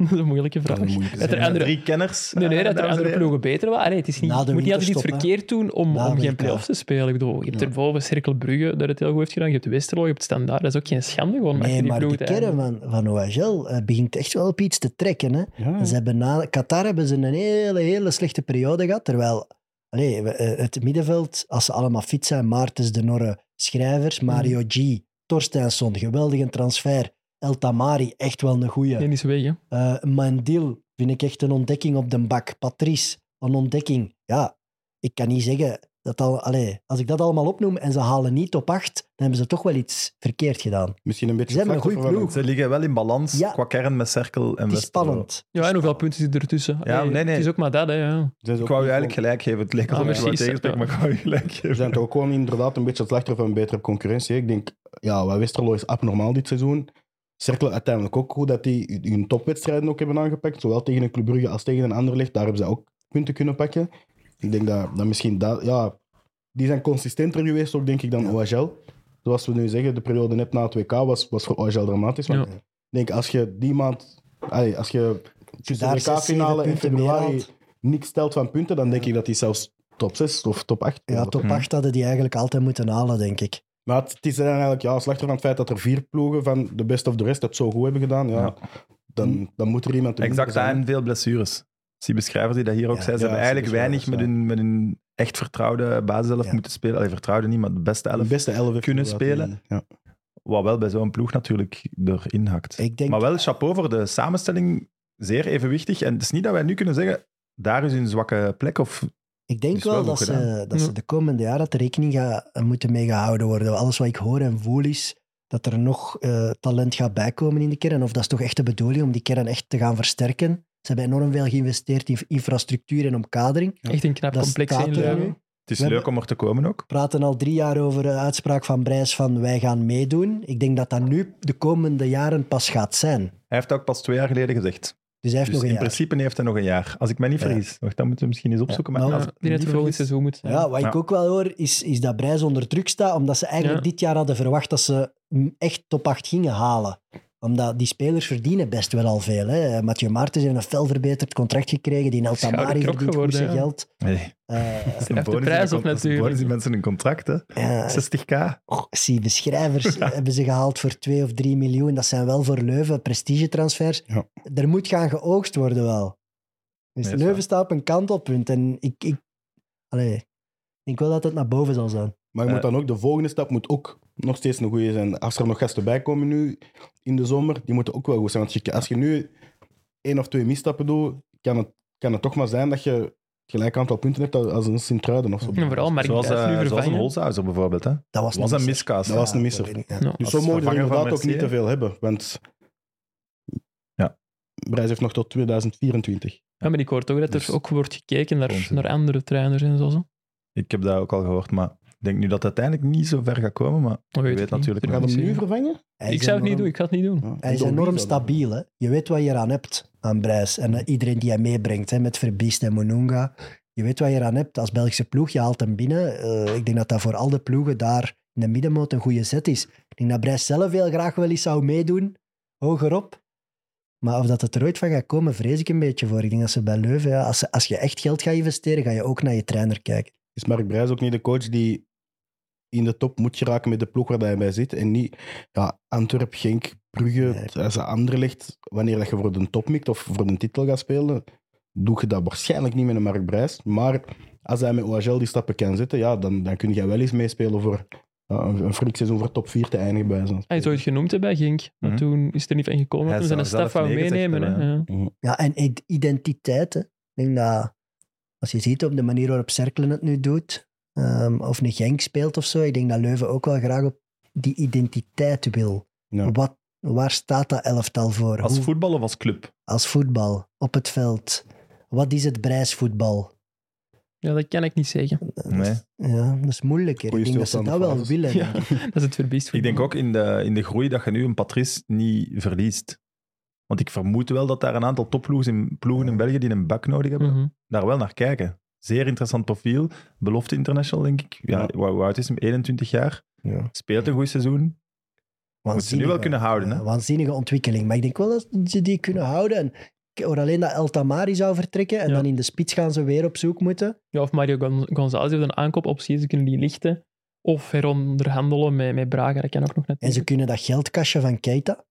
[SPEAKER 5] dat is een moeilijke vraag. Dat er
[SPEAKER 1] Zijn
[SPEAKER 5] andere-
[SPEAKER 1] Drie kenners.
[SPEAKER 5] Nee, nee,
[SPEAKER 1] eh,
[SPEAKER 5] dat er
[SPEAKER 1] dames en
[SPEAKER 5] andere
[SPEAKER 1] heren?
[SPEAKER 5] ploegen beter waren. Allee, het is niet,
[SPEAKER 4] Na de
[SPEAKER 5] je moet niet altijd iets
[SPEAKER 4] winterstop, hè.
[SPEAKER 5] verkeerd doen om,
[SPEAKER 4] Na de
[SPEAKER 5] om geen
[SPEAKER 4] WK.
[SPEAKER 5] play-offs te spelen. Ik bedoel, je hebt
[SPEAKER 3] Ja.
[SPEAKER 5] erboven Cirkel Brugge, dat het heel goed heeft gedaan. Je hebt Westerlo, je hebt Standaard. Dat is ook geen schande. Gewoon om achter
[SPEAKER 4] Nee,
[SPEAKER 5] die
[SPEAKER 4] maar de
[SPEAKER 5] ploegen te
[SPEAKER 4] kern
[SPEAKER 5] eindigen.
[SPEAKER 4] van, van OHL eh, begint echt wel op iets te trekken. Hè?
[SPEAKER 3] Ja,
[SPEAKER 4] Ze hebben na Qatar hebben ze een hele, hele slechte periode gehad. Terwijl allee, we- eh, het middenveld, als ze allemaal fit zijn, Maartens de Norre, Schrijvers, Mario G, Torstensson, geweldige transfer. El Tamari, echt wel een goeie.
[SPEAKER 5] Nee, die is weg. Hè.
[SPEAKER 4] Eh, Mandil vind ik echt een ontdekking op de bak. Patrice, een ontdekking. Ja, ik kan niet zeggen dat al. Allee, als ik dat allemaal opnoem en ze halen niet op acht, dan hebben ze toch wel iets verkeerd gedaan.
[SPEAKER 3] Misschien een beetje...
[SPEAKER 4] Ze hebben een
[SPEAKER 3] vlak
[SPEAKER 4] goeie
[SPEAKER 3] voor-
[SPEAKER 4] ploeg.
[SPEAKER 1] Ze liggen wel in balans
[SPEAKER 4] Ja.
[SPEAKER 1] qua kern met Cerkel en
[SPEAKER 4] Het is
[SPEAKER 1] Westerlo.
[SPEAKER 4] spannend.
[SPEAKER 5] Ja, en hoeveel punten zitten ertussen?
[SPEAKER 1] Ja,
[SPEAKER 5] Allee,
[SPEAKER 1] nee, nee.
[SPEAKER 5] Het is ook maar dat, hè. Ja.
[SPEAKER 3] Zijn ze
[SPEAKER 1] Ik
[SPEAKER 3] ook
[SPEAKER 1] wou je
[SPEAKER 3] niet
[SPEAKER 1] eigenlijk
[SPEAKER 3] gewoon-
[SPEAKER 1] gelijk geven. Het leek
[SPEAKER 5] Ah,
[SPEAKER 1] alsof ik wou
[SPEAKER 5] precies.
[SPEAKER 1] tegenspreken, maar ik wou je gelijk geven.
[SPEAKER 3] Ze zijn toch ook gewoon inderdaad een beetje het slachtoffer van betere concurrentie. Ik denk, ja, wat Westerlo is abnormaal dit seizoen. Cerkel uiteindelijk ook goed dat die hun topwedstrijden ook hebben aangepakt. Zowel tegen een Club Brugge als tegen een ander licht. Daar hebben ze ook punten kunnen pakken. Ik denk dat, dat misschien dat... Ja, die zijn consistenter geweest ook, denk ik, dan OHL. Zoals we nu zeggen, de periode net na het WK was, was voor OHL dramatisch. Maar
[SPEAKER 5] Ja.
[SPEAKER 3] ik denk, als je die maand... allee, als je tussen
[SPEAKER 4] daar
[SPEAKER 3] de
[SPEAKER 4] zes, zeven
[SPEAKER 3] WK-finale in
[SPEAKER 4] punten meer
[SPEAKER 3] februari
[SPEAKER 4] haalt.
[SPEAKER 3] niks stelt van punten, dan denk ik dat die zelfs top 6 of top 8...
[SPEAKER 4] Ja, top
[SPEAKER 1] Hmm.
[SPEAKER 4] 8 hadden die eigenlijk altijd moeten halen, denk ik.
[SPEAKER 3] Maar het, het is dan eigenlijk ja, slachter van het feit dat er vier ploegen van de best of de rest het zo goed hebben gedaan. Ja,
[SPEAKER 1] Ja.
[SPEAKER 3] Dan, dan moet er iemand de
[SPEAKER 1] Exact,
[SPEAKER 3] minste
[SPEAKER 1] dat
[SPEAKER 3] zijn.
[SPEAKER 1] en veel blessures. Die beschrijvers die dat hier ook
[SPEAKER 4] Ja.
[SPEAKER 1] zei, ze
[SPEAKER 3] Ja,
[SPEAKER 1] hebben eigenlijk weinig
[SPEAKER 3] blessures,
[SPEAKER 1] met
[SPEAKER 3] ja.
[SPEAKER 1] hun, met hun echt vertrouwde basis
[SPEAKER 4] Ja.
[SPEAKER 1] moeten spelen. Allee, vertrouwde niet, maar de beste
[SPEAKER 3] De
[SPEAKER 1] elf.
[SPEAKER 3] beste elf heeft
[SPEAKER 1] kunnen
[SPEAKER 3] inderdaad
[SPEAKER 1] spelen.
[SPEAKER 3] die- Ja.
[SPEAKER 1] Wat wel bij zo'n ploeg natuurlijk erin hakt.
[SPEAKER 4] Ik denk,
[SPEAKER 1] Maar wel chapeau voor de samenstelling. Zeer evenwichtig. En het is niet dat wij nu kunnen zeggen, daar is hun zwakke plek. Of...
[SPEAKER 4] ik denk
[SPEAKER 1] is
[SPEAKER 4] wel,
[SPEAKER 1] wel
[SPEAKER 4] dat,
[SPEAKER 1] goed
[SPEAKER 4] ze,
[SPEAKER 1] gedaan.
[SPEAKER 4] dat ze
[SPEAKER 5] Ja.
[SPEAKER 4] de komende jaren de rekening gaan, moeten mee gehouden worden. Alles wat ik hoor en voel is dat er nog eh, talent gaat bijkomen in de kern. Of dat is toch echt de bedoeling om die kern echt te gaan versterken. Ze hebben enorm veel geïnvesteerd in infrastructuur en omkadering.
[SPEAKER 5] Echt een knap
[SPEAKER 4] Dat
[SPEAKER 5] complex.
[SPEAKER 4] staat
[SPEAKER 5] hè,
[SPEAKER 4] er
[SPEAKER 5] in
[SPEAKER 4] nu.
[SPEAKER 5] Leuven.
[SPEAKER 1] Het is
[SPEAKER 4] We
[SPEAKER 1] leuk
[SPEAKER 4] hebben-
[SPEAKER 1] om er te komen ook.
[SPEAKER 4] We praten al drie jaar over de uitspraak van Brijs van wij gaan meedoen. Ik denk dat dat nu de komende jaren pas gaat zijn.
[SPEAKER 1] Hij heeft dat ook pas twee jaar geleden gezegd.
[SPEAKER 4] Dus hij heeft
[SPEAKER 1] Dus
[SPEAKER 4] nog
[SPEAKER 1] in
[SPEAKER 4] een jaar.
[SPEAKER 1] principe heeft hij nog een jaar. Als ik mij niet
[SPEAKER 4] Ja.
[SPEAKER 1] vergis. Wacht, dat moeten we misschien eens opzoeken.
[SPEAKER 4] Nou,
[SPEAKER 1] maar
[SPEAKER 5] Ja,
[SPEAKER 1] als ik me
[SPEAKER 5] die net
[SPEAKER 1] niet
[SPEAKER 5] volgend
[SPEAKER 1] vergis-
[SPEAKER 5] seizoen moet zijn.
[SPEAKER 4] Ja, wat ik
[SPEAKER 1] Ja.
[SPEAKER 4] ook wel hoor, is, is dat Brijs onder druk staat, omdat ze eigenlijk
[SPEAKER 5] Ja.
[SPEAKER 4] dit jaar hadden verwacht dat ze mm, echt top 8 gingen halen. Omdat die spelers verdienen best wel al veel. Hè. Mathieu Maartens heeft een fel verbeterd contract gekregen, die Altamari
[SPEAKER 5] Schouderkrok
[SPEAKER 4] verdient goed
[SPEAKER 5] geworden,
[SPEAKER 4] zijn
[SPEAKER 5] ja.
[SPEAKER 4] geld.
[SPEAKER 1] Nee.
[SPEAKER 4] Eh,
[SPEAKER 1] Dat is een
[SPEAKER 5] Hij heeft de
[SPEAKER 1] bonus in
[SPEAKER 5] prijs
[SPEAKER 1] de
[SPEAKER 5] op
[SPEAKER 1] con- dat is een
[SPEAKER 5] natuurlijk.
[SPEAKER 1] bonus die mensen een contract, hè.
[SPEAKER 4] ja,
[SPEAKER 1] 60k.
[SPEAKER 4] oh, zie, de schrijvers hebben ze gehaald voor 2 of 3 miljoen. Dat zijn wel voor Leuven prestigetransfers.
[SPEAKER 3] Ja.
[SPEAKER 4] Er moet gaan geoogst worden wel.
[SPEAKER 1] Nee,
[SPEAKER 4] Dus
[SPEAKER 1] dat is
[SPEAKER 4] Leuven
[SPEAKER 1] waar.
[SPEAKER 4] staat op een kantelpunt. En ik, ik, allee, ik denk wel dat het naar boven zal zijn.
[SPEAKER 3] Maar je moet
[SPEAKER 1] Eh.
[SPEAKER 3] dan ook, de volgende stap moet ook nog steeds een goede zijn. Als er nog gasten bij komen nu in de zomer, die moeten ook wel goed zijn. Want je- als je nu één of twee misstappen doet, kan het, kan het toch maar zijn dat je het gelijk aantal punten hebt als een Sint-Truiden of zo.
[SPEAKER 5] En vooral Mark
[SPEAKER 1] Zoals,
[SPEAKER 5] Thijs
[SPEAKER 1] eh,
[SPEAKER 5] nu
[SPEAKER 1] zoals een
[SPEAKER 5] vervangen.
[SPEAKER 1] Holzhauser bijvoorbeeld. Hè?
[SPEAKER 4] Dat
[SPEAKER 1] was
[SPEAKER 4] was, een
[SPEAKER 1] een
[SPEAKER 4] misser.
[SPEAKER 1] miskaas.
[SPEAKER 3] Dat was een misser.
[SPEAKER 4] dat weet ik, ja.
[SPEAKER 5] Ja.
[SPEAKER 3] Dus
[SPEAKER 1] Als
[SPEAKER 3] zo mogen we
[SPEAKER 1] vervanger van
[SPEAKER 3] inderdaad ook niet
[SPEAKER 1] Mercier.
[SPEAKER 3] te veel hebben. Want
[SPEAKER 1] Ja.
[SPEAKER 3] Brijs heeft nog tot 2024.
[SPEAKER 5] Ja, maar ik hoor toch dat er
[SPEAKER 1] Dus-
[SPEAKER 5] ook wordt gekeken naar,
[SPEAKER 1] Constant.
[SPEAKER 5] naar andere trainers en zo. zo.
[SPEAKER 1] Ik heb dat ook al gehoord, maar ik denk nu dat het uiteindelijk niet zo ver gaat komen. Maar
[SPEAKER 5] Dat
[SPEAKER 1] Je
[SPEAKER 5] weet, ik
[SPEAKER 1] weet
[SPEAKER 5] niet.
[SPEAKER 1] natuurlijk
[SPEAKER 5] Dat
[SPEAKER 3] Gaat
[SPEAKER 5] kan
[SPEAKER 3] hem
[SPEAKER 5] ik
[SPEAKER 3] nu
[SPEAKER 5] zeggen.
[SPEAKER 3] vervangen?
[SPEAKER 4] Hij
[SPEAKER 5] Ik
[SPEAKER 4] is
[SPEAKER 5] zou het
[SPEAKER 4] enorm-
[SPEAKER 5] niet doen, ik ga het niet doen.
[SPEAKER 4] Hij is enorm stabiel. Hè. Je weet wat je eraan hebt aan Brijs. En eh, iedereen die hij meebrengt, hè, met Verbiest en Monunga. Je weet wat je eraan hebt als Belgische ploeg. Je haalt hem binnen. Eh, ik denk dat dat voor al de ploegen daar in de middenmoot een goede zet is. Ik denk dat Brijs zelf heel graag wel eens zou meedoen, hogerop. Maar of dat het er ooit van gaat komen, vrees ik een beetje voor. Ik denk dat ze bij Leuven, ja, als, ze- als je echt geld gaat investeren, ga je ook naar je trainer kijken.
[SPEAKER 3] Is Mark Brijs ook niet de coach die in de top moet geraken met de ploeg waar hij bij zit? En niet ja, Antwerp, Genk, Brugge, eh,
[SPEAKER 4] Nee.
[SPEAKER 3] als ze Anderlecht, wanneer dat je voor de top mikt of voor de titel gaat spelen, doe je dat waarschijnlijk niet met een Mark Brijs. Maar als hij met OHL die stappen kan zetten, ja, dan, dan kun je wel eens meespelen voor ja, een, een freak seizoen voor top 4 te eindigen bij zo'n
[SPEAKER 5] Hij is ooit genoemd hè, bij Gink, maar
[SPEAKER 1] Mhm.
[SPEAKER 5] toen is er niet van gekomen.
[SPEAKER 1] Hij
[SPEAKER 5] Toen zijn
[SPEAKER 1] zou
[SPEAKER 5] een staf
[SPEAKER 1] zelf
[SPEAKER 5] wou
[SPEAKER 1] nee gezegd
[SPEAKER 5] meenemen.
[SPEAKER 1] hebben,
[SPEAKER 5] hè. Ja.
[SPEAKER 4] Ja, en id- identiteit. Hè. Ik denk dat als je ziet op de manier waarop Cerkelen het nu doet, ehm, of een Genk speelt of zo, ik denk dat Leuven ook wel graag op die identiteit wil.
[SPEAKER 3] Ja.
[SPEAKER 4] Wat, waar staat dat elftal voor?
[SPEAKER 1] als
[SPEAKER 4] Hoe-
[SPEAKER 1] voetbal of als club?
[SPEAKER 4] als voetbal, op het veld. Wat is het prijsvoetbal?
[SPEAKER 5] ja, dat kan ik niet zeggen.
[SPEAKER 1] Nee.
[SPEAKER 4] Ja, dat is moeilijker.
[SPEAKER 3] Goeie
[SPEAKER 4] ik denk dat ze dat
[SPEAKER 3] stilstaande
[SPEAKER 4] wel
[SPEAKER 3] fases.
[SPEAKER 4] willen.
[SPEAKER 5] Ja, dat is het verbiest.
[SPEAKER 1] Ik denk ook in de, in de groei dat je nu een Patrice niet verliest. Want ik vermoed wel dat daar een aantal topploegen in, ploegen in België die een bak nodig hebben,
[SPEAKER 5] Mhm.
[SPEAKER 1] daar wel naar kijken. Zeer interessant profiel. Belofte International, denk ik. Ja,
[SPEAKER 3] Ja.
[SPEAKER 1] Hoe hoe oud is hem? 21 jaar.
[SPEAKER 4] Ja.
[SPEAKER 1] Speelt een goed seizoen. Moet ze nu wel kunnen houden, hè?
[SPEAKER 4] ja, eh, waanzinnige ontwikkeling. Maar ik denk wel dat ze die kunnen houden. En ik hoor alleen dat El Tamari zou vertrekken en
[SPEAKER 5] Ja.
[SPEAKER 4] dan in de spits gaan ze weer op zoek moeten.
[SPEAKER 5] Ja, of Mario Gon- González heeft een aankoopoptie, ze kunnen die lichten. Of heronderhandelen met, met Braga, dat kan ook nog net.
[SPEAKER 1] Mhm.
[SPEAKER 4] En ze kunnen dat geldkastje van Keita.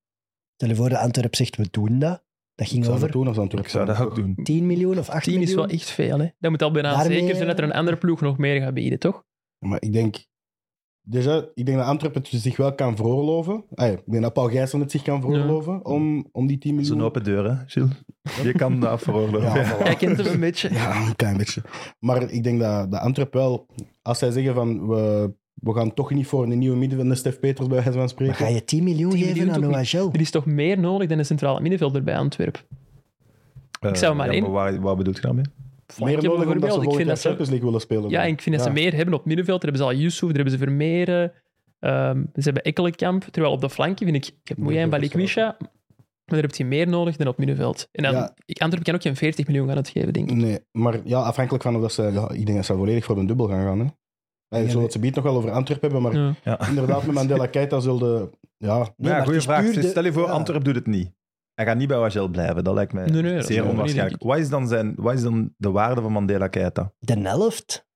[SPEAKER 4] Stel je voor dat Antwerp zegt, we doen dat. Dat ging
[SPEAKER 3] Zou dat
[SPEAKER 4] over
[SPEAKER 3] doen als Antwerp?
[SPEAKER 1] Ik zou dat ook doen.
[SPEAKER 4] 10 miljoen of 8
[SPEAKER 5] 10
[SPEAKER 4] miljoen.
[SPEAKER 5] is wel echt veel. Hè. Dat moet al bijna
[SPEAKER 4] Daarmee-
[SPEAKER 5] zeker zijn dat er een andere ploeg nog meer gaat bieden, toch?
[SPEAKER 3] Maar ik denk, dus, hè, ik denk dat Antwerpen het zich wel kan veroorloven. Ah, ja, ik denk dat Paul Gijssen het zich kan veroorloven om, om die 10
[SPEAKER 1] Dat is
[SPEAKER 3] miljoen.
[SPEAKER 1] een open deur, hè, Gilles? Je kan dat veroorloven.
[SPEAKER 3] Ja, voilà.
[SPEAKER 5] Jij kent hem een beetje.
[SPEAKER 3] Ja, een klein beetje. Maar ik denk dat, dat Antwerpen wel, als zij zeggen van we, we gaan toch niet voor een nieuwe middenvelder Stef Peters bij wijze van
[SPEAKER 4] Maar
[SPEAKER 3] spreken.
[SPEAKER 4] ga je 10 miljoen
[SPEAKER 5] 10
[SPEAKER 4] geven
[SPEAKER 5] miljoen
[SPEAKER 4] aan
[SPEAKER 5] toch
[SPEAKER 4] OHL?
[SPEAKER 5] Er is toch meer nodig dan een centrale middenvelder bij Antwerpen? Ik zou maar
[SPEAKER 1] ja,
[SPEAKER 5] één-
[SPEAKER 1] waar, waar bedoelt je nou mee?
[SPEAKER 3] Meer
[SPEAKER 5] Ik heb
[SPEAKER 3] nodig
[SPEAKER 5] bijvoorbeeld-
[SPEAKER 3] omdat ze
[SPEAKER 5] ik
[SPEAKER 3] volgend
[SPEAKER 5] vind
[SPEAKER 3] jaar
[SPEAKER 5] dat ze-
[SPEAKER 3] Champions League willen spelen.
[SPEAKER 5] Ja,
[SPEAKER 3] dan.
[SPEAKER 5] en ik vind dat
[SPEAKER 3] Ja.
[SPEAKER 5] ze meer hebben op middenveld. Daar hebben ze al Yusuf, daar hebben ze Vermeeren, ehm, ze hebben Ekkelenkamp. Terwijl op de flanken vind ik, ik heb Mouya en Balikwisha, maar daar heb je meer nodig dan op middenveld. En dan,
[SPEAKER 3] Ja.
[SPEAKER 5] ik, Antwerpen kan ook geen 40 miljoen gaan uitgeven, denk ik.
[SPEAKER 3] Nee, maar ja, afhankelijk van of dat ze... Ja, ik denk dat ze volledig voor een dubbel gaan gaan. Hè. Hey,
[SPEAKER 4] Ja,
[SPEAKER 3] zullen
[SPEAKER 4] nee.
[SPEAKER 3] het ze biedt nog wel over Antwerpen hebben, maar
[SPEAKER 5] Ja.
[SPEAKER 3] inderdaad, met Mandela Keita zullen... Ja,
[SPEAKER 4] Nee, maar
[SPEAKER 1] ja,
[SPEAKER 4] het
[SPEAKER 1] goede
[SPEAKER 4] is
[SPEAKER 1] vraag.
[SPEAKER 4] puur
[SPEAKER 1] Dus
[SPEAKER 4] de-
[SPEAKER 1] Stel je voor,
[SPEAKER 4] ja.
[SPEAKER 1] Antwerp doet het niet. Hij gaat niet bij Wagel blijven. Dat lijkt mij
[SPEAKER 5] Nee, nee, dat
[SPEAKER 1] zeer
[SPEAKER 5] zou ik
[SPEAKER 1] onwaarschijnlijk.
[SPEAKER 5] niet
[SPEAKER 1] Wat is, dan zijn, wat is dan de waarde van Mandela Keita?
[SPEAKER 4] De helft?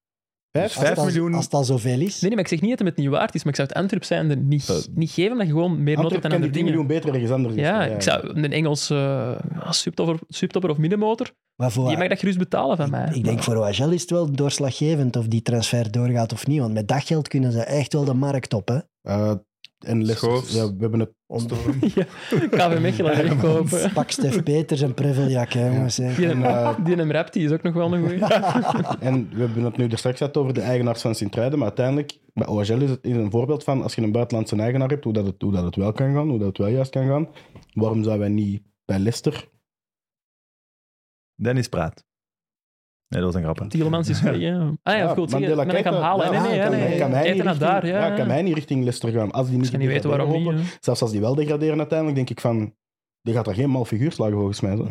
[SPEAKER 3] vijf,
[SPEAKER 4] Als het al-
[SPEAKER 1] miljoen.
[SPEAKER 4] Als het al zoveel is.
[SPEAKER 5] Nee, nee, maar ik zeg niet dat hem het niet waard is, maar ik zou het Antwerp zijn er niet,
[SPEAKER 1] Eh.
[SPEAKER 5] niet geven, omdat je gewoon meer nood
[SPEAKER 3] Antwerpen
[SPEAKER 5] hebt
[SPEAKER 3] kan
[SPEAKER 5] aan
[SPEAKER 3] die
[SPEAKER 5] andere
[SPEAKER 3] 10
[SPEAKER 5] dingen.
[SPEAKER 3] miljoen beter ergens anders dus, eh,
[SPEAKER 5] Ja,
[SPEAKER 3] insteken,
[SPEAKER 5] ik zou een Engelse eh, subtopper, subtopper of middenmotor,
[SPEAKER 4] Maar voor,
[SPEAKER 5] die mag dat gerust betalen van mij.
[SPEAKER 4] ik denk voor OHL is het wel doorslaggevend of die transfer doorgaat of niet. Want met dat geld kunnen ze echt wel de markt op. Hè?
[SPEAKER 3] Eh, en Leicester,
[SPEAKER 1] Schoofs.
[SPEAKER 3] ja, we hebben het...
[SPEAKER 4] Om-
[SPEAKER 5] Ja, KV Mechelen wegkopen.
[SPEAKER 4] Pak Stef Peters en Preveljak, hè, jongens. hè.
[SPEAKER 5] Die,
[SPEAKER 3] eh,
[SPEAKER 5] die en Rap, die is ook nog wel een goeie.
[SPEAKER 3] En we hebben het nu er straks gehad over de eigenaars van Sint-Truiden, maar uiteindelijk, bij OHL is het is een voorbeeld van, als je een buitenlandse eigenaar hebt, hoe dat, het, hoe dat het wel kan gaan, hoe dat het wel juist kan gaan. Waarom zouden wij niet bij Leicester...
[SPEAKER 5] Ah,
[SPEAKER 1] Dennis Praat. Nee, dat was een grap. hè.
[SPEAKER 5] Tielemans is weg, ja. Ah ja,
[SPEAKER 3] Ja,
[SPEAKER 5] of goed, zeggen,
[SPEAKER 3] Mandela
[SPEAKER 5] maar dat kan hem
[SPEAKER 3] Keita,
[SPEAKER 5] halen.
[SPEAKER 3] ja,
[SPEAKER 5] Nee, nee,
[SPEAKER 3] kan-
[SPEAKER 5] nee, nee.
[SPEAKER 3] kan hij niet
[SPEAKER 5] Keita naar
[SPEAKER 3] richting-
[SPEAKER 5] daar, ja.
[SPEAKER 3] ja, kan hij niet richting Leicester gaan, als die niet...
[SPEAKER 5] Ik kan niet weten waarom niet.
[SPEAKER 3] lopen.
[SPEAKER 5] ja.
[SPEAKER 3] Zelfs als die wel degraderen uiteindelijk, denk ik van... Die gaat daar geen mal figuur slagen, volgens mij. zo.
[SPEAKER 5] Nee.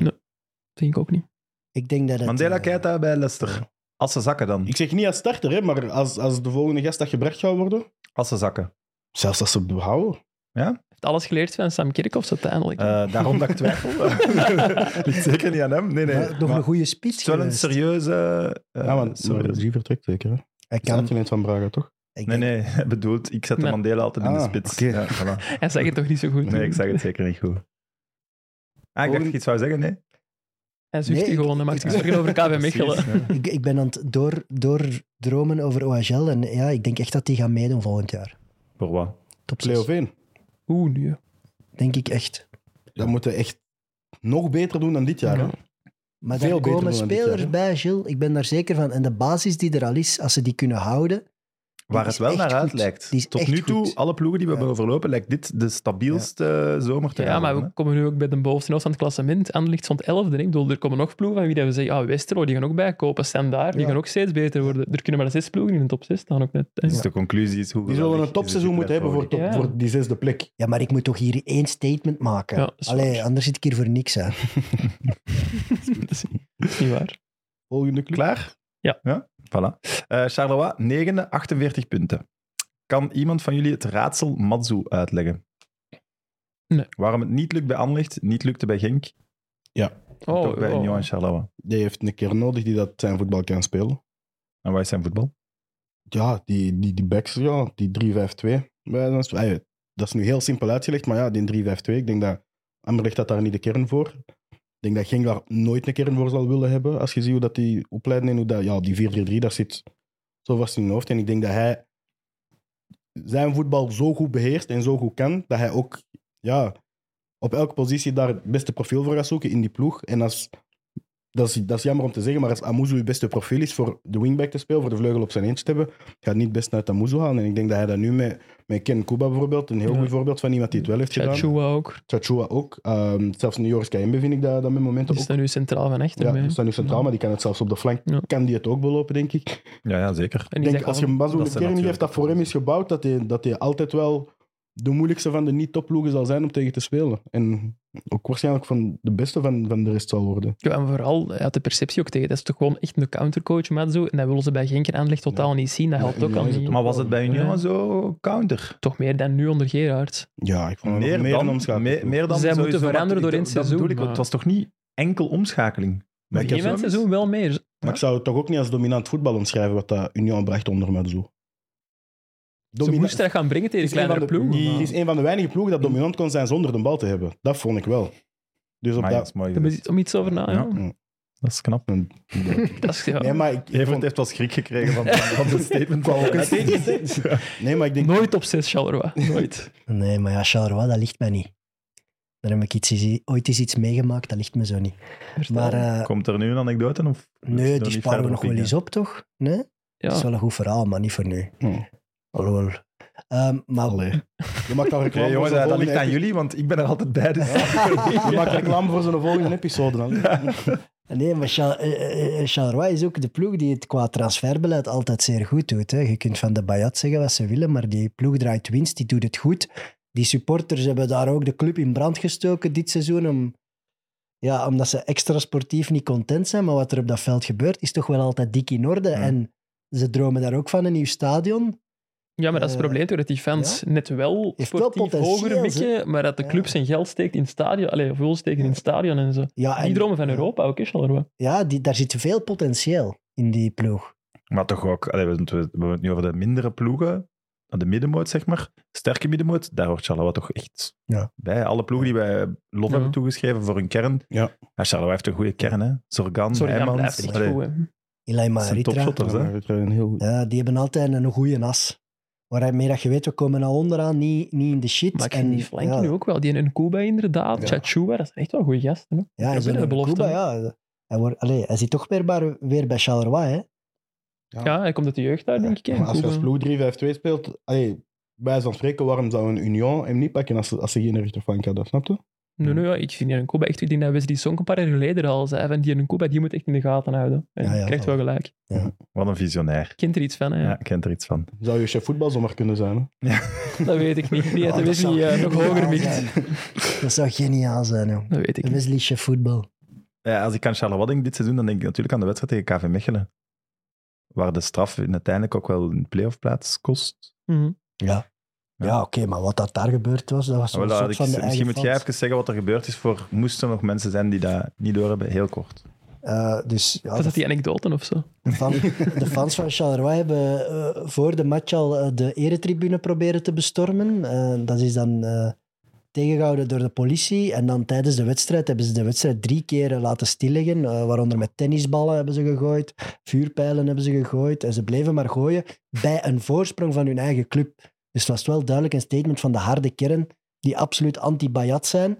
[SPEAKER 5] Denk ik ook niet.
[SPEAKER 4] Ik denk dat het,
[SPEAKER 1] Mandela
[SPEAKER 4] eh,
[SPEAKER 1] Keita bij Leicester. Als ze zakken dan.
[SPEAKER 3] Ik zeg niet als starter, hè, maar als, als de volgende gast dat gebracht gaat worden...
[SPEAKER 1] Als ze zakken.
[SPEAKER 3] Zelfs als ze behouden.
[SPEAKER 5] Heeft alles geleerd van Sam Kerkhoffs uiteindelijk.
[SPEAKER 1] Eh, daarom dat ik twijfel. Ligt zeker niet aan hem. Nee, nee.
[SPEAKER 4] maar nog
[SPEAKER 1] Maar
[SPEAKER 4] een goede
[SPEAKER 1] het
[SPEAKER 4] spits
[SPEAKER 1] is wel een
[SPEAKER 4] geweest. Ah,
[SPEAKER 1] serieuze... eh,
[SPEAKER 3] Ja, want
[SPEAKER 1] serieuze-
[SPEAKER 3] die vertrekt zeker, hè?
[SPEAKER 4] Hij
[SPEAKER 3] Is
[SPEAKER 4] kan,
[SPEAKER 3] uitgeleend van Braga, toch?
[SPEAKER 4] ik
[SPEAKER 1] Nee,
[SPEAKER 4] denk-
[SPEAKER 1] nee. Hij bedoelt, ik zet de
[SPEAKER 5] Nee.
[SPEAKER 1] Mandela altijd in de
[SPEAKER 3] Ah,
[SPEAKER 1] spits.
[SPEAKER 3] oké.
[SPEAKER 1] Ja, voilà.
[SPEAKER 5] Hij zag het toch niet zo goed.
[SPEAKER 1] Nee, ik zeg het zeker niet goed. Ah, ik dacht dat je iets zou zeggen, nee.
[SPEAKER 5] Hij zucht
[SPEAKER 4] Nee,
[SPEAKER 5] die
[SPEAKER 4] ik-
[SPEAKER 5] gewoon. Hij maakt zich zorgen over KV Mechelen.
[SPEAKER 4] Ik, ik ben aan het door, doordromen over OHL. En ja, ik denk echt dat die gaan meedoen volgend jaar.
[SPEAKER 1] Voor wat?
[SPEAKER 4] Top 6.
[SPEAKER 3] Play-off 1.
[SPEAKER 5] Oeh, nu. hè.
[SPEAKER 4] Denk ik echt.
[SPEAKER 3] Dat moeten we echt nog beter doen dan dit jaar. hè.
[SPEAKER 5] Ja.
[SPEAKER 4] Maar
[SPEAKER 3] Veel
[SPEAKER 4] daar
[SPEAKER 3] beter
[SPEAKER 4] komen
[SPEAKER 3] dan dit jaar,
[SPEAKER 4] spelers
[SPEAKER 3] hè?
[SPEAKER 4] bij, Gilles. Ik ben daar zeker van. En de basis die er al is, als ze die kunnen houden...
[SPEAKER 1] Waar het
[SPEAKER 4] is
[SPEAKER 1] wel
[SPEAKER 4] echt
[SPEAKER 1] naar uit
[SPEAKER 4] goed.
[SPEAKER 1] lijkt.
[SPEAKER 4] Die is
[SPEAKER 1] Tot
[SPEAKER 4] echt
[SPEAKER 1] nu toe,
[SPEAKER 4] goed.
[SPEAKER 1] alle ploegen die we hebben overlopen, lijkt dit de stabielste eh, zomer te
[SPEAKER 5] Ja, maar we
[SPEAKER 1] worden,
[SPEAKER 5] komen nu ook bij de bovenste helft van het klassement. Anderlicht stond 11. Ik bedoel, er komen nog ploegen van wie dat we zeggen, ah, Westerlo, die gaan ook bijkopen. Standaard, die
[SPEAKER 4] Ja.
[SPEAKER 5] gaan ook steeds beter worden. Er kunnen maar zes ploegen in de top 6 staan ook net.
[SPEAKER 1] hè.
[SPEAKER 5] hè.
[SPEAKER 1] Dus de conclusie is hoe
[SPEAKER 3] Die zullen een topseizoen moeten hebben voor, top,
[SPEAKER 5] Ja.
[SPEAKER 3] voor die zesde plek.
[SPEAKER 4] Ja, maar ik moet toch hier één statement maken.
[SPEAKER 5] Ja, dat is
[SPEAKER 4] Allee,
[SPEAKER 5] waar.
[SPEAKER 4] anders zit ik hier voor niks, hè.
[SPEAKER 5] Dat is niet- dat is niet waar.
[SPEAKER 3] Volgende club.
[SPEAKER 1] Klaar?
[SPEAKER 5] Ja.
[SPEAKER 1] ja? Voilà. Eh, Charleroi, negende, 48 punten. Kan iemand van jullie het raadsel Matsu uitleggen?
[SPEAKER 5] Nee.
[SPEAKER 1] Waarom het niet lukt bij Anderlecht, niet lukte bij Genk,
[SPEAKER 5] Oh,
[SPEAKER 1] toch bij Union en Charleroi.
[SPEAKER 3] Die heeft een keer nodig die dat zijn voetbal kan spelen.
[SPEAKER 1] En waar is zijn voetbal?
[SPEAKER 3] Ja, die, die, die backs, ja, die 3-5-2. Wij zijn zo- ey, Dat is nu heel simpel uitgelegd, maar ja, die 3-5-2, ik denk dat Anderlecht had daar niet de kern voor. Ik denk dat Genk daar nooit een kern voor zal willen hebben, als je ziet hoe dat die opleiding en hoe dat, ja, die 4-3-3, daar zit zo vast in hun hoofd. En ik denk dat hij zijn voetbal zo goed beheerst en zo goed kan, dat hij ook ja, op elke positie daar het beste profiel voor gaat zoeken in die ploeg. En als dat is, dat is jammer om te zeggen, maar als Amuzu het beste profiel is voor de wingback te spelen, voor de vleugel op zijn eentje te hebben, gaat niet het beste uit Amuzu halen. En ik denk dat hij dat nu met, met Ken Kuba bijvoorbeeld, een heel
[SPEAKER 5] Ja.
[SPEAKER 3] goed voorbeeld van iemand die het wel heeft gedaan.
[SPEAKER 5] Chachua ook.
[SPEAKER 3] Chachua ook. Ehm, zelfs in Joris Kayembe vind ik dat, dat met momenten
[SPEAKER 5] Die
[SPEAKER 3] ook.
[SPEAKER 5] staat nu centraal van echt.
[SPEAKER 3] Ja, die staat nu centraal, maar die kan het zelfs op de flank.
[SPEAKER 5] Ja.
[SPEAKER 3] Kan die het ook belopen, denk ik.
[SPEAKER 1] Ja, ja zeker.
[SPEAKER 5] En
[SPEAKER 3] Ik
[SPEAKER 5] die
[SPEAKER 3] denk
[SPEAKER 5] zegt
[SPEAKER 3] als je
[SPEAKER 5] wel-
[SPEAKER 3] hem Basel
[SPEAKER 1] dat
[SPEAKER 3] een
[SPEAKER 1] zijn
[SPEAKER 3] kern geeft
[SPEAKER 1] natuurlijk
[SPEAKER 3] dat voor hem is gebouwd, dat hij, dat hij altijd wel de moeilijkste van de niet-topploegen zal zijn om tegen te spelen. En ook waarschijnlijk van de beste van, van de rest zal worden.
[SPEAKER 5] Ja, en vooral, hij had de perceptie ook tegen. Dat is toch gewoon echt een countercoach, maar zo. En dat willen ze bij Genk en Anderlecht totaal niet zien. Dat
[SPEAKER 3] Ja,
[SPEAKER 5] helpt ook
[SPEAKER 3] Union
[SPEAKER 5] al
[SPEAKER 3] is het
[SPEAKER 5] niet.
[SPEAKER 3] ook.
[SPEAKER 1] Maar was het bij Union
[SPEAKER 5] Ja.
[SPEAKER 1] zo counter?
[SPEAKER 5] Toch meer dan nu onder Gerard.
[SPEAKER 3] Ja, ik vond hem
[SPEAKER 1] Meer,
[SPEAKER 3] nog
[SPEAKER 1] dan,
[SPEAKER 3] een
[SPEAKER 1] meer,
[SPEAKER 3] omschakeling.
[SPEAKER 1] meer dan
[SPEAKER 5] Zij
[SPEAKER 1] sowieso,
[SPEAKER 5] moeten
[SPEAKER 1] maar
[SPEAKER 5] veranderen
[SPEAKER 1] ik-
[SPEAKER 5] door in het
[SPEAKER 1] dat bedoel
[SPEAKER 5] seizoen,
[SPEAKER 1] ik, want
[SPEAKER 5] maar-
[SPEAKER 1] Het was toch niet enkel omschakeling?
[SPEAKER 3] Maar ik heb
[SPEAKER 5] Geen
[SPEAKER 3] zo
[SPEAKER 5] mensen
[SPEAKER 1] mis.
[SPEAKER 5] zo wel meer.
[SPEAKER 3] Maar ik zou het toch ook niet als dominant voetbal omschrijven wat dat Union bracht onder Mazou.
[SPEAKER 5] Ze
[SPEAKER 3] Dominant-
[SPEAKER 5] moesten dat gaan brengen tegen
[SPEAKER 3] Het is een van
[SPEAKER 5] kleinere
[SPEAKER 3] de-
[SPEAKER 5] ploegen.
[SPEAKER 3] Het
[SPEAKER 5] maar-
[SPEAKER 3] is een van de weinige ploegen dat dominant kon zijn zonder de bal te hebben. Dat vond ik wel. Dus op
[SPEAKER 1] Maar ja, dat
[SPEAKER 3] dat...
[SPEAKER 1] is mooi
[SPEAKER 5] Daar moet
[SPEAKER 1] geweest.
[SPEAKER 5] je om iets over na. Ja.
[SPEAKER 1] Ja. Dat is knap.
[SPEAKER 5] Dat is, ja.
[SPEAKER 3] Nee, maar ik, ik
[SPEAKER 1] Evert
[SPEAKER 3] vond-
[SPEAKER 1] heeft wel schrik gekregen van, van zijn statement. Van Hawkins.
[SPEAKER 3] Nee, maar ik denk...
[SPEAKER 5] Nooit op 6, Charleroi. Nooit.
[SPEAKER 4] Nee, maar ja, Charleroi, dat ligt mij niet. Daar heb ik iets, iets- ooit eens iets meegemaakt, dat ligt me zo niet. Maar eh,
[SPEAKER 1] Komt er nu een anekdote? Of
[SPEAKER 4] nee,
[SPEAKER 1] Nog
[SPEAKER 4] die
[SPEAKER 1] niet
[SPEAKER 4] sparen
[SPEAKER 1] verder
[SPEAKER 4] we nog
[SPEAKER 1] op
[SPEAKER 4] wel
[SPEAKER 1] in,
[SPEAKER 4] eens op, toch? Nee? Dat
[SPEAKER 5] ja.
[SPEAKER 4] is wel een goed verhaal, maar niet voor nu.
[SPEAKER 3] Hm.
[SPEAKER 4] Alhoewel. Ehm, maar
[SPEAKER 3] Allee. Je maakt al reclame
[SPEAKER 1] Oké,
[SPEAKER 3] voor
[SPEAKER 1] jongens,
[SPEAKER 3] zijn
[SPEAKER 1] dat, dat
[SPEAKER 3] volgende
[SPEAKER 1] ligt aan
[SPEAKER 3] epi-
[SPEAKER 1] jullie, want ik ben er altijd bij. Dus
[SPEAKER 3] Je maakt reclame voor zijn volgende episode dan.
[SPEAKER 4] Nee, maar Char- eh, eh, eh, Charleroi is ook de ploeg die het qua transferbeleid altijd zeer goed doet. Hè. Je kunt van de Bayat zeggen wat ze willen, maar die ploeg draait winst, die doet het goed. Die supporters hebben daar ook de club in brand gestoken dit seizoen, om, ja, omdat ze extra sportief niet content zijn. Maar wat er op dat veld gebeurt, is toch wel altijd dik in orde.
[SPEAKER 1] Ja.
[SPEAKER 4] En ze dromen daar ook van een nieuw stadion.
[SPEAKER 5] ja, maar dat is het
[SPEAKER 4] eh,
[SPEAKER 5] probleem toch, dat die fans net wel
[SPEAKER 4] wel
[SPEAKER 5] sportief
[SPEAKER 4] potentieel,
[SPEAKER 5] hoger mikken, maar dat de
[SPEAKER 4] Ja.
[SPEAKER 5] club zijn geld steekt in het stadion. Allee, of wil steken in het stadion en zo.
[SPEAKER 4] Ja,
[SPEAKER 5] Die
[SPEAKER 4] en-
[SPEAKER 5] dromen van Europa ook, is Charleroi.
[SPEAKER 4] Ja, die, daar zit veel potentieel in die ploeg.
[SPEAKER 1] Maar toch ook, allee, we, we, we hebben het nu over de mindere ploegen, de middenmoot zeg maar, sterke middenmoot, daar hoort Charleroi toch echt
[SPEAKER 4] Ja.
[SPEAKER 1] bij. Alle ploegen die wij lof
[SPEAKER 5] Ja.
[SPEAKER 1] hebben toegeschreven voor hun kern.
[SPEAKER 3] Ja.
[SPEAKER 1] Charleroi heeft een goede kern, hè. Zorgan,
[SPEAKER 5] Sorry, dat
[SPEAKER 1] Heijmans.
[SPEAKER 5] blijft echt
[SPEAKER 1] Allee,
[SPEAKER 5] goed. hè.
[SPEAKER 4] Ilai
[SPEAKER 1] dat zijn
[SPEAKER 4] Maritra.
[SPEAKER 1] topshotters, hè.
[SPEAKER 4] Ja, die hebben altijd een goede as. Waarmee dat je weet, we komen nou onderaan, niet, niet in de shit.
[SPEAKER 5] Maar ik
[SPEAKER 4] en,
[SPEAKER 5] vind die flanken
[SPEAKER 4] ja,
[SPEAKER 5] nu ook wel. Die in Kuba inderdaad,
[SPEAKER 3] Ja.
[SPEAKER 5] Chachua, dat zijn echt wel goede gasten. hè.
[SPEAKER 4] Ja,
[SPEAKER 5] Ja,
[SPEAKER 4] en zo'n
[SPEAKER 5] binnen de belofte.
[SPEAKER 4] Kuba, ja. Hij, wordt, allee, hij zit toch weer bij, weer bij Charleroi, hè?
[SPEAKER 5] Ja, hij komt uit de jeugd daar, denk ik. hè,
[SPEAKER 3] Maar als je als
[SPEAKER 5] Nkuba.
[SPEAKER 3] ploeg 3-5-2 speelt, allee, bij zo'n spreken, waarom zou een Union hem niet pakken als, als ze geen rechterflank hadden, snap je?
[SPEAKER 5] Nee, nee, ja, ik vind die Nkuba echt... Ik denk dat Wesley Song een paar jaar geleden al zei van die Nkuba, die moet echt in de gaten houden. En
[SPEAKER 4] Ja, ja,
[SPEAKER 5] krijgt
[SPEAKER 4] ja.
[SPEAKER 5] wel gelijk.
[SPEAKER 1] Wat een visionair.
[SPEAKER 5] Kent er iets van, hè.
[SPEAKER 1] Ja, ik kent er iets van.
[SPEAKER 3] Zou je chef voetbal zomaar kunnen zijn? Hè?
[SPEAKER 5] Dat weet ik niet. Die had
[SPEAKER 4] Ja, Oh, dat
[SPEAKER 5] de Wesley
[SPEAKER 4] zou
[SPEAKER 5] eh, nog hoger
[SPEAKER 4] geniaal
[SPEAKER 5] mikt.
[SPEAKER 4] zijn. Dat zou geniaal zijn, joh.
[SPEAKER 5] Dat weet ik
[SPEAKER 4] Een
[SPEAKER 5] niet.
[SPEAKER 4] Wesley Chef voetbal.
[SPEAKER 1] Ja, als ik aan Charleroi denk dit seizoen, dan denk ik natuurlijk aan de wedstrijd tegen KV Mechelen. Waar de straf in uiteindelijk ook wel een playoff plaats kost.
[SPEAKER 5] Mhm.
[SPEAKER 1] Ja.
[SPEAKER 4] Ja, oké, maar wat dat daar gebeurd was, dat was
[SPEAKER 1] Ah, wel,
[SPEAKER 4] een
[SPEAKER 1] dat had
[SPEAKER 4] soort
[SPEAKER 1] ik-
[SPEAKER 4] van de
[SPEAKER 1] misschien
[SPEAKER 4] eigen
[SPEAKER 1] moet jij
[SPEAKER 4] fans.
[SPEAKER 1] even zeggen wat er gebeurd is voor moesten er nog mensen zijn die dat niet door hebben. Heel kort.
[SPEAKER 4] Eh, dus, ja,
[SPEAKER 5] Was
[SPEAKER 4] de
[SPEAKER 5] dat die anekdoten of zo?
[SPEAKER 4] De, fan- de fans van Charleroi hebben eh, voor de match al eh, de eretribune proberen te bestormen. Eh, dat is dan eh, tegengehouden door de politie. En dan tijdens de wedstrijd hebben ze de wedstrijd drie keer laten stilleggen. eh, waaronder met tennisballen hebben ze gegooid, vuurpijlen hebben ze gegooid. En ze bleven maar gooien bij een voorsprong van hun eigen club. Dus het was wel duidelijk een statement van de harde kern, die absoluut anti-Bayat zijn.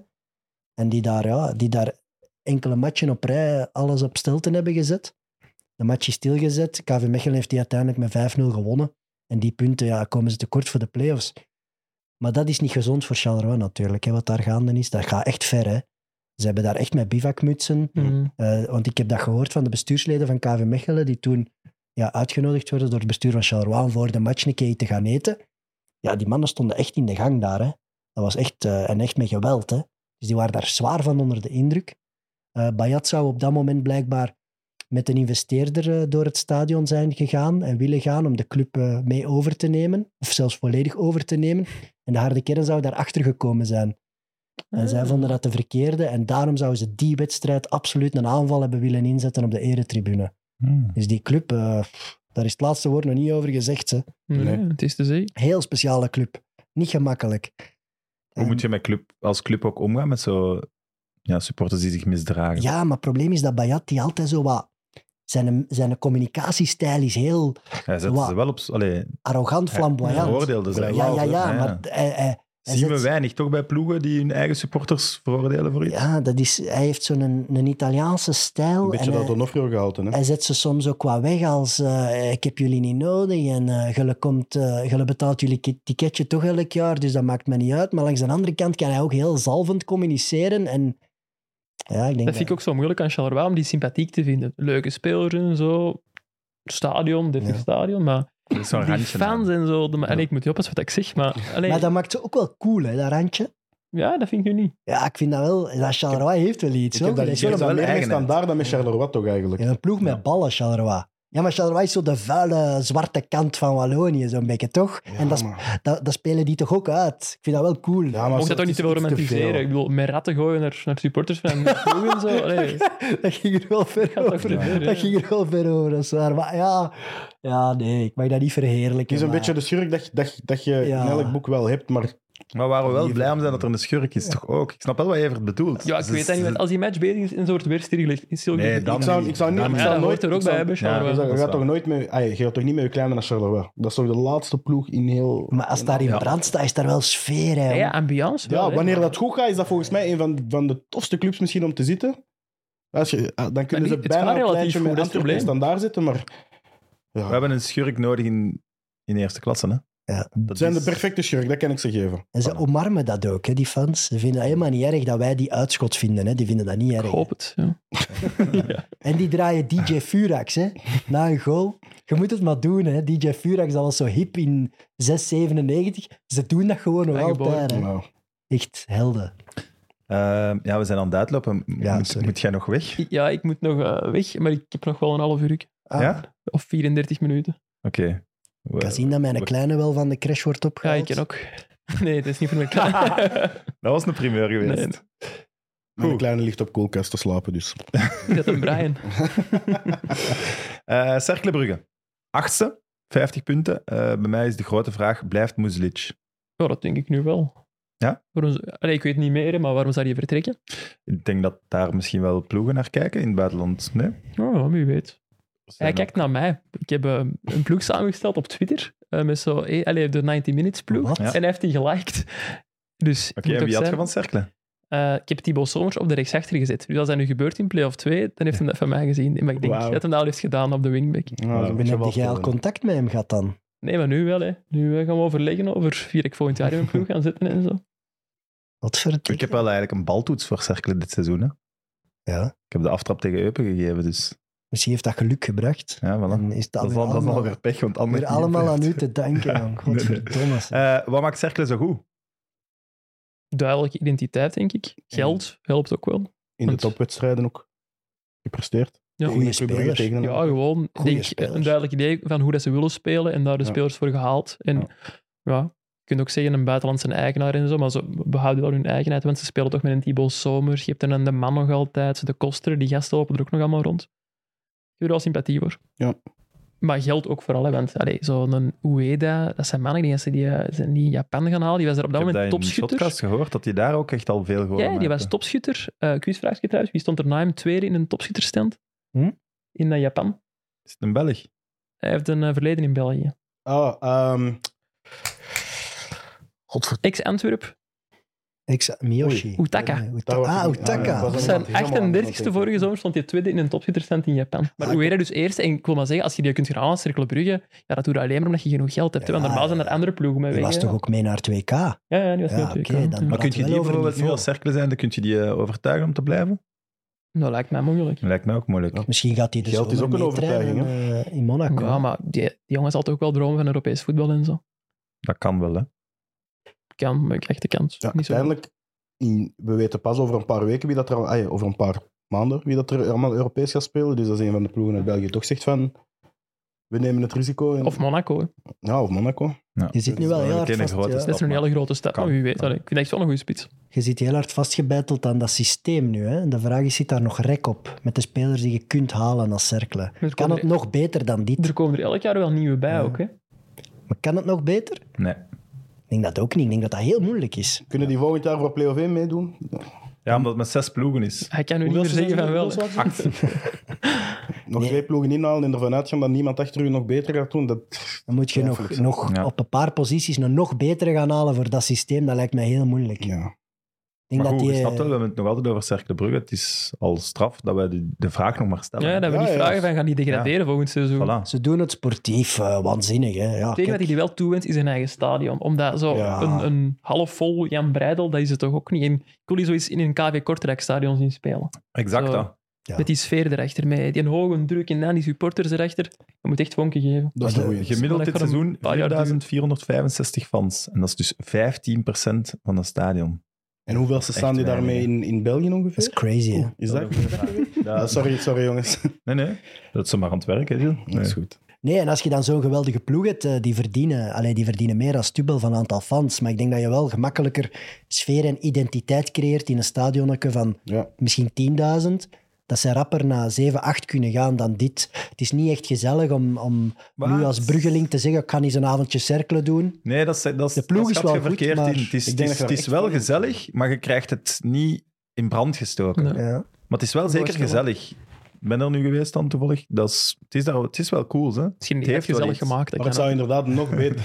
[SPEAKER 4] En die daar, ja, die daar enkele matchen op rij alles op stilten hebben gezet. De match is stilgezet. KV Mechelen heeft die uiteindelijk met 5-0 gewonnen. En die punten ja, komen ze tekort voor de play-offs. Maar dat is niet gezond voor Charleroi natuurlijk. Hè, wat daar gaande is, dat gaat echt ver. Hè. Ze hebben daar echt met bivakmutsen.
[SPEAKER 5] Mm.
[SPEAKER 4] Eh, want ik heb dat gehoord van de bestuursleden van KV Mechelen, die toen ja, uitgenodigd werden door het bestuur van Charleroi om voor de match een keer te gaan eten. Ja, die mannen stonden echt in de gang daar. Hè. Dat was echt, eh, en echt met geweld. Hè. Dus die waren daar zwaar van onder de indruk. Eh Bayat zou op dat moment blijkbaar met een investeerder eh, door het stadion zijn gegaan en willen gaan om de club eh, mee over te nemen, of zelfs volledig over te nemen. En de harde kern zou daarachter gekomen zijn. En zij vonden dat de verkeerde. En daarom zouden ze die wedstrijd absoluut een aanval hebben willen inzetten op de eretribune.
[SPEAKER 1] Hmm.
[SPEAKER 4] Dus die club, eh, pff, daar is het laatste woord nog niet over gezegd. Hè.
[SPEAKER 5] Nee,
[SPEAKER 3] Nee.
[SPEAKER 5] het is dus, te zien.
[SPEAKER 4] Heel speciale club. Niet gemakkelijk.
[SPEAKER 1] Hoe
[SPEAKER 4] En-
[SPEAKER 1] moet je met club, als club ook omgaan met zo, ja, supporters die zich misdragen?
[SPEAKER 4] Ja, maar het probleem is dat Bayat die altijd zo wat... Zijn, zijn communicatiestijl is heel
[SPEAKER 1] Hij zet
[SPEAKER 4] Wa-
[SPEAKER 1] ze wel op... s- Allee,
[SPEAKER 4] arrogant,
[SPEAKER 1] hij-
[SPEAKER 4] flamboyant.
[SPEAKER 1] hij veroordeelde ze
[SPEAKER 4] ja,
[SPEAKER 1] wel.
[SPEAKER 4] ja, ja,
[SPEAKER 1] Ja,
[SPEAKER 4] maar hij, hij, hij
[SPEAKER 1] Zien
[SPEAKER 4] zet-
[SPEAKER 1] we weinig toch bij ploegen die hun eigen supporters veroordelen voor iets?
[SPEAKER 4] ja, dat is, hij heeft zo'n een, een Italiaanse stijl.
[SPEAKER 3] Een beetje
[SPEAKER 4] en
[SPEAKER 3] dat
[SPEAKER 4] hij-
[SPEAKER 3] Donofrio gehalte. Hè?
[SPEAKER 4] Hij zet ze soms ook qua weg als eh, ik heb jullie niet nodig en eh jullie, komt, eh, jullie betaalt jullie ki- ticketje toch elk jaar, dus dat maakt me niet uit. Maar langs de andere kant kan hij ook heel zalvend communiceren en ja, ik denk
[SPEAKER 5] Dat vind ik ook zo moeilijk aan Charleroi, om die sympathiek te vinden. Leuke spelers en zo. Stadion, dit is
[SPEAKER 4] Ja.
[SPEAKER 5] stadion, maar
[SPEAKER 1] Er is zo'n
[SPEAKER 5] die
[SPEAKER 1] randje aan.
[SPEAKER 5] fans en zo... de-
[SPEAKER 1] Ja.
[SPEAKER 5] En ik moet niet oppassen wat ik zeg, maar... Allee,
[SPEAKER 4] Maar dat maakt ze ook wel cool, hè, dat randje.
[SPEAKER 5] Ja, dat vind ik nu niet.
[SPEAKER 4] Ja, ik vind dat wel, dat Charleroi heeft wel iets.
[SPEAKER 3] Ik
[SPEAKER 4] hoor.
[SPEAKER 3] heb daar
[SPEAKER 4] Dat is
[SPEAKER 1] idee
[SPEAKER 4] wel
[SPEAKER 1] van.
[SPEAKER 3] maar
[SPEAKER 1] wel
[SPEAKER 3] meer mee
[SPEAKER 1] eigenheid.
[SPEAKER 3] standaard dan met Charleroi toch eigenlijk.
[SPEAKER 4] een, een ploeg
[SPEAKER 1] Ja.
[SPEAKER 4] met ballen, Charleroi. Ja, maar Charleroi is zo de vuile, zwarte kant van Wallonië, zo'n beetje, toch?
[SPEAKER 3] Ja,
[SPEAKER 4] en dat, is-
[SPEAKER 3] maar-
[SPEAKER 4] dat, dat spelen die toch ook uit? Ik vind dat wel cool.
[SPEAKER 3] ja, maar
[SPEAKER 5] Mocht dat
[SPEAKER 3] het
[SPEAKER 5] ook niet
[SPEAKER 3] is
[SPEAKER 5] te veel
[SPEAKER 3] iets veel.
[SPEAKER 5] romantiseren. Ik bedoel, met ratten gooien naar, naar supporters van een ploeg en zo. Allee,
[SPEAKER 4] dat ging er wel ver
[SPEAKER 5] gaat dat
[SPEAKER 4] over.
[SPEAKER 5] gebeuren,
[SPEAKER 4] Dat
[SPEAKER 5] ja.
[SPEAKER 4] ging er wel ver over, dat is waar. Maar ja, ja nee, ik mag dat niet
[SPEAKER 3] Het
[SPEAKER 4] verheerlijken.
[SPEAKER 3] is een
[SPEAKER 4] maar-
[SPEAKER 3] beetje de schurk dat, je- dat, je- dat je
[SPEAKER 4] Ja.
[SPEAKER 3] in elk boek wel hebt, maar
[SPEAKER 1] Maar waar we wel blij om zijn dat er een schurk is, toch ook? Ik snap wel wat Evert bedoelt.
[SPEAKER 5] ja, ik
[SPEAKER 1] Ze-
[SPEAKER 5] weet dat niet. want Als die match bezig is en zo wordt weer stilgelegd... stilgelegd-
[SPEAKER 1] Nee, dan
[SPEAKER 3] ik zou,
[SPEAKER 1] niet.
[SPEAKER 3] ik zou, niet,
[SPEAKER 1] Dan
[SPEAKER 3] ik
[SPEAKER 5] Ja,
[SPEAKER 1] niet.
[SPEAKER 3] zou
[SPEAKER 5] dat
[SPEAKER 3] nooit...
[SPEAKER 5] hoort er
[SPEAKER 3] ik
[SPEAKER 5] ook
[SPEAKER 3] zou-
[SPEAKER 5] bij, bij
[SPEAKER 1] Ja,
[SPEAKER 5] Charleroi.
[SPEAKER 1] dat
[SPEAKER 3] je
[SPEAKER 1] is
[SPEAKER 3] gaat
[SPEAKER 1] waar.
[SPEAKER 3] toch nooit met, ah, je gaat toch niet met je kleine naar Charleroi. Dat is toch de laatste ploeg in heel...
[SPEAKER 4] Maar als daar in
[SPEAKER 1] Ja.
[SPEAKER 4] brand staat, is daar wel sfeer. Hè,
[SPEAKER 5] Ja, ja, ambiance wel,
[SPEAKER 3] Ja,
[SPEAKER 5] hè.
[SPEAKER 3] wanneer dat goed gaat, is dat volgens mij een van, van de tofste clubs misschien om te zitten. Als je, ah, dan kunnen
[SPEAKER 5] niet-
[SPEAKER 3] ze
[SPEAKER 5] het
[SPEAKER 3] bijna
[SPEAKER 5] gaat
[SPEAKER 3] een
[SPEAKER 5] relatief
[SPEAKER 3] kleintje
[SPEAKER 5] goed,
[SPEAKER 3] met
[SPEAKER 5] dat is het
[SPEAKER 3] Antwerpen
[SPEAKER 5] probleem.
[SPEAKER 3] standaard zitten, maar...
[SPEAKER 1] We
[SPEAKER 3] Ja.
[SPEAKER 1] hebben een schurk nodig in, in eerste klasse, hè?
[SPEAKER 4] Ja.
[SPEAKER 1] Dat
[SPEAKER 3] Het zijn de
[SPEAKER 1] is-
[SPEAKER 3] perfecte schurk, dat kan ik ze geven.
[SPEAKER 4] En ze omarmen dat ook, hè, die fans. Ze vinden dat helemaal niet erg dat wij die uitschot vinden. Hè. Die vinden dat niet
[SPEAKER 5] Ik
[SPEAKER 4] erg.
[SPEAKER 5] hoop het. Ja.
[SPEAKER 4] En die draaien DJ Furax hè, na een goal. Je moet het maar doen. Hè. DJ Furax, dat was zo hip in 697. Ze doen dat gewoon nog
[SPEAKER 5] Aangeboren.
[SPEAKER 4] altijd. hè.
[SPEAKER 3] Nou,
[SPEAKER 4] Echt helden.
[SPEAKER 1] Eh, ja, we zijn aan het uitlopen.
[SPEAKER 4] Ja,
[SPEAKER 1] moet,
[SPEAKER 4] sorry.
[SPEAKER 1] moet jij nog weg?
[SPEAKER 5] Ik- ja, ik moet nog eh, weg, maar ik heb nog wel een half uur.
[SPEAKER 4] Ah,
[SPEAKER 1] Ja? Oké.
[SPEAKER 5] Of 34 minuten.
[SPEAKER 1] We-
[SPEAKER 4] Ik kan zien dat mijn
[SPEAKER 1] we-
[SPEAKER 4] kleine wel van de crash wordt
[SPEAKER 5] Ja,
[SPEAKER 4] opgehaald.
[SPEAKER 5] ik ken ook. Nee, het is niet voor mij klaar.
[SPEAKER 1] Dat was een primeur geweest.
[SPEAKER 5] Nee.
[SPEAKER 3] mijn
[SPEAKER 1] Goed.
[SPEAKER 3] kleine ligt op koelkast te slapen, dus...
[SPEAKER 5] Ik zet een Brian.
[SPEAKER 1] Eh, Cercle Brugge. Achtste, 50 punten. Eh, bij mij is de grote vraag, blijft Muzlic?
[SPEAKER 5] Ja, dat denk ik nu wel.
[SPEAKER 1] Ja?
[SPEAKER 5] Voor ons, allee, ik weet niet meer, hè, maar waarom zou je vertrekken?
[SPEAKER 1] Ik denk dat daar misschien wel ploegen naar kijken in het buitenland. Nee?
[SPEAKER 5] Oh, wie weet.
[SPEAKER 1] Zijn
[SPEAKER 5] Hij kijkt naar mij. Ik heb eh, een ploeg samengesteld op Twitter. eh, met zo, eh, allee, de 90 Minutes ploeg.
[SPEAKER 4] Wat?
[SPEAKER 1] Ja.
[SPEAKER 5] En hij heeft die geliked. Dus het
[SPEAKER 1] Oké,
[SPEAKER 5] moet
[SPEAKER 1] en
[SPEAKER 5] ook
[SPEAKER 1] wie had je
[SPEAKER 5] zijn-
[SPEAKER 1] van Cercle?
[SPEAKER 5] Eh, ik heb Thibaut Somers op de rechtsachter gezet. Dus als dat nu gebeurt in play-off 2, dan heeft hij dat van mij gezien. Maar ik denk
[SPEAKER 3] Wauw.
[SPEAKER 5] dat hij dat al heeft gedaan op de wingback.
[SPEAKER 3] Nou, dat is een
[SPEAKER 4] Ben
[SPEAKER 3] beetje
[SPEAKER 4] heb jij al
[SPEAKER 3] walstelen.
[SPEAKER 4] contact met hem gehad dan?
[SPEAKER 5] Nee, maar nu wel. Hè. Nu eh, gaan we overleggen over wie ik volgend jaar in mijn ploeg gaan zetten en zo.
[SPEAKER 4] Wat voor
[SPEAKER 1] Ik heb wel eigenlijk een baltoets voor Cercle dit seizoen. Hè?
[SPEAKER 4] Ja.
[SPEAKER 1] Ik heb de aftrap tegen Eupen gegeven, dus
[SPEAKER 4] Misschien heeft dat geluk gebracht.
[SPEAKER 1] ja, voilà.
[SPEAKER 4] En is
[SPEAKER 1] Dat is
[SPEAKER 4] dat, weer
[SPEAKER 1] dan, dat is dan
[SPEAKER 4] allemaal,
[SPEAKER 1] alweer pech, want anders...
[SPEAKER 4] weer allemaal aan u te danken. jong.
[SPEAKER 1] Nee, nee.
[SPEAKER 4] Godverdomme. zeg.
[SPEAKER 1] Eh, wat maakt Cercle zo goed?
[SPEAKER 5] Duidelijke identiteit, denk ik. Geld helpt ook wel.
[SPEAKER 3] In de topwedstrijden ook gepresteerd.
[SPEAKER 5] Ja.
[SPEAKER 3] Tegen
[SPEAKER 4] Goeie
[SPEAKER 3] Club Brugge,
[SPEAKER 4] spelers.
[SPEAKER 3] tegen een-
[SPEAKER 5] Ja, gewoon ik denk, eh,
[SPEAKER 4] spelers.
[SPEAKER 5] een duidelijk idee van hoe dat ze willen spelen en daar de
[SPEAKER 3] Ja.
[SPEAKER 5] spelers voor gehaald. En
[SPEAKER 3] Ja.
[SPEAKER 5] ja. je kunt ook zeggen een buitenlandse eigenaar en zo, maar ze behouden wel hun eigenheid, want ze spelen toch met een Thibaut Somers. Je hebt dan de man nog altijd, de koster, die gasten lopen er ook nog allemaal rond. Ik heb er wel sympathie voor. Maar geldt ook voor alle mensen. Allee, Zo'n Ueda, dat zijn mannen die mensen die eh, zijn die in Japan gaan halen. Die was er op dat
[SPEAKER 1] ik heb
[SPEAKER 5] moment
[SPEAKER 1] dat in de
[SPEAKER 5] topschutter.
[SPEAKER 1] podcast gehoord, dat hij daar ook echt al veel gehoord
[SPEAKER 5] Ja, die was topschutter. Eh quizvraagje trouwens. Wie stond er na hem tweede in een topschutterstand?
[SPEAKER 1] Hm?
[SPEAKER 5] In eh, Japan.
[SPEAKER 1] Is het een Belg?
[SPEAKER 5] Hij heeft een eh, verleden in België.
[SPEAKER 3] Oh, ehm, Godver...
[SPEAKER 5] Ex-Antwerp.
[SPEAKER 4] Ex Miyoshi.
[SPEAKER 5] Utaka.
[SPEAKER 4] Nee,
[SPEAKER 3] Daar was
[SPEAKER 4] Ah,
[SPEAKER 3] ik niet- Ah, ja,
[SPEAKER 4] Utaka.
[SPEAKER 3] dat was
[SPEAKER 5] Zijn
[SPEAKER 3] iemand helemaal aan het
[SPEAKER 5] 38e vorige
[SPEAKER 3] noteren.
[SPEAKER 5] zomer stond hij tweede in een topschutterstand in Japan. Maar
[SPEAKER 4] Ah,
[SPEAKER 5] Ueda dus eerste. En ik wil maar zeggen, als je die kunt gaan halen als Cercle Brugge, ja, dat doe je alleen maar omdat je genoeg geld hebt. hè, want
[SPEAKER 4] Ja,
[SPEAKER 5] normaal zijn er
[SPEAKER 4] ja.
[SPEAKER 5] andere ploegen mee
[SPEAKER 4] Die
[SPEAKER 5] weg.
[SPEAKER 4] was
[SPEAKER 5] hè.
[SPEAKER 4] toch ook mee naar het WK?
[SPEAKER 5] Ja, ja, die was
[SPEAKER 4] Ja,
[SPEAKER 5] niet op
[SPEAKER 4] oké,
[SPEAKER 5] WK.
[SPEAKER 4] dan-
[SPEAKER 5] Ja.
[SPEAKER 1] Maar kun je
[SPEAKER 4] wel
[SPEAKER 1] die
[SPEAKER 4] over
[SPEAKER 1] bijvoorbeeld nu
[SPEAKER 4] niveau.
[SPEAKER 1] als cerkelen zijn, dan kun je die eh, overtuigen om te blijven?
[SPEAKER 5] Dat lijkt mij moeilijk.
[SPEAKER 1] Lijkt mij ook moeilijk.
[SPEAKER 4] Misschien gaat hij dus
[SPEAKER 3] Geld is
[SPEAKER 4] zomaar
[SPEAKER 3] ook een
[SPEAKER 4] meetrainen, eh, in Monaco.
[SPEAKER 5] Ja, maar die, die jongens had ook wel dromen van Europees voetbal en zo.
[SPEAKER 1] Dat kan wel, hè.
[SPEAKER 5] Kan, maar ik krijg de kans.
[SPEAKER 3] Ja,
[SPEAKER 5] Niet zo goed.
[SPEAKER 3] uiteindelijk, in- we weten pas over een paar weken wie dat er al- ah ja, over een paar maanden, wie dat er allemaal Europees gaat spelen. Dus dat is een van de ploegen uit België toch zegt van, we nemen het risico. In,
[SPEAKER 5] Of Monaco. hè.
[SPEAKER 3] ja, of Monaco.
[SPEAKER 4] Je zit nu
[SPEAKER 1] Dat
[SPEAKER 4] wel
[SPEAKER 1] is
[SPEAKER 4] heel hard
[SPEAKER 1] meteen een
[SPEAKER 4] vast,
[SPEAKER 1] grote
[SPEAKER 4] ja.
[SPEAKER 1] stap,
[SPEAKER 5] Dat is een
[SPEAKER 1] maar-
[SPEAKER 5] hele grote stap,
[SPEAKER 1] Kan,
[SPEAKER 5] maar wie weet.
[SPEAKER 1] kan.
[SPEAKER 5] allee, ik vind echt wel een goede spits.
[SPEAKER 4] Je zit heel hard vastgebeiteld aan dat systeem nu. Hè? En de vraag is, zit daar nog rek op met de spelers die je kunt halen als cerkelen?
[SPEAKER 5] Er
[SPEAKER 4] Kan
[SPEAKER 5] komen,
[SPEAKER 4] het
[SPEAKER 5] er,
[SPEAKER 4] nog beter dan dit?
[SPEAKER 5] er komen er elk jaar wel nieuwe bij
[SPEAKER 4] Ja.
[SPEAKER 5] ook. Hè?
[SPEAKER 4] Maar kan het nog beter?
[SPEAKER 1] Nee.
[SPEAKER 4] Ik denk dat ook niet. Ik denk dat dat heel moeilijk is.
[SPEAKER 3] Kunnen die volgend jaar voor play-off 1 meedoen?
[SPEAKER 1] Ja, omdat het met zes ploegen is.
[SPEAKER 5] Hij kan nu niet
[SPEAKER 3] Hoeveel
[SPEAKER 5] meer zeggen van wel.
[SPEAKER 3] seizoenen
[SPEAKER 5] hè.
[SPEAKER 3] hebben we
[SPEAKER 5] Acht.
[SPEAKER 3] Nog
[SPEAKER 4] Nee.
[SPEAKER 3] twee ploegen inhalen en ervan uitgaan dat niemand achter u nog beter gaat doen. Dat,
[SPEAKER 4] Dan moet je
[SPEAKER 3] Ja,
[SPEAKER 4] nog,
[SPEAKER 3] volgens-
[SPEAKER 4] nog
[SPEAKER 1] Ja.
[SPEAKER 4] op een paar posities een nog betere gaan halen voor dat systeem. Dat lijkt mij heel moeilijk. Ik
[SPEAKER 3] ja.
[SPEAKER 4] denk
[SPEAKER 1] maar
[SPEAKER 4] dat
[SPEAKER 1] goed,
[SPEAKER 4] die,
[SPEAKER 1] je snapt wel, we hebben het nog altijd over Cercle Brugge. Het is al straf dat wij de, de vraag nog maar stellen.
[SPEAKER 5] Ja, dat we
[SPEAKER 3] Ja,
[SPEAKER 5] niet
[SPEAKER 3] ja.
[SPEAKER 5] vragen van gaan die degraderen volgend seizoen.
[SPEAKER 1] Voilà.
[SPEAKER 4] eh, Ze doen het sportief, eh, waanzinnig. Hè? Ja,
[SPEAKER 5] Het enige
[SPEAKER 4] kijk.
[SPEAKER 5] dat hij die wel toewint is zijn eigen stadion. Omdat zo
[SPEAKER 3] Ja.
[SPEAKER 5] een, een halfvol Jan Breidel, dat is het toch ook niet. En ik wil die zoiets in een KV Kortrijk stadion zien spelen.
[SPEAKER 1] Exact
[SPEAKER 5] Zo.
[SPEAKER 1] dat.
[SPEAKER 4] Ja.
[SPEAKER 5] Met die sfeer erachter, met die hoge druk en dan die supporters erachter. Je moet echt vonken geven.
[SPEAKER 3] Dat is
[SPEAKER 4] Maar
[SPEAKER 3] een goeie.
[SPEAKER 1] Gemiddeld
[SPEAKER 5] Maar
[SPEAKER 1] dit
[SPEAKER 5] dat gaat een
[SPEAKER 1] seizoen
[SPEAKER 5] paar jaar
[SPEAKER 1] 4465 fans. En dat is dus 15% van het stadion.
[SPEAKER 3] En hoeveel staan die
[SPEAKER 1] weinig,
[SPEAKER 3] daarmee
[SPEAKER 1] hè.
[SPEAKER 3] in, in België
[SPEAKER 4] Dat is
[SPEAKER 3] ongeveer?
[SPEAKER 4] crazy. Hè?
[SPEAKER 3] Is dat? Ah,
[SPEAKER 1] Ja,
[SPEAKER 3] sorry, sorry jongens.
[SPEAKER 1] Nee, nee. Dat ze maar aan het werk, hè, Gilles.
[SPEAKER 3] Dat
[SPEAKER 1] Nee.
[SPEAKER 3] is goed.
[SPEAKER 4] Nee, en als je dan zo'n geweldige ploeg hebt, eh, die verdienen, allee, die verdienen meer als Tubel van aantal fans. Maar ik denk dat je wel gemakkelijker sfeer en identiteit creëert in een stadionnetje van
[SPEAKER 3] Ja.
[SPEAKER 4] misschien 10.000. Dat ze rapper na 7, 8 kunnen gaan dan dit. Het is niet echt gezellig om, om
[SPEAKER 1] Maar-
[SPEAKER 4] nu als Bruggeling te zeggen: ik ga eens een avondje cirkelen doen.
[SPEAKER 1] Nee, dat is, dat is,
[SPEAKER 4] De ploeg
[SPEAKER 1] dat
[SPEAKER 4] is
[SPEAKER 1] schat
[SPEAKER 4] wel
[SPEAKER 1] je
[SPEAKER 4] goed,
[SPEAKER 1] verkeerd
[SPEAKER 4] maar
[SPEAKER 1] in. Het is,
[SPEAKER 3] ik
[SPEAKER 1] het
[SPEAKER 3] denk
[SPEAKER 1] is, het
[SPEAKER 3] dat je
[SPEAKER 1] is
[SPEAKER 3] echt
[SPEAKER 1] wel
[SPEAKER 3] wel-
[SPEAKER 1] gezellig, maar je krijgt het niet in brand gestoken.
[SPEAKER 5] Nee.
[SPEAKER 4] Ja.
[SPEAKER 1] Maar het is wel zeker
[SPEAKER 5] Voorstellen.
[SPEAKER 1] gezellig. Ik ben er nu geweest dan toevallig. Dat is, het, is daar, het is wel cool, hè?
[SPEAKER 5] Misschien niet
[SPEAKER 1] Het
[SPEAKER 5] echt
[SPEAKER 1] heeft wel
[SPEAKER 5] gezellig
[SPEAKER 1] iets.
[SPEAKER 5] gemaakt. dat
[SPEAKER 3] Maar het
[SPEAKER 5] kan
[SPEAKER 3] zou inderdaad nog beter.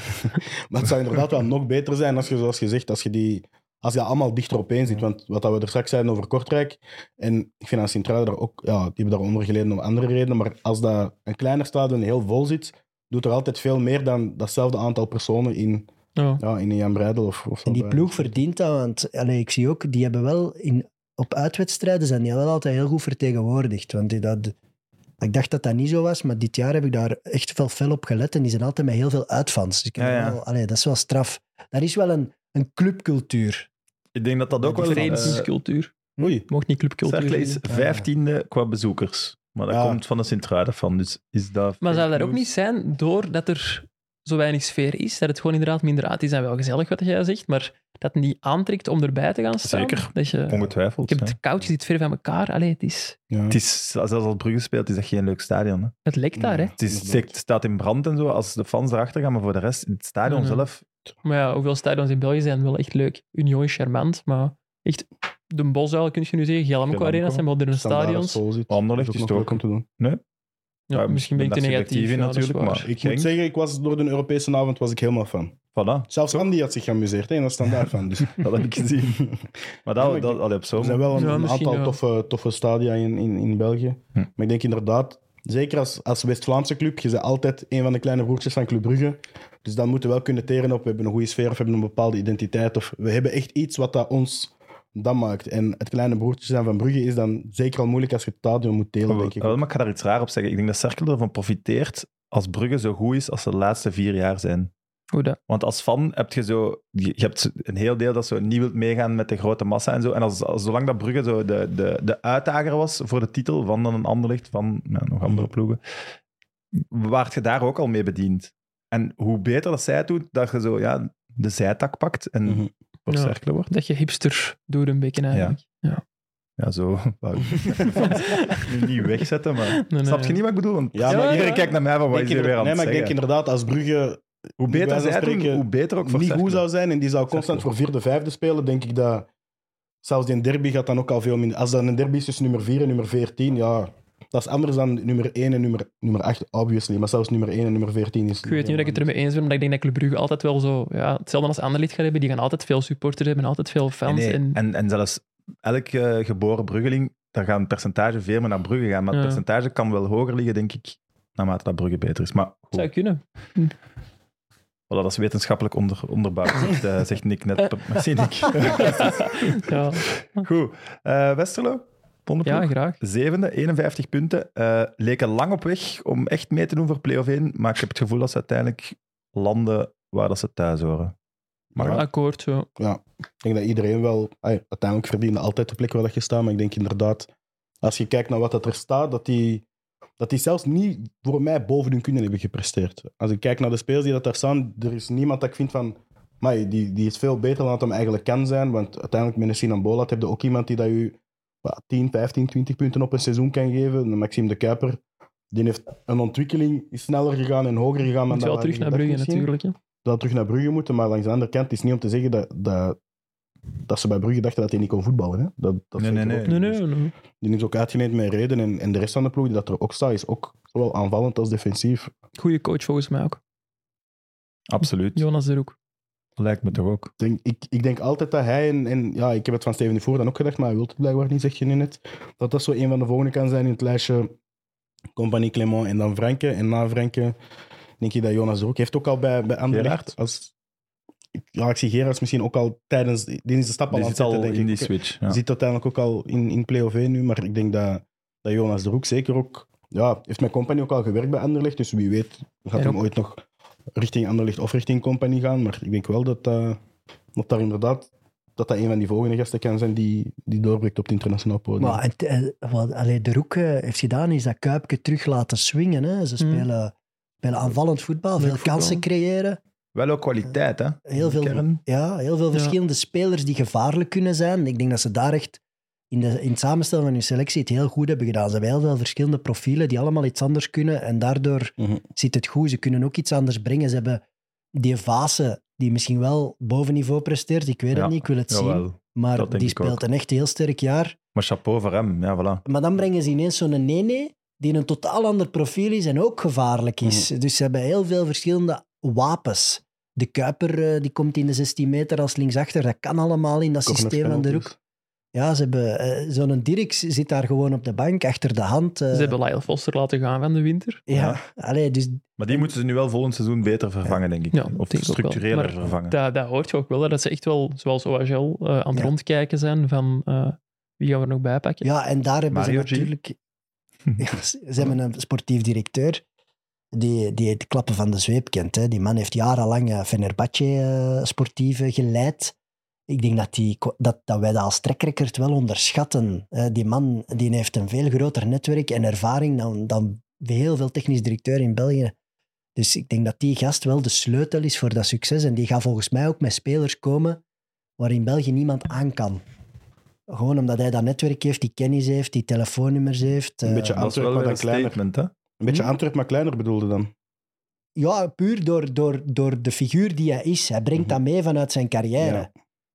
[SPEAKER 3] maar het zou inderdaad wel nog beter zijn als je, zoals gezegd, als je die. Als je dat allemaal dichter opeen ziet, want wat dat we er straks zeiden over Kortrijk, en ik vind aan Centraal daar ook, ja, die hebben daaronder geleden om andere redenen, maar als dat een kleiner stadion heel vol zit, doet er altijd veel meer dan datzelfde aantal personen in,
[SPEAKER 5] ook. Ja.
[SPEAKER 3] ja, in een Jan Breidel of, of
[SPEAKER 4] En die
[SPEAKER 3] zo.
[SPEAKER 4] ploeg verdient dat, want allee, ik zie ook, die hebben wel in, op uitwedstrijden zijn die wel altijd heel goed vertegenwoordigd. Want die, dat, ik dacht dat dat niet zo was, maar dit jaar heb ik daar echt wel fel op gelet en die zijn altijd met heel veel uitfans. Dus ik heb
[SPEAKER 1] Ja, ja.
[SPEAKER 4] Wel, allee, dat is wel straf. Daar is wel een, een clubcultuur.
[SPEAKER 1] Ik denk dat dat ook
[SPEAKER 5] De
[SPEAKER 1] wel... eh,
[SPEAKER 5] verenigingscultuur.
[SPEAKER 3] Oei,
[SPEAKER 5] Mocht niet clubcultuur
[SPEAKER 1] Cercle
[SPEAKER 5] zijn.
[SPEAKER 1] is vijftiende qua bezoekers. Maar dat
[SPEAKER 3] Ah, Ja.
[SPEAKER 1] komt van de Sint-Truiden van. Dus is dat
[SPEAKER 5] Maar zou
[SPEAKER 1] fake
[SPEAKER 5] dat ook
[SPEAKER 1] news?
[SPEAKER 5] niet zijn doordat er zo weinig sfeer is, dat het gewoon inderdaad minder aan. Het is dan wel gezellig wat jij zegt, maar dat het niet aantrekt om erbij te gaan staan.
[SPEAKER 1] Zeker.
[SPEAKER 5] Dat je,
[SPEAKER 1] Ongetwijfeld.
[SPEAKER 5] ik heb
[SPEAKER 1] ja.
[SPEAKER 5] het koud, je zit ver van elkaar. Allee, het, is,
[SPEAKER 3] ja.
[SPEAKER 1] Het is, zelfs als Brugge speelt, is dat geen leuk stadion. Hè?
[SPEAKER 5] het lekt daar, hè.
[SPEAKER 1] Het, is,
[SPEAKER 3] Inderdaad.
[SPEAKER 1] het staat in brand en zo, als de fans erachter gaan. Maar voor de rest, het stadion
[SPEAKER 5] Mhm.
[SPEAKER 1] zelf...
[SPEAKER 5] Maar ja, hoeveel stadions in België zijn wel echt leuk. Union is charmant, maar echt... De Bosuil, kun je nu zeggen, Gelamco
[SPEAKER 1] Gelamco.
[SPEAKER 5] Arena, dat zijn moderne
[SPEAKER 3] Standaard
[SPEAKER 5] stadions.
[SPEAKER 3] vol zit.
[SPEAKER 1] Anderlecht
[SPEAKER 3] Dat
[SPEAKER 1] is
[SPEAKER 3] ook
[SPEAKER 1] het
[SPEAKER 3] leuk
[SPEAKER 1] ook.
[SPEAKER 3] om te doen.
[SPEAKER 5] Ja, misschien ben ik te
[SPEAKER 1] daar
[SPEAKER 5] negatief.
[SPEAKER 1] subjectief in
[SPEAKER 5] ja, dat is
[SPEAKER 1] natuurlijk,
[SPEAKER 5] waar.
[SPEAKER 1] maar
[SPEAKER 3] Ik
[SPEAKER 1] denk-
[SPEAKER 3] moet zeggen, ik was door de Europese avond was ik helemaal fan.
[SPEAKER 1] Voilà,
[SPEAKER 3] Zelfs Andy had zich geamuseerd, hè, en dat standaard fan. Dus.
[SPEAKER 1] dat heb ik gezien. Maar
[SPEAKER 3] Ja, maar
[SPEAKER 1] dat,
[SPEAKER 3] ik
[SPEAKER 1] dat, allee, op
[SPEAKER 3] Er
[SPEAKER 1] zo'n
[SPEAKER 3] zijn wel een,
[SPEAKER 5] Ja,
[SPEAKER 3] een
[SPEAKER 5] misschien
[SPEAKER 3] aantal
[SPEAKER 5] wel.
[SPEAKER 3] toffe, toffe stadia in, in, in België.
[SPEAKER 1] Hm.
[SPEAKER 3] Maar ik denk inderdaad, zeker als, als West-Vlaamse club, je bent altijd een van de kleine broertjes van Club Brugge. Dus dan moeten we wel kunnen teren op, we hebben een goede sfeer of we hebben een bepaalde identiteit. Of we hebben echt iets wat dat ons dan maakt. En het kleine broertje zijn van Brugge is dan zeker al moeilijk als je het stadion moet
[SPEAKER 1] Ja,
[SPEAKER 3] delen,
[SPEAKER 1] wel,
[SPEAKER 3] denk ik.
[SPEAKER 1] wel, maar ik ga daar iets raar op zeggen. Ik denk dat Cerkel ervan profiteert als Brugge zo goed is als ze de laatste vier jaar zijn.
[SPEAKER 5] Hoe dat?
[SPEAKER 1] Want als fan heb je zo... Je je hebt een heel deel dat zo niet wilt meegaan met de grote massa en zo. En als, als, zolang dat Brugge zo de, de, de uitdager was voor de titel van dan een ander licht, van ja, nog andere ploegen, waart je daar ook al mee bediend. En hoe beter dat zij het doet, dat je zo ja, de zijtak pakt en
[SPEAKER 3] Mhm.
[SPEAKER 1] voor
[SPEAKER 5] Ja.
[SPEAKER 1] Cerkel wordt.
[SPEAKER 5] Dat je hipster doet een beetje eigenlijk. Ja.
[SPEAKER 1] Ja, zo. Wou- nu niet wegzetten, maar...
[SPEAKER 5] nee,
[SPEAKER 1] Snap je
[SPEAKER 5] ja.
[SPEAKER 1] niet wat ik bedoel? Want
[SPEAKER 3] Ja, maar
[SPEAKER 5] Ja,
[SPEAKER 3] ik
[SPEAKER 1] iedereen
[SPEAKER 5] ja.
[SPEAKER 1] kijkt naar mij van, wat
[SPEAKER 3] denk
[SPEAKER 1] is hier weer
[SPEAKER 3] inderdaad-
[SPEAKER 1] aan
[SPEAKER 3] nee,
[SPEAKER 1] het
[SPEAKER 3] maar ik denk
[SPEAKER 1] zeggen?
[SPEAKER 3] inderdaad, als Brugge
[SPEAKER 1] Hoe beter
[SPEAKER 3] bij wijze
[SPEAKER 1] zij
[SPEAKER 3] van
[SPEAKER 1] doen,
[SPEAKER 3] spreken
[SPEAKER 1] hoe beter ook voor
[SPEAKER 3] niet goed
[SPEAKER 1] Cercle.
[SPEAKER 3] zou zijn en die zou constant
[SPEAKER 1] Cercle.
[SPEAKER 3] voor vierde, vijfde spelen, denk ik dat zelfs die derby gaat dan ook al veel minder. Als dat een derby is tussen nummer 4 en nummer 14, ja, dat is anders dan nummer 1 en nummer, nummer 8, obviously. Maar zelfs nummer 1 en nummer 14 is.
[SPEAKER 5] Ik weet niet of ik het ermee eens ben, maar ik denk dat Club Brugge altijd wel zo... Ja, hetzelfde als Anderlecht gaan hebben. Die gaan altijd veel supporters hebben, altijd veel
[SPEAKER 1] Nee,
[SPEAKER 5] fans.
[SPEAKER 1] nee.
[SPEAKER 5] En,
[SPEAKER 1] En, en zelfs elk eh, geboren Bruggeling, daar gaan een percentage veel meer naar Brugge gaan. Maar het
[SPEAKER 5] Ja.
[SPEAKER 1] percentage kan wel hoger liggen, denk ik, naarmate dat Brugge beter is. Maar goed,
[SPEAKER 5] zou kunnen.
[SPEAKER 1] voilà, dat is wetenschappelijk onder, onderbouwd, zegt, eh, zegt Nick net. Merci, Nick.
[SPEAKER 5] Ja,
[SPEAKER 1] goed. Eh, Westerlo, Vondelploeg.
[SPEAKER 5] ja graag.
[SPEAKER 1] Zevende, 51 punten. Eh, leken lang op weg om echt mee te doen voor play-off 1, maar ik heb het gevoel dat ze uiteindelijk landen waar dat ze thuis horen. Maar
[SPEAKER 3] Ja.
[SPEAKER 5] Akkoord, zo.
[SPEAKER 3] Ik denk dat iedereen wel. ai, uiteindelijk verdiende altijd de plek waar dat je staat. Maar ik denk inderdaad, als je kijkt naar wat dat er staat, dat die, dat die zelfs niet voor mij boven hun kunnen hebben gepresteerd. Als ik kijk naar de spelers die dat daar staan, er is niemand dat ik vind van. Maar die, die is veel beter dan dat hem eigenlijk kan zijn. Want uiteindelijk met een Sinan Bolat heb je ook iemand die dat je wat, 10, 15, 20 punten op een seizoen kan geven. Een Maxime de Kuiper. Die heeft een ontwikkeling is sneller gegaan en hoger gegaan. dan
[SPEAKER 5] Moet je wel
[SPEAKER 3] dat we
[SPEAKER 5] terug naar
[SPEAKER 3] gedacht
[SPEAKER 5] Brugge,
[SPEAKER 3] misschien
[SPEAKER 5] natuurlijk. hè.
[SPEAKER 3] dat terug naar Brugge moeten. Maar langs de andere kant het is niet om te zeggen dat, dat, dat ze bij Brugge dachten dat hij niet kon voetballen. Hè? Dat, dat
[SPEAKER 1] Nee,
[SPEAKER 3] zeker
[SPEAKER 1] nee,
[SPEAKER 3] ook
[SPEAKER 5] Nee,
[SPEAKER 1] nee.
[SPEAKER 3] niet.
[SPEAKER 5] nee, nee.
[SPEAKER 3] Die is ook uitgeleend met reden. En, en de rest van de ploeg die dat er ook staat, is ook zowel aanvallend als defensief.
[SPEAKER 5] Goeie coach volgens mij ook.
[SPEAKER 1] Absoluut.
[SPEAKER 5] Jonas de Roek.
[SPEAKER 1] Lijkt me toch ook.
[SPEAKER 3] Ik denk, ik, ik denk altijd dat hij, en, en ja, ik heb het van Steven de Voer dan ook gedacht, maar hij wil het blijkbaar niet, zeg je nu net. Dat dat zo een van de volgende kan zijn in het lijstje Compagnie Clement en dan Franke. En na Franke denk ik dat Jonas er ook heeft ook al bij, bij Anderlecht.
[SPEAKER 1] Gerard?
[SPEAKER 3] Als, ja, ik zie Gerards misschien ook al tijdens deze stap al
[SPEAKER 1] Die
[SPEAKER 3] aan het
[SPEAKER 1] zit
[SPEAKER 3] zetten,
[SPEAKER 1] al
[SPEAKER 3] denk
[SPEAKER 1] in
[SPEAKER 3] ik.
[SPEAKER 1] die switch. Ja.
[SPEAKER 3] Je zit uiteindelijk ook al in, in play-off 1 nu, maar ik denk dat, dat Jonas de Roek zeker ook... Ja, heeft mijn compagnie ook al gewerkt bij Anderlecht, dus wie weet gaat
[SPEAKER 5] En
[SPEAKER 3] hem
[SPEAKER 5] ook-
[SPEAKER 3] ooit nog richting Anderlecht of richting compagnie gaan. Maar ik denk wel dat, eh, dat daar inderdaad dat dat een van die volgende gasten kan zijn die, die doorbreekt op het internationaal podium.
[SPEAKER 4] Maar het, eh, wat allee, De Roek eh, heeft gedaan, is dat Kuipke terug laten swingen. Hè. Ze
[SPEAKER 5] Hmm.
[SPEAKER 4] spelen, spelen aanvallend voetbal,
[SPEAKER 5] Leuk
[SPEAKER 4] veel
[SPEAKER 5] voetbal.
[SPEAKER 4] kansen creëren.
[SPEAKER 1] Wel ook kwaliteit, hè?
[SPEAKER 4] Heel veel,
[SPEAKER 1] Kern.
[SPEAKER 4] ja, heel veel
[SPEAKER 5] Ja.
[SPEAKER 4] verschillende spelers die gevaarlijk kunnen zijn. Ik denk dat ze daar echt in, de, in het samenstellen van hun selectie het heel goed hebben gedaan. Ze hebben heel veel verschillende profielen die allemaal iets anders kunnen. En daardoor
[SPEAKER 3] Mhm.
[SPEAKER 4] zit het goed. Ze kunnen ook iets anders brengen. Ze hebben die fase die misschien wel boven niveau presteert. Ik weet
[SPEAKER 1] Ja,
[SPEAKER 4] het niet, ik wil het zien.
[SPEAKER 1] Jawel. dat
[SPEAKER 4] Maar
[SPEAKER 1] denk
[SPEAKER 4] die
[SPEAKER 1] ik ook.
[SPEAKER 4] speelt een echt heel sterk jaar.
[SPEAKER 1] Maar chapeau voor hem, ja, voilà.
[SPEAKER 4] Maar dan brengen ze ineens zo'n Nene, die een totaal ander profiel is en ook gevaarlijk is. Dus ze hebben heel veel verschillende wapens. De Kuiper eh, die komt in de 16 meter als linksachter. Dat kan allemaal in dat
[SPEAKER 3] Corners,
[SPEAKER 4] systeem van de
[SPEAKER 3] penalties.
[SPEAKER 4] roek. Ja, ze hebben eh, zo'n Dirks zit daar gewoon op de bank, achter de hand. eh,
[SPEAKER 5] Ze hebben Lyle Foster laten gaan van de winter.
[SPEAKER 4] Ja, allee, dus
[SPEAKER 1] Maar die moeten ze nu wel volgend seizoen beter vervangen, denk ik.
[SPEAKER 5] Ja,
[SPEAKER 1] of
[SPEAKER 5] denk ik ook wel.
[SPEAKER 1] structureler
[SPEAKER 5] Maar
[SPEAKER 1] vervangen.
[SPEAKER 5] Dat, dat hoort je ook wel, hè, dat ze echt wel, zoals OHL, eh, aan het
[SPEAKER 4] Ja.
[SPEAKER 5] rondkijken zijn van eh, wie gaan we er nog bij pakken.
[SPEAKER 4] Ja, en daar hebben
[SPEAKER 1] Mario G.
[SPEAKER 4] ze natuurlijk... Ja, ze ze hebben een sportief directeur die, die het klappen van de zweep kent. Hè. Die man heeft jarenlang eh, Fenerbahce eh, sportieve geleid. Ik denk dat, die, dat, dat wij dat als trekrekkerd wel onderschatten. Eh, die man die heeft een veel groter netwerk en ervaring dan, dan heel veel technisch directeur in België. Dus ik denk dat die gast wel de sleutel is voor dat succes. En die gaat volgens mij ook met spelers komen waarin België niemand aan kan. Gewoon omdat hij dat netwerk heeft, die kennis heeft, die telefoonnummers heeft.
[SPEAKER 3] Een
[SPEAKER 4] eh,
[SPEAKER 3] beetje
[SPEAKER 1] dat is
[SPEAKER 3] Antwerpen,
[SPEAKER 1] wel
[SPEAKER 3] maar
[SPEAKER 1] weer
[SPEAKER 3] dan
[SPEAKER 1] een
[SPEAKER 3] kleiner.
[SPEAKER 1] statement, hè?
[SPEAKER 3] Een beetje
[SPEAKER 4] Hm?
[SPEAKER 3] Antwerp, maar kleiner bedoelde dan.
[SPEAKER 4] Ja, puur door, door, door de figuur die hij is. Hij brengt dat mee vanuit zijn carrière.
[SPEAKER 3] Ja.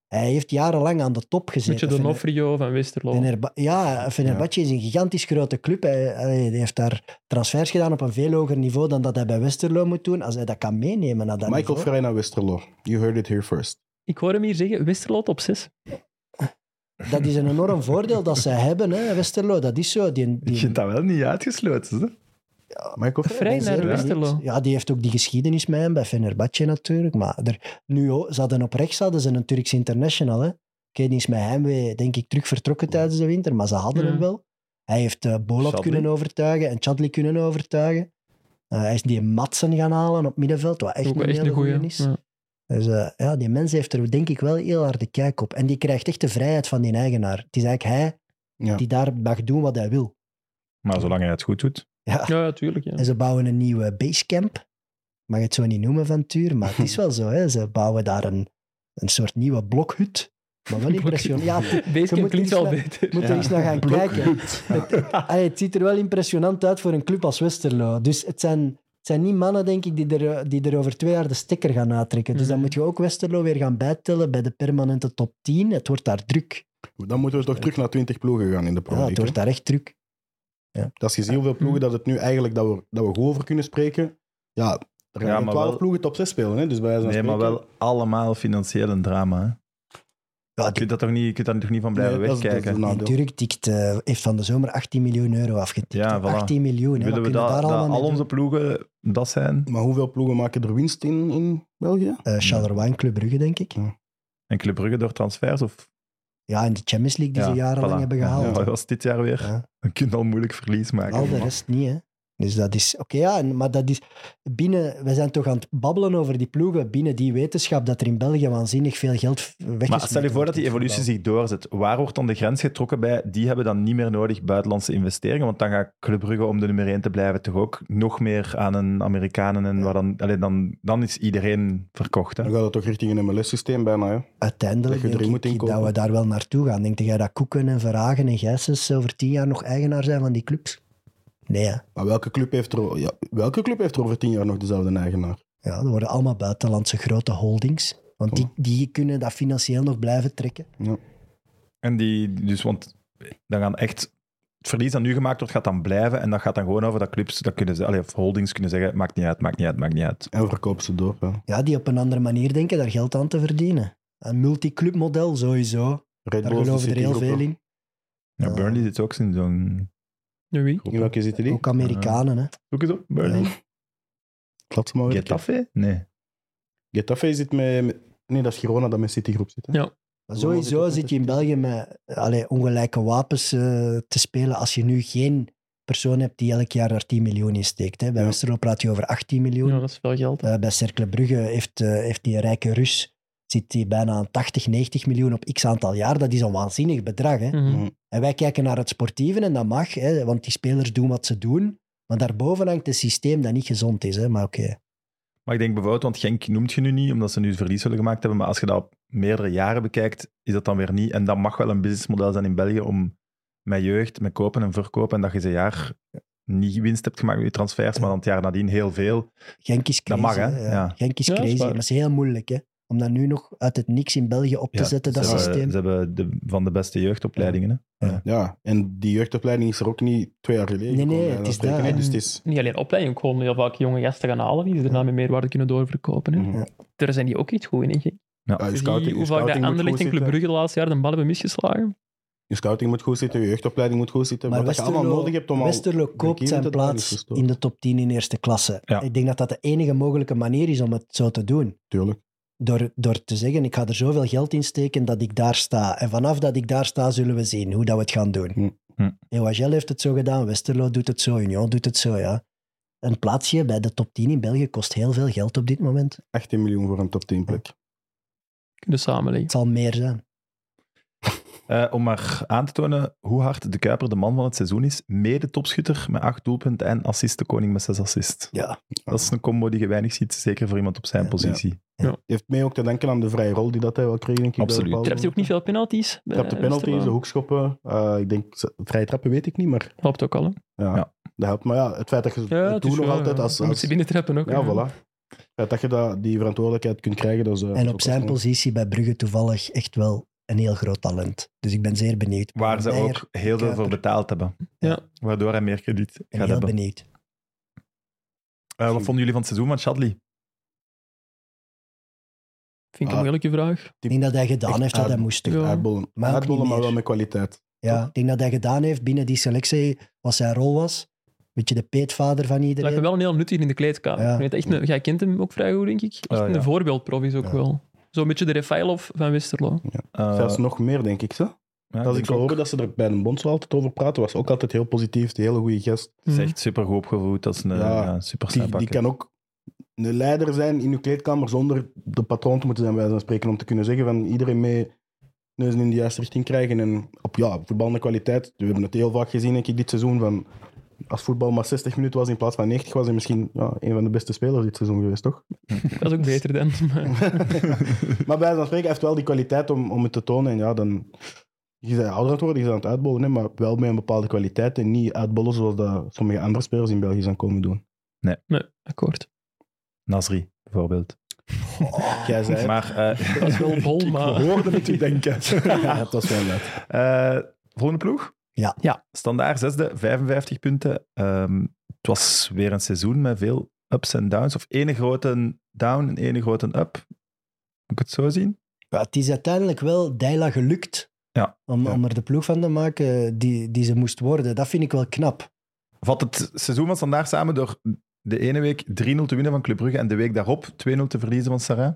[SPEAKER 4] Hij heeft jarenlang aan de top gezeten.
[SPEAKER 5] Een beetje
[SPEAKER 4] Fener-
[SPEAKER 5] Donofrio van Westerlo.
[SPEAKER 4] Fenerba- ja, Fenerbahce is een gigantisch grote club. Hij, hij heeft daar transfers gedaan op een veel hoger niveau dan dat hij bij Westerlo moet doen. Als hij dat kan meenemen naar dat
[SPEAKER 3] Michael
[SPEAKER 4] niveau.
[SPEAKER 3] Vrij naar Westerlo. You heard it here first.
[SPEAKER 5] Ik hoor hem hier zeggen, Westerlo op 6.
[SPEAKER 4] Dat is een enorm voordeel dat zij hebben, hè, Westerlo. Dat is zo. Die,
[SPEAKER 1] Ik
[SPEAKER 4] die,
[SPEAKER 1] vind dat wel niet uitgesloten. Hè?
[SPEAKER 3] Michael Vrij.
[SPEAKER 5] Vrij
[SPEAKER 4] Nee,
[SPEAKER 5] naar
[SPEAKER 4] zeker
[SPEAKER 5] Westerlo.
[SPEAKER 4] niet. Ja, die heeft ook die geschiedenis met hem, bij Fenerbahce natuurlijk. Maar er, nu, ook- ze hadden op rechts hadden ze een Turks international. Hè. Oké, die is met heimwee, denk ik, terug vertrokken tijdens de winter. Maar ze hadden
[SPEAKER 5] Ja.
[SPEAKER 4] hem wel. Hij heeft eh Bolat
[SPEAKER 1] Chadli.
[SPEAKER 4] kunnen overtuigen en Chadli kunnen overtuigen. Eh, hij is die Madsen gaan halen op middenveld, wat echt
[SPEAKER 5] Ook
[SPEAKER 4] een
[SPEAKER 5] wel echt
[SPEAKER 4] hele
[SPEAKER 5] een
[SPEAKER 4] goeie
[SPEAKER 5] goeie.
[SPEAKER 4] is.
[SPEAKER 5] Ja.
[SPEAKER 4] Dus eh, ja, die mens heeft er denk ik wel heel harde kijk op. En die krijgt echt de vrijheid van die eigenaar. Het is eigenlijk hij
[SPEAKER 3] Ja.
[SPEAKER 4] die daar mag doen wat hij wil.
[SPEAKER 1] Maar zolang hij het goed doet.
[SPEAKER 4] Ja.
[SPEAKER 5] Ja, ja, tuurlijk. Ja.
[SPEAKER 4] Ah. En ze bouwen een nieuwe basecamp. Mag het zo niet noemen van Tuur, maar het is wel zo. Hè. Ze bouwen daar een, een soort nieuwe blokhut Maar wel impressionant. Ja, het-
[SPEAKER 5] Deze keer
[SPEAKER 4] moet
[SPEAKER 5] klinkt
[SPEAKER 4] iets
[SPEAKER 5] wel
[SPEAKER 4] met-
[SPEAKER 5] beter.
[SPEAKER 4] moet er eens naar gaan kijken. Het, allee, het ziet er wel impressionant uit voor een club als Westerlo. Dus het zijn, het zijn niet mannen, denk ik, die er, die er over twee jaar de stekker gaan uittrekken. Dus dan
[SPEAKER 5] Mhm.
[SPEAKER 4] moet je ook Westerlo weer gaan bijtellen bij de permanente top 10. Het wordt daar druk.
[SPEAKER 3] Dan moeten we toch terug naar 20 ploegen gaan in de Pro
[SPEAKER 4] Ja, het
[SPEAKER 3] League.
[SPEAKER 4] wordt
[SPEAKER 3] hè.
[SPEAKER 4] daar echt druk.
[SPEAKER 3] Dat is gezien hoeveel ploegen dat het nu eigenlijk dat we, dat we goed over kunnen spreken. Ja, er
[SPEAKER 1] Ja,
[SPEAKER 3] gaan
[SPEAKER 1] maar
[SPEAKER 3] 12
[SPEAKER 1] wel-
[SPEAKER 3] ploegen top 6 spelen. Hè? Dus bij wijze van
[SPEAKER 1] Nee, maar
[SPEAKER 3] spreken-
[SPEAKER 1] wel allemaal financieel een drama. Hè?
[SPEAKER 4] Ja,
[SPEAKER 1] Je, kunt dat toch niet, je kunt daar toch niet van
[SPEAKER 3] Nee,
[SPEAKER 1] blijven
[SPEAKER 3] dat is- dat is
[SPEAKER 1] wegkijken.
[SPEAKER 3] een
[SPEAKER 4] Die
[SPEAKER 3] nadeel.
[SPEAKER 4] Turk tikt, eh, heeft van de zomer 18 miljoen euro afgetikt.
[SPEAKER 1] Ja,
[SPEAKER 4] hè.
[SPEAKER 1] voilà.
[SPEAKER 4] 18 miljoen. Hè. Wat
[SPEAKER 1] Willen we
[SPEAKER 4] kunnen
[SPEAKER 1] dat,
[SPEAKER 4] daar
[SPEAKER 1] dat
[SPEAKER 4] allemaal
[SPEAKER 1] al
[SPEAKER 4] mee
[SPEAKER 1] onze ploegen dat zijn?
[SPEAKER 3] Maar hoeveel ploegen maken er winst in, in België?
[SPEAKER 4] doen? Eh, Charleroi, Club Brugge, denk ik.
[SPEAKER 1] En Club Brugge door transfers? Of,
[SPEAKER 4] Ja, en de Champions League die
[SPEAKER 1] Ja,
[SPEAKER 4] ze jarenlang
[SPEAKER 1] voilà.
[SPEAKER 4] hebben
[SPEAKER 1] Ja,
[SPEAKER 4] gehaald.
[SPEAKER 1] wat was dit jaar weer?
[SPEAKER 4] Ja.
[SPEAKER 1] Dan kun je al moeilijk verlies maken.
[SPEAKER 4] Al de rest niet, hè. Dus dat is... Oké, ja, en- maar dat is... Binnen... We zijn toch aan het babbelen over die ploegen binnen die wetenschap dat er in België waanzinnig veel geld weg
[SPEAKER 1] Maar stel je voor dat die evolutie zich doorzet. Waar wordt dan de grens getrokken bij? Die hebben dan niet meer nodig buitenlandse investeringen. Want dan gaat Club Brugge, om de nummer 1 te blijven, toch ook nog meer aan een Amerikanen. En waar dan, allee, dan, dan is iedereen verkocht. Hè?
[SPEAKER 3] Dan gaat het toch richting een MLS-systeem bijna. Hè? dat
[SPEAKER 4] Uiteindelijk
[SPEAKER 3] je erin
[SPEAKER 4] denk
[SPEAKER 3] moet
[SPEAKER 4] ik
[SPEAKER 3] inkopen.
[SPEAKER 4] dat we daar wel naartoe gaan. Denk jij dat Koeken en Verhagen en Gijsens over tien jaar nog eigenaar zijn van die clubs? Nee, hè.
[SPEAKER 3] Maar welke club, heeft er, ja, welke club heeft er over tien jaar nog dezelfde eigenaar?
[SPEAKER 4] Ja, dat worden allemaal buitenlandse grote holdings. Want die, die kunnen dat financieel nog blijven trekken.
[SPEAKER 1] En die, dus, want dan gaan echt. Het verlies dat nu gemaakt wordt, gaat dan blijven. En dat gaat dan gewoon over dat clubs, dat kunnen ze, allee, of holdings kunnen zeggen: maakt niet uit, maakt niet uit, maakt niet uit.
[SPEAKER 3] En verkoop ze door. Ja.
[SPEAKER 4] Ja, die op een andere manier denken daar geld aan te verdienen. Een multiclubmodel sowieso.
[SPEAKER 3] Red
[SPEAKER 4] Daar
[SPEAKER 3] Bulls, de
[SPEAKER 4] geloven er heel
[SPEAKER 3] Citigroep,
[SPEAKER 4] veel
[SPEAKER 3] hè.
[SPEAKER 4] in.
[SPEAKER 1] Ja,
[SPEAKER 4] Ja.
[SPEAKER 1] Burnley zit ook in zo'n.
[SPEAKER 5] Nu wie?
[SPEAKER 3] In welke zitten die?
[SPEAKER 4] Ook Amerikanen, hè.
[SPEAKER 1] Zoek eens op,
[SPEAKER 4] Ja.
[SPEAKER 1] Burnley.
[SPEAKER 3] Laat ze maar werken.
[SPEAKER 1] Getafe? Nee.
[SPEAKER 3] Getafe zit met... met- Nee, dat is Girona dat met Citigroep zit. hè.
[SPEAKER 5] Ja.
[SPEAKER 4] Maar
[SPEAKER 3] Allemaal zit
[SPEAKER 4] sowieso
[SPEAKER 3] ook
[SPEAKER 4] zit je in België met allee, ongelijke wapens eh, te spelen als je nu geen persoon hebt die elk jaar daar 10 miljoen in steekt. Hè. Bij
[SPEAKER 3] Ja.
[SPEAKER 4] Westerlo praat je over 18 miljoen.
[SPEAKER 5] Ja, dat is veel geld.
[SPEAKER 4] Eh, bij Cercle Brugge heeft, eh, heeft die rijke Rus zit die bijna aan 80, 90 miljoen op x aantal jaar. Dat is een waanzinnig bedrag. Hè.
[SPEAKER 5] Mhm.
[SPEAKER 3] Mm.
[SPEAKER 4] En wij kijken naar het sportieve en dat mag, hè, want die spelers doen wat ze doen. Maar daarboven hangt een systeem dat niet gezond is. Hè. Maar oké,
[SPEAKER 1] Maar ik denk bijvoorbeeld, want Genk noemt je nu niet, omdat ze nu verlies willen gemaakt hebben. Maar als je dat op meerdere jaren bekijkt, is dat dan weer niet. En dat mag wel een businessmodel zijn in België om met jeugd, met kopen en verkopen. En dat je ze een jaar niet winst hebt gemaakt met je transfers, maar dan het jaar nadien heel veel.
[SPEAKER 4] Genk is
[SPEAKER 1] Dat
[SPEAKER 4] crazy.
[SPEAKER 1] mag, hè?
[SPEAKER 4] hè.
[SPEAKER 1] Ja.
[SPEAKER 4] Genk is
[SPEAKER 5] Ja, dat is
[SPEAKER 4] crazy,
[SPEAKER 5] waar.
[SPEAKER 4] maar het is heel moeilijk. Hè. Om dat nu nog uit het niks in België op te
[SPEAKER 1] Ja,
[SPEAKER 4] zetten, dat
[SPEAKER 1] ze hebben-
[SPEAKER 4] systeem.
[SPEAKER 1] Ze hebben de, van de beste jeugdopleidingen. hè.
[SPEAKER 3] Ja, en die jeugdopleiding is er ook niet twee jaar geleden.
[SPEAKER 4] Nee, nee,
[SPEAKER 3] gekomen, bij wijze
[SPEAKER 4] het
[SPEAKER 3] van
[SPEAKER 4] is
[SPEAKER 3] spreken,
[SPEAKER 4] daar,
[SPEAKER 3] hè. Dus het is...
[SPEAKER 5] Niet alleen opleiding, ook gewoon heel vaak jonge gasten gaan halen die ze daarna met meerwaarde kunnen doorverkopen. Hè.
[SPEAKER 3] Mhm.
[SPEAKER 4] Ja.
[SPEAKER 5] Daar zijn die ook niet goed in. Hè.
[SPEAKER 3] Ja, Ah, je
[SPEAKER 5] Zie
[SPEAKER 3] scouting- je
[SPEAKER 5] hoe vaak
[SPEAKER 3] scouting
[SPEAKER 5] dat
[SPEAKER 3] moet goed
[SPEAKER 5] Anderlecht en Club
[SPEAKER 3] zitten.
[SPEAKER 5] Brugge de laatste jaar de bal hebben misgeslagen.
[SPEAKER 3] Je scouting moet goed zitten, je jeugdopleiding moet goed zitten.
[SPEAKER 4] Maar
[SPEAKER 3] wat je allemaal nodig hebt om al...
[SPEAKER 4] Westerlo koopt
[SPEAKER 3] break-even
[SPEAKER 4] zijn
[SPEAKER 3] te doen, is
[SPEAKER 4] plaats
[SPEAKER 3] verstoord.
[SPEAKER 4] in de top 10 in eerste klasse.
[SPEAKER 1] Ja.
[SPEAKER 4] Ik denk dat dat de enige mogelijke manier is om het zo te doen.
[SPEAKER 3] Tuurlijk.
[SPEAKER 4] Door, door te zeggen, ik ga er zoveel geld in steken dat ik daar sta. En vanaf dat ik daar sta, zullen we zien hoe dat we het gaan doen.
[SPEAKER 3] Hm.
[SPEAKER 1] Hm.
[SPEAKER 4] EOHL heeft het zo gedaan, Westerlo doet het zo, Union doet het zo, ja. Een plaatsje bij de top 10 in België kost heel veel geld op dit moment.
[SPEAKER 3] 18 miljoen voor een top 10 plek.
[SPEAKER 5] Kunnen samenleggen.
[SPEAKER 4] Het zal meer zijn.
[SPEAKER 1] Eh, om maar aan te tonen hoe hard de Kuiper de man van het seizoen is. Mede topschutter met acht doelpunten en assistenkoning met zes assists.
[SPEAKER 4] Ja.
[SPEAKER 1] Dat is een combo die je weinig ziet, zeker voor iemand op zijn
[SPEAKER 4] Ja.
[SPEAKER 1] positie.
[SPEAKER 3] Heeft mee ook te denken aan de vrije rol die dat hij wel kreeg, denk ik.
[SPEAKER 1] Absoluut.
[SPEAKER 5] Trapt hij ook niet veel penalties? bij
[SPEAKER 3] Trapt de penalties,
[SPEAKER 5] Westerlo?
[SPEAKER 3] de hoekschoppen. eh, ik denk, ze- vrije trappen weet ik niet, maar
[SPEAKER 5] Helpt ook al. Hè.
[SPEAKER 3] ja,
[SPEAKER 1] Ja.
[SPEAKER 3] dat helpt. Maar ja, het feit dat je
[SPEAKER 5] Ja,
[SPEAKER 3] het
[SPEAKER 5] het
[SPEAKER 3] doet
[SPEAKER 5] is
[SPEAKER 3] nog
[SPEAKER 5] wel, eh,
[SPEAKER 3] altijd
[SPEAKER 5] ja.
[SPEAKER 3] als...
[SPEAKER 5] Je moet
[SPEAKER 3] als
[SPEAKER 5] ze binnentrappen ook.
[SPEAKER 3] ja,
[SPEAKER 5] hè.
[SPEAKER 3] voilà. Het feit dat je dat, die verantwoordelijkheid kunt krijgen, dat is... eh, dat
[SPEAKER 4] En
[SPEAKER 3] is
[SPEAKER 4] op
[SPEAKER 3] ook
[SPEAKER 4] zijn
[SPEAKER 3] wel-
[SPEAKER 4] positie bij Brugge toevallig echt wel een heel groot talent. Dus ik ben zeer benieuwd.
[SPEAKER 1] Waar ze
[SPEAKER 4] Meijer,
[SPEAKER 1] ook heel veel voor
[SPEAKER 4] Kuiper.
[SPEAKER 1] betaald hebben.
[SPEAKER 5] Ja.
[SPEAKER 1] Waardoor hij meer krediet
[SPEAKER 4] Ik
[SPEAKER 1] gaat
[SPEAKER 4] ben heel
[SPEAKER 1] hebben.
[SPEAKER 4] benieuwd.
[SPEAKER 1] Eh, wat vonden jullie van het seizoen van Shadley?
[SPEAKER 5] Vind ik
[SPEAKER 3] Ah.
[SPEAKER 5] een moeilijke vraag.
[SPEAKER 4] Ik denk dat hij gedaan
[SPEAKER 3] Echt
[SPEAKER 4] heeft wat hij
[SPEAKER 3] uit-
[SPEAKER 4] moest.
[SPEAKER 5] Ja.
[SPEAKER 3] Uitbollen,
[SPEAKER 4] Maar ook
[SPEAKER 3] Uitbollen,
[SPEAKER 4] niet
[SPEAKER 3] maar
[SPEAKER 4] meer.
[SPEAKER 3] wel met kwaliteit.
[SPEAKER 4] Ja, ik denk dat hij gedaan heeft binnen die selectie, wat zijn rol was. Beetje de peetvader van
[SPEAKER 5] Het lijkt me
[SPEAKER 4] iedereen.
[SPEAKER 5] wel een heel nut hier in de kleedkamer.
[SPEAKER 4] Ja.
[SPEAKER 5] Je weet echt een- jij kent hem ook vrij goed, denk ik. Echt
[SPEAKER 1] Ah, ja.
[SPEAKER 5] Een voorbeeldprof is ook
[SPEAKER 3] Ja.
[SPEAKER 5] wel. Zo'n beetje de Refailov van Westerlo.
[SPEAKER 1] Eh,
[SPEAKER 3] Zelfs nog meer, denk ik. Zo.
[SPEAKER 1] ja,
[SPEAKER 3] Als ik
[SPEAKER 1] denk
[SPEAKER 3] zo
[SPEAKER 1] ook.
[SPEAKER 3] hoorde dat ze er bij de bond zo altijd over praten, was ook altijd heel positief, de hele goede gast.
[SPEAKER 1] Is
[SPEAKER 5] Hmm.
[SPEAKER 1] echt supergoed opgevoed. Dat is een
[SPEAKER 3] Ja,
[SPEAKER 1] ja, super
[SPEAKER 3] Die, die kan ook een leider zijn in uw kleedkamer zonder de patroon te moeten zijn, bij wijze van spreken, om te kunnen zeggen van iedereen mee neuzen in de juiste richting krijgen. En op ja, voetballende kwaliteit, we hebben het heel vaak gezien denk ik, dit seizoen, van als voetbal maar 60 minuten was in plaats van 90, was hij misschien ja, een van de beste spelers dit seizoen geweest, toch?
[SPEAKER 5] Dat is ook beter dan. Maar
[SPEAKER 3] Maar bij wijze van spreken, hij heeft wel die kwaliteit om, om het te tonen. En ja, dan... Je bent ouder aan het worden, je bent aan het uitbollen, hè, maar wel met een bepaalde kwaliteit. En niet uitbollen zoals dat sommige andere spelers in België zijn komen doen.
[SPEAKER 5] nee, akkoord.
[SPEAKER 1] Nasri, bijvoorbeeld.
[SPEAKER 3] Jij zei het.
[SPEAKER 1] Maar eh,
[SPEAKER 5] Dat is wel bol,
[SPEAKER 3] Ik
[SPEAKER 5] maar...
[SPEAKER 3] hoorde het u denken. ja, het was wel net.
[SPEAKER 1] eh, volgende ploeg?
[SPEAKER 4] Ja.
[SPEAKER 5] Ja.
[SPEAKER 1] Standaard zesde, 55 punten. Ehm, het was weer een seizoen met veel ups en downs. Of ene grote down en ene grote up. Moet ik het zo zien?
[SPEAKER 4] Ja, het is uiteindelijk wel Deila gelukt
[SPEAKER 1] Ja.
[SPEAKER 4] om,
[SPEAKER 3] Ja.
[SPEAKER 4] om er de ploeg van te maken die, die ze moest worden. Dat vind ik wel knap.
[SPEAKER 1] Vat het seizoen van Standaard samen door de ene week 3-0 te winnen van Club Brugge en de week daarop 2-0 te verliezen van Sarah.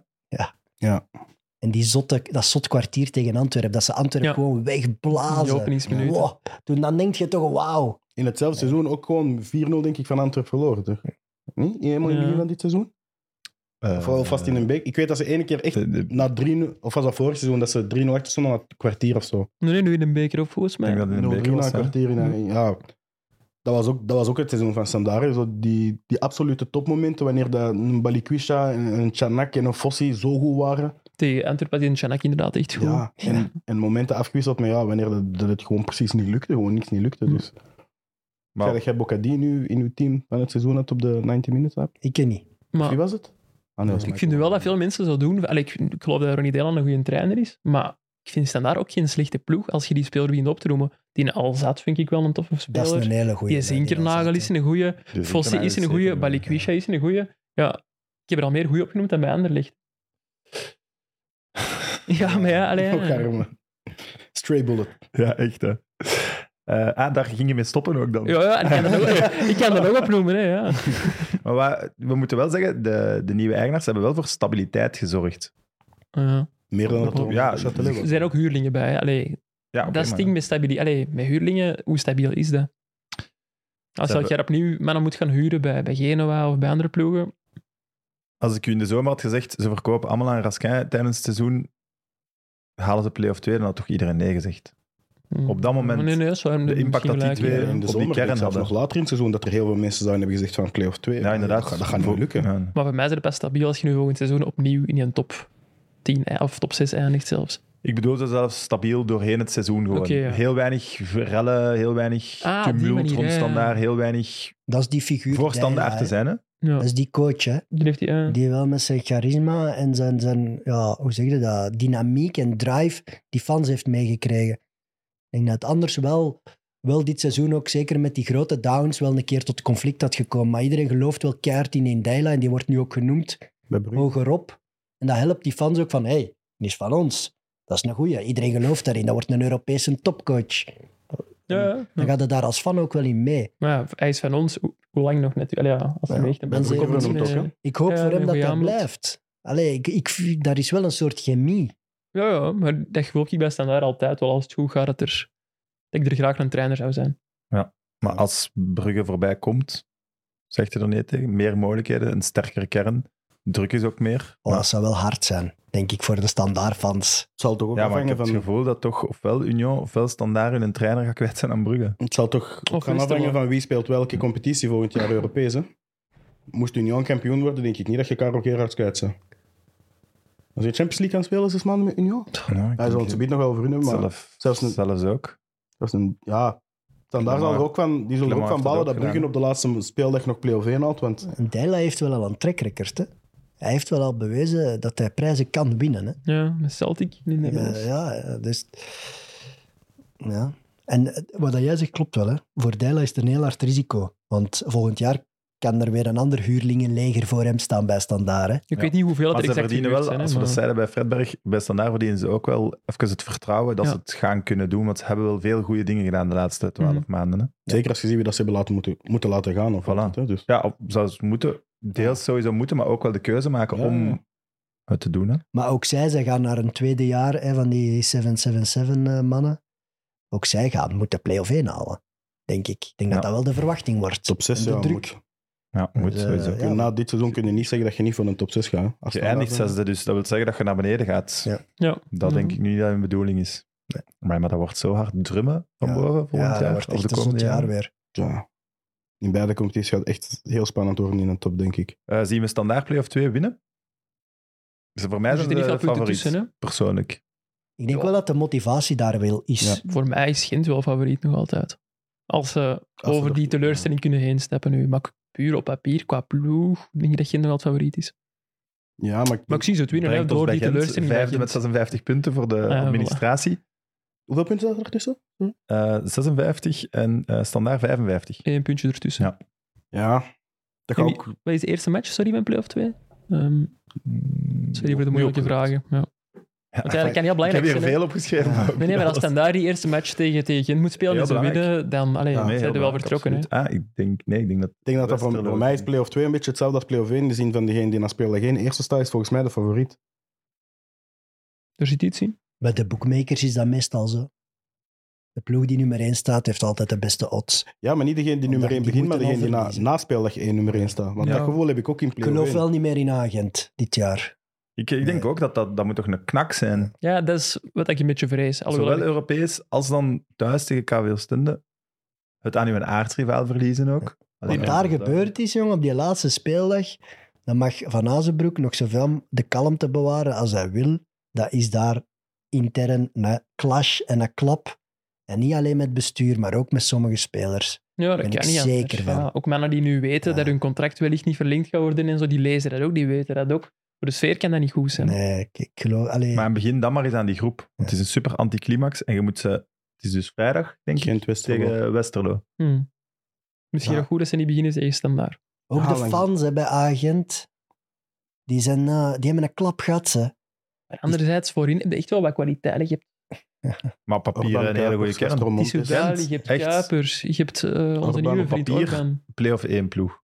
[SPEAKER 4] En die zotte, dat zot kwartier tegen Antwerpen, dat ze Antwerpen
[SPEAKER 5] Ja.
[SPEAKER 4] gewoon wegblazen.
[SPEAKER 5] Die openingsminuten.
[SPEAKER 4] Wow. Toen dan denk je toch, wauw.
[SPEAKER 3] In hetzelfde seizoen ook gewoon 4-0, denk ik, van Antwerp verloren. Toch? Niet? Helemaal in het
[SPEAKER 5] Ja.
[SPEAKER 3] begin van dit seizoen? Of
[SPEAKER 1] Eh,
[SPEAKER 3] wel vast in een beek. Ik weet dat ze ene keer echt
[SPEAKER 1] De- de-
[SPEAKER 3] na 3-0, of was dat vorig seizoen, dat ze 3-0 achter stonden na een kwartier of zo.
[SPEAKER 5] Nee, nee, nu in een beker op, volgens
[SPEAKER 1] Ik
[SPEAKER 5] mij.
[SPEAKER 1] denk dat het in een
[SPEAKER 3] 0-3
[SPEAKER 1] beker
[SPEAKER 3] na
[SPEAKER 1] was.
[SPEAKER 3] een
[SPEAKER 1] hè. Mm.
[SPEAKER 3] kwartier. in een- ja. dat, was ook, dat was ook het seizoen van Sandari. Zo die, die absolute topmomenten, wanneer de, een Balikwisha, een, een Chanak en een Fossi zo goed waren.
[SPEAKER 5] Tegen Antwerpen had die Chanak inderdaad echt goed.
[SPEAKER 3] Ja, en, en momenten afgewisseld met ja, wanneer dat, dat het gewoon precies niet lukte. Gewoon niks niet lukte. Dus.
[SPEAKER 1] Mm. Maar-
[SPEAKER 3] Zeg dat jij Bocadi nu in uw team van het seizoen had op de 90 minuten hebt?
[SPEAKER 4] Ik ken niet.
[SPEAKER 5] Maar
[SPEAKER 3] Wie was het? Ah, nee, dat is
[SPEAKER 5] ik vind nu wel dat veel mensen zo doen. Allee, ik, ik geloof dat Ronnie Deland een goede trainer is, maar ik vind Standaard ook geen slechte ploeg als je die speler begint op te noemen. Die al zat vind ik wel een toffe
[SPEAKER 4] Dat is een
[SPEAKER 5] speler.
[SPEAKER 4] hele goede.
[SPEAKER 5] Die Zinkernagel is een goeie.
[SPEAKER 1] Dus ik
[SPEAKER 5] Fosse
[SPEAKER 1] kan
[SPEAKER 5] is een
[SPEAKER 1] eigenlijk
[SPEAKER 5] goeie.
[SPEAKER 1] zeker-
[SPEAKER 5] Balikwisha is een goeie. Ja, ik heb er al meer goeie opgenoemd dan bij Anderlecht. Ja, maar ja, allee, ja.
[SPEAKER 3] Ook arme. Stray bullet.
[SPEAKER 1] Ja, echt hè. Eh, ah, daar ging je mee stoppen ook dan.
[SPEAKER 5] Ja, ja, ik kan er nog, ik kan er nog opnoemen, hè, ja.
[SPEAKER 1] Maar wa- we moeten wel zeggen, de, de nieuwe eigenaars hebben wel voor stabiliteit gezorgd.
[SPEAKER 5] Ja.
[SPEAKER 3] Meer dan dat
[SPEAKER 1] Ja,
[SPEAKER 5] Er zijn ook huurlingen bij. hè. Allee,
[SPEAKER 1] Ja, Ah, oké,
[SPEAKER 5] dat is
[SPEAKER 1] maar-
[SPEAKER 5] het ding met, stabiel, allee, met huurlingen. Hoe stabiel is dat? Als
[SPEAKER 1] Ze
[SPEAKER 5] elk
[SPEAKER 1] hebben-
[SPEAKER 5] jaar opnieuw mannen moet gaan huren bij, bij Genoa of bij andere ploegen.
[SPEAKER 1] Als ik u in de zomer had gezegd, ze verkopen allemaal aan Raskin tijdens het seizoen, halen ze play-off 2, dan had toch iedereen nee gezegd.
[SPEAKER 5] Hmm.
[SPEAKER 1] Op dat moment,
[SPEAKER 5] Nee, nee, zo hebben
[SPEAKER 1] de
[SPEAKER 5] we
[SPEAKER 1] impact dat die
[SPEAKER 5] misschien gelijk,
[SPEAKER 1] twee-
[SPEAKER 5] ja.
[SPEAKER 3] in de
[SPEAKER 1] op die
[SPEAKER 3] zomer,
[SPEAKER 1] kern
[SPEAKER 3] zelfs
[SPEAKER 1] hadden.
[SPEAKER 3] nog later in het seizoen, dat er heel veel mensen zouden hebben gezegd van play-off 2.
[SPEAKER 1] Ja, inderdaad.
[SPEAKER 3] Dat, gaat- dat gaat niet lukken.
[SPEAKER 1] Ja.
[SPEAKER 5] Maar voor mij is het best stabiel als je nu volgend seizoen opnieuw in een top 10 ei- of top 6 eindigt zelfs.
[SPEAKER 1] Ik bedoel ze zelfs stabiel doorheen het seizoen gewoon.
[SPEAKER 5] Oké, ja.
[SPEAKER 1] Heel weinig rellen, heel weinig
[SPEAKER 5] Ah, die
[SPEAKER 1] tumult
[SPEAKER 5] manier,
[SPEAKER 1] rond
[SPEAKER 5] ja, ja.
[SPEAKER 1] standaard, heel weinig
[SPEAKER 4] Dat is die figuur.
[SPEAKER 1] voorstandaard
[SPEAKER 4] Deila,
[SPEAKER 1] te
[SPEAKER 4] hè.
[SPEAKER 1] zijn. Hè?
[SPEAKER 5] Ja,
[SPEAKER 4] Dat is die coach, hè.
[SPEAKER 5] die heeft die, eh,
[SPEAKER 4] Dus Die wel met zijn charisma en zijn, zijn ja, hoe zeg je dat, dynamiek en drive die fans heeft meegekregen. Ik denk dat het anders wel, wel dit seizoen ook, zeker met die grote downs, wel een keer tot conflict had gekomen. Maar iedereen gelooft wel keihard in Indeila en die wordt nu ook genoemd
[SPEAKER 3] Bij Brugge.
[SPEAKER 4] hogerop. En dat helpt die fans ook van, hé, hey, die is van ons. Dat is een goeie. Iedereen gelooft daarin. Dat wordt een Europese topcoach.
[SPEAKER 5] ja, ja.
[SPEAKER 4] Dan gaat het daar als fan ook wel in mee.
[SPEAKER 5] Maar ja, hij is van ons. Hoe, hoe lang nog net? Allee, ja, als hij
[SPEAKER 4] Ja,
[SPEAKER 5] meegt, dan
[SPEAKER 4] mensen
[SPEAKER 5] ben ik
[SPEAKER 4] hebben
[SPEAKER 5] misschien,
[SPEAKER 3] hem ook,
[SPEAKER 5] eh,
[SPEAKER 3] hè?
[SPEAKER 4] Ik hoop
[SPEAKER 5] Ja,
[SPEAKER 4] voor hem
[SPEAKER 5] een
[SPEAKER 4] dat
[SPEAKER 5] goeie
[SPEAKER 4] dat
[SPEAKER 5] aanbod.
[SPEAKER 4] blijft. Allee, ik, ik, daar is wel een soort chemie.
[SPEAKER 5] Ja, ja, maar dat gevoel ik bij Standaard altijd wel. Als het goed gaat, dat, er, dat ik er graag een trainer zou zijn.
[SPEAKER 1] Maar als Brugge voorbij komt, zegt hij er nee tegen, meer mogelijkheden, een sterkere kern, druk is ook meer.
[SPEAKER 4] Oh, dat zou wel hard zijn, denk ik, voor de standaardfans.
[SPEAKER 3] Het zal toch ook
[SPEAKER 1] Ja, maar ik
[SPEAKER 3] afhangen
[SPEAKER 1] heb
[SPEAKER 3] van...
[SPEAKER 1] het gevoel dat toch ofwel Union ofwel Standaard hun trainer gaat kwijt zijn aan Brugge.
[SPEAKER 3] Het zal toch ook
[SPEAKER 5] Of
[SPEAKER 3] gaan
[SPEAKER 5] is het
[SPEAKER 3] afhangen
[SPEAKER 5] wel-
[SPEAKER 3] van wie speelt welke competitie volgend jaar Europees. Hè? Moest Union kampioen worden, denk ik niet dat je Karel Gerards kwijt zou. Als je Champions League kan spelen, zes maanden met Union. Hij zal het gebied nog wel vernoemen, maar
[SPEAKER 1] zelf,
[SPEAKER 3] zelfs een-
[SPEAKER 1] zelfs ook.
[SPEAKER 3] dat is een... Ja, Standaard zal er ook van, die zullen er
[SPEAKER 1] Clement
[SPEAKER 3] ook van
[SPEAKER 1] heeft dat
[SPEAKER 3] ballen
[SPEAKER 1] ook
[SPEAKER 3] dat Bruggen
[SPEAKER 1] gedaan.
[SPEAKER 3] op de laatste speeldag nog play-off 1 haalt, want
[SPEAKER 4] Dela heeft wel al een trackrecord, hè. Hij heeft wel al bewezen dat hij prijzen kan winnen, hè.
[SPEAKER 5] Ja, met Celtic. Nee, nee,
[SPEAKER 4] Ja, ja, ja, dus... Ja. En eh, wat dat jij zegt klopt wel, hè. Voor Dela is het een heel hard risico. Want volgend jaar kan er weer een ander huurlingenleger voor hem staan bij standaard, hè.
[SPEAKER 5] Ik
[SPEAKER 1] Ja.
[SPEAKER 5] weet niet hoeveel dat
[SPEAKER 1] Maar
[SPEAKER 5] er
[SPEAKER 1] ze
[SPEAKER 5] exact
[SPEAKER 1] verdienen wel,
[SPEAKER 5] gehuurd zijn, hè,
[SPEAKER 1] als we
[SPEAKER 5] maar-
[SPEAKER 1] dat zeiden bij Fredberg, bij Standaard verdienen ze ook wel even het vertrouwen dat
[SPEAKER 5] Ja.
[SPEAKER 1] ze het gaan kunnen doen, want ze hebben wel veel goede dingen gedaan de laatste twaalf
[SPEAKER 5] Mhm.
[SPEAKER 1] maanden. Hè?
[SPEAKER 3] zeker als je ziet wie dat ze hebben laten moeten, moeten laten gaan. Of
[SPEAKER 1] Voilà.
[SPEAKER 3] wat, hè, dus.
[SPEAKER 1] Ja, of zou ze moeten, deels sowieso moeten, maar ook wel de keuze maken
[SPEAKER 3] Ja, ja.
[SPEAKER 1] om het te doen. Hè?
[SPEAKER 4] Maar ook zij, zij gaan naar een tweede jaar hè, van die 777-mannen. eh, ook zij gaan moeten play-off 1 halen, denk ik. Ik denk
[SPEAKER 1] Ja.
[SPEAKER 4] dat dat wel de verwachting wordt.
[SPEAKER 3] Top 6,
[SPEAKER 4] En de
[SPEAKER 3] ja.
[SPEAKER 4] druk.
[SPEAKER 3] moet.
[SPEAKER 1] Ja, moet
[SPEAKER 4] Dus, eh,
[SPEAKER 1] sowieso.
[SPEAKER 4] ja.
[SPEAKER 3] Na dit seizoen kun je niet zeggen dat je niet voor een top 6 gaat. hè. Als
[SPEAKER 1] Je
[SPEAKER 3] Standaard
[SPEAKER 1] eindigt
[SPEAKER 3] dan-
[SPEAKER 1] zesde, dus dat wil zeggen dat je naar beneden gaat.
[SPEAKER 4] Ja. Mhm.
[SPEAKER 5] Ja. Mm.
[SPEAKER 1] Dat denk ik nu niet dat hun bedoeling is. Maar, maar dat wordt zo hard drummen van
[SPEAKER 4] Ja.
[SPEAKER 1] boven volgend
[SPEAKER 4] ja,
[SPEAKER 1] jaar.
[SPEAKER 4] dat wordt
[SPEAKER 1] of de
[SPEAKER 4] echt een
[SPEAKER 1] komende
[SPEAKER 4] zot jaar
[SPEAKER 1] jaren.
[SPEAKER 4] weer.
[SPEAKER 3] Ja. in beide competities gaat echt heel spannend worden in de top, denk ik.
[SPEAKER 1] Eh, zien we standaard play-off 2 winnen? Dus voor mij
[SPEAKER 5] Er
[SPEAKER 1] zijn
[SPEAKER 5] zitten niet
[SPEAKER 1] de
[SPEAKER 5] veel punten
[SPEAKER 1] favoriet,
[SPEAKER 5] tussen. Hè?
[SPEAKER 1] persoonlijk.
[SPEAKER 4] Ik denk wel dat de motivatie daar wel is.
[SPEAKER 3] Ja.
[SPEAKER 5] Voor mij is Gent wel favoriet nog altijd. Als ze
[SPEAKER 3] Als ze
[SPEAKER 5] over
[SPEAKER 3] er-
[SPEAKER 5] die teleurstelling kunnen heen stappen nu. Maar puur op papier, qua ploeg, denk ik dat Gent nog altijd favoriet is.
[SPEAKER 3] Ja, maar,
[SPEAKER 5] Maar ik zie ze het winnen hè,
[SPEAKER 1] Brengt ons
[SPEAKER 5] door
[SPEAKER 1] bij
[SPEAKER 5] die
[SPEAKER 1] Gent,
[SPEAKER 5] teleurstelling. bij
[SPEAKER 1] Vijfde met
[SPEAKER 5] Gent. Ah,
[SPEAKER 1] 56 punten voor de
[SPEAKER 5] voilà.
[SPEAKER 1] administratie.
[SPEAKER 3] hoeveel punten zat er tussen?
[SPEAKER 1] Eh, 56 en eh, standaard 55.
[SPEAKER 5] Eén puntje ertussen.
[SPEAKER 1] Ja.
[SPEAKER 3] Ja, dat gaat
[SPEAKER 5] En
[SPEAKER 3] ook...
[SPEAKER 5] Wat is de eerste match, sorry, mijn play-off 2? Ehm sorry voor de moeilijke vragen. Ja.
[SPEAKER 1] Ja,
[SPEAKER 5] Want eigenlijk kan heel
[SPEAKER 1] ik heb
[SPEAKER 5] belangrijk
[SPEAKER 1] hier
[SPEAKER 5] zijn. hè.
[SPEAKER 1] veel opgeschreven.
[SPEAKER 4] Ja.
[SPEAKER 1] maar ook
[SPEAKER 5] Nee, nee, maar als
[SPEAKER 1] alles.
[SPEAKER 5] standaard die eerste match tegen, tegen Gent moet spelen
[SPEAKER 1] Heel
[SPEAKER 5] en ze
[SPEAKER 1] belangrijk.
[SPEAKER 5] winnen, dan allee,
[SPEAKER 3] Ja,
[SPEAKER 5] zijn
[SPEAKER 1] Ah, nee,
[SPEAKER 5] ze
[SPEAKER 1] heel
[SPEAKER 5] wel
[SPEAKER 1] belangrijk,
[SPEAKER 5] vertrokken. Hè.
[SPEAKER 1] absoluut. Ah, ik denk, nee, ik denk dat...
[SPEAKER 3] Ik denk dat dat voor,
[SPEAKER 1] Westerlo.
[SPEAKER 3] voor mij is play-off 2 een beetje hetzelfde als play-off 1. In de zin van degene die na speler geen eerste staat, is volgens mij de favoriet.
[SPEAKER 5] Er zit iets in.
[SPEAKER 4] Bij de bookmakers is dat meestal zo. De ploeg die nummer 1 staat, heeft altijd de beste odds.
[SPEAKER 3] Ja, maar niet degene die
[SPEAKER 4] Omdat
[SPEAKER 3] nummer 1
[SPEAKER 4] die
[SPEAKER 3] begint, maar
[SPEAKER 4] moeten
[SPEAKER 3] degene die na,
[SPEAKER 4] overlezen.
[SPEAKER 3] na speeldag 1 nummer 1 staat. Want
[SPEAKER 1] Ja.
[SPEAKER 3] dat gevoel heb ik ook in
[SPEAKER 4] Ik
[SPEAKER 3] play-off
[SPEAKER 4] geloof
[SPEAKER 3] 1.
[SPEAKER 4] wel niet meer in Agent dit jaar.
[SPEAKER 1] Ik, ik denk
[SPEAKER 4] Nee.
[SPEAKER 1] ook dat, dat dat moet toch een knak zijn.
[SPEAKER 5] Ja, dat is wat ik een beetje vrees. Alhoewel,
[SPEAKER 1] Zowel Europees als dan thuis tegen KW Stende. Het aan hun aardrivaal verliezen ook.
[SPEAKER 4] Wat
[SPEAKER 1] Alleen,
[SPEAKER 4] daar
[SPEAKER 1] ja,
[SPEAKER 4] gebeurd is, jongen, op die laatste speeldag, dan mag Van Azenbroek nog zoveel de kalmte bewaren als hij wil. Dat is daar intern een clash en een klap. En niet alleen met bestuur, maar ook met sommige spelers.
[SPEAKER 5] Ja, dat
[SPEAKER 4] Ben
[SPEAKER 5] kan
[SPEAKER 4] ik
[SPEAKER 5] niet
[SPEAKER 4] zeker
[SPEAKER 5] anders.
[SPEAKER 4] van.
[SPEAKER 5] Ja, ook mannen die nu weten
[SPEAKER 4] Ja.
[SPEAKER 5] dat hun contract wellicht niet verlengd gaat worden en zo, die lezen dat ook, die weten dat ook. Voor de sfeer kan dat niet goed zijn.
[SPEAKER 4] Nee, ik, ik geloof... Allee,
[SPEAKER 1] Maar begin dan maar eens aan die groep. Want het is een super anticlimax en je moet ze... Het is dus vrijdag, denk ik,
[SPEAKER 3] Geen Westerlo.
[SPEAKER 1] tegen Westerlo.
[SPEAKER 5] Hm. Misschien
[SPEAKER 3] Ja.
[SPEAKER 5] ook goed dat ze niet beginnen tegen standaard.
[SPEAKER 4] Ook
[SPEAKER 3] Ja,
[SPEAKER 4] de
[SPEAKER 3] lang-
[SPEAKER 4] fans hè, bij Agent, die, zijn, eh, die hebben een klap gehad. Ze.
[SPEAKER 5] Maar anderzijds, voorin heb je echt wel wat kwaliteit. Je hebt
[SPEAKER 1] Maar papier
[SPEAKER 3] Orban
[SPEAKER 1] een hele goede
[SPEAKER 3] Kuipers,
[SPEAKER 1] kern.
[SPEAKER 3] Castromont.
[SPEAKER 5] Tissoudali, je hebt
[SPEAKER 1] echt.
[SPEAKER 5] Kuipers, je hebt eh, onze
[SPEAKER 3] Orban
[SPEAKER 5] nieuwe
[SPEAKER 3] op
[SPEAKER 5] vriend
[SPEAKER 1] papier.
[SPEAKER 5] Orban.
[SPEAKER 1] Playoff 1 ploeg.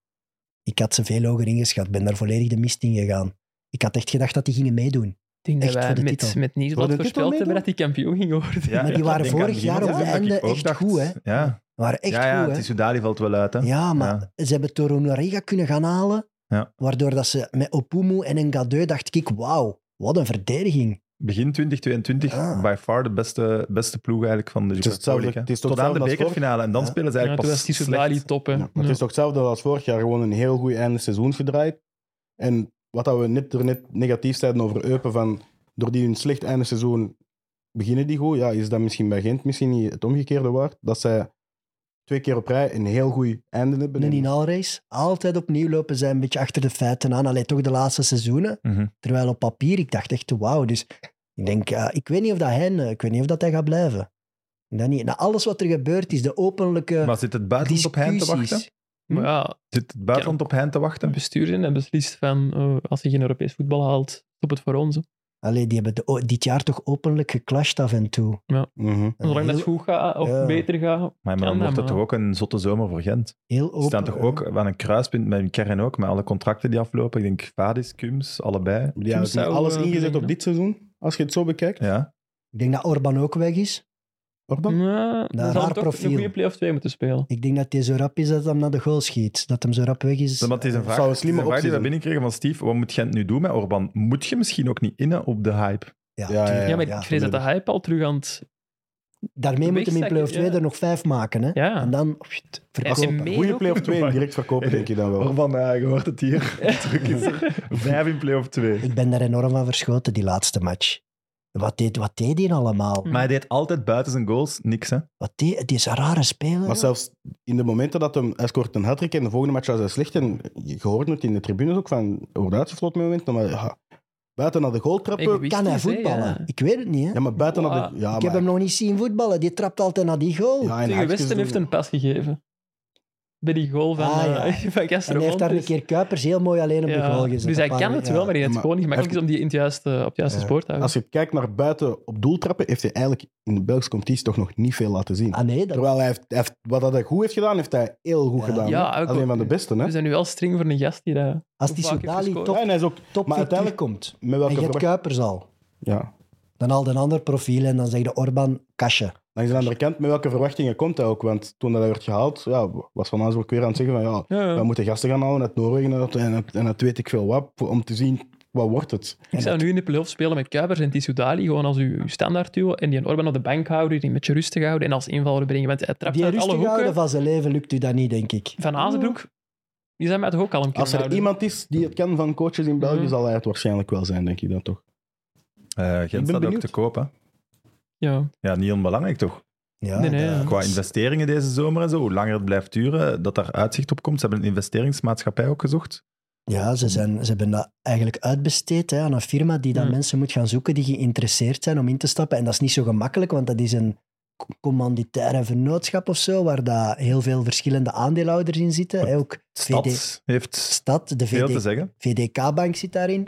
[SPEAKER 4] Ik had ze veel hoger ingeschat, ben daar volledig de mist in gegaan. Ik had echt gedacht dat die gingen meedoen.
[SPEAKER 5] Ik denk
[SPEAKER 4] Echt
[SPEAKER 5] dat
[SPEAKER 4] voor de
[SPEAKER 5] wij met,
[SPEAKER 4] titel.
[SPEAKER 5] met
[SPEAKER 3] Voor
[SPEAKER 5] Nieuwsblad
[SPEAKER 3] de
[SPEAKER 5] voorspeld
[SPEAKER 3] titel meedoen?
[SPEAKER 5] hebben dat die kampioen ging worden.
[SPEAKER 1] Ja,
[SPEAKER 4] Maar die
[SPEAKER 1] ja,
[SPEAKER 4] waren
[SPEAKER 1] ik denk aan
[SPEAKER 4] vorig jaar op
[SPEAKER 1] begin,
[SPEAKER 4] het
[SPEAKER 1] ja, dat ik
[SPEAKER 4] einde
[SPEAKER 1] ook
[SPEAKER 4] echt
[SPEAKER 1] dacht.
[SPEAKER 4] goed, hè.
[SPEAKER 1] Ja,
[SPEAKER 4] Maar echt
[SPEAKER 1] ja, ja
[SPEAKER 4] goed, hè?
[SPEAKER 1] Tissoudali valt wel uit. Hè.
[SPEAKER 4] Ja, maar
[SPEAKER 1] Ja.
[SPEAKER 4] ze hebben Torunariga kunnen gaan halen,
[SPEAKER 1] Ja.
[SPEAKER 4] waardoor dat ze met Opumu en Engadeu dacht ik, wauw, wat een verdediging.
[SPEAKER 1] Begin 2022,
[SPEAKER 4] Ja.
[SPEAKER 1] by far de beste, beste ploeg eigenlijk van de
[SPEAKER 3] is
[SPEAKER 1] Jupiler
[SPEAKER 3] hetzelfde-
[SPEAKER 1] League, hè.
[SPEAKER 3] het is toch
[SPEAKER 1] Tot aan de
[SPEAKER 3] hetzelfde als
[SPEAKER 1] bekerfinale. En dan
[SPEAKER 4] Ja.
[SPEAKER 1] spelen ze
[SPEAKER 5] Ja,
[SPEAKER 1] eigenlijk
[SPEAKER 5] toen was
[SPEAKER 1] pas
[SPEAKER 5] Tissoudali
[SPEAKER 1] slecht.
[SPEAKER 5] top. hè.
[SPEAKER 3] Ja, maar Het
[SPEAKER 5] Ja.
[SPEAKER 3] is toch hetzelfde als vorig jaar, gewoon een heel goed einde seizoen gedraaid. En wat dat we net, er net negatief zeiden over Eupen, van door die hun slecht einde seizoen beginnen die goed, ja, is dat misschien bij Gent misschien niet het omgekeerde waard? Dat zij twee keer op rij een heel goed einde hebben.
[SPEAKER 4] In
[SPEAKER 3] En-
[SPEAKER 4] een inhaalrace, altijd opnieuw lopen zij een beetje achter de feiten aan, alleen toch de laatste seizoenen.
[SPEAKER 1] Mhm.
[SPEAKER 4] Terwijl op papier, ik dacht echt, wauw. Dus ik denk, ja, ik weet niet of dat hij, ik weet niet of dat hij gaat blijven. Dat niet. Na alles wat er gebeurd is, de openlijke
[SPEAKER 1] Maar zit het buitenland op hen te wachten?
[SPEAKER 4] discussies.
[SPEAKER 5] Maar ja,
[SPEAKER 1] Zit het buitenland op hen te
[SPEAKER 5] het
[SPEAKER 1] wachten?
[SPEAKER 5] bestuur in en beslist van, eh, als je geen Europees voetbal haalt, stop het voor ons. hè.
[SPEAKER 4] Allee, die hebben de- o- dit jaar toch openlijk geclashed af en toe.
[SPEAKER 3] Mhm.
[SPEAKER 4] Een
[SPEAKER 5] Zolang dat het
[SPEAKER 4] heel-
[SPEAKER 5] goed gaat of
[SPEAKER 4] Ja.
[SPEAKER 5] beter gaat.
[SPEAKER 1] Maar,
[SPEAKER 5] Kan
[SPEAKER 1] dan wordt
[SPEAKER 5] dat,
[SPEAKER 1] het toch
[SPEAKER 5] maar.
[SPEAKER 1] ook een zotte zomer voor Gent.
[SPEAKER 4] Heel
[SPEAKER 1] Ze
[SPEAKER 4] open.
[SPEAKER 1] staan toch ook eh, aan een kruispunt met hun kern ook, met alle contracten die aflopen. Ik denk Vadis, Kums, allebei.
[SPEAKER 3] Die hebben
[SPEAKER 5] zou,
[SPEAKER 3] niet alles
[SPEAKER 5] eh,
[SPEAKER 3] ingezet
[SPEAKER 5] bedenken,
[SPEAKER 3] op dit seizoen, als je het zo bekijkt.
[SPEAKER 1] Ja.
[SPEAKER 4] Ik denk dat Orban ook weg is.
[SPEAKER 3] Orban?
[SPEAKER 5] Ja, dan
[SPEAKER 4] raar
[SPEAKER 5] zal toch
[SPEAKER 4] profiel.
[SPEAKER 5] een goede play-off 2 moeten spelen.
[SPEAKER 4] Ik denk dat hij zo rap is dat hij hem naar de goal schiet. Dat hem zo rap weg is.
[SPEAKER 1] Want het is een vraag,
[SPEAKER 3] zou een
[SPEAKER 1] het is
[SPEAKER 3] slimme
[SPEAKER 1] een vraag die we
[SPEAKER 3] optie zijn.
[SPEAKER 1] binnenkregen van Steve. Wat moet Gent nu doen met Orban? Moet je misschien ook niet innen op de hype?
[SPEAKER 4] Ja,
[SPEAKER 3] Ja, ja,
[SPEAKER 4] tuurlijk.
[SPEAKER 5] Ja, maar
[SPEAKER 4] ja.
[SPEAKER 5] ik vrees dat de hype al terug aan het...
[SPEAKER 4] Daarmee
[SPEAKER 5] Een
[SPEAKER 4] moeten we in play-off
[SPEAKER 5] wegzakken,
[SPEAKER 4] 2 er nog vijf maken. Hè?
[SPEAKER 5] Ja.
[SPEAKER 4] En dan pst,
[SPEAKER 5] Als je
[SPEAKER 4] verkopen.
[SPEAKER 5] mee
[SPEAKER 3] Goede
[SPEAKER 5] ook-
[SPEAKER 3] play-off 2 en direct verkopen, denk je dan wel.
[SPEAKER 1] Orban, eh, je hoort het hier. Druk is er. Vijf in play-off twee.
[SPEAKER 4] Ik ben daar enorm van verschoten, die laatste match. Wat deed, wat deed die allemaal?
[SPEAKER 5] Hm.
[SPEAKER 1] Maar hij deed altijd buiten zijn goals niks, hè? Eh,
[SPEAKER 4] Wat deed, het is een rare speler.
[SPEAKER 3] Maar
[SPEAKER 4] joh.
[SPEAKER 3] zelfs in de momenten dat hem, hij scoort een hat-trick en de volgende match was hij slecht. En je hoort het in de tribunes ook van, hij wordt uitgefloten met momenten. Maar ja, buiten naar de goal trappen,
[SPEAKER 5] Egoïstisch,
[SPEAKER 4] kan hij
[SPEAKER 5] hè,
[SPEAKER 4] voetballen?
[SPEAKER 5] ja.
[SPEAKER 4] Ik weet het niet. Hè?
[SPEAKER 3] Ja, maar buiten hadden... Ja,
[SPEAKER 4] Ah, ik
[SPEAKER 3] maar,
[SPEAKER 4] heb hem nog niet zien voetballen. Die trapt altijd naar die goal.
[SPEAKER 3] ja, en
[SPEAKER 5] Tegen
[SPEAKER 3] haakjes
[SPEAKER 5] Westen
[SPEAKER 3] doen.
[SPEAKER 5] heeft een pas gegeven. Bij die goal van,
[SPEAKER 4] Ah,
[SPEAKER 5] eh
[SPEAKER 4] ja. en hij heeft
[SPEAKER 5] van
[SPEAKER 4] daar een
[SPEAKER 5] Castromontes.
[SPEAKER 4] keer Kuipers heel mooi alleen op de goal gezet.
[SPEAKER 5] Dus hij
[SPEAKER 4] Een paar-
[SPEAKER 5] kan het
[SPEAKER 4] ja.
[SPEAKER 5] wel, maar hij heeft
[SPEAKER 3] Maar
[SPEAKER 5] gewoon niet gemakkelijk
[SPEAKER 3] even-
[SPEAKER 5] is om die in het juiste, op het juiste
[SPEAKER 3] Ja.
[SPEAKER 5] spoor te houden.
[SPEAKER 3] Als je kijkt naar buiten op doel trappen, heeft hij eigenlijk in de Belgische competitie toch nog niet veel laten zien.
[SPEAKER 4] Ah nee, dat
[SPEAKER 3] Terwijl hij heeft, hij heeft- wat dat hij goed heeft gedaan, heeft hij heel goed
[SPEAKER 4] Ja. Dus
[SPEAKER 3] gedaan.
[SPEAKER 5] Ja,
[SPEAKER 3] hè.
[SPEAKER 5] ook-
[SPEAKER 3] Alleen van de beste, hè?
[SPEAKER 5] We zijn nu wel streng voor een gast die dat...
[SPEAKER 4] Als die
[SPEAKER 5] Hoe vaak heeft
[SPEAKER 4] Soudali
[SPEAKER 5] gescoord?
[SPEAKER 4] top,
[SPEAKER 3] Ja, en hij is ook...
[SPEAKER 4] top
[SPEAKER 3] Maar
[SPEAKER 4] weer
[SPEAKER 3] uiteindelijk-
[SPEAKER 4] terugkomt,
[SPEAKER 3] Met
[SPEAKER 4] en
[SPEAKER 3] welke
[SPEAKER 4] je hebt
[SPEAKER 3] verwacht-
[SPEAKER 4] Kuipers al,
[SPEAKER 3] ja.
[SPEAKER 4] dan haalt een ander profiel en dan zegt de Orban kastje.
[SPEAKER 3] Langs de andere kant, met welke verwachtingen komt hij ook? Want toen dat hij werd gehaald, ja, was Van Aansbroek weer aan het zeggen van ja,
[SPEAKER 5] Ja, ja.
[SPEAKER 3] we moeten gasten gaan halen uit Noorwegen en uit, en uit- en uit weet ik veel wat, om te zien Wat wordt het?
[SPEAKER 5] Ik zou nu in de playoff spelen met Kuipers en Tissoudali, gewoon als uw uw standaard duo. En die Orban op de bank houden, die een beetje rustig houden en als invaller brengen. Want hij trapt
[SPEAKER 4] Die
[SPEAKER 5] uit alle
[SPEAKER 4] rustig houden
[SPEAKER 5] hoeken.
[SPEAKER 4] van zijn leven lukt u dat niet, denk ik.
[SPEAKER 5] Van Azenbroek, die zijn mij toch ook kalm kunnen
[SPEAKER 3] Als
[SPEAKER 4] nou
[SPEAKER 3] er
[SPEAKER 5] houden.
[SPEAKER 3] iemand is die het kan van coaches in België,
[SPEAKER 5] Mhm.
[SPEAKER 3] zal hij het waarschijnlijk wel zijn, denk ik dan toch.
[SPEAKER 1] Eh Gent staat ook
[SPEAKER 3] benieuwd.
[SPEAKER 1] te kopen.
[SPEAKER 5] Ja.
[SPEAKER 1] Ja, niet onbelangrijk toch?
[SPEAKER 4] Ja,
[SPEAKER 5] Nee, nee,
[SPEAKER 4] dat-
[SPEAKER 5] ja.
[SPEAKER 1] Qua investeringen deze zomer en zo, hoe langer het blijft duren, dat daar uitzicht op komt. Ze hebben een investeringsmaatschappij ook gezocht.
[SPEAKER 4] Ja, ze, zijn, ze hebben dat eigenlijk uitbesteed hè, aan een firma die dan
[SPEAKER 5] Ja.
[SPEAKER 4] mensen moet gaan zoeken die geïnteresseerd zijn om in te stappen. En dat is niet zo gemakkelijk, want dat is een co- commanditaire vennootschap of zo, waar daar heel veel verschillende aandeelhouders in zitten. Hè, ook VD,
[SPEAKER 1] Stad heeft
[SPEAKER 4] Stad, de
[SPEAKER 1] veel te
[SPEAKER 4] VD,
[SPEAKER 1] zeggen.
[SPEAKER 4] VDK-bank zit daarin.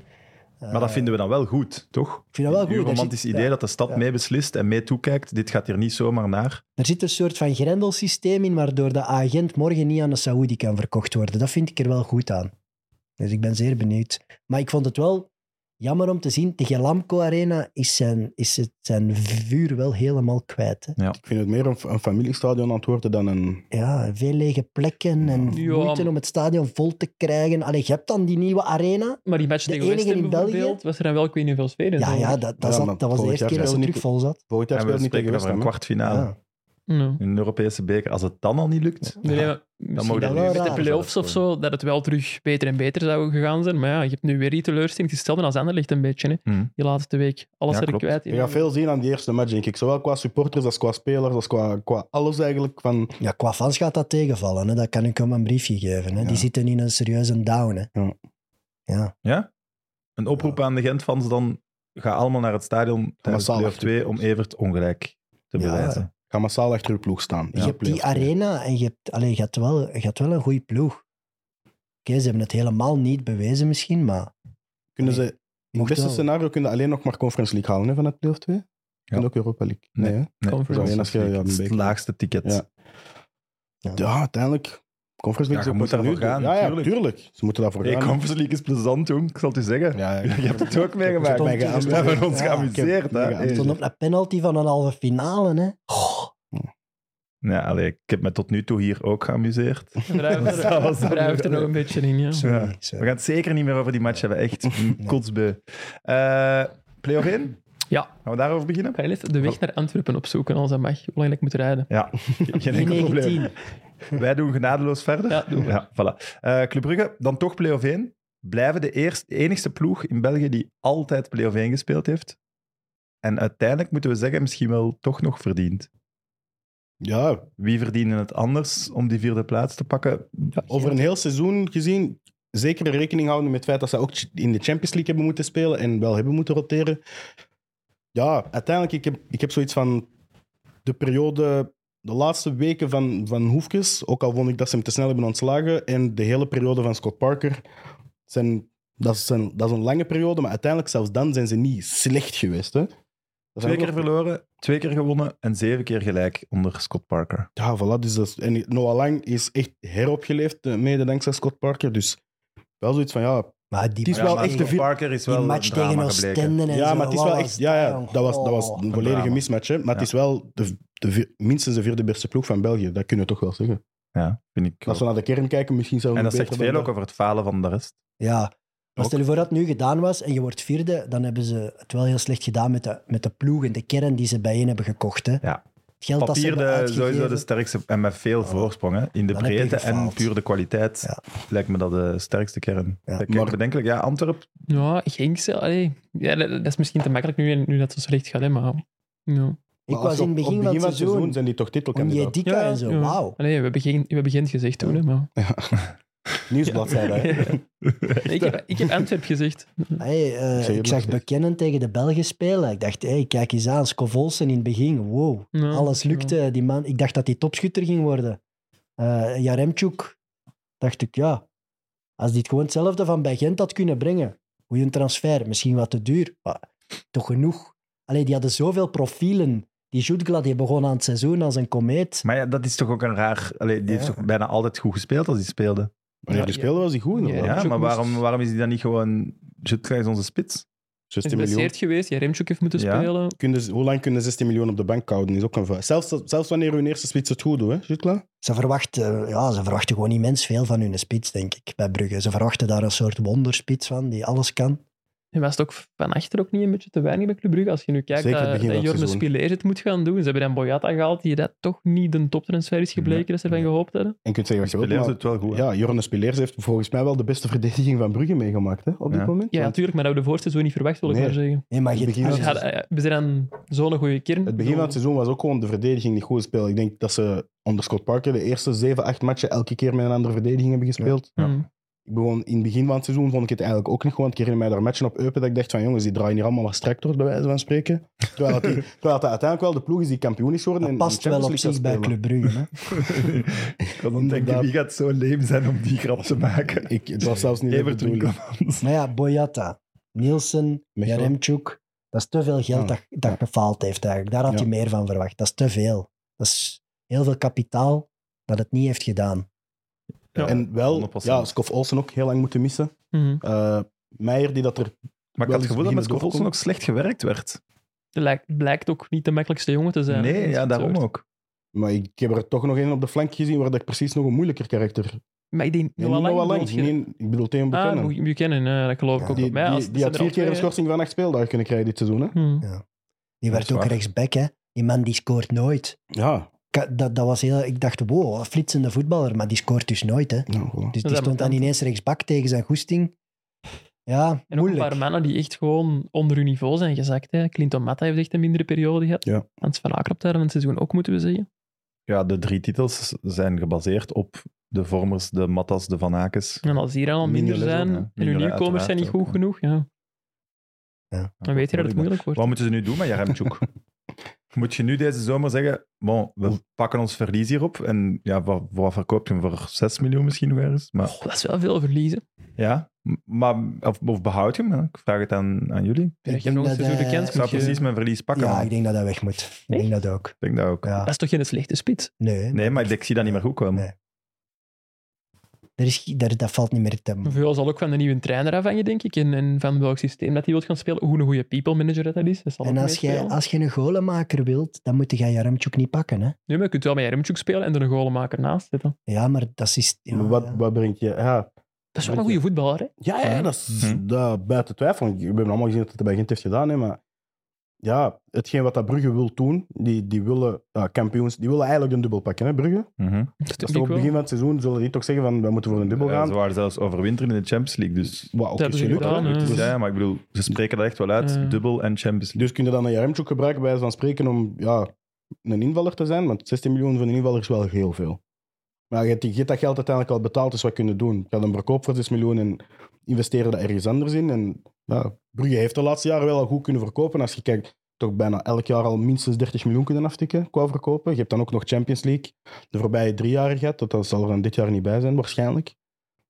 [SPEAKER 4] Eh,
[SPEAKER 1] Maar
[SPEAKER 3] Eh,
[SPEAKER 1] dat vinden we dan wel goed, toch?
[SPEAKER 4] Ik vind dat wel
[SPEAKER 1] Uw
[SPEAKER 4] goed. Daar
[SPEAKER 1] romantisch
[SPEAKER 4] zit-
[SPEAKER 1] idee
[SPEAKER 4] ja,
[SPEAKER 1] dat de stad
[SPEAKER 4] Ja.
[SPEAKER 1] mee beslist en mee toekijkt. Dit gaat hier niet zomaar naar.
[SPEAKER 4] Er zit een soort van grendelsysteem in, waardoor de agent morgen niet aan de Saoedi kan verkocht worden. Dat vind ik er wel goed aan. Dus ik ben zeer benieuwd. Maar ik vond het wel jammer om te zien. De Gelamco Arena is zijn, is het, zijn vuur wel helemaal kwijt. Hè.
[SPEAKER 3] Ik vind het meer een, een familiestadion aan het worden dan een...
[SPEAKER 4] Ja, veel lege plekken en
[SPEAKER 5] Ja,
[SPEAKER 4] moeite
[SPEAKER 5] maar-
[SPEAKER 4] om het stadion vol te krijgen. Allee, je hebt dan die nieuwe arena.
[SPEAKER 5] Maar die match
[SPEAKER 4] De
[SPEAKER 5] tegen West
[SPEAKER 4] enige
[SPEAKER 5] Ham
[SPEAKER 4] in België?
[SPEAKER 5] bijvoorbeeld, was er dan wel ik weet niet hoeveel spelen.
[SPEAKER 4] Ja, ja, dat, dat,
[SPEAKER 3] Ja,
[SPEAKER 4] zat-
[SPEAKER 3] maar
[SPEAKER 4] dat was de
[SPEAKER 3] vorig
[SPEAKER 4] eerste
[SPEAKER 3] jaar
[SPEAKER 4] keer dat ze
[SPEAKER 3] speelde
[SPEAKER 4] terug
[SPEAKER 3] niet-
[SPEAKER 4] vol zat.
[SPEAKER 3] Volgend jaar
[SPEAKER 1] En we
[SPEAKER 3] speelt niet tegen
[SPEAKER 1] spreken
[SPEAKER 3] West
[SPEAKER 1] over een
[SPEAKER 3] Ham, hè?
[SPEAKER 1] kwartfinale
[SPEAKER 4] Ja.
[SPEAKER 5] No.
[SPEAKER 1] in een Europese beker. Als het dan al niet lukt,
[SPEAKER 5] Nee, nee, maar
[SPEAKER 1] mogen
[SPEAKER 5] misschien
[SPEAKER 4] dat
[SPEAKER 5] dat
[SPEAKER 4] wel
[SPEAKER 5] met de
[SPEAKER 4] raar
[SPEAKER 5] play-offs
[SPEAKER 1] zelfs
[SPEAKER 5] of zo, dat het wel terug beter en beter zou gegaan zijn. Maar ja, je hebt nu weer die teleurstelling gesteld en als ander ligt een beetje. Hè.
[SPEAKER 1] Mhm.
[SPEAKER 5] Die laatste week, alles
[SPEAKER 1] Ja,
[SPEAKER 5] er
[SPEAKER 1] klopt.
[SPEAKER 5] kwijt.
[SPEAKER 3] Je gaat veel zien aan die eerste match, denk ik. Zowel qua supporters als qua spelers, als qua, qua alles eigenlijk. Van,
[SPEAKER 4] Ja, qua fans gaat dat tegenvallen. Hè. Dat kan ik hem een briefje geven. Hè.
[SPEAKER 3] Ja.
[SPEAKER 4] Die zitten in een serieuze down. Hè.
[SPEAKER 3] Ja.
[SPEAKER 4] ja.
[SPEAKER 1] een oproep aan de Gent-fans dan... Ga allemaal naar het stadion tijdens
[SPEAKER 3] massaal
[SPEAKER 1] play-off 2 om Evert ongelijk te
[SPEAKER 4] Ja.
[SPEAKER 1] bewijzen.
[SPEAKER 3] ga massaal achter uw ploeg staan.
[SPEAKER 4] je hebt die arena en je hebt, allee, je hebt wel, je hebt wel een goede ploeg. Oké, ze hebben het helemaal niet bewezen misschien, maar
[SPEAKER 3] Kunnen ze, in het
[SPEAKER 4] Mocht
[SPEAKER 3] beste
[SPEAKER 4] wel.
[SPEAKER 3] scenario kunnen alleen nog maar Conference League halen hè, van het play-off 2. En ook Europa League. Nee, hè?
[SPEAKER 1] Nee,
[SPEAKER 5] Conference.
[SPEAKER 1] dat is
[SPEAKER 3] Als je- ja,
[SPEAKER 1] het is het
[SPEAKER 3] beker.
[SPEAKER 1] laagste ticket.
[SPEAKER 3] Ja. Ja, uiteindelijk. Conference
[SPEAKER 1] Ja,
[SPEAKER 3] League
[SPEAKER 1] je
[SPEAKER 3] is
[SPEAKER 1] moet
[SPEAKER 3] op een
[SPEAKER 1] daarvoor
[SPEAKER 3] uur.
[SPEAKER 1] gaan,
[SPEAKER 3] Ja, ja,
[SPEAKER 1] tuurlijk.
[SPEAKER 3] tuurlijk. Ze moeten daarvoor
[SPEAKER 1] Hey,
[SPEAKER 3] gaan.
[SPEAKER 1] Conference League is plezant, jong. Ik zal het u zeggen.
[SPEAKER 3] Ja, ja,
[SPEAKER 1] Je hebt het ook
[SPEAKER 3] Ik
[SPEAKER 1] meegemaakt.
[SPEAKER 3] heb mij
[SPEAKER 1] We
[SPEAKER 3] geamuseerd.
[SPEAKER 1] hebben ons
[SPEAKER 4] Ja,
[SPEAKER 1] geamuseerd.
[SPEAKER 3] ik heb-
[SPEAKER 1] hè.
[SPEAKER 3] ik heb-
[SPEAKER 4] stond op een penalty van een halve finale. Hè.
[SPEAKER 1] Oh.
[SPEAKER 4] Goh,
[SPEAKER 1] Ja, allee, ik heb me tot nu toe hier ook geamuseerd.
[SPEAKER 5] Wrijft
[SPEAKER 1] Dat was
[SPEAKER 5] er-
[SPEAKER 1] dat
[SPEAKER 5] wrijft er
[SPEAKER 1] niet.
[SPEAKER 5] nog een beetje in, ja.
[SPEAKER 4] sorry,
[SPEAKER 1] Ja. We
[SPEAKER 4] sorry.
[SPEAKER 1] gaan het zeker niet meer over die match hebben. Echt een kotsbeu. Eh, Play-off 1?
[SPEAKER 5] Ja.
[SPEAKER 1] Gaan we daarover beginnen?
[SPEAKER 5] Ga je net de weg naar Antwerpen opzoeken als dat mag. Hoe lang ik moet rijden.
[SPEAKER 1] Ja, geen enkel probleem.
[SPEAKER 4] 19.
[SPEAKER 1] Wij doen genadeloos verder.
[SPEAKER 5] Ja, doen we.
[SPEAKER 1] voilà. Eh, Club Brugge, dan toch play-off 1. Blijven de eerst, enigste ploeg in België die altijd play-off 1 gespeeld heeft. En uiteindelijk moeten we zeggen, misschien wel toch nog verdiend.
[SPEAKER 3] Ja,
[SPEAKER 1] Wie verdienen het anders om die vierde plaats te pakken?
[SPEAKER 3] over een heel seizoen gezien, zeker rekening houden met het feit dat ze ook in de Champions League hebben moeten spelen en wel hebben moeten roteren. Ja, uiteindelijk, ik heb, ik heb zoiets van de periode, de laatste weken van, van Hoefkes, ook al vond ik dat ze hem te snel hebben ontslagen, en de hele periode van Scott Parker, zijn, dat, is een, dat is een lange periode, maar uiteindelijk zelfs dan zijn ze niet slecht geweest. Hè? Dat zijn
[SPEAKER 1] Twee
[SPEAKER 3] ook-
[SPEAKER 1] keer verloren, twee keer gewonnen en zeven keer gelijk onder Scott Parker.
[SPEAKER 3] Ja, voilà. Dus dat is- en Noah Lang is echt heropgeleefd, eh, mede dankzij Scott Parker. Dus wel zoiets van, ja,
[SPEAKER 4] Maar die,
[SPEAKER 3] Het is wel
[SPEAKER 4] match
[SPEAKER 3] echt de
[SPEAKER 4] tegen-
[SPEAKER 3] vier-
[SPEAKER 1] Parker is
[SPEAKER 4] die
[SPEAKER 1] wel
[SPEAKER 4] match
[SPEAKER 1] een drama
[SPEAKER 4] tegen
[SPEAKER 1] gebleken.
[SPEAKER 4] Oostende en
[SPEAKER 3] Ja,
[SPEAKER 4] zo,
[SPEAKER 3] maar het is
[SPEAKER 4] wat
[SPEAKER 3] wel echt. Ja, ja, dat, was, dat was
[SPEAKER 4] Oh.
[SPEAKER 3] een volledige
[SPEAKER 1] drama.
[SPEAKER 3] mismatch. Hè. Maar het
[SPEAKER 1] Ja.
[SPEAKER 3] is wel de, de, vi- minstens de vierde beste ploeg van België. Dat kunnen we toch wel zeggen.
[SPEAKER 1] Ja, vind ik
[SPEAKER 3] Als
[SPEAKER 1] ook.
[SPEAKER 3] we naar de kern kijken, misschien zouden
[SPEAKER 1] En
[SPEAKER 3] we
[SPEAKER 1] dat zegt
[SPEAKER 3] beter
[SPEAKER 1] veel
[SPEAKER 3] dan
[SPEAKER 1] ook over het falen van de rest.
[SPEAKER 4] Ja. Maar
[SPEAKER 1] Ook.
[SPEAKER 4] stel je voor dat het nu gedaan was en je wordt vierde, dan hebben ze het wel heel slecht gedaan met de, met de ploeg en de kern die ze bijeen hebben gekocht. Hè.
[SPEAKER 1] Ja.
[SPEAKER 4] Het geld dat ze
[SPEAKER 1] Papier
[SPEAKER 4] hebben
[SPEAKER 1] de,
[SPEAKER 4] uitgegeven.
[SPEAKER 1] sowieso de sterkste en met veel voorsprong. Hè. In de
[SPEAKER 4] Dan heb je
[SPEAKER 1] breedte en
[SPEAKER 4] gefaald.
[SPEAKER 1] puur de kwaliteit
[SPEAKER 4] Ja.
[SPEAKER 1] lijkt me dat de sterkste kern.
[SPEAKER 4] Ja.
[SPEAKER 1] Kijk,
[SPEAKER 3] Maar-
[SPEAKER 1] bedenkelijk, ja, Antwerp.
[SPEAKER 5] Ja, Genkse, allee. Ja, dat, dat is misschien te makkelijk nu, nu dat het zo slecht gaat, hè, maar... Ja.
[SPEAKER 4] Ik
[SPEAKER 3] Maar als
[SPEAKER 4] was
[SPEAKER 3] je
[SPEAKER 4] in het
[SPEAKER 3] op- op
[SPEAKER 4] begin van het seizoen.
[SPEAKER 3] zijn die toch
[SPEAKER 4] Onjedika
[SPEAKER 3] titelkandidaat.
[SPEAKER 5] Ja,
[SPEAKER 4] en zo,
[SPEAKER 5] ja.
[SPEAKER 4] wauw.
[SPEAKER 5] Allee, we hebben, geen, we hebben Gent gezegd toen, hè, maar...
[SPEAKER 3] Nieuwsbladzijde. hè.
[SPEAKER 5] Ik heb, ik heb Antwerpen gezegd.
[SPEAKER 4] Hey, eh,
[SPEAKER 3] zeg het
[SPEAKER 4] ik
[SPEAKER 3] nog
[SPEAKER 4] zag
[SPEAKER 3] steeds.
[SPEAKER 4] Bekennen tegen de Belgen spelen. Ik dacht, hey, kijk eens aan, Scovolsen in het begin. Wow,
[SPEAKER 5] Ja,
[SPEAKER 4] alles
[SPEAKER 5] ja.
[SPEAKER 4] lukte. Die man, ik dacht dat hij topschutter ging worden. Eh Jaremchuk, dacht ik, ja. Als die het gewoon hetzelfde van bij Gent had kunnen brengen. Goeie transfer, misschien wat te duur. Maar toch genoeg. Allee, die hadden zoveel profielen. Die Jutgla, die begon aan het seizoen als een komeet.
[SPEAKER 1] Maar ja, dat is toch ook een raar... Allee, die heeft
[SPEAKER 4] Ja.
[SPEAKER 1] toch bijna altijd goed gespeeld als hij speelde.
[SPEAKER 3] Wanneer die
[SPEAKER 5] Ja,
[SPEAKER 3] speelde, was die goed.
[SPEAKER 5] Ja,
[SPEAKER 1] Ja,
[SPEAKER 3] inderdaad.
[SPEAKER 5] dus ook
[SPEAKER 1] maar
[SPEAKER 5] moest-
[SPEAKER 1] waarom, waarom is hij dan niet gewoon... Jutka is onze spits.
[SPEAKER 3] 16 miljoen.
[SPEAKER 5] geblesseerd geweest. Jaremchuk heeft moeten
[SPEAKER 1] Ja.
[SPEAKER 5] spelen.
[SPEAKER 3] Kunnen ze- hoe lang kunnen 16 miljoen op de bank houden? Is ook een vraag. Zelfs, zelfs wanneer hun eerste spits het goed doet, hè, Jutla?
[SPEAKER 4] Ze verwachten, ja, ze verwachten gewoon immens veel van hun spits, denk ik, bij Brugge. Ze verwachten daar een soort wonderspits van, die alles kan.
[SPEAKER 5] En was het ook van achter ook niet een beetje te weinig bij Club Brugge? Als je nu kijkt
[SPEAKER 3] Zeker het
[SPEAKER 5] dat,
[SPEAKER 3] begin
[SPEAKER 5] dat
[SPEAKER 3] van het
[SPEAKER 5] Jorne
[SPEAKER 3] seizoen.
[SPEAKER 5] Spileer het moet gaan doen. Ze hebben dan Boyata gehaald, die dat toch niet een toptransfer is gebleken
[SPEAKER 3] Nee,
[SPEAKER 5] dat ze ervan
[SPEAKER 3] nee.
[SPEAKER 5] gehoopt hadden.
[SPEAKER 3] En je kunt zeggen wat je
[SPEAKER 1] Beleefde
[SPEAKER 3] wilt, maar-
[SPEAKER 1] het wel goed. hè?
[SPEAKER 3] Ja, Jorne Spileers heeft volgens mij wel de beste verdediging van Brugge meegemaakt hè, op dit
[SPEAKER 1] Ja.
[SPEAKER 3] moment.
[SPEAKER 5] Ja,
[SPEAKER 3] Want
[SPEAKER 5] natuurlijk, maar dat we de voorseizoen niet verwacht, wil ik
[SPEAKER 3] Nee.
[SPEAKER 5] maar zeggen.
[SPEAKER 4] Nee, maar
[SPEAKER 3] Het
[SPEAKER 4] je-
[SPEAKER 3] begin
[SPEAKER 4] als
[SPEAKER 5] Dus
[SPEAKER 3] Ja,
[SPEAKER 5] ze
[SPEAKER 4] je-
[SPEAKER 3] dat is-
[SPEAKER 5] hadden- we zijn aan zo'n goede kern.
[SPEAKER 3] het begin van het seizoen was ook gewoon de verdediging niet goed gespeeld. Ik denk dat ze onder Scott Parker de eerste 7, 8 matchen elke keer met een andere verdediging hebben gespeeld.
[SPEAKER 5] Ja.
[SPEAKER 3] Ik begon, in het begin van het seizoen vond ik het eigenlijk ook niet gewoon. Ik herinner mij daar matchen op Eupen dat ik dacht van jongens, die draaien hier allemaal wat strak door, bij wijze van spreken. Terwijl, dat die, terwijl dat uiteindelijk wel de ploeg is die kampioen is geworden.
[SPEAKER 4] dat
[SPEAKER 3] en
[SPEAKER 4] past
[SPEAKER 3] de
[SPEAKER 4] wel
[SPEAKER 3] Champions
[SPEAKER 4] op
[SPEAKER 3] League
[SPEAKER 4] zich
[SPEAKER 3] gaat spelen.
[SPEAKER 4] bij Club Brugge. Hè?
[SPEAKER 1] ik kan dan denken,
[SPEAKER 3] Inderdaad.
[SPEAKER 1] wie gaat zo leem zijn om die grap te maken?
[SPEAKER 3] Ik, het was zelfs niet de
[SPEAKER 1] Everton
[SPEAKER 3] bedoeling.
[SPEAKER 1] Commons.
[SPEAKER 4] Maar ja, Boyata, Nielsen,
[SPEAKER 3] Mechelen.
[SPEAKER 4] Jaremchuk, dat is te veel geld
[SPEAKER 3] Hmm. Ja.
[SPEAKER 4] dat, dat gefaald heeft eigenlijk. Daar had
[SPEAKER 3] Ja.
[SPEAKER 4] hij meer van verwacht. Dat is te veel. Dat is heel veel kapitaal dat het niet heeft gedaan.
[SPEAKER 1] Ja.
[SPEAKER 3] En wel,
[SPEAKER 1] 100%.
[SPEAKER 3] ja, Scoff Olsen ook heel lang moeten missen.
[SPEAKER 5] Mhm.
[SPEAKER 3] Eh, Meijer die dat er
[SPEAKER 1] Maar ik
[SPEAKER 3] Wel
[SPEAKER 1] had het
[SPEAKER 3] eens
[SPEAKER 1] gevoel dat met
[SPEAKER 3] beginnen
[SPEAKER 1] Scott Olsen
[SPEAKER 3] doorkomen.
[SPEAKER 1] ook slecht gewerkt werd.
[SPEAKER 5] Het lijkt, blijkt ook niet de makkelijkste jongen te zijn.
[SPEAKER 1] nee, ja, daarom
[SPEAKER 5] ook.
[SPEAKER 1] ook.
[SPEAKER 3] Maar ik heb er toch nog één op de flank gezien waar dat ik precies nog een moeilijker karakter.
[SPEAKER 5] Maar ik denk,
[SPEAKER 3] Nee,
[SPEAKER 5] Noah
[SPEAKER 3] niet
[SPEAKER 5] Lang
[SPEAKER 3] Noah
[SPEAKER 5] bedoelt
[SPEAKER 3] Lang.
[SPEAKER 5] je-
[SPEAKER 3] Nee, ik bedoel Theo
[SPEAKER 5] Ah,
[SPEAKER 3] Buchanan.
[SPEAKER 5] Buch- Buchanan, eh, dat geloof ik
[SPEAKER 4] Ja.
[SPEAKER 5] ook.
[SPEAKER 3] die,
[SPEAKER 5] Maar ja, als-
[SPEAKER 3] die, die
[SPEAKER 5] zijn
[SPEAKER 3] had
[SPEAKER 5] er
[SPEAKER 3] vier
[SPEAKER 5] al
[SPEAKER 3] keer een
[SPEAKER 5] twee,
[SPEAKER 3] schorsing van acht speeldagen kunnen krijgen dit seizoen. Hè?
[SPEAKER 5] hè. Hmm.
[SPEAKER 4] Die
[SPEAKER 1] Dat
[SPEAKER 4] werd
[SPEAKER 1] is
[SPEAKER 4] ook
[SPEAKER 1] waar.
[SPEAKER 4] rechtsback, hè. Die man die scoort nooit.
[SPEAKER 3] Ja.
[SPEAKER 4] Ka- Dat, dat was heel... Ik dacht, wow, een flitsende voetballer, maar die scoort dus nooit, hè.
[SPEAKER 3] ja Nou, voilà.
[SPEAKER 4] Dus
[SPEAKER 5] Dat
[SPEAKER 4] die
[SPEAKER 5] is
[SPEAKER 4] stond dan
[SPEAKER 5] aan
[SPEAKER 4] ineens rechtsbak tegen zijn goesting. Ja,
[SPEAKER 5] En ook een
[SPEAKER 4] moeilijk.
[SPEAKER 5] paar mannen die echt gewoon onder hun niveau zijn gezakt. Hè. Clinton Matta heeft echt een mindere periode gehad.
[SPEAKER 3] Ja.
[SPEAKER 5] Hans van Akerop daar van het seizoen ook, moeten we zeggen.
[SPEAKER 1] Ja, de drie titels zijn gebaseerd op de vormers, de Mattas, de Van Akes.
[SPEAKER 5] En als die er al minder,
[SPEAKER 3] Minder is
[SPEAKER 5] zijn,
[SPEAKER 1] ook, hè.
[SPEAKER 5] en hun
[SPEAKER 1] Minder
[SPEAKER 5] nieuwkomers zijn niet goed
[SPEAKER 1] uiteraard
[SPEAKER 5] genoeg, ja.
[SPEAKER 4] Ja.
[SPEAKER 5] dan weet je dat het moeilijk wordt.
[SPEAKER 1] Wat moeten ze nu doen met Jaremchuk? Moet je nu deze zomer zeggen, bon, we pakken ons verlies hierop en ja, wat, wat verkoop je hem voor 6 miljoen misschien nog ergens? Maar,
[SPEAKER 5] Oh, dat is wel veel verliezen.
[SPEAKER 1] ja, m- maar, of, of behoud je hem? hè? Ik vraag het aan, aan jullie.
[SPEAKER 5] Je hebt
[SPEAKER 4] denk
[SPEAKER 5] nog een
[SPEAKER 4] dat,
[SPEAKER 5] seizoen de
[SPEAKER 4] eh,
[SPEAKER 5] kans,
[SPEAKER 1] Ik zou
[SPEAKER 5] moet je-
[SPEAKER 1] precies mijn verlies pakken.
[SPEAKER 4] Ja,
[SPEAKER 1] man.
[SPEAKER 4] ik
[SPEAKER 1] ik
[SPEAKER 4] denk dat dat weg moet. Ik denk dat ook.
[SPEAKER 1] denk dat ook.
[SPEAKER 5] Dat
[SPEAKER 4] Ja.
[SPEAKER 5] is toch geen slechte spits?
[SPEAKER 4] Nee,
[SPEAKER 1] Nee, maar ik, denk- ik zie dat niet meer goed komen.
[SPEAKER 4] Nee. er is, er, dat valt niet meer te...
[SPEAKER 5] Veel zal ook van de nieuwe trainer afhangen, denk ik. En, en van welk systeem dat hij wil gaan spelen. Hoe een goede people manager dat, dat is. Dat zal
[SPEAKER 4] En
[SPEAKER 5] ook
[SPEAKER 4] als jij,
[SPEAKER 5] meespelen.
[SPEAKER 4] als je een golenmaker wilt, dan moet je Jaremchuk niet pakken. Hè?
[SPEAKER 5] Nee, maar je kunt wel met Jeremtjouk spelen en er een goalmaker naast zetten.
[SPEAKER 4] Ja, maar dat is... ja,
[SPEAKER 3] Maar
[SPEAKER 4] ja.
[SPEAKER 3] Wat, wat brengt je? Ja,
[SPEAKER 5] Dat is wel een goede voetballer, hè?
[SPEAKER 3] ja, ja, dat is
[SPEAKER 1] Hm.
[SPEAKER 3] dat, buiten twijfel. Ik- We hebben allemaal gezien dat het bij Gent heeft gedaan. Hè, maar ja, hetgeen wat dat Brugge wil doen, die, die willen ja, kampioens, die willen eigenlijk een dubbel pakken. Hè, Brugge.
[SPEAKER 1] Mhm.
[SPEAKER 5] Dat
[SPEAKER 3] Dat is
[SPEAKER 5] denk
[SPEAKER 3] toch
[SPEAKER 5] ik
[SPEAKER 3] op het
[SPEAKER 5] wel.
[SPEAKER 3] begin van het seizoen zullen die toch zeggen van we moeten voor een dubbel
[SPEAKER 1] Ja,
[SPEAKER 3] gaan.
[SPEAKER 1] ze waren zelfs overwinteren in de Champions League, dus...
[SPEAKER 3] Wat ook
[SPEAKER 5] Dat
[SPEAKER 3] is
[SPEAKER 5] hebben ze
[SPEAKER 3] gelukt.
[SPEAKER 5] gedaan,
[SPEAKER 3] hè.
[SPEAKER 5] hè.
[SPEAKER 3] Dus-
[SPEAKER 1] Ja, ja, maar ik bedoel, ze spreken dat echt wel uit.
[SPEAKER 5] Eh.
[SPEAKER 1] Dubbel en Champions League.
[SPEAKER 3] Dus kun je dan een Jaremchuk gebruiken bij wijze van spreken om ja, een invaller te zijn? Want 16 miljoen voor een invaller is wel heel veel. Maar je hebt, die- je hebt dat geld uiteindelijk al betaald, dus wat kunnen doen? Je gaat hem verkopen voor 6 miljoen en investeren dat ergens anders in. En ja, Brugge heeft de laatste jaren wel al goed kunnen verkopen. Als je kijkt, toch bijna elk jaar al minstens 30 miljoen kunnen aftikken qua verkopen. Je hebt dan ook nog Champions League de voorbije drie jaar gehad. Dat- Dat zal er dan dit jaar niet bij zijn, waarschijnlijk.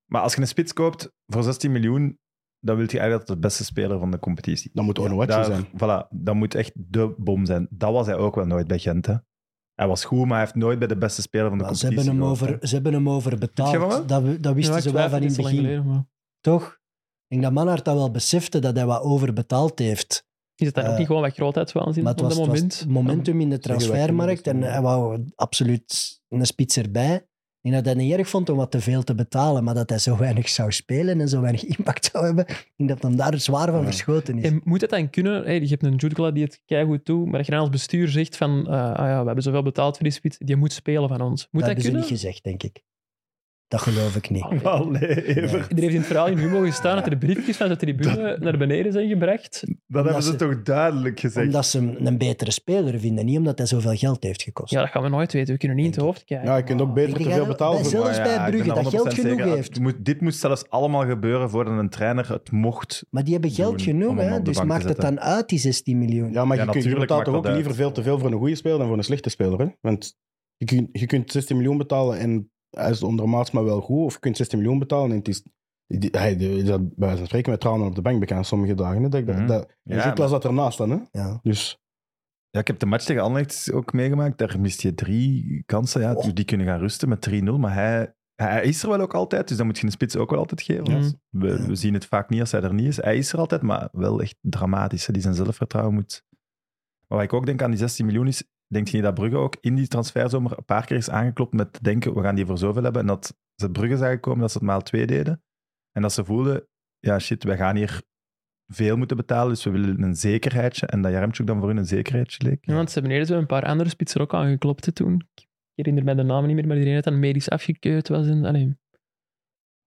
[SPEAKER 1] Maar als je een spits koopt voor 16 miljoen, dan wil je eigenlijk dat de beste speler van de competitie.
[SPEAKER 3] Dan moet Onuatje
[SPEAKER 1] Daar-
[SPEAKER 3] zijn.
[SPEAKER 1] Voilà, dat moet echt de bom zijn. Dat was hij ook wel nooit bij Gent. Hè. Hij was goed, maar hij heeft nooit bij de beste speler van de
[SPEAKER 4] Maar ze,
[SPEAKER 1] competitie
[SPEAKER 4] hebben hem
[SPEAKER 1] gehoord,
[SPEAKER 4] over, ze hebben hem over
[SPEAKER 1] Vind jij van wel?
[SPEAKER 4] betaald. Dat, we- dat wisten
[SPEAKER 5] Ja, ik
[SPEAKER 4] ze wel
[SPEAKER 5] twijfel,
[SPEAKER 4] van in het
[SPEAKER 5] dit is al
[SPEAKER 4] begin.
[SPEAKER 5] lang geleden, maar
[SPEAKER 4] Toch? Ik denk dat Manhart dat wel besefte, dat hij wat overbetaald heeft.
[SPEAKER 5] Is het daar ook
[SPEAKER 4] Eh,
[SPEAKER 5] niet gewoon wat grootheidswaanzin
[SPEAKER 4] Maar
[SPEAKER 5] op
[SPEAKER 4] het
[SPEAKER 5] dat
[SPEAKER 4] was, het was
[SPEAKER 5] moment?
[SPEAKER 4] het momentum in de
[SPEAKER 3] Zeggen wij
[SPEAKER 4] transfermarkt en
[SPEAKER 3] kinderen.
[SPEAKER 4] hij wou absoluut een spits erbij. Ik denk dat hij het niet erg vond om wat te veel te betalen, maar dat hij zo weinig zou spelen en zo weinig impact zou hebben, ik denk dat hem daar zwaar van
[SPEAKER 3] Ja.
[SPEAKER 4] verschoten is.
[SPEAKER 5] En moet het dan kunnen? Hey, je hebt een Jutgla die het keigoed doet, maar dat je dan als bestuur zegt van eh, ah ja, we hebben zoveel betaald voor die spits, die moet spelen van ons.
[SPEAKER 4] dat
[SPEAKER 5] Moet dat,
[SPEAKER 4] hebben
[SPEAKER 5] kunnen?
[SPEAKER 4] ze niet gezegd, denk ik. Dat geloof ik niet.
[SPEAKER 5] Ah, nee.
[SPEAKER 1] hè. Allee, Evert,
[SPEAKER 5] Er heeft in het verhaal in Humo gestaan dat er de briefjes van de tribune naar beneden zijn gebracht.
[SPEAKER 1] dat hebben ze
[SPEAKER 4] ze-
[SPEAKER 1] toch duidelijk gezegd.
[SPEAKER 4] Omdat ze hem een betere speler vinden, niet omdat hij zoveel geld heeft gekost.
[SPEAKER 5] Ja, dat gaan we nooit weten. We kunnen niet in het hoofd kijken.
[SPEAKER 3] Ja, je kunt ook
[SPEAKER 4] Ik
[SPEAKER 3] beter
[SPEAKER 4] denk
[SPEAKER 3] te
[SPEAKER 4] dat-
[SPEAKER 3] veel betalen.
[SPEAKER 4] dat
[SPEAKER 3] voor-
[SPEAKER 4] is zelfs
[SPEAKER 1] Maar
[SPEAKER 4] bij
[SPEAKER 1] ik ben
[SPEAKER 4] Brugge,
[SPEAKER 1] er
[SPEAKER 4] dat
[SPEAKER 1] 100%
[SPEAKER 4] geld genoeg
[SPEAKER 1] zeker,
[SPEAKER 4] heeft.
[SPEAKER 1] het moet- dit moest zelfs allemaal gebeuren voordat een trainer het mocht.
[SPEAKER 4] Maar die hebben geld
[SPEAKER 1] Doen om
[SPEAKER 4] genoeg,
[SPEAKER 1] hem
[SPEAKER 4] hè?
[SPEAKER 1] op de
[SPEAKER 4] dus
[SPEAKER 1] bank te
[SPEAKER 4] maakt het
[SPEAKER 1] zetten.
[SPEAKER 4] dan uit, die 16 miljoen.
[SPEAKER 3] Ja, maar
[SPEAKER 1] Ja,
[SPEAKER 3] je, kunt, je
[SPEAKER 1] natuurlijk
[SPEAKER 3] betaalt
[SPEAKER 1] maakt
[SPEAKER 3] toch
[SPEAKER 1] dat
[SPEAKER 3] ook
[SPEAKER 1] uit.
[SPEAKER 3] liever veel te veel voor een goede speler dan voor een slechte speler. Hè? Want je kunt, je kunt 16 miljoen betalen en hij is ondermaats maar wel goed. Of je kunt 16 miljoen betalen en het is... Die, hij die- dat, bij wijze van spreken met tranen op de bank bekend sommige dagen. Hè? Dat, ik dat,
[SPEAKER 1] Mhm.
[SPEAKER 3] dat,
[SPEAKER 1] Ja,
[SPEAKER 3] en Jutlas
[SPEAKER 1] maar-
[SPEAKER 3] zat ernaast dan. Hè?
[SPEAKER 4] Ja.
[SPEAKER 3] Dus
[SPEAKER 1] Ja, ik heb de match tegen Anderlecht ook meegemaakt. Daar mist je drie kansen. Ja.
[SPEAKER 4] Oh.
[SPEAKER 1] Die kunnen gaan rusten met 3-0. Maar hij, hij is er wel ook altijd. Dus dan moet je een spits ook wel altijd geven.
[SPEAKER 5] Ja.
[SPEAKER 1] We, we zien het vaak niet als hij er niet is. Hij is er altijd, maar wel echt dramatisch. Hè. Die zijn zelfvertrouwen moet... Maar wat ik ook denk aan die 16 miljoen is... Denk je niet dat Brugge ook in die transferzomer een paar keer is aangeklopt met te denken, we gaan die voor zoveel hebben. En dat ze Brugge zagen komen, dat ze het maal twee deden. En dat ze voelden, ja shit, wij gaan hier veel moeten betalen, dus we willen een zekerheidje. En dat Jaremchuk dan voor hun een zekerheidje leek.
[SPEAKER 5] Ja, want ze hebben eerst wel een paar andere spitsen ook aangeklopt hè, toen. Ik herinner mij de namen niet meer, maar iedereen dat dan medisch afgekeurd was. En, allee,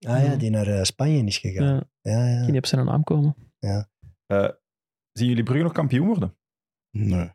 [SPEAKER 4] Ah ja, die naar eh, Spanje is
[SPEAKER 5] ja.
[SPEAKER 4] gegaan. Ja, ja.
[SPEAKER 5] die op zijn naam komen.
[SPEAKER 1] Eh, zien jullie Brugge nog kampioen worden?
[SPEAKER 3] Nee.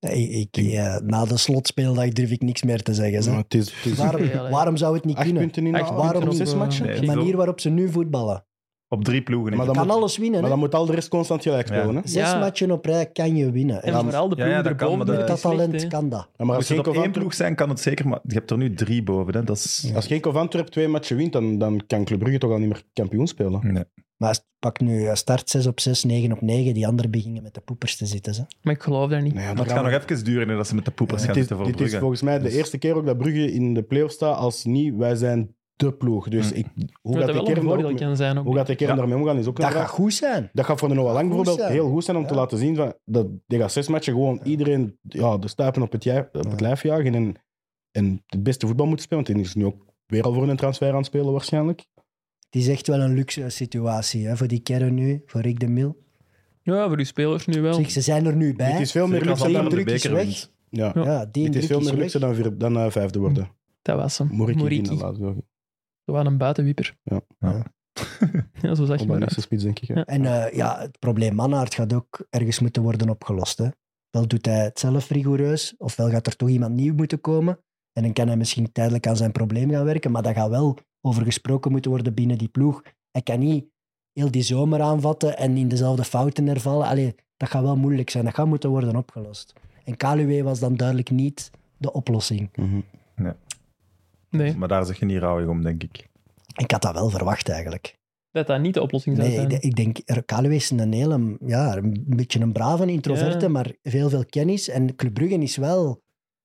[SPEAKER 4] Nee, ik, eh, na de slotspeeldag durf ik niks meer te zeggen.
[SPEAKER 3] Maar
[SPEAKER 4] Zeg.
[SPEAKER 3] het is, het is
[SPEAKER 5] Waarom-
[SPEAKER 4] Waarom, waarom zou het niet
[SPEAKER 3] acht
[SPEAKER 4] kunnen?
[SPEAKER 3] punten in
[SPEAKER 5] Echt,
[SPEAKER 3] de
[SPEAKER 4] waarom
[SPEAKER 3] waarom
[SPEAKER 4] niet?
[SPEAKER 3] zes matchen.
[SPEAKER 1] Nee,
[SPEAKER 4] De manier waarop ze nu voetballen.
[SPEAKER 1] Op drie ploegen.
[SPEAKER 3] Maar
[SPEAKER 1] hè?
[SPEAKER 3] dan
[SPEAKER 4] Kan
[SPEAKER 3] moet-
[SPEAKER 4] alles winnen.
[SPEAKER 3] Maar
[SPEAKER 4] hè?
[SPEAKER 3] dan moet Alderest constant gelijk
[SPEAKER 1] Ja.
[SPEAKER 3] spelen. Hè?
[SPEAKER 4] Zes
[SPEAKER 5] Ja.
[SPEAKER 4] matchen op rij kan je winnen.
[SPEAKER 5] En
[SPEAKER 4] En
[SPEAKER 5] vooral de
[SPEAKER 1] Ja,
[SPEAKER 5] ploegen
[SPEAKER 1] ja, dat kan,
[SPEAKER 5] erboven.
[SPEAKER 1] maar
[SPEAKER 4] met
[SPEAKER 5] die
[SPEAKER 4] dat
[SPEAKER 5] het slecht,
[SPEAKER 4] talent
[SPEAKER 5] hè.
[SPEAKER 4] kan dat.
[SPEAKER 3] Ja, maar als
[SPEAKER 1] Moest
[SPEAKER 3] geen,
[SPEAKER 1] het op één
[SPEAKER 3] Coventry,
[SPEAKER 1] ploeg zijn, kan het zeker, maar je hebt er nu drie boven. Hè? Dat is...
[SPEAKER 4] Ja.
[SPEAKER 3] als geen Coventry op twee matchen wint, dan, dan kan Club Brugge toch al niet meer kampioen spelen. Nou
[SPEAKER 1] Nee.
[SPEAKER 4] Maar als- pak nu eh, start 6 op 6, 9 op 9. Die anderen beginnen met de poepers te zitten. Ze.
[SPEAKER 5] Maar ik geloof daar niet.
[SPEAKER 3] Nee, ja,
[SPEAKER 1] Maar het gaat nog even duren hè, dat ze met de poepers
[SPEAKER 3] Ja,
[SPEAKER 1] gaan
[SPEAKER 3] het is,
[SPEAKER 1] zitten voor
[SPEAKER 3] dit is
[SPEAKER 1] Brugge.
[SPEAKER 3] volgens mij
[SPEAKER 1] Dus-
[SPEAKER 3] de eerste keer ook dat Brugge in de play-off staat als niet wij zijn de ploeg. Dus
[SPEAKER 1] Mm.
[SPEAKER 3] ik, hoe, gaat
[SPEAKER 5] dat dat
[SPEAKER 3] de
[SPEAKER 5] wel een
[SPEAKER 3] kern daar
[SPEAKER 5] voordeel
[SPEAKER 3] ook mee,
[SPEAKER 5] kan zijn. Ook.
[SPEAKER 3] hoe gaat de kern
[SPEAKER 1] Ja.
[SPEAKER 3] daarmee omgaan is ook een
[SPEAKER 4] Dat gaat
[SPEAKER 3] vraag.
[SPEAKER 4] goed zijn.
[SPEAKER 3] Dat gaat voor de Noah Lang
[SPEAKER 4] goed
[SPEAKER 3] bijvoorbeeld
[SPEAKER 4] zijn.
[SPEAKER 3] heel goed zijn om te
[SPEAKER 4] Ja.
[SPEAKER 3] laten zien van, dat die gaat zes matchen gewoon iedereen ja, de stuipen op het, jij- op het
[SPEAKER 4] Ja.
[SPEAKER 3] lijf jagen en, en het beste voetbal moeten spelen. Want die is nu ook weer al voor een transfer aan het spelen waarschijnlijk.
[SPEAKER 4] Het is echt wel een luxe situatie hè, voor die kern nu, voor Rick de Mil.
[SPEAKER 5] Ja, voor uw spelers nu wel.
[SPEAKER 4] Zeg, ze zijn er nu bij.
[SPEAKER 3] Het is veel meer
[SPEAKER 1] Zeker als
[SPEAKER 3] luxe
[SPEAKER 1] dat
[SPEAKER 4] Die
[SPEAKER 1] dan de
[SPEAKER 3] dan,
[SPEAKER 4] druk is
[SPEAKER 1] beker
[SPEAKER 4] weg.
[SPEAKER 1] wint.
[SPEAKER 3] ja.
[SPEAKER 5] Ja.
[SPEAKER 4] Ja, die
[SPEAKER 3] Het is
[SPEAKER 4] druk
[SPEAKER 3] veel meer
[SPEAKER 4] is
[SPEAKER 3] luxe
[SPEAKER 4] weg.
[SPEAKER 3] dan, vier- dan eh, vijfde worden.
[SPEAKER 5] Dat was hem.
[SPEAKER 3] Moriki,
[SPEAKER 5] Moriki.
[SPEAKER 3] Moriki.
[SPEAKER 5] Zo aan een buitenwieper.
[SPEAKER 3] Ja.
[SPEAKER 1] Ja.
[SPEAKER 5] Ja, zo zag je
[SPEAKER 3] Op de
[SPEAKER 5] maar
[SPEAKER 3] eerste
[SPEAKER 5] uit.
[SPEAKER 3] spits, denk ik. hè.
[SPEAKER 5] Ja.
[SPEAKER 4] En eh, ja, het probleem Mannaert gaat ook ergens moeten worden opgelost. Hè. Wel doet hij het zelf rigoureus, ofwel gaat er toch iemand nieuw moeten komen. En dan kan hij misschien tijdelijk aan zijn probleem gaan werken, maar dat gaat wel over gesproken moeten worden binnen die ploeg. Hij kan niet heel die zomer aanvatten en in dezelfde fouten hervallen. Allee, dat gaat wel moeilijk zijn, dat gaat moeten worden opgelost. En Kaluwe was dan duidelijk niet de oplossing.
[SPEAKER 3] Mhm.
[SPEAKER 5] Nee,
[SPEAKER 1] Maar daar zeg je niet rouwig om, denk ik.
[SPEAKER 4] Ik had dat wel verwacht eigenlijk.
[SPEAKER 5] dat dat niet de oplossing zou
[SPEAKER 4] Nee,
[SPEAKER 5] zijn.
[SPEAKER 4] ik, ik denk, er- Kaluwe is een hele, ja, een beetje een brave introverte,
[SPEAKER 5] Ja.
[SPEAKER 4] maar veel, veel kennis. En Club Brugge is wel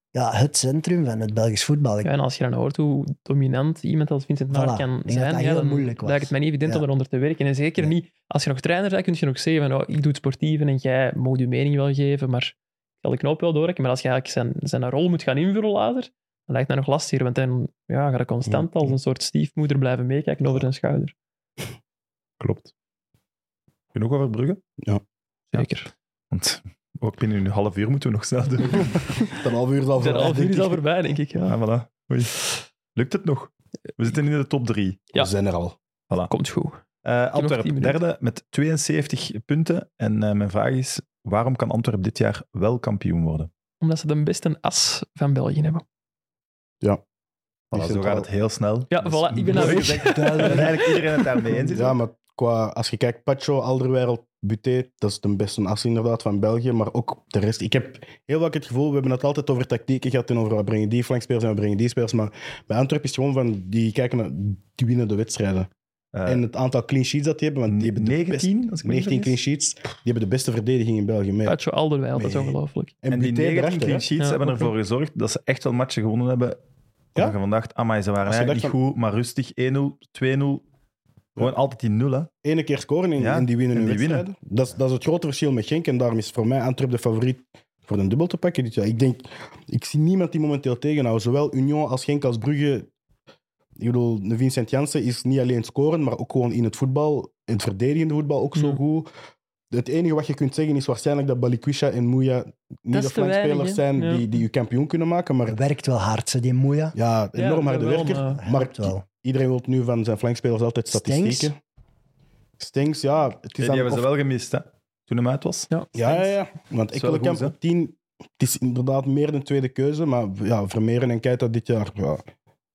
[SPEAKER 4] ja, het centrum van het Belgisch voetbal. Ik-
[SPEAKER 5] Ja, en als je dan hoort hoe dominant iemand als Vincent Maart
[SPEAKER 4] Voilà.
[SPEAKER 5] kan
[SPEAKER 4] Ik denk
[SPEAKER 5] zijn,
[SPEAKER 4] dat dat
[SPEAKER 5] ja,
[SPEAKER 4] heel
[SPEAKER 5] dan
[SPEAKER 4] moeilijk was.
[SPEAKER 5] lijkt het mij niet evident
[SPEAKER 4] Ja.
[SPEAKER 5] om eronder te werken. En zeker
[SPEAKER 4] Nee.
[SPEAKER 5] niet, als je nog trainer bent, kun je nog zeggen van, oh, ik doe het sportieven en jij mag je mening wel geven, maar ik zal de knoop wel doorhakken. Maar als je eigenlijk zijn, zijn rol moet gaan invullen later, dan lijkt dat nog lastiger, want dan ja, ga je constant als een soort stiefmoeder blijven meekijken over zijn schouder.
[SPEAKER 1] Klopt. Genoeg over Brugge?
[SPEAKER 5] Zeker.
[SPEAKER 1] Want ook binnen een half uur moeten we nog snel doen.
[SPEAKER 3] Dan half uur is al
[SPEAKER 5] Zijn
[SPEAKER 3] voorbij,
[SPEAKER 5] half uur
[SPEAKER 3] denk
[SPEAKER 5] is
[SPEAKER 3] ik.
[SPEAKER 5] al voorbij, denk ik. Ja.
[SPEAKER 1] Ja, Ah, voilà. Oei. Lukt het nog? We zitten in de top drie.
[SPEAKER 5] Ja.
[SPEAKER 3] We zijn er al.
[SPEAKER 5] Komt goed.
[SPEAKER 1] Eh
[SPEAKER 5] tien
[SPEAKER 1] Antwerp,
[SPEAKER 5] minuten.
[SPEAKER 1] derde met 72 punten. En eh, mijn vraag is, waarom kan Antwerp dit jaar wel kampioen worden?
[SPEAKER 5] Omdat ze de beste as van België hebben.
[SPEAKER 1] Voilà, Dus zo gaat het heel snel.
[SPEAKER 5] Ja,
[SPEAKER 1] Dus-
[SPEAKER 5] voilà, ik ben daar
[SPEAKER 1] Mooi
[SPEAKER 5] weg.
[SPEAKER 1] gezegd, duidelijk. En Eigenlijk iedereen het daarmee eens is.
[SPEAKER 3] Ja, maar qua, als je kijkt, Pacho, Alderweireld, Buté, dat is de beste as inderdaad van België, maar ook de rest. Ik heb heel vaak het gevoel, we hebben het altijd over tactieken gehad en over we brengen die flankspelers en we brengen die spelers, maar bij Antwerpen is het gewoon van, die kijken naar, die winnen de wedstrijden.
[SPEAKER 1] Eh,
[SPEAKER 3] en het aantal clean sheets dat die hebben, want die hebben de
[SPEAKER 1] 19, als
[SPEAKER 3] best-
[SPEAKER 1] ik me niet
[SPEAKER 3] 19 clean
[SPEAKER 1] vergis.
[SPEAKER 3] sheets, die hebben de beste verdediging in België mee.
[SPEAKER 5] Pacho Alderweireld, dat is
[SPEAKER 3] Nee.
[SPEAKER 5] ongelooflijk.
[SPEAKER 1] En die 19
[SPEAKER 3] erachter, hè.
[SPEAKER 1] clean sheets
[SPEAKER 5] Ja,
[SPEAKER 1] hebben
[SPEAKER 5] oké.
[SPEAKER 1] ervoor gezorgd dat ze echt wel matchen gewonnen hebben.
[SPEAKER 3] Ja?
[SPEAKER 1] Ja? Dat je vandaag, amai, ze waren
[SPEAKER 3] Als je
[SPEAKER 1] eigenlijk niet
[SPEAKER 3] dacht
[SPEAKER 1] goed, maar rustig. 1-0, 2-0. Gewoon altijd die nullen.
[SPEAKER 3] ene keer scoren en,
[SPEAKER 1] Ja,
[SPEAKER 3] en die winnen
[SPEAKER 1] en
[SPEAKER 3] hun
[SPEAKER 1] die
[SPEAKER 3] wedstrijden. Dat, is- dat is het grote verschil met Genk. En daarom is voor mij Antwerp de favoriet voor een dubbel te pakken dit jaar. Ik denk, ik zie niemand die momenteel tegenhoudt. Zowel Union als Genk als Brugge. Ik bedoel, de Vincent Jansen is niet alleen scoren, maar ook gewoon in het voetbal, in het verdedigende voetbal ook zo
[SPEAKER 5] Mm.
[SPEAKER 3] goed. Het enige wat je kunt zeggen is waarschijnlijk dat Balikwisha en Mouya
[SPEAKER 5] Dat
[SPEAKER 3] niet
[SPEAKER 5] is
[SPEAKER 3] de
[SPEAKER 5] te weinig,
[SPEAKER 3] flankspelers
[SPEAKER 5] hè?
[SPEAKER 3] zijn
[SPEAKER 5] Ja.
[SPEAKER 3] die, die je kampioen kunnen maken. Maar
[SPEAKER 4] Werkt wel hard, ze, die moeia.
[SPEAKER 3] ja, enorm harde
[SPEAKER 5] wel,
[SPEAKER 3] werker.
[SPEAKER 5] maar-
[SPEAKER 4] Hij
[SPEAKER 3] Maar
[SPEAKER 4] werkt wel.
[SPEAKER 3] iedereen wil nu van zijn flankspelers altijd
[SPEAKER 4] Stengs?
[SPEAKER 3] statistieken. Stengs, ja. Het
[SPEAKER 1] Die
[SPEAKER 3] aan-
[SPEAKER 1] hebben
[SPEAKER 3] of-
[SPEAKER 1] ze wel gemist, hè? Toen hem uit was.
[SPEAKER 5] Ja,
[SPEAKER 3] Ja, ja, ja. Want
[SPEAKER 1] is wel
[SPEAKER 3] Ekkelenkamp
[SPEAKER 1] goed, hè?
[SPEAKER 3] op 10, het is inderdaad meer een tweede keuze, maar ja, Vermeeren en Keita dit jaar, ja,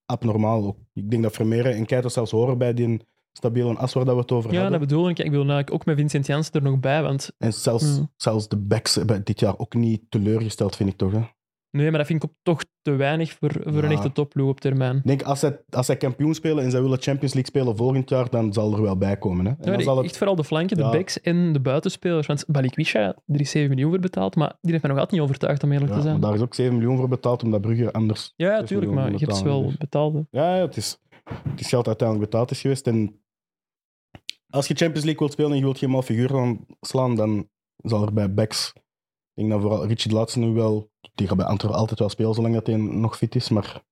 [SPEAKER 3] abnormaal ook. Ik denk dat Vermeeren en Keita zelfs horen bij die stabiele as waar dat we het over
[SPEAKER 5] Ja,
[SPEAKER 3] hadden.
[SPEAKER 5] dat bedoel nou, ik. Ik wil eigenlijk ook met Vincent Janssen er nog bij, want
[SPEAKER 3] En zelfs,
[SPEAKER 5] Ja.
[SPEAKER 3] zelfs de backs hebben dit jaar ook niet teleurgesteld, vind ik toch. Hè? Ik
[SPEAKER 5] nee, maar dat vind ik ook toch te weinig voor, voor een
[SPEAKER 3] Ja.
[SPEAKER 5] echte topploeg op termijn.
[SPEAKER 3] denk, als zij, als zij kampioen spelen en zij willen Champions League spelen volgend jaar, dan zal er wel bij komen. Hè? En
[SPEAKER 5] Nee,
[SPEAKER 3] dan
[SPEAKER 5] maar
[SPEAKER 3] zal
[SPEAKER 5] Echt
[SPEAKER 3] het...
[SPEAKER 5] vooral de flanken, de
[SPEAKER 3] Ja.
[SPEAKER 5] backs en de buitenspelers. Want Balikwisha, er is 7 miljoen voor betaald, maar die heeft mij nog altijd niet overtuigd, om eerlijk
[SPEAKER 3] Ja,
[SPEAKER 5] te zijn.
[SPEAKER 3] maar daar is ook 7 miljoen voor betaald, omdat Brugge anders
[SPEAKER 5] Ja, ja,
[SPEAKER 3] 6
[SPEAKER 5] tuurlijk,
[SPEAKER 3] miljoen
[SPEAKER 5] maar je hebt ze
[SPEAKER 3] betaald,
[SPEAKER 5] wel
[SPEAKER 3] dus.
[SPEAKER 5] betaald. hè.
[SPEAKER 3] Ja, ja, het, is, het is geld dat uiteindelijk betaald is geweest. En als je Champions League wilt spelen en je wilt geen mal figuur gaan slaan, dan zal er bij backs. Ik denk dat vooral Richie de laatste nu wel. Die gaat bij Antwerpen altijd wel spelen zolang dat hij nog fit is. Maar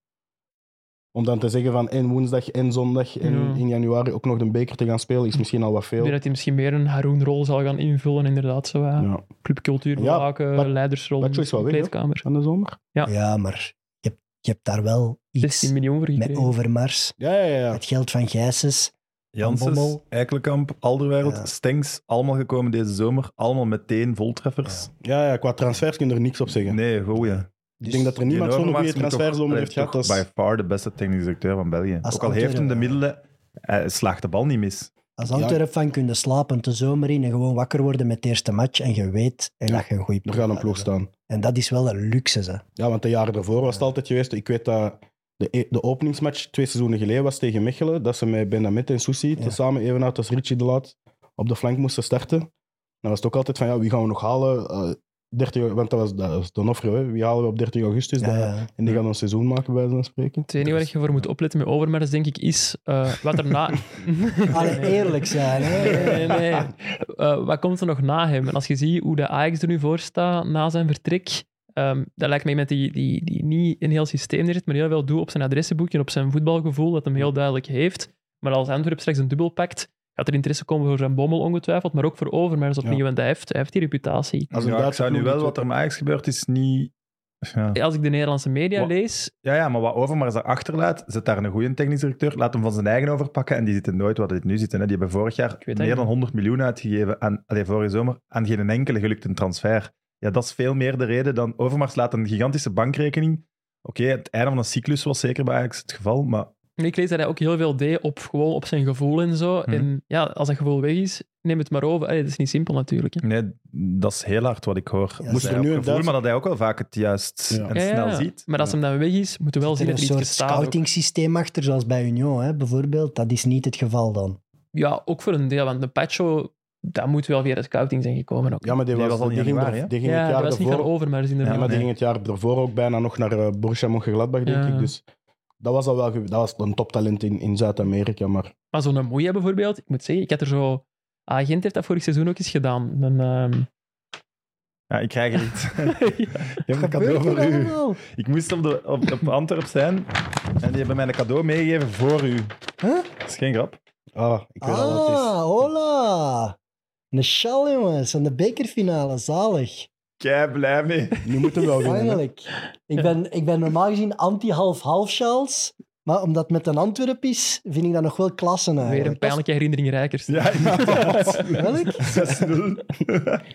[SPEAKER 3] Om dan te zeggen van en woensdag en zondag en
[SPEAKER 5] Ja.
[SPEAKER 3] in januari ook nog de beker te gaan spelen, is misschien al wat
[SPEAKER 5] Ik
[SPEAKER 3] veel.
[SPEAKER 5] denk dat hij misschien meer een Haroon-rol zal gaan invullen, inderdaad. Zo, eh,
[SPEAKER 3] Ja.
[SPEAKER 5] Clubcultuur
[SPEAKER 3] Ja,
[SPEAKER 5] bewaken,
[SPEAKER 3] Bart-
[SPEAKER 5] leidersrol,
[SPEAKER 3] Bart Joyce wel weer, hè?
[SPEAKER 5] kleedkamer.
[SPEAKER 3] Van de zomer?
[SPEAKER 5] Ja.
[SPEAKER 4] Ja, maar je hebt, je hebt daar wel
[SPEAKER 5] 16
[SPEAKER 4] iets
[SPEAKER 5] miljoen voor
[SPEAKER 4] met
[SPEAKER 5] gekregen.
[SPEAKER 4] Overmars.
[SPEAKER 3] Ja, ja, ja.
[SPEAKER 4] Het geld van Gijsens.
[SPEAKER 1] Janssens,
[SPEAKER 4] Bommel.
[SPEAKER 1] Eikelenkamp, Alderwereld,
[SPEAKER 4] Ja.
[SPEAKER 1] Stengs, allemaal gekomen deze zomer. Allemaal meteen voltreffers.
[SPEAKER 3] ja, ja qua transfers kun je er niks op zeggen.
[SPEAKER 1] Nee, goeie.
[SPEAKER 3] ik denk dat er niemand zo'n goede transferzomer heeft gehad
[SPEAKER 1] Dat
[SPEAKER 3] als...
[SPEAKER 1] is by far de beste technisch directeur van België.
[SPEAKER 4] Als
[SPEAKER 1] Ook al
[SPEAKER 4] Antwerpen,
[SPEAKER 1] heeft hem de
[SPEAKER 4] ja.
[SPEAKER 1] middelen, hij slaagt de bal niet mis.
[SPEAKER 4] Als
[SPEAKER 3] Ja.
[SPEAKER 4] Antwerp van kunnen slapen de zomer in en gewoon wakker worden met de eerste match en je weet en
[SPEAKER 3] Ja.
[SPEAKER 4] dat je een goede
[SPEAKER 3] Er gaat een ploeg staan.
[SPEAKER 4] En dat is wel een luxe, hè.
[SPEAKER 3] Ja, want de jaren daarvoor was het altijd geweest. Ik weet dat de, e- de openingsmatch twee seizoenen geleden was tegen Mechelen. Dat ze met Benamit en Soussi
[SPEAKER 4] Ja.
[SPEAKER 3] samen even uit als Richie de Laat op de flank moesten starten. Dan was het ook altijd van ja, wie gaan we nog halen? Eh, 30, want dat was, dat was Donofrio, hè. wie halen we op 13 augustus?
[SPEAKER 4] Ja,
[SPEAKER 3] Dat-
[SPEAKER 4] ja.
[SPEAKER 3] En die gaan een seizoen maken, bij zo'n spreken.
[SPEAKER 5] Het enige waar je voor moet opletten met Overmars, denk ik, is eh, wat er na...
[SPEAKER 4] Allee, eerlijk zijn, hè.
[SPEAKER 5] Nee, nee, nee. Eh, wat komt er nog na hem? En als je ziet hoe de Ajax er nu voor staat na zijn vertrek, ehm, dat lijkt me iemand die, die, die niet in heel systeem zit, maar heel veel doet op zijn adressenboekje, en op zijn voetbalgevoel, dat hem heel duidelijk heeft. Maar als Antwerp straks een dubbel pakt, gaat er interesse komen voor zijn bommel ongetwijfeld, maar ook voor Overmars opnieuw,
[SPEAKER 3] Ja.
[SPEAKER 5] want hij heeft, hij heeft die reputatie.
[SPEAKER 3] Als een
[SPEAKER 1] Ja, ik
[SPEAKER 3] Duitse
[SPEAKER 1] zou nu
[SPEAKER 3] ploeg
[SPEAKER 1] wel
[SPEAKER 3] het
[SPEAKER 1] wat er met Ajax gebeurt, is niet... Ja.
[SPEAKER 5] Als ik de Nederlandse media
[SPEAKER 1] Wat-
[SPEAKER 5] lees,
[SPEAKER 1] Ja, ja, maar wat Overmars daarachter laat, zet daar een goede technisch directeur, laat hem van zijn eigen overpakken en die zitten nooit waar dit nu zitten. Hè. Die hebben vorig jaar
[SPEAKER 5] weet het
[SPEAKER 1] meer
[SPEAKER 5] niet.
[SPEAKER 1] dan 100 miljoen uitgegeven aan, allee, vorige zomer, aan geen enkele gelukte transfer. Ja, dat is veel meer de reden dan Overmars laat een gigantische bankrekening. Oké, het einde van een cyclus was zeker bij Ajax het geval, maar
[SPEAKER 5] ik lees dat hij ook heel veel deed op, gewoon op zijn gevoel en zo.
[SPEAKER 1] Mhm.
[SPEAKER 5] En ja, als dat gevoel weg is, neem het maar over. Allee, dat is niet simpel natuurlijk. hè.
[SPEAKER 1] nee, dat is heel hard wat ik hoor.
[SPEAKER 4] Ja,
[SPEAKER 1] Dat
[SPEAKER 4] moest
[SPEAKER 1] hij
[SPEAKER 3] er
[SPEAKER 1] op
[SPEAKER 3] nu een
[SPEAKER 1] gevoel,
[SPEAKER 3] Duits-
[SPEAKER 1] Maar dat hij ook wel vaak het juist
[SPEAKER 3] Ja.
[SPEAKER 1] en
[SPEAKER 5] Ja, ja,
[SPEAKER 1] snel
[SPEAKER 5] ja.
[SPEAKER 1] ziet.
[SPEAKER 5] Maar als
[SPEAKER 3] Ja.
[SPEAKER 5] hem dan weg is, moeten we wel
[SPEAKER 4] Er
[SPEAKER 5] zien
[SPEAKER 4] zit
[SPEAKER 5] dat
[SPEAKER 4] een
[SPEAKER 5] er iets
[SPEAKER 4] soort
[SPEAKER 5] staat. ook.
[SPEAKER 4] scouting-systeon achter, zoals bij Union, hè, bijvoorbeeld. Dat is niet het geval dan.
[SPEAKER 5] Ja, ook voor een deel, want de Pacho, dat moet wel via de scouting zijn gekomen ook.
[SPEAKER 3] Ja, maar die,
[SPEAKER 1] Die
[SPEAKER 3] was,
[SPEAKER 1] was al
[SPEAKER 3] die
[SPEAKER 1] in
[SPEAKER 3] ging, er-
[SPEAKER 1] januari, hè?
[SPEAKER 3] die ging
[SPEAKER 5] Ja,
[SPEAKER 3] het jaar
[SPEAKER 5] dat was niet gaan
[SPEAKER 3] daarvoor...
[SPEAKER 5] over, maar is
[SPEAKER 3] Ja,
[SPEAKER 5] inderdaad.
[SPEAKER 3] maar die
[SPEAKER 1] nee.
[SPEAKER 3] ging het jaar daarvoor ook bijna nog naar eh, Borussia Mönchengladbach, denk
[SPEAKER 5] Ja.
[SPEAKER 3] ik. Dus dat was, al wel, ge- dat was een toptalent in, in Zuid-Amerika, maar...
[SPEAKER 5] Maar zo'n Moeja bijvoorbeeld, ik moet zeggen, ik had er zo... Agent heeft dat vorig seizoen ook eens gedaan. Een, ehm,
[SPEAKER 1] Ja, ik krijg er iets. ik heb een cadeau
[SPEAKER 4] Gebeurt er
[SPEAKER 1] voor u.
[SPEAKER 4] allemaal?
[SPEAKER 1] Ik moest op, de, op, op Antwerp zijn en die hebben mij een cadeau meegegeven voor u.
[SPEAKER 4] Huh?
[SPEAKER 1] Dat is geen grap.
[SPEAKER 3] Ah, ik weet al wat het is.
[SPEAKER 4] Ah, hola! Een sjaal, jongens, aan de bekerfinale, zalig.
[SPEAKER 1] Kei blij mee.
[SPEAKER 3] Nu moeten we wel winnen. hè.
[SPEAKER 4] Eindelijk. Ik ben, ik ben normaal gezien anti-half-half sjaals, maar omdat het met een Antwerp is, vind ik dat nog wel klassen
[SPEAKER 5] weer een
[SPEAKER 4] eigenlijk.
[SPEAKER 5] pijnlijke herinnering Rijkers.
[SPEAKER 1] Ja, inderdaad.
[SPEAKER 4] Welk?
[SPEAKER 1] 6-0.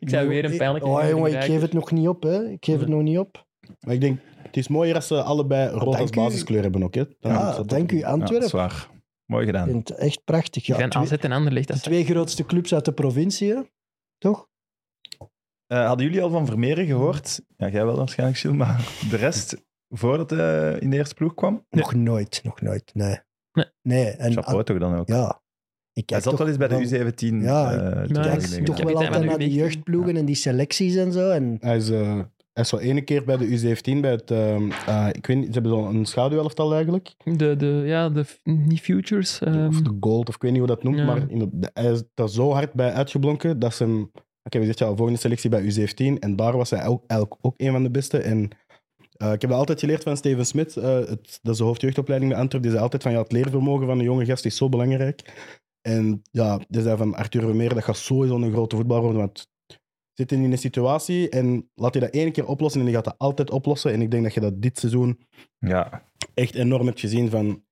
[SPEAKER 5] Ik zei weer een pijnlijke
[SPEAKER 4] Oh,
[SPEAKER 5] herinnering
[SPEAKER 4] jongen, ik geef
[SPEAKER 5] Rijkers.
[SPEAKER 4] het nog niet op, hè. Ik geef het nog niet op.
[SPEAKER 3] Maar ik denk, het is mooier als ze allebei rood
[SPEAKER 4] Dank
[SPEAKER 3] als
[SPEAKER 4] u.
[SPEAKER 3] basiskleur hebben ook. Hè? Dan
[SPEAKER 4] Ja,
[SPEAKER 3] is dat
[SPEAKER 4] Ah, dank
[SPEAKER 3] ook-
[SPEAKER 4] u,
[SPEAKER 1] Ja,
[SPEAKER 4] Antwerp.
[SPEAKER 1] zwaar. Mooi
[SPEAKER 4] ik
[SPEAKER 1] gedaan.
[SPEAKER 4] vind het echt prachtig.
[SPEAKER 5] Die
[SPEAKER 4] Ja,
[SPEAKER 5] gaan
[SPEAKER 4] twee,
[SPEAKER 5] AZ en Anderlecht.
[SPEAKER 4] de
[SPEAKER 5] Dat is
[SPEAKER 4] twee grootste clubs uit de provincie, hè. toch?
[SPEAKER 1] Eh, hadden jullie al van Vermeeren gehoord? Ja, jij wel waarschijnlijk, Gilles, maar de rest, voordat hij in de eerste ploeg kwam?
[SPEAKER 4] Nog nooit, nog nooit, nee.
[SPEAKER 5] Nee.
[SPEAKER 4] en,
[SPEAKER 1] Chapeau toch dan ook.
[SPEAKER 4] ja. Ik
[SPEAKER 1] Hij
[SPEAKER 4] kijk
[SPEAKER 1] zat
[SPEAKER 4] toch
[SPEAKER 1] wel eens bij de
[SPEAKER 4] wel-
[SPEAKER 1] U17.
[SPEAKER 4] Ja,
[SPEAKER 1] eh,
[SPEAKER 5] ik
[SPEAKER 1] toen
[SPEAKER 5] kijk
[SPEAKER 1] hij
[SPEAKER 4] kijk
[SPEAKER 5] Ja,
[SPEAKER 1] meegegaan.
[SPEAKER 4] toch wel
[SPEAKER 5] kapitein
[SPEAKER 4] altijd
[SPEAKER 5] van de
[SPEAKER 4] naar die
[SPEAKER 5] U19.
[SPEAKER 4] jeugdploegen en die selecties en zo. En
[SPEAKER 3] Hij is, eh, hij is zo ene keer bij de U17, bij het, ehm, eh, ik weet niet, ze hebben zo'n schaduwelftal eigenlijk.
[SPEAKER 5] de, de, ja, de, f- niet futures. ehm,
[SPEAKER 3] of de gold, of ik weet niet hoe dat noemt,
[SPEAKER 5] ja.
[SPEAKER 3] maar in de, de- hij is daar zo hard bij uitgeblonken dat ze hem... Oké, we zitten al volgende selectie bij U17 en daar was hij ook, eigenlijk ook een van de beste. En eh, ik heb dat altijd geleerd van Steven Smit, eh, het, dat is de hoofdjeugdopleiding bij Antwerp, die zei altijd van ja, het leervermogen van een jonge gast is zo belangrijk. En ja, die zei van Arthur Vermeer, dat gaat sowieso een grote voetballer worden, want zit in een situatie en laat hij dat één keer oplossen en die gaat dat altijd oplossen. En ik denk dat je dat dit seizoen
[SPEAKER 1] Ja,
[SPEAKER 3] echt enorm hebt gezien van...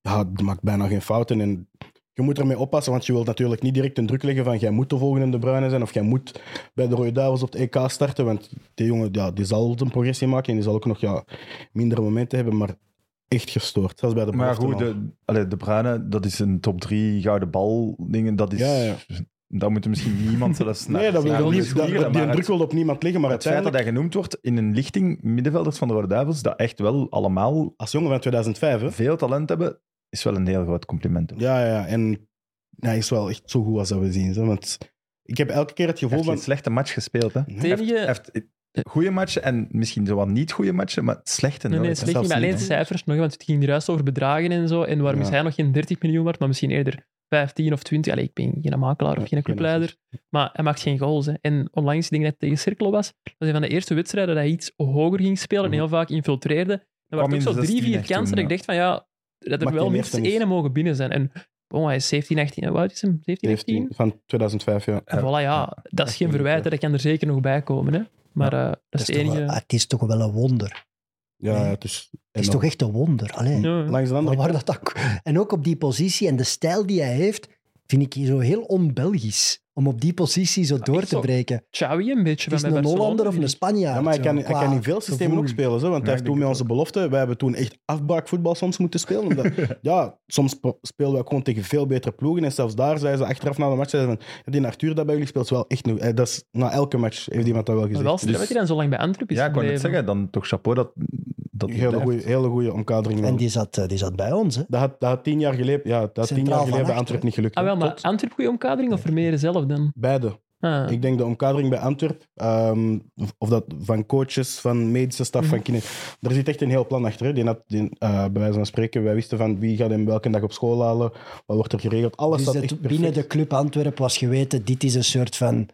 [SPEAKER 3] Ja, die maakt bijna geen fouten. En je moet ermee oppassen, want je wilt natuurlijk niet direct een druk leggen van... Jij moet de volgende De Bruyne zijn of jij moet bij de Rode Duivels op het EK starten. Want die jongen ja, die zal een progressie maken en die zal ook nog ja, mindere momenten hebben. Maar echt gestoord, zelfs bij de
[SPEAKER 1] maar goed,
[SPEAKER 3] belofte al.
[SPEAKER 1] de, allee, de Bruyne, dat is een top 3 gouden bal dingen. Dat is...
[SPEAKER 3] Ja, ja.
[SPEAKER 1] Dat moet er misschien niemand zelfs naar
[SPEAKER 3] Nee, dat wil
[SPEAKER 1] naar
[SPEAKER 3] dat-
[SPEAKER 1] niet
[SPEAKER 3] dat-
[SPEAKER 1] spiegelen,
[SPEAKER 3] die
[SPEAKER 1] maar
[SPEAKER 3] druk
[SPEAKER 1] het-
[SPEAKER 3] wil op niemand liggen, maar
[SPEAKER 1] het feit dat
[SPEAKER 3] uiteindelijk...
[SPEAKER 1] hij genoemd wordt in een lichting middenvelders van de Rode Duivels, dat echt wel allemaal
[SPEAKER 3] Als jongen van 2005, hè?
[SPEAKER 1] veel talent hebben, is wel een heel groot compliment. Hij
[SPEAKER 3] Ja, ja, en hij is wel echt zo goed als dat we zien. Hè? Want ik heb elke keer het gevoel
[SPEAKER 1] heeft geen
[SPEAKER 3] van...
[SPEAKER 1] slechte match gespeeld. Hè.
[SPEAKER 5] Het enige-
[SPEAKER 1] Hij heeft goede matchen en misschien zo wat niet goede matchen, maar slechte
[SPEAKER 5] Nee, nee,
[SPEAKER 1] nooit.
[SPEAKER 5] het is niet, maar
[SPEAKER 1] Zelfs
[SPEAKER 5] alleen
[SPEAKER 1] niet, hè.
[SPEAKER 5] cijfers nog, want het ging hier juist over bedragen en zo. En waarom
[SPEAKER 3] Ja.
[SPEAKER 5] is hij nog geen 30 miljoen waard, maar misschien eerder 15 of 20? Allee, ik ben geen makelaar of
[SPEAKER 3] Ja,
[SPEAKER 5] geen
[SPEAKER 3] geen
[SPEAKER 5] clubleider, maar hij maakt geen goals. Hè. En onlangs, ik denk dat het tegen Cirkel was, dat hij van de eerste wedstrijden dat hij iets hoger ging spelen en heel vaak infiltreerde. Er waren
[SPEAKER 1] Kwam
[SPEAKER 5] ook zo
[SPEAKER 1] in
[SPEAKER 5] drie,
[SPEAKER 1] 16
[SPEAKER 5] vier
[SPEAKER 1] echt
[SPEAKER 5] kansen
[SPEAKER 1] toen,
[SPEAKER 5] dat ik dacht van ja, dat er
[SPEAKER 3] Maakt
[SPEAKER 5] wel
[SPEAKER 3] geen
[SPEAKER 5] minstens
[SPEAKER 3] eerste
[SPEAKER 5] ene mogen binnen zijn. En oh, hij is 17, 18, en hoe oud is hem? 17, 18?
[SPEAKER 3] 17 van 2005, ja.
[SPEAKER 5] En voilà, ja, dat is geen verwijt, hè. dat kan er zeker nog bij komen. Hè. Maar eh, dat
[SPEAKER 4] Dat
[SPEAKER 5] is de
[SPEAKER 4] is toch wel-
[SPEAKER 5] enige...
[SPEAKER 4] ah, het is toch wel een wonder.
[SPEAKER 3] Ja, het is...
[SPEAKER 4] Het is Oh, toch echt een wonder. Allee,
[SPEAKER 5] Ja.
[SPEAKER 3] Langs de
[SPEAKER 4] maar
[SPEAKER 3] andere
[SPEAKER 4] waar dat ook- En ook op die positie en de stijl die hij heeft, vind ik hier zo heel on-Belgisch. Om op die positie zo door
[SPEAKER 5] echt
[SPEAKER 4] te
[SPEAKER 5] zo.
[SPEAKER 4] breken.
[SPEAKER 5] Chawi een beetje
[SPEAKER 4] Het is
[SPEAKER 5] van bij
[SPEAKER 4] een
[SPEAKER 5] Barcelona,
[SPEAKER 4] Hollander of
[SPEAKER 5] vind
[SPEAKER 4] een
[SPEAKER 5] ik.
[SPEAKER 4] Spanjaard.
[SPEAKER 3] Ja, maar hij
[SPEAKER 4] zo,
[SPEAKER 3] kan, hij
[SPEAKER 4] qua
[SPEAKER 3] kan in veel systemen
[SPEAKER 4] gevoel.
[SPEAKER 3] ook spelen. Zo, want hij
[SPEAKER 1] Ja, ik
[SPEAKER 3] heeft toen
[SPEAKER 1] denk het
[SPEAKER 3] met onze belofte... Wij hebben toen echt afbraakvoetbal soms moeten spelen. Omdat, ja, soms sp- speelden we gewoon tegen veel betere ploegen. En zelfs daar zeiden ze achteraf na de match... Zeiden ze van, die Arthur dat bij jullie speelt is wel echt... nieuw." Eh, Dat is, na elke match heeft iemand dat wel
[SPEAKER 5] Maar
[SPEAKER 3] gezegd. Dus
[SPEAKER 5] wel slim dat hij dan zo lang bij Antwerp is
[SPEAKER 1] Dus- Ja, ik kon net
[SPEAKER 5] gebleven.
[SPEAKER 1] zeggen, dan toch chapeau dat... dat het
[SPEAKER 3] hele
[SPEAKER 1] blijft.
[SPEAKER 3] goede, hele goede omkadering.
[SPEAKER 4] En
[SPEAKER 3] wel.
[SPEAKER 4] die zat, eh, die zat bij ons. Hè.
[SPEAKER 3] Dat, had, dat had tien jaar geleden... Ja, dat had tien
[SPEAKER 4] Centraal
[SPEAKER 3] jaar
[SPEAKER 4] van
[SPEAKER 3] geleden bij
[SPEAKER 4] achter,
[SPEAKER 3] Antwerp
[SPEAKER 4] hè?
[SPEAKER 3] niet gelukt.
[SPEAKER 5] Ah wel, maar
[SPEAKER 3] Tot-
[SPEAKER 5] Antwerp goede omkadering of Vermeer zelf dan?
[SPEAKER 3] Beide.
[SPEAKER 5] Ah.
[SPEAKER 3] Ik denk de omkadering bij Antwerp, ehm, of dat van coaches, van medische staf,
[SPEAKER 4] Mhm.
[SPEAKER 3] van kinderen. Er zit echt een heel plan achter. hè. Die had, die, eh, bij wijze van spreken, wij wisten van wie gaat hem welke dag op school halen, wat wordt er geregeld. Alles
[SPEAKER 4] Dus
[SPEAKER 3] zat
[SPEAKER 4] het-
[SPEAKER 3] echt perfect.
[SPEAKER 4] binnen de club Antwerpen was geweten, dit is een soort van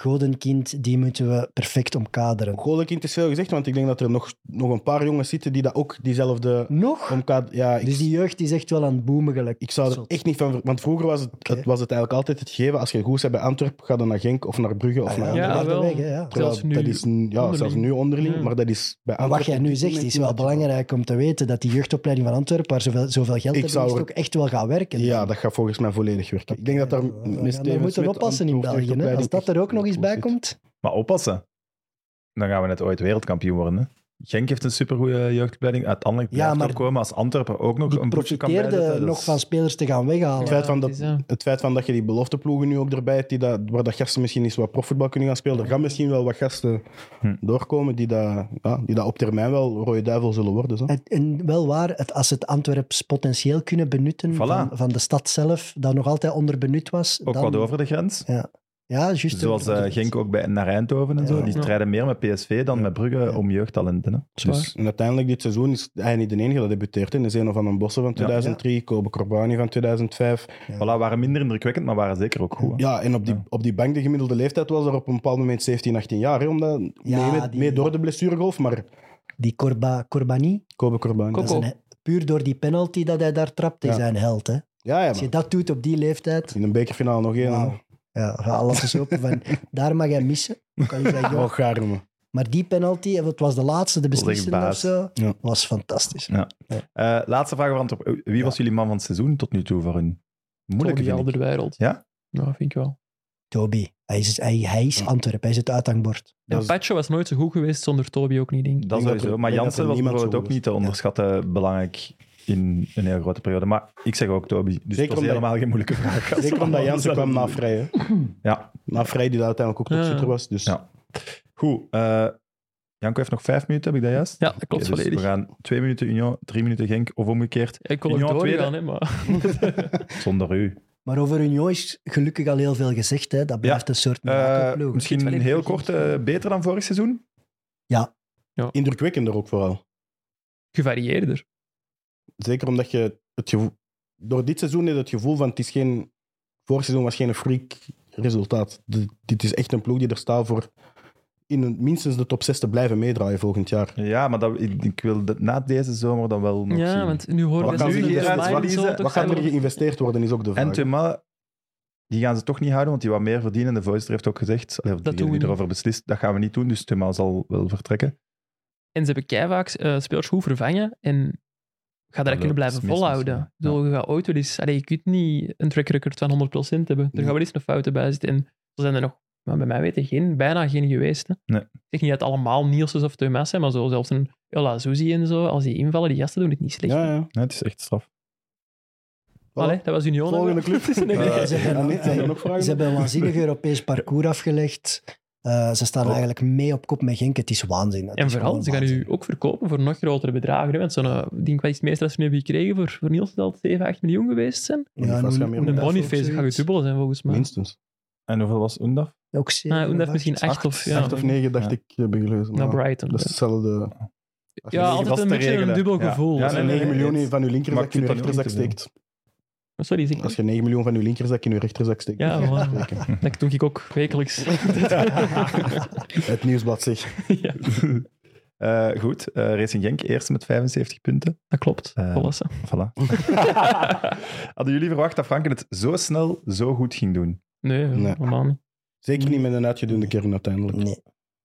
[SPEAKER 4] godenkind, die moeten we perfect omkaderen.
[SPEAKER 3] Golenkind is veel gezegd, want ik denk dat er nog, nog een paar jongens zitten die dat ook diezelfde
[SPEAKER 4] Nog?
[SPEAKER 3] omkadering... Ja, ik,
[SPEAKER 4] Dus die jeugd is echt wel aan het boomen gelijk.
[SPEAKER 3] ik zou er
[SPEAKER 4] Zot.
[SPEAKER 3] echt niet van... ver- Want vroeger was het,
[SPEAKER 4] Oké.
[SPEAKER 3] het- was het eigenlijk altijd het gegeven, als je goed bent bij Antwerp, ga dan naar Genk of naar Brugge of
[SPEAKER 4] Ah,
[SPEAKER 3] naar
[SPEAKER 4] ja,
[SPEAKER 5] Ja,
[SPEAKER 3] Anderlecht.
[SPEAKER 4] inderdaad,
[SPEAKER 5] wel.
[SPEAKER 4] weg, hè, ja.
[SPEAKER 3] Terwijl
[SPEAKER 5] zelfs nu
[SPEAKER 3] dat is, n- ja, zelfs
[SPEAKER 5] onderling.
[SPEAKER 3] nu onderling,
[SPEAKER 5] Ja.
[SPEAKER 3] maar dat is bij
[SPEAKER 4] Maar
[SPEAKER 3] Antwerp...
[SPEAKER 4] wat jij nu zegt is wel belangrijk om te weten dat die jeugdopleiding van Antwerpen, waar zoveel, zoveel geld
[SPEAKER 3] Ik
[SPEAKER 4] hebben,
[SPEAKER 3] zou
[SPEAKER 4] is
[SPEAKER 3] er-
[SPEAKER 4] ook echt wel gaat werken.
[SPEAKER 3] Ja, dat gaat volgens mij volledig werken. Ik denk dat daar
[SPEAKER 4] Ja, we
[SPEAKER 3] meneer
[SPEAKER 4] we
[SPEAKER 3] Stevens
[SPEAKER 4] moeten
[SPEAKER 3] met
[SPEAKER 4] oppassen in
[SPEAKER 3] antwoord echt
[SPEAKER 4] België.
[SPEAKER 3] op
[SPEAKER 4] Hè? Als
[SPEAKER 3] leiding
[SPEAKER 4] dat er ook nog eens
[SPEAKER 3] echt
[SPEAKER 4] bij
[SPEAKER 3] goed
[SPEAKER 4] komt.
[SPEAKER 1] Maar oppassen. Dan gaan we net ooit wereldkampioen worden. Hè? Genk heeft een supergoeie eh, jeugdopleiding. Uiteindelijk
[SPEAKER 4] Ja,
[SPEAKER 1] blijft
[SPEAKER 4] maar
[SPEAKER 1] er komen als Antwerpen ook nog
[SPEAKER 4] Die
[SPEAKER 1] een ploegje kan
[SPEAKER 4] profiteerde
[SPEAKER 1] bijzetten. Dat
[SPEAKER 4] nog
[SPEAKER 1] is-
[SPEAKER 4] van spelers te gaan
[SPEAKER 5] Ja,
[SPEAKER 4] weghalen.
[SPEAKER 3] Het feit van
[SPEAKER 5] het
[SPEAKER 3] dat-
[SPEAKER 5] is, ja.
[SPEAKER 3] zit. Het feit van dat je die belofteploegen nu ook erbij hebt, die dat, waar dat gasten misschien eens wat profvoetbal kunnen gaan spelen, er gaan misschien wel wat gasten
[SPEAKER 1] Hm.
[SPEAKER 3] doorkomen die dat, ja, die dat op termijn wel rode duivel zullen worden. Zo.
[SPEAKER 4] En, en wel waar, het, als het Antwerps potentieel kunnen benutten
[SPEAKER 1] Voilà.
[SPEAKER 4] van, van de stad zelf, dat nog altijd onderbenut was.
[SPEAKER 1] Ook
[SPEAKER 4] dan,
[SPEAKER 1] wat over de grens.
[SPEAKER 4] Ja, juist.
[SPEAKER 1] Zoals eh,
[SPEAKER 4] over de grens.
[SPEAKER 1] Genk ook bij, naar Eindhoven en
[SPEAKER 4] Ja.
[SPEAKER 1] zo. Die
[SPEAKER 5] Ja.
[SPEAKER 1] strijden meer met PSV dan
[SPEAKER 3] Ja.
[SPEAKER 1] met Brugge
[SPEAKER 4] Ja.
[SPEAKER 1] om jeugdtalenten. Hè?
[SPEAKER 5] waar.
[SPEAKER 3] Dus, en uiteindelijk dit seizoen is hij niet de enige dat debuteert. hè. Er is een van den Bossen van 2003, Kobe Corbani van 2005.
[SPEAKER 1] Voilà, waren minder indrukwekkend, maar waren zeker ook goed. hè.
[SPEAKER 3] Ja, en op die,
[SPEAKER 1] Ja.
[SPEAKER 3] op die bank, de gemiddelde leeftijd was er op een bepaald moment 17, 18 jaar. Hè, omdat,
[SPEAKER 4] Ja,
[SPEAKER 3] mee, met-
[SPEAKER 4] die-
[SPEAKER 3] mee door de blessuregolf, maar
[SPEAKER 4] Die Corba, Corbani,
[SPEAKER 3] Kobe Corbani.
[SPEAKER 4] dat is
[SPEAKER 5] Coco.
[SPEAKER 4] een- puur door die penalty dat hij daar trapt, is
[SPEAKER 3] Ja.
[SPEAKER 4] hij een held. Hè?
[SPEAKER 3] Ja, ja,
[SPEAKER 4] Als je
[SPEAKER 3] maar
[SPEAKER 4] dat doet op die leeftijd,
[SPEAKER 3] in een bekerfinale nog één.
[SPEAKER 4] Wauw. ja, ga alles eens open van, daar mag hij missen. Dan Kan je zeggen, joh,
[SPEAKER 3] Oh, garme.
[SPEAKER 4] Maar die penalty, het was de laatste, de
[SPEAKER 1] Dat was echt
[SPEAKER 4] beslissende of
[SPEAKER 1] baas.
[SPEAKER 4] zo,
[SPEAKER 3] Ja.
[SPEAKER 4] was fantastisch.
[SPEAKER 1] Eh, laatste vraag voor Antwerpen. Wie was jullie man van het seizoen tot nu toe voor hun moeilijke
[SPEAKER 5] Moeilijke
[SPEAKER 1] vind ik.
[SPEAKER 5] wereld.
[SPEAKER 1] Ja?
[SPEAKER 5] Nou, vind ik wel.
[SPEAKER 4] Toby, hij is, hij, hij is
[SPEAKER 3] Ja.
[SPEAKER 4] Antwerp, hij is het uithangbord.
[SPEAKER 3] Dat
[SPEAKER 5] En
[SPEAKER 3] is-
[SPEAKER 5] Pacho was nooit zo goed geweest zonder Toby ook niet, denk ik.
[SPEAKER 1] Dat
[SPEAKER 3] denk dat
[SPEAKER 1] sowieso.
[SPEAKER 3] er-
[SPEAKER 1] maar
[SPEAKER 3] ik denk dat
[SPEAKER 1] Jansen
[SPEAKER 3] er
[SPEAKER 1] was
[SPEAKER 3] niemand
[SPEAKER 1] bijvoorbeeld
[SPEAKER 3] zo
[SPEAKER 1] ook
[SPEAKER 3] goed is.
[SPEAKER 1] niet te onderschatten belangrijk in een heel grote periode. Maar ik zeg ook Toby. Dus
[SPEAKER 3] Zeker
[SPEAKER 1] het was
[SPEAKER 3] omdat-
[SPEAKER 1] helemaal geen moeilijke vraag.
[SPEAKER 3] Zeker omdat Jansen kwam na Vrij. hè.
[SPEAKER 1] Ja,
[SPEAKER 3] Na Vrij, die daar uiteindelijk ook
[SPEAKER 5] Ja.
[SPEAKER 3] topschutter was. Dus
[SPEAKER 1] Ja. goed. eh, Janko heeft nog vijf minuten, heb ik dat juist?
[SPEAKER 5] Ja, dat klopt
[SPEAKER 1] Oké, dus
[SPEAKER 5] volledig.
[SPEAKER 1] We gaan twee minuten Union, drie minuten Genk of omgekeerd.
[SPEAKER 5] Ik kon
[SPEAKER 1] Union
[SPEAKER 5] ook
[SPEAKER 1] tweede.
[SPEAKER 5] doorgaan, hè, maar...
[SPEAKER 1] Zonder u.
[SPEAKER 4] Maar over Union is gelukkig al heel veel gezegd. Hè. Dat blijft een soort
[SPEAKER 1] Eh
[SPEAKER 4] mirakelploeg.
[SPEAKER 1] misschien
[SPEAKER 5] Iets wel
[SPEAKER 1] heel
[SPEAKER 5] even
[SPEAKER 1] kort, eh, beter dan vorig seizoen?
[SPEAKER 3] indrukwekkender ook vooral.
[SPEAKER 5] Gevarieerder.
[SPEAKER 3] Zeker omdat je het gevoel... Door dit seizoen is het gevoel van... Het is geen... Vorig seizoen was geen freak resultaat. D- dit is echt een ploeg die er staat voor in een- minstens de top 6 te blijven meedraaien volgend jaar.
[SPEAKER 1] Ja, maar dat, ik, ik wil dat na deze zomer dan wel nog zien.
[SPEAKER 5] Ja, want nu horen
[SPEAKER 1] Wat
[SPEAKER 5] we
[SPEAKER 1] kan
[SPEAKER 5] dat
[SPEAKER 1] nu
[SPEAKER 5] de
[SPEAKER 1] hieruit
[SPEAKER 5] slide en
[SPEAKER 1] verliezen?
[SPEAKER 5] zo,
[SPEAKER 1] Wat
[SPEAKER 5] toch
[SPEAKER 3] Wat gaat er
[SPEAKER 5] zijn we-
[SPEAKER 3] geïnvesteerd worden, is ook de
[SPEAKER 1] En
[SPEAKER 3] vraag.
[SPEAKER 1] Thuma, die gaan ze toch niet houden, want die wat meer verdienen. De voice heeft ook gezegd, allee, of
[SPEAKER 5] Dat
[SPEAKER 1] degene
[SPEAKER 5] doen
[SPEAKER 1] die
[SPEAKER 5] we niet.
[SPEAKER 1] erover beslist, dat gaan we niet doen. Dus Thuma zal wel vertrekken.
[SPEAKER 5] En ze hebben keivaak eh, spelers goed vervangen en ga dat
[SPEAKER 1] loopt
[SPEAKER 5] kunnen
[SPEAKER 1] het
[SPEAKER 5] blijven
[SPEAKER 1] mis
[SPEAKER 5] volhouden.
[SPEAKER 1] misschien,
[SPEAKER 5] Ik bedoel, Je gaat ooit wel eens... Allee, je kunt niet een track record van 100% hebben. Er
[SPEAKER 3] Nee.
[SPEAKER 5] gaan wel eens nog fouten bij zitten. En er zijn er nog, maar bij mij weten, geen, bijna geen geweest. Hè.
[SPEAKER 1] Nee.
[SPEAKER 5] Ik zeg niet dat het allemaal Nielsens of Thomas zijn, maar zo, zelfs een Ella Suzy en zo, als die invallen, die gasten doen het niet slecht.
[SPEAKER 3] Ja, ja.
[SPEAKER 1] Nee, het is echt straf.
[SPEAKER 5] Allee, dat was Union.
[SPEAKER 3] Volgende
[SPEAKER 5] hè.
[SPEAKER 3] club.
[SPEAKER 5] Nee, nee.
[SPEAKER 3] Eh,
[SPEAKER 4] Ze hebben-
[SPEAKER 3] Annette, zijn er nog vragen?
[SPEAKER 4] Ze hebben een waanzinnig Europees parcours afgelegd. Eh, ze staan
[SPEAKER 1] Oh.
[SPEAKER 4] eigenlijk mee op kop met Genk. Het is waanzin. Het
[SPEAKER 5] En
[SPEAKER 4] is
[SPEAKER 5] vooral,
[SPEAKER 4] gewoon
[SPEAKER 5] ze gaan
[SPEAKER 4] waanzin.
[SPEAKER 5] u ook verkopen voor nog grotere bedragen. Hè? Want zo'n, eh, denk wat is het meest dat ze nu hebben gekregen voor, voor Niels, zal het 7, 8 miljoen geweest zijn.
[SPEAKER 4] Ja,
[SPEAKER 3] Boniface
[SPEAKER 4] en
[SPEAKER 3] gaat meer
[SPEAKER 5] En een
[SPEAKER 3] Oendaf of
[SPEAKER 5] Boniface
[SPEAKER 3] zoiets.
[SPEAKER 5] gaat het dubbel zijn volgens mij.
[SPEAKER 3] Minstens.
[SPEAKER 1] En hoeveel was Undaf?
[SPEAKER 4] Ook zeven
[SPEAKER 5] Ah,
[SPEAKER 4] of
[SPEAKER 5] Oendaf
[SPEAKER 4] acht.
[SPEAKER 5] misschien 8 of, ja,
[SPEAKER 3] Acht of negen,
[SPEAKER 1] Ja.
[SPEAKER 3] dacht ik, heb ik gelezen.
[SPEAKER 5] naar
[SPEAKER 3] Maar
[SPEAKER 5] Brighton.
[SPEAKER 3] Dat is hetzelfde. Als je
[SPEAKER 5] Ja,
[SPEAKER 3] negen-
[SPEAKER 5] altijd
[SPEAKER 1] vast
[SPEAKER 5] een
[SPEAKER 1] te
[SPEAKER 5] beetje een
[SPEAKER 1] regelen.
[SPEAKER 5] dubbel
[SPEAKER 1] Ja.
[SPEAKER 5] gevoel.
[SPEAKER 1] Ja,
[SPEAKER 3] Als je
[SPEAKER 1] nee,
[SPEAKER 3] 9
[SPEAKER 1] nee,
[SPEAKER 3] miljoen
[SPEAKER 1] het-
[SPEAKER 3] van je
[SPEAKER 1] maar
[SPEAKER 3] linkerzak
[SPEAKER 1] ik
[SPEAKER 3] in je
[SPEAKER 1] vind dat
[SPEAKER 3] rechterzak
[SPEAKER 1] niet te
[SPEAKER 3] steekt.
[SPEAKER 5] Sorry, zeg
[SPEAKER 3] Als
[SPEAKER 5] ik.
[SPEAKER 3] je 9 miljoen van je linkerzak in je rechterzak steekt.
[SPEAKER 5] Ja,
[SPEAKER 3] moet je
[SPEAKER 5] voilà.
[SPEAKER 3] steken.
[SPEAKER 5] Dat doe ik ook wekelijks.
[SPEAKER 3] Het nieuwsblad zegt.
[SPEAKER 5] ja.
[SPEAKER 1] Eh, Eh, goed, eh, Racing Genk eerste met 75 punten.
[SPEAKER 5] Dat klopt.
[SPEAKER 1] Eh,
[SPEAKER 5] Volwassen.
[SPEAKER 1] Voilà. Hadden jullie verwacht dat Franken het zo snel, zo goed ging doen?
[SPEAKER 5] Nee,
[SPEAKER 3] Nee.
[SPEAKER 5] helemaal niet.
[SPEAKER 3] Zeker niet met een uitgedoende kern uiteindelijk.
[SPEAKER 4] Nee.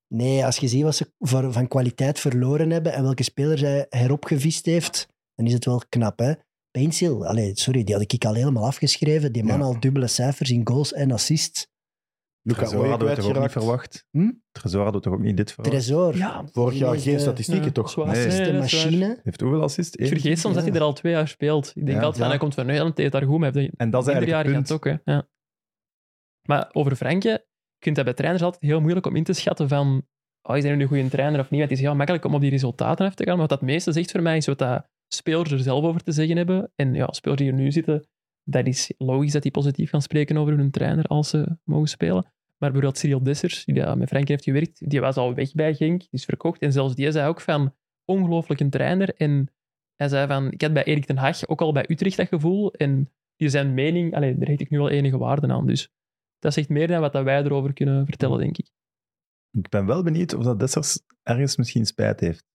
[SPEAKER 4] nee, als je ziet wat ze voor- van kwaliteit verloren hebben en welke speler zij heropgevist heeft, dan is het wel knap, hè? Pencil, allee, sorry, die had ik al helemaal afgeschreven. Die man
[SPEAKER 3] Ja.
[SPEAKER 4] al dubbele cijfers in goals en assists.
[SPEAKER 3] Luca
[SPEAKER 1] Tresor
[SPEAKER 3] Oye
[SPEAKER 1] hadden we toch ook niet
[SPEAKER 3] kwijtgeraakt.
[SPEAKER 1] verwacht?
[SPEAKER 4] Hm?
[SPEAKER 1] Tresor hadden we toch ook niet dit verwacht?
[SPEAKER 4] Tresor.
[SPEAKER 5] Ja,
[SPEAKER 3] Vorig
[SPEAKER 4] Die
[SPEAKER 3] jaar
[SPEAKER 4] is
[SPEAKER 3] geen
[SPEAKER 4] de-
[SPEAKER 3] statistieken
[SPEAKER 5] nee,
[SPEAKER 3] toch?
[SPEAKER 5] eh, zwaar.
[SPEAKER 1] Nee.
[SPEAKER 5] Nee,
[SPEAKER 4] Dat is de
[SPEAKER 5] dat is waar.
[SPEAKER 4] machine.
[SPEAKER 1] Heeft hoeveel assist?
[SPEAKER 5] Ik
[SPEAKER 1] Eén?
[SPEAKER 5] vergeet soms dat hij er al twee jaar speelt. Ik denk
[SPEAKER 1] Ja.
[SPEAKER 5] altijd van,
[SPEAKER 1] Ja.
[SPEAKER 5] hij komt van Nederland, hij heeft daar goed mee. Hij heeft
[SPEAKER 1] En dat is
[SPEAKER 5] ieder jaar
[SPEAKER 1] eigenlijk het
[SPEAKER 5] gaat
[SPEAKER 1] punt.
[SPEAKER 5] ook, hè. Ja. Maar over Franke, je kunt dat bij trainers altijd heel moeilijk om in te schatten van, oh, is hij nu een goede trainer of niet? Want het is heel makkelijk om op die resultaten af te gaan. Maar wat dat meeste zegt voor mij is wat dat spelers er zelf over te zeggen hebben. En ja, spelers die er nu zitten, dat is logisch dat die positief gaan spreken over hun trainer als ze mogen spelen. Maar bijvoorbeeld Cyril Dessers, die daar met Frankie heeft gewerkt, die was al weg bij Genk, die is verkocht. En zelfs die zei ook van, ongelooflijk een trainer. En hij zei van, ik had bij Erik ten Hag ook al bij Utrecht dat gevoel. En die zijn mening, allee, daar heet ik nu wel enige waarde aan. Dus dat zegt meer dan wat dat wij erover kunnen vertellen, denk ik.
[SPEAKER 1] Ik ben wel benieuwd of dat Dessers ergens misschien spijt heeft.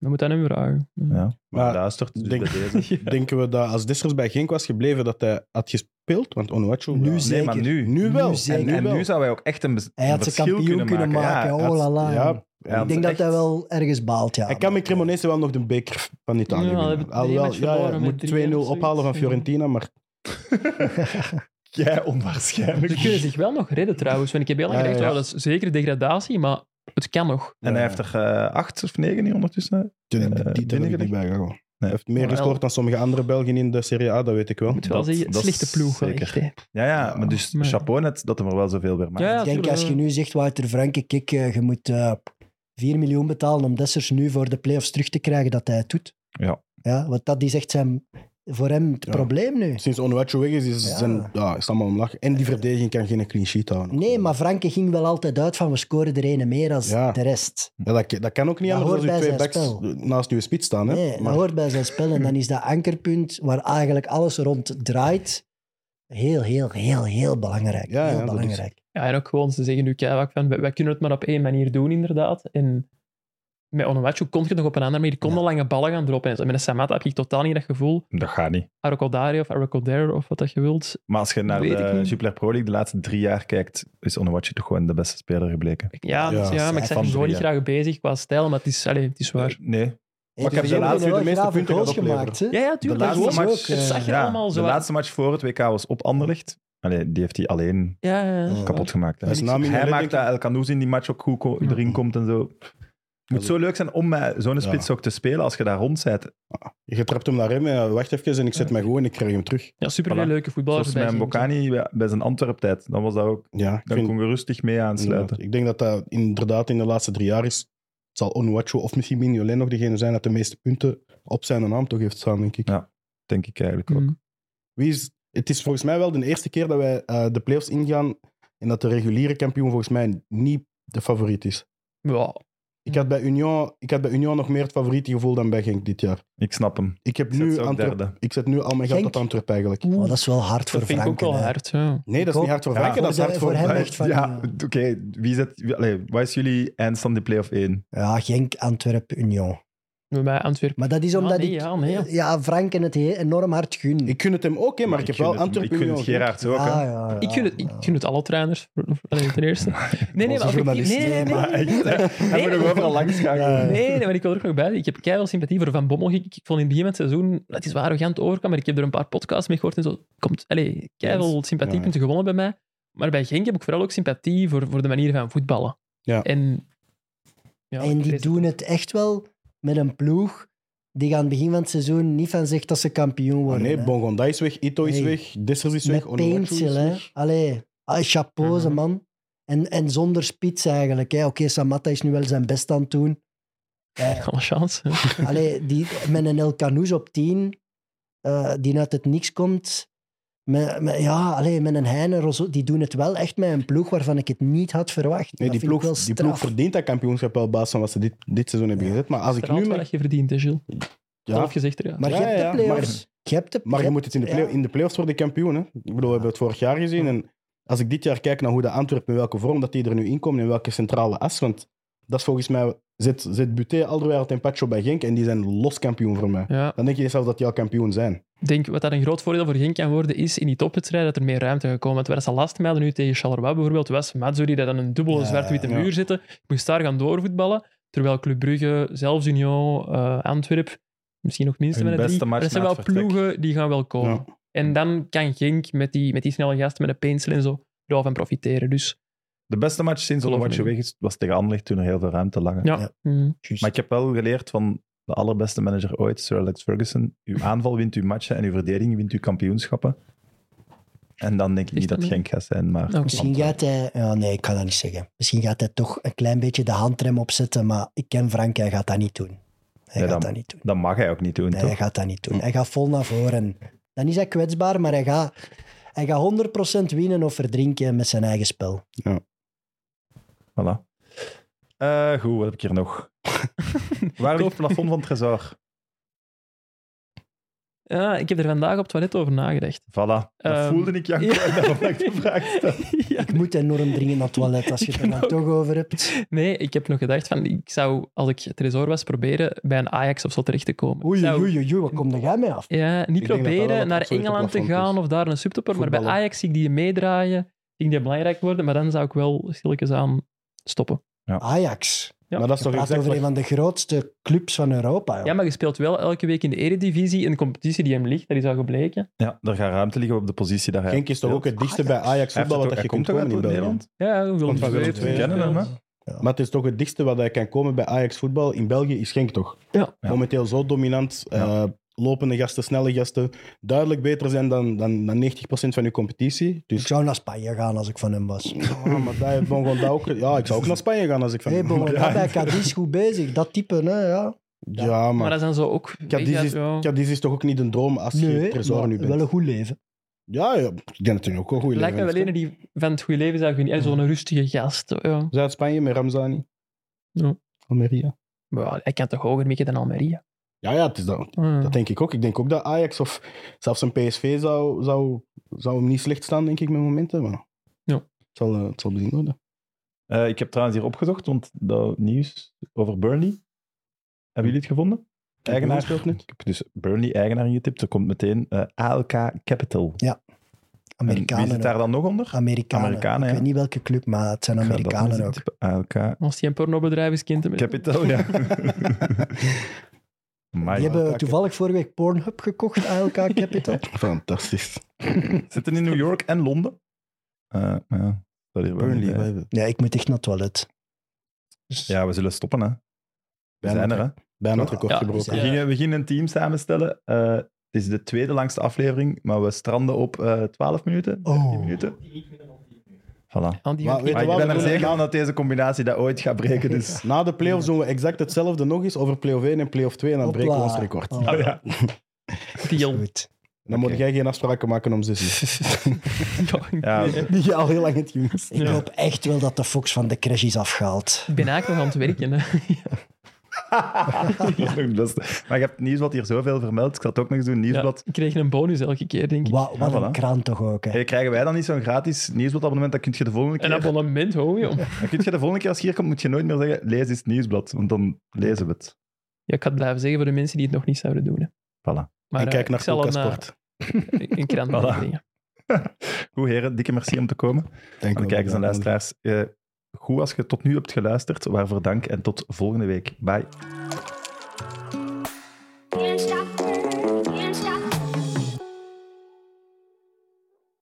[SPEAKER 5] Dan moet dat hem vragen.
[SPEAKER 1] Ja. Maar,
[SPEAKER 3] Maar
[SPEAKER 1] luistert dus
[SPEAKER 3] denk-
[SPEAKER 1] bij deze.
[SPEAKER 3] Denken we dat als Dessers bij Genk was gebleven, dat hij had gespeeld? Want Onuachu...
[SPEAKER 4] Nu
[SPEAKER 3] ja.
[SPEAKER 4] zeker.
[SPEAKER 1] Nee, maar nu.
[SPEAKER 3] Nu wel.
[SPEAKER 4] Nu
[SPEAKER 1] en,
[SPEAKER 4] zeker.
[SPEAKER 1] en nu zou hij ook echt een, bes-
[SPEAKER 4] Hij
[SPEAKER 1] een
[SPEAKER 4] had ze
[SPEAKER 1] verschil
[SPEAKER 4] kampioen kunnen maken.
[SPEAKER 1] Ja,
[SPEAKER 4] oh
[SPEAKER 1] hij
[SPEAKER 4] la
[SPEAKER 1] had-
[SPEAKER 4] la.
[SPEAKER 3] ja,
[SPEAKER 1] hij had
[SPEAKER 4] ik denk dat
[SPEAKER 1] echt-
[SPEAKER 4] hij wel ergens baalt, ja.
[SPEAKER 3] Hij kan met Cremonese wel nog de beker van Italië
[SPEAKER 5] Ja, we
[SPEAKER 3] winnen.
[SPEAKER 5] hebben drie
[SPEAKER 3] Alhoewel,
[SPEAKER 5] matchen
[SPEAKER 3] ja, ja,
[SPEAKER 5] verloren met
[SPEAKER 3] moet 2-0
[SPEAKER 5] drie of zoiets.
[SPEAKER 3] ophalen van Fiorentina, maar
[SPEAKER 1] Jij
[SPEAKER 5] Ze
[SPEAKER 1] onwaarschijnlijk.
[SPEAKER 5] kunnen zich wel nog redden trouwens. Want ik heb heel lang
[SPEAKER 3] Ja,
[SPEAKER 5] gedacht,
[SPEAKER 3] ja.
[SPEAKER 5] oh, dat is zeker degradatie, maar het kan nog.
[SPEAKER 1] En hij heeft er eh, acht of negen hier ondertussen.
[SPEAKER 3] die, die,
[SPEAKER 1] Eh,
[SPEAKER 3] die, die
[SPEAKER 1] binnen-
[SPEAKER 3] er niet bij gegaan. Hij heeft
[SPEAKER 5] Maar
[SPEAKER 3] meer
[SPEAKER 5] wel.
[SPEAKER 3] gescoord dan sommige andere Belgen in de Serie A, dat weet ik wel.
[SPEAKER 5] Ik moet wel
[SPEAKER 1] Dat-
[SPEAKER 5] zeggen,
[SPEAKER 1] dat is
[SPEAKER 5] slechte ploeg. wel
[SPEAKER 1] zeker.
[SPEAKER 5] echt, hè.
[SPEAKER 1] Ja, ja, maar dus
[SPEAKER 5] Maar-
[SPEAKER 1] chapeau net dat hem er wel zoveel weer maakt.
[SPEAKER 5] Ja, ja.
[SPEAKER 4] Ik denk
[SPEAKER 5] tuurlijk.
[SPEAKER 4] als je nu zegt, Wouter Franke, kijk, eh, je moet eh 4 miljoen betalen om Dessers nu voor de play-offs terug te krijgen, dat hij het doet.
[SPEAKER 1] Ja.
[SPEAKER 4] ja want dat is echt zijn, voor hem het
[SPEAKER 3] Ja.
[SPEAKER 4] probleem nu.
[SPEAKER 3] Sinds Onuachu weg is, is,
[SPEAKER 4] Ja.
[SPEAKER 3] zijn, ja, is allemaal omlaag. En die verdediging kan geen clean sheet houden.
[SPEAKER 4] Nee, maar Franke ging wel altijd uit van we scoren er ene meer dan
[SPEAKER 3] Ja.
[SPEAKER 4] de rest.
[SPEAKER 3] Ja, dat, dat kan ook niet
[SPEAKER 4] Dat
[SPEAKER 3] anders als
[SPEAKER 4] hoort
[SPEAKER 3] je twee
[SPEAKER 4] bij zijn
[SPEAKER 3] backs naast je spits staan. Hè?
[SPEAKER 4] Nee, dat
[SPEAKER 3] maar
[SPEAKER 4] hoort bij zijn spel. En dan is dat ankerpunt waar eigenlijk alles rond draait heel, heel, heel, heel belangrijk.
[SPEAKER 3] Ja, ja,
[SPEAKER 4] heel
[SPEAKER 3] dat is-
[SPEAKER 4] belangrijk.
[SPEAKER 5] Ja, en ook gewoon, ze zeggen nu keihard van, wij, wij kunnen het maar op één manier doen, inderdaad. En met Onomachu kon je het nog op een andere manier. Je kon
[SPEAKER 4] Ja.
[SPEAKER 5] de lange ballen gaan droppen. En met een Samata heb je totaal niet dat gevoel.
[SPEAKER 1] Dat gaat niet.
[SPEAKER 5] Arocodari of Arocodare of wat dat je wilt.
[SPEAKER 1] Maar als je naar
[SPEAKER 5] Weet ik
[SPEAKER 1] de
[SPEAKER 5] niet.
[SPEAKER 1] Jupiler Pro League de laatste drie jaar kijkt, is Onuachu toch gewoon de beste speler gebleken.
[SPEAKER 5] Ja, dat is-
[SPEAKER 3] Ja,
[SPEAKER 5] ja, maar ik
[SPEAKER 4] zij
[SPEAKER 5] zeg
[SPEAKER 1] van
[SPEAKER 5] hem zo
[SPEAKER 1] drie,
[SPEAKER 5] niet
[SPEAKER 1] ja.
[SPEAKER 5] graag bezig qua stijl, maar het is, allez, het is waar.
[SPEAKER 1] Nee,
[SPEAKER 4] Hey,
[SPEAKER 3] Maar ik heb
[SPEAKER 4] die
[SPEAKER 3] de
[SPEAKER 4] hebben
[SPEAKER 3] laatste
[SPEAKER 4] wel
[SPEAKER 3] de meeste
[SPEAKER 4] grave
[SPEAKER 3] punten
[SPEAKER 4] goals
[SPEAKER 3] gaat opleveren.
[SPEAKER 4] gemaakt. Hè?
[SPEAKER 5] Ja, ja,
[SPEAKER 1] de
[SPEAKER 5] tuurlijk. dat is
[SPEAKER 1] laatste
[SPEAKER 5] gewoon-
[SPEAKER 1] match,
[SPEAKER 5] het zag er
[SPEAKER 1] ja,
[SPEAKER 5] allemaal zo
[SPEAKER 1] de
[SPEAKER 5] uit.
[SPEAKER 1] laatste match voor het WK was op Anderlecht. Allee, die heeft hij alleen
[SPEAKER 5] Ja, ja, ja.
[SPEAKER 1] kapot gemaakt. hè.
[SPEAKER 3] Dat is na Mignolet,
[SPEAKER 1] Hij
[SPEAKER 3] denk
[SPEAKER 1] maakt
[SPEAKER 3] ik.
[SPEAKER 1] dat El Canoes in die match ook goed ko-
[SPEAKER 5] Ja.
[SPEAKER 1] erin komt en zo. Het moet zo leuk zijn om met zo'n spits ook te spelen als je daar rond bent.
[SPEAKER 3] je trapt hem naar hem, eh, wacht even en ik zet mij gewoon en ik krijg hem terug.
[SPEAKER 5] Ja, super
[SPEAKER 1] Voilà.
[SPEAKER 5] leuke voetballers.
[SPEAKER 1] Zoals
[SPEAKER 5] bij
[SPEAKER 1] met
[SPEAKER 5] Genk.
[SPEAKER 1] Bocani bij- bij zijn Antwerp-tijd. Dan was dat ook.
[SPEAKER 3] Ja, ik
[SPEAKER 1] Dan
[SPEAKER 3] vind-
[SPEAKER 1] kon je rustig mee aansluiten.
[SPEAKER 3] inderdaad. Ik denk dat dat inderdaad in de laatste drie jaar is. Het zal Onuachu of misschien Mignolet nog degene zijn dat de meeste punten op zijn naam toch heeft staan, denk ik.
[SPEAKER 1] Ja. Denk ik eigenlijk ook.
[SPEAKER 5] Mm.
[SPEAKER 3] Wie is, het is volgens mij wel de eerste keer dat wij eh, de playoffs ingaan en dat de reguliere kampioen volgens mij niet de favoriet is.
[SPEAKER 5] Mm. Ja,
[SPEAKER 3] Ik
[SPEAKER 4] Mhm.
[SPEAKER 3] had bij Union, ik had bij Union nog meer het favoriete gevoel dan bij Genk dit jaar.
[SPEAKER 1] Ik snap hem.
[SPEAKER 3] Ik, heb
[SPEAKER 1] Ik zet
[SPEAKER 3] nu
[SPEAKER 1] ze ook
[SPEAKER 3] Antwerp-
[SPEAKER 1] derde.
[SPEAKER 3] ik zet nu al mijn geld
[SPEAKER 4] Genk?
[SPEAKER 3] op Antwerp eigenlijk.
[SPEAKER 4] Oh, dat is wel hard voor
[SPEAKER 5] dat vind ik ook
[SPEAKER 4] Franken.
[SPEAKER 5] wel
[SPEAKER 4] hè.
[SPEAKER 5] hard. Ja.
[SPEAKER 3] Nee, dat is
[SPEAKER 4] Ik
[SPEAKER 3] niet hard voor
[SPEAKER 1] Ja.
[SPEAKER 3] Franken, dat is
[SPEAKER 4] Voor de-
[SPEAKER 3] hard
[SPEAKER 4] voor
[SPEAKER 3] voor...
[SPEAKER 4] hem
[SPEAKER 1] Maar-
[SPEAKER 4] echt van-
[SPEAKER 1] ja, oké. Wie zet... Allee, wat is jullie eindstand in play-off 1?
[SPEAKER 4] Ja, Genk, Antwerpen, Union.
[SPEAKER 5] Bij mij Antwerpen.
[SPEAKER 4] Maar dat is
[SPEAKER 5] Ja,
[SPEAKER 4] omdat
[SPEAKER 5] Ah, nee,
[SPEAKER 4] ik eh,
[SPEAKER 5] ja, nee, ja.
[SPEAKER 4] Franken het he- enorm hard gun.
[SPEAKER 3] Ik gun het hem ook, hè, maar ik heb
[SPEAKER 1] gun
[SPEAKER 3] wel
[SPEAKER 1] het-
[SPEAKER 3] Antwerp
[SPEAKER 1] Ik gun het
[SPEAKER 3] Union.
[SPEAKER 1] Gerard ook.
[SPEAKER 4] Ja,
[SPEAKER 1] hè.
[SPEAKER 4] ja, ja.
[SPEAKER 5] Ik gun, het, ik gun het alle trainers, allee, ten eerste. Nee, nee,
[SPEAKER 3] Onze
[SPEAKER 5] maar... Nee,
[SPEAKER 3] journalist.
[SPEAKER 5] nee, nee.
[SPEAKER 4] Nee, maar
[SPEAKER 5] nee.
[SPEAKER 1] echt, hè. Hij moet
[SPEAKER 5] maar-
[SPEAKER 1] nog overal langs gaan. gewoon.
[SPEAKER 5] Nee, nee, maar ik wil er ook nog bij. Ik heb keihard sympathie voor Van Bommel. Ik, ik vond in het begin van het seizoen, dat is waar arrogant overkwam, maar ik heb er een paar podcasts mee gehoord en zo. Komt, allee, keihard sympathiepunten gewonnen bij mij. Maar bij Genk heb ik vooral ook sympathie voor, voor de manier van voetballen.
[SPEAKER 3] Ja.
[SPEAKER 5] En, ja,
[SPEAKER 4] En die
[SPEAKER 5] Chris-
[SPEAKER 4] doen het echt wel met een ploeg die aan het begin van het seizoen niet van zegt dat ze kampioen
[SPEAKER 3] Ah,
[SPEAKER 4] worden.
[SPEAKER 3] nee,
[SPEAKER 4] hè.
[SPEAKER 3] Bongonda is weg, Ito is
[SPEAKER 4] Nee.
[SPEAKER 3] weg, Dessers is weg,
[SPEAKER 4] Met
[SPEAKER 3] Onuachu
[SPEAKER 4] Pencil,
[SPEAKER 3] is
[SPEAKER 4] hè.
[SPEAKER 3] weg.
[SPEAKER 4] Allee, ah, chapeau, ze
[SPEAKER 5] Mhm.
[SPEAKER 4] man. En, en zonder spits eigenlijk. hè. Oké, Samatta is nu wel zijn best aan het doen. Eh,
[SPEAKER 5] Alle chance. hè.
[SPEAKER 4] allee, die, met een El Canoes op 10, eh, die uit het niks komt. Met, met- ja, allee, met een Heine, Rosso- die doen het wel echt met een ploeg waarvan ik het niet had verwacht.
[SPEAKER 3] Nee, die
[SPEAKER 4] Dat vind ik wel
[SPEAKER 3] ploeg, die
[SPEAKER 4] straf.
[SPEAKER 3] ploeg verdient dat kampioenschap wel op basis van wat ze dit, dit seizoen hebben gezet. Maar als ik
[SPEAKER 5] Straalt
[SPEAKER 3] nu...
[SPEAKER 5] wel
[SPEAKER 3] Met,
[SPEAKER 5] dat je verdient, hè, Gilles.
[SPEAKER 3] ja,
[SPEAKER 5] Zelf gezegd, er, ja.
[SPEAKER 4] Maar
[SPEAKER 3] Ja,
[SPEAKER 4] je hebt
[SPEAKER 3] ja,
[SPEAKER 4] de
[SPEAKER 3] ja,
[SPEAKER 4] play-offs. Je hebt de
[SPEAKER 3] maar
[SPEAKER 4] je
[SPEAKER 3] je
[SPEAKER 4] hebt-
[SPEAKER 3] moet het in de, play
[SPEAKER 4] Ja.
[SPEAKER 3] in de playoffs worden kampioen. Hè? Ik bedoel, we hebben het vorig jaar gezien. En als ik dit jaar kijk naar hoe de Antwerpen, in welke vorm dat die er nu inkomen, in welke centrale as. Want Dat is volgens mij... Zit, zit Buté, Alderweireld en Pacho bij Genk en die zijn los kampioen voor mij.
[SPEAKER 5] Ja.
[SPEAKER 3] Dan denk je zelf dat die al kampioen zijn.
[SPEAKER 5] Ik denk wat dat een groot voordeel voor Genk kan worden, is in die topwedstrijden dat er meer ruimte gaat komen. Terwijl ze last mijlen nu tegen Charleroi bijvoorbeeld was, Matsuri dat aan een dubbele
[SPEAKER 3] Ja,
[SPEAKER 5] zwart-witte
[SPEAKER 3] ja.
[SPEAKER 5] muur zitten, moest daar gaan doorvoetballen. Terwijl Club Brugge, zelfs Union, eh Antwerp, misschien nog minstens
[SPEAKER 1] Hun
[SPEAKER 5] met een
[SPEAKER 1] beste
[SPEAKER 5] drie,
[SPEAKER 1] match
[SPEAKER 5] maar dat zijn
[SPEAKER 1] na
[SPEAKER 5] wel
[SPEAKER 1] het vertrek.
[SPEAKER 5] ploegen die gaan wel komen.
[SPEAKER 3] Ja.
[SPEAKER 5] En dan kan Genk met die, met die snelle gasten, met de peensel en zo, er wel van profiteren. Dus
[SPEAKER 1] De beste match sinds
[SPEAKER 5] Geloof
[SPEAKER 1] Olomouc
[SPEAKER 5] me.
[SPEAKER 1] weg is, was tegen Anderlecht toen er heel veel ruimte lag. hè.
[SPEAKER 5] ja,
[SPEAKER 3] Ja.
[SPEAKER 5] mm,
[SPEAKER 1] Maar ik heb wel geleerd van de allerbeste manager ooit, Sir Alex Ferguson. Uw aanval wint uw matchen en uw verdediging wint uw kampioenschappen. En dan denk ik
[SPEAKER 5] Is
[SPEAKER 1] niet
[SPEAKER 5] dat
[SPEAKER 1] dat
[SPEAKER 5] niet? Oh.
[SPEAKER 1] Genk gaat zijn, maar...
[SPEAKER 5] Oké.
[SPEAKER 1] want-
[SPEAKER 4] Misschien gaat hij... Ja, nee, ik kan dat niet zeggen. Misschien gaat hij toch een klein beetje de handrem opzetten, maar ik ken Frank, hij gaat dat niet doen. Hij
[SPEAKER 1] Ja,
[SPEAKER 4] gaat
[SPEAKER 1] dan-
[SPEAKER 4] dat niet doen.
[SPEAKER 1] Dat mag hij ook niet doen,
[SPEAKER 4] Nee,
[SPEAKER 1] toch?
[SPEAKER 4] hij gaat dat niet doen. Hij gaat vol naar voren. En dan is hij kwetsbaar, maar hij gaat, hij gaat 100% winnen of verdrinken met zijn eigen spel.
[SPEAKER 1] Voilà. Eh, goed, wat heb ik hier nog? Waar ligt het plafond van het trésor?
[SPEAKER 5] ja, Ah, ik heb er vandaag op het toilet over nagedacht.
[SPEAKER 1] Voilà. Dat
[SPEAKER 5] Ehm,
[SPEAKER 1] voelde ik, Janko,
[SPEAKER 5] ja.
[SPEAKER 1] en daarom dat ik de vraag stel.
[SPEAKER 5] ja,
[SPEAKER 4] Ik moet enorm dringen naar het toilet als je
[SPEAKER 5] Ik
[SPEAKER 4] het er dan
[SPEAKER 5] ook.
[SPEAKER 4] toch over hebt.
[SPEAKER 5] Nee, ik heb nog gedacht van, ik zou, als ik Tresor was, proberen bij een Ajax of zo terecht te komen.
[SPEAKER 4] Oei,
[SPEAKER 5] Zou-
[SPEAKER 4] oei, oei, oei, wat komt er jij mee af?
[SPEAKER 5] Ja, niet
[SPEAKER 3] denk dat dat wel
[SPEAKER 5] proberen
[SPEAKER 3] het
[SPEAKER 5] naar
[SPEAKER 3] absolute
[SPEAKER 5] Engeland te
[SPEAKER 3] plafond
[SPEAKER 5] gaan
[SPEAKER 3] is.
[SPEAKER 5] of daar een subtopper, maar bij
[SPEAKER 3] Voetballen.
[SPEAKER 5] Ajax zie ik die meedraaien, zie ik die belangrijk worden, maar dan zou ik wel stilletjes aan stoppen.
[SPEAKER 4] Ajax.
[SPEAKER 5] Ja.
[SPEAKER 3] Maar dat is
[SPEAKER 4] Je
[SPEAKER 3] toch
[SPEAKER 4] praat
[SPEAKER 3] exact
[SPEAKER 4] over
[SPEAKER 3] wat-
[SPEAKER 4] een van de grootste clubs van Europa. joh.
[SPEAKER 5] Ja, maar je speelt wel elke week in de eredivisie, in de competitie die hem ligt, dat is al gebleken.
[SPEAKER 1] Ja, er gaat ruimte liggen op de positie dat hij
[SPEAKER 3] Genk is toch ook het dichtste bij
[SPEAKER 4] Ajax.
[SPEAKER 3] Ajax
[SPEAKER 1] Hij heeft
[SPEAKER 3] voetbal
[SPEAKER 1] het
[SPEAKER 3] wat
[SPEAKER 1] ook-
[SPEAKER 3] dat
[SPEAKER 1] hij
[SPEAKER 3] je
[SPEAKER 1] komt
[SPEAKER 3] kunt
[SPEAKER 1] toch
[SPEAKER 3] komen
[SPEAKER 1] uit
[SPEAKER 3] in België.
[SPEAKER 1] Nederland?
[SPEAKER 5] Ja, Willem
[SPEAKER 3] Komt van
[SPEAKER 5] II
[SPEAKER 3] Willem
[SPEAKER 5] heeft
[SPEAKER 3] II,
[SPEAKER 5] gespeeld.
[SPEAKER 1] kennen hem, hè?
[SPEAKER 3] Maar het is toch het dichtste wat hij kan komen bij Ajax voetbal in België is Genk toch?
[SPEAKER 5] Ja.
[SPEAKER 1] Ja.
[SPEAKER 3] Momenteel zo dominant. eh, lopende gasten, snelle gasten. Duidelijk beter zijn dan, dan, dan 90% van uw competitie.
[SPEAKER 4] Ik
[SPEAKER 3] Dus
[SPEAKER 4] zou naar Spanje gaan als ik van hem was.
[SPEAKER 3] ja, maar daar, Bongon, daar ook, ja, ik zou ook naar Spanje gaan als ik van
[SPEAKER 4] Hé, hey,
[SPEAKER 3] hem-
[SPEAKER 4] Bongo,
[SPEAKER 3] ja,
[SPEAKER 4] bij Cadiz goed bezig. Dat type, hè, ja.
[SPEAKER 3] ja,
[SPEAKER 5] Maar
[SPEAKER 3] maar
[SPEAKER 5] dat zijn zo ook...
[SPEAKER 3] Cadiz is,
[SPEAKER 5] ja,
[SPEAKER 3] Cadiz is toch ook niet een droom als je
[SPEAKER 4] Nee,
[SPEAKER 3] Tresor
[SPEAKER 4] maar
[SPEAKER 3] nu bent?
[SPEAKER 4] wel een goed leven.
[SPEAKER 3] Ja, ja, ik denk dat hij ook wel goed
[SPEAKER 5] Lijkt me wel een die van het goede leven zou kunnen. Ja,
[SPEAKER 3] Mm.
[SPEAKER 5] Zo'n rustige gast. Ja.
[SPEAKER 3] Zuid-Spanje met Ramzani.
[SPEAKER 5] Ja.
[SPEAKER 3] Almeria.
[SPEAKER 5] Maar ja, hij kan toch hoger mikken dan Almeria?
[SPEAKER 3] Ja, ja, het is dat.
[SPEAKER 5] Ja.
[SPEAKER 3] Dat denk ik ook. Ik denk ook dat Ajax of zelfs een PSV zou, zou, zou hem niet slecht staan, denk ik, met momenten. Maar
[SPEAKER 5] Ja.
[SPEAKER 3] het, zal, eh, het zal bezien worden.
[SPEAKER 1] Eh, ik heb trouwens hier opgezocht, want dat nieuws over Burnley. Hebben jullie het gevonden? Eigenaar
[SPEAKER 3] speelt net.
[SPEAKER 1] Ik heb dus Burnley eigenaar ingetipt. Er komt meteen eh, ALK Capital. En
[SPEAKER 4] Amerikanen.
[SPEAKER 1] Wie zit daar dan nog onder?
[SPEAKER 4] Amerikanen.
[SPEAKER 1] Amerikanen,
[SPEAKER 4] ik
[SPEAKER 1] ja.
[SPEAKER 4] weet niet welke club, maar het zijn
[SPEAKER 1] Ik ga dat eens
[SPEAKER 4] Amerikanen ook.
[SPEAKER 1] intypen. ALK
[SPEAKER 5] Als hij een pornobedrijf is, kind hem.
[SPEAKER 1] Capital, ja.
[SPEAKER 4] Die
[SPEAKER 1] Amai.
[SPEAKER 4] hebben toevallig vorige week Pornhub gekocht, ALK Capital.
[SPEAKER 3] Fantastisch.
[SPEAKER 1] Zitten in New York en Londen. Eh, maar ja, dat hier wel niet
[SPEAKER 3] Burnley,
[SPEAKER 1] bij.
[SPEAKER 3] wij-
[SPEAKER 4] Nee, ik moet echt naar het toilet. Dus-
[SPEAKER 1] Ja, we zullen stoppen, hè. We
[SPEAKER 3] bijna,
[SPEAKER 1] zijn er, hè.
[SPEAKER 3] bijna het record
[SPEAKER 5] Ja,
[SPEAKER 3] gebroken.
[SPEAKER 1] We
[SPEAKER 5] Ja.
[SPEAKER 1] gingen, we gingen een team samenstellen. Eh, het is de tweede langste aflevering, maar we stranden op eh 12 minuten, 13
[SPEAKER 4] Oh.
[SPEAKER 1] minuten. Voilà.
[SPEAKER 5] Ja, die
[SPEAKER 3] Maar
[SPEAKER 5] gaat
[SPEAKER 3] weet
[SPEAKER 5] niet-
[SPEAKER 1] Maar ik
[SPEAKER 3] wat,
[SPEAKER 1] ben
[SPEAKER 3] we
[SPEAKER 1] er
[SPEAKER 3] doen-
[SPEAKER 1] zeker aan dat deze combinatie dat ooit gaat breken. Dus.
[SPEAKER 3] Na de play-offs doen we exact hetzelfde nog eens over play-off 1 en play-off 2 en dan
[SPEAKER 4] Hopla.
[SPEAKER 3] breken we ons record.
[SPEAKER 4] Oh,
[SPEAKER 1] Oh, ja.
[SPEAKER 5] Deal.
[SPEAKER 4] Goed.
[SPEAKER 3] Dan
[SPEAKER 1] Oké.
[SPEAKER 3] moet jij geen afspraken maken om 6 uur.
[SPEAKER 1] Ja,
[SPEAKER 5] Ja,
[SPEAKER 3] Die je al heel lang het gemist.
[SPEAKER 4] Ik hoop echt wel dat de Fox van de crash is afgehaald.
[SPEAKER 5] Ik ben eigenlijk nog aan het werken. Hè.
[SPEAKER 1] dat is nog het beste. Maar je hebt het nieuwsblad hier zoveel vermeld. Ik zal het ook nog eens doen.
[SPEAKER 5] Ja,
[SPEAKER 1] Nieuwsblad.
[SPEAKER 5] ik kreeg een bonus elke keer, denk ik.
[SPEAKER 4] Wa- wat
[SPEAKER 1] Ja,
[SPEAKER 4] een
[SPEAKER 1] voilà.
[SPEAKER 4] kraan toch ook, hè.
[SPEAKER 1] Hey, krijgen wij dan niet zo'n gratis nieuwsbladabonnement? Dat kun je de volgende
[SPEAKER 5] Een
[SPEAKER 1] keer.
[SPEAKER 5] abonnement, hoor, joh.
[SPEAKER 1] Dan kun je de volgende keer als je hier komt, moet je nooit meer zeggen: lees eens het nieuwsblad. Want dan lezen we het.
[SPEAKER 5] Ja, ik ga het blijven zeggen voor de mensen die het nog niet zouden doen. Hè.
[SPEAKER 1] Voilà.
[SPEAKER 5] Maar,
[SPEAKER 3] En
[SPEAKER 5] eh,
[SPEAKER 3] kijk naar
[SPEAKER 5] ik zal
[SPEAKER 3] Coca
[SPEAKER 5] een, eh,
[SPEAKER 3] Sport.
[SPEAKER 5] Een krant
[SPEAKER 1] Voilà.
[SPEAKER 5] meebrengen.
[SPEAKER 1] Goed, heren, dikke merci om te komen.
[SPEAKER 3] Dank
[SPEAKER 1] Aan
[SPEAKER 3] u
[SPEAKER 1] de kijkers en
[SPEAKER 3] wel.
[SPEAKER 1] luisteraars. eh, goed als je tot nu hebt geluisterd. Waarvoor dank en tot volgende week. Bye.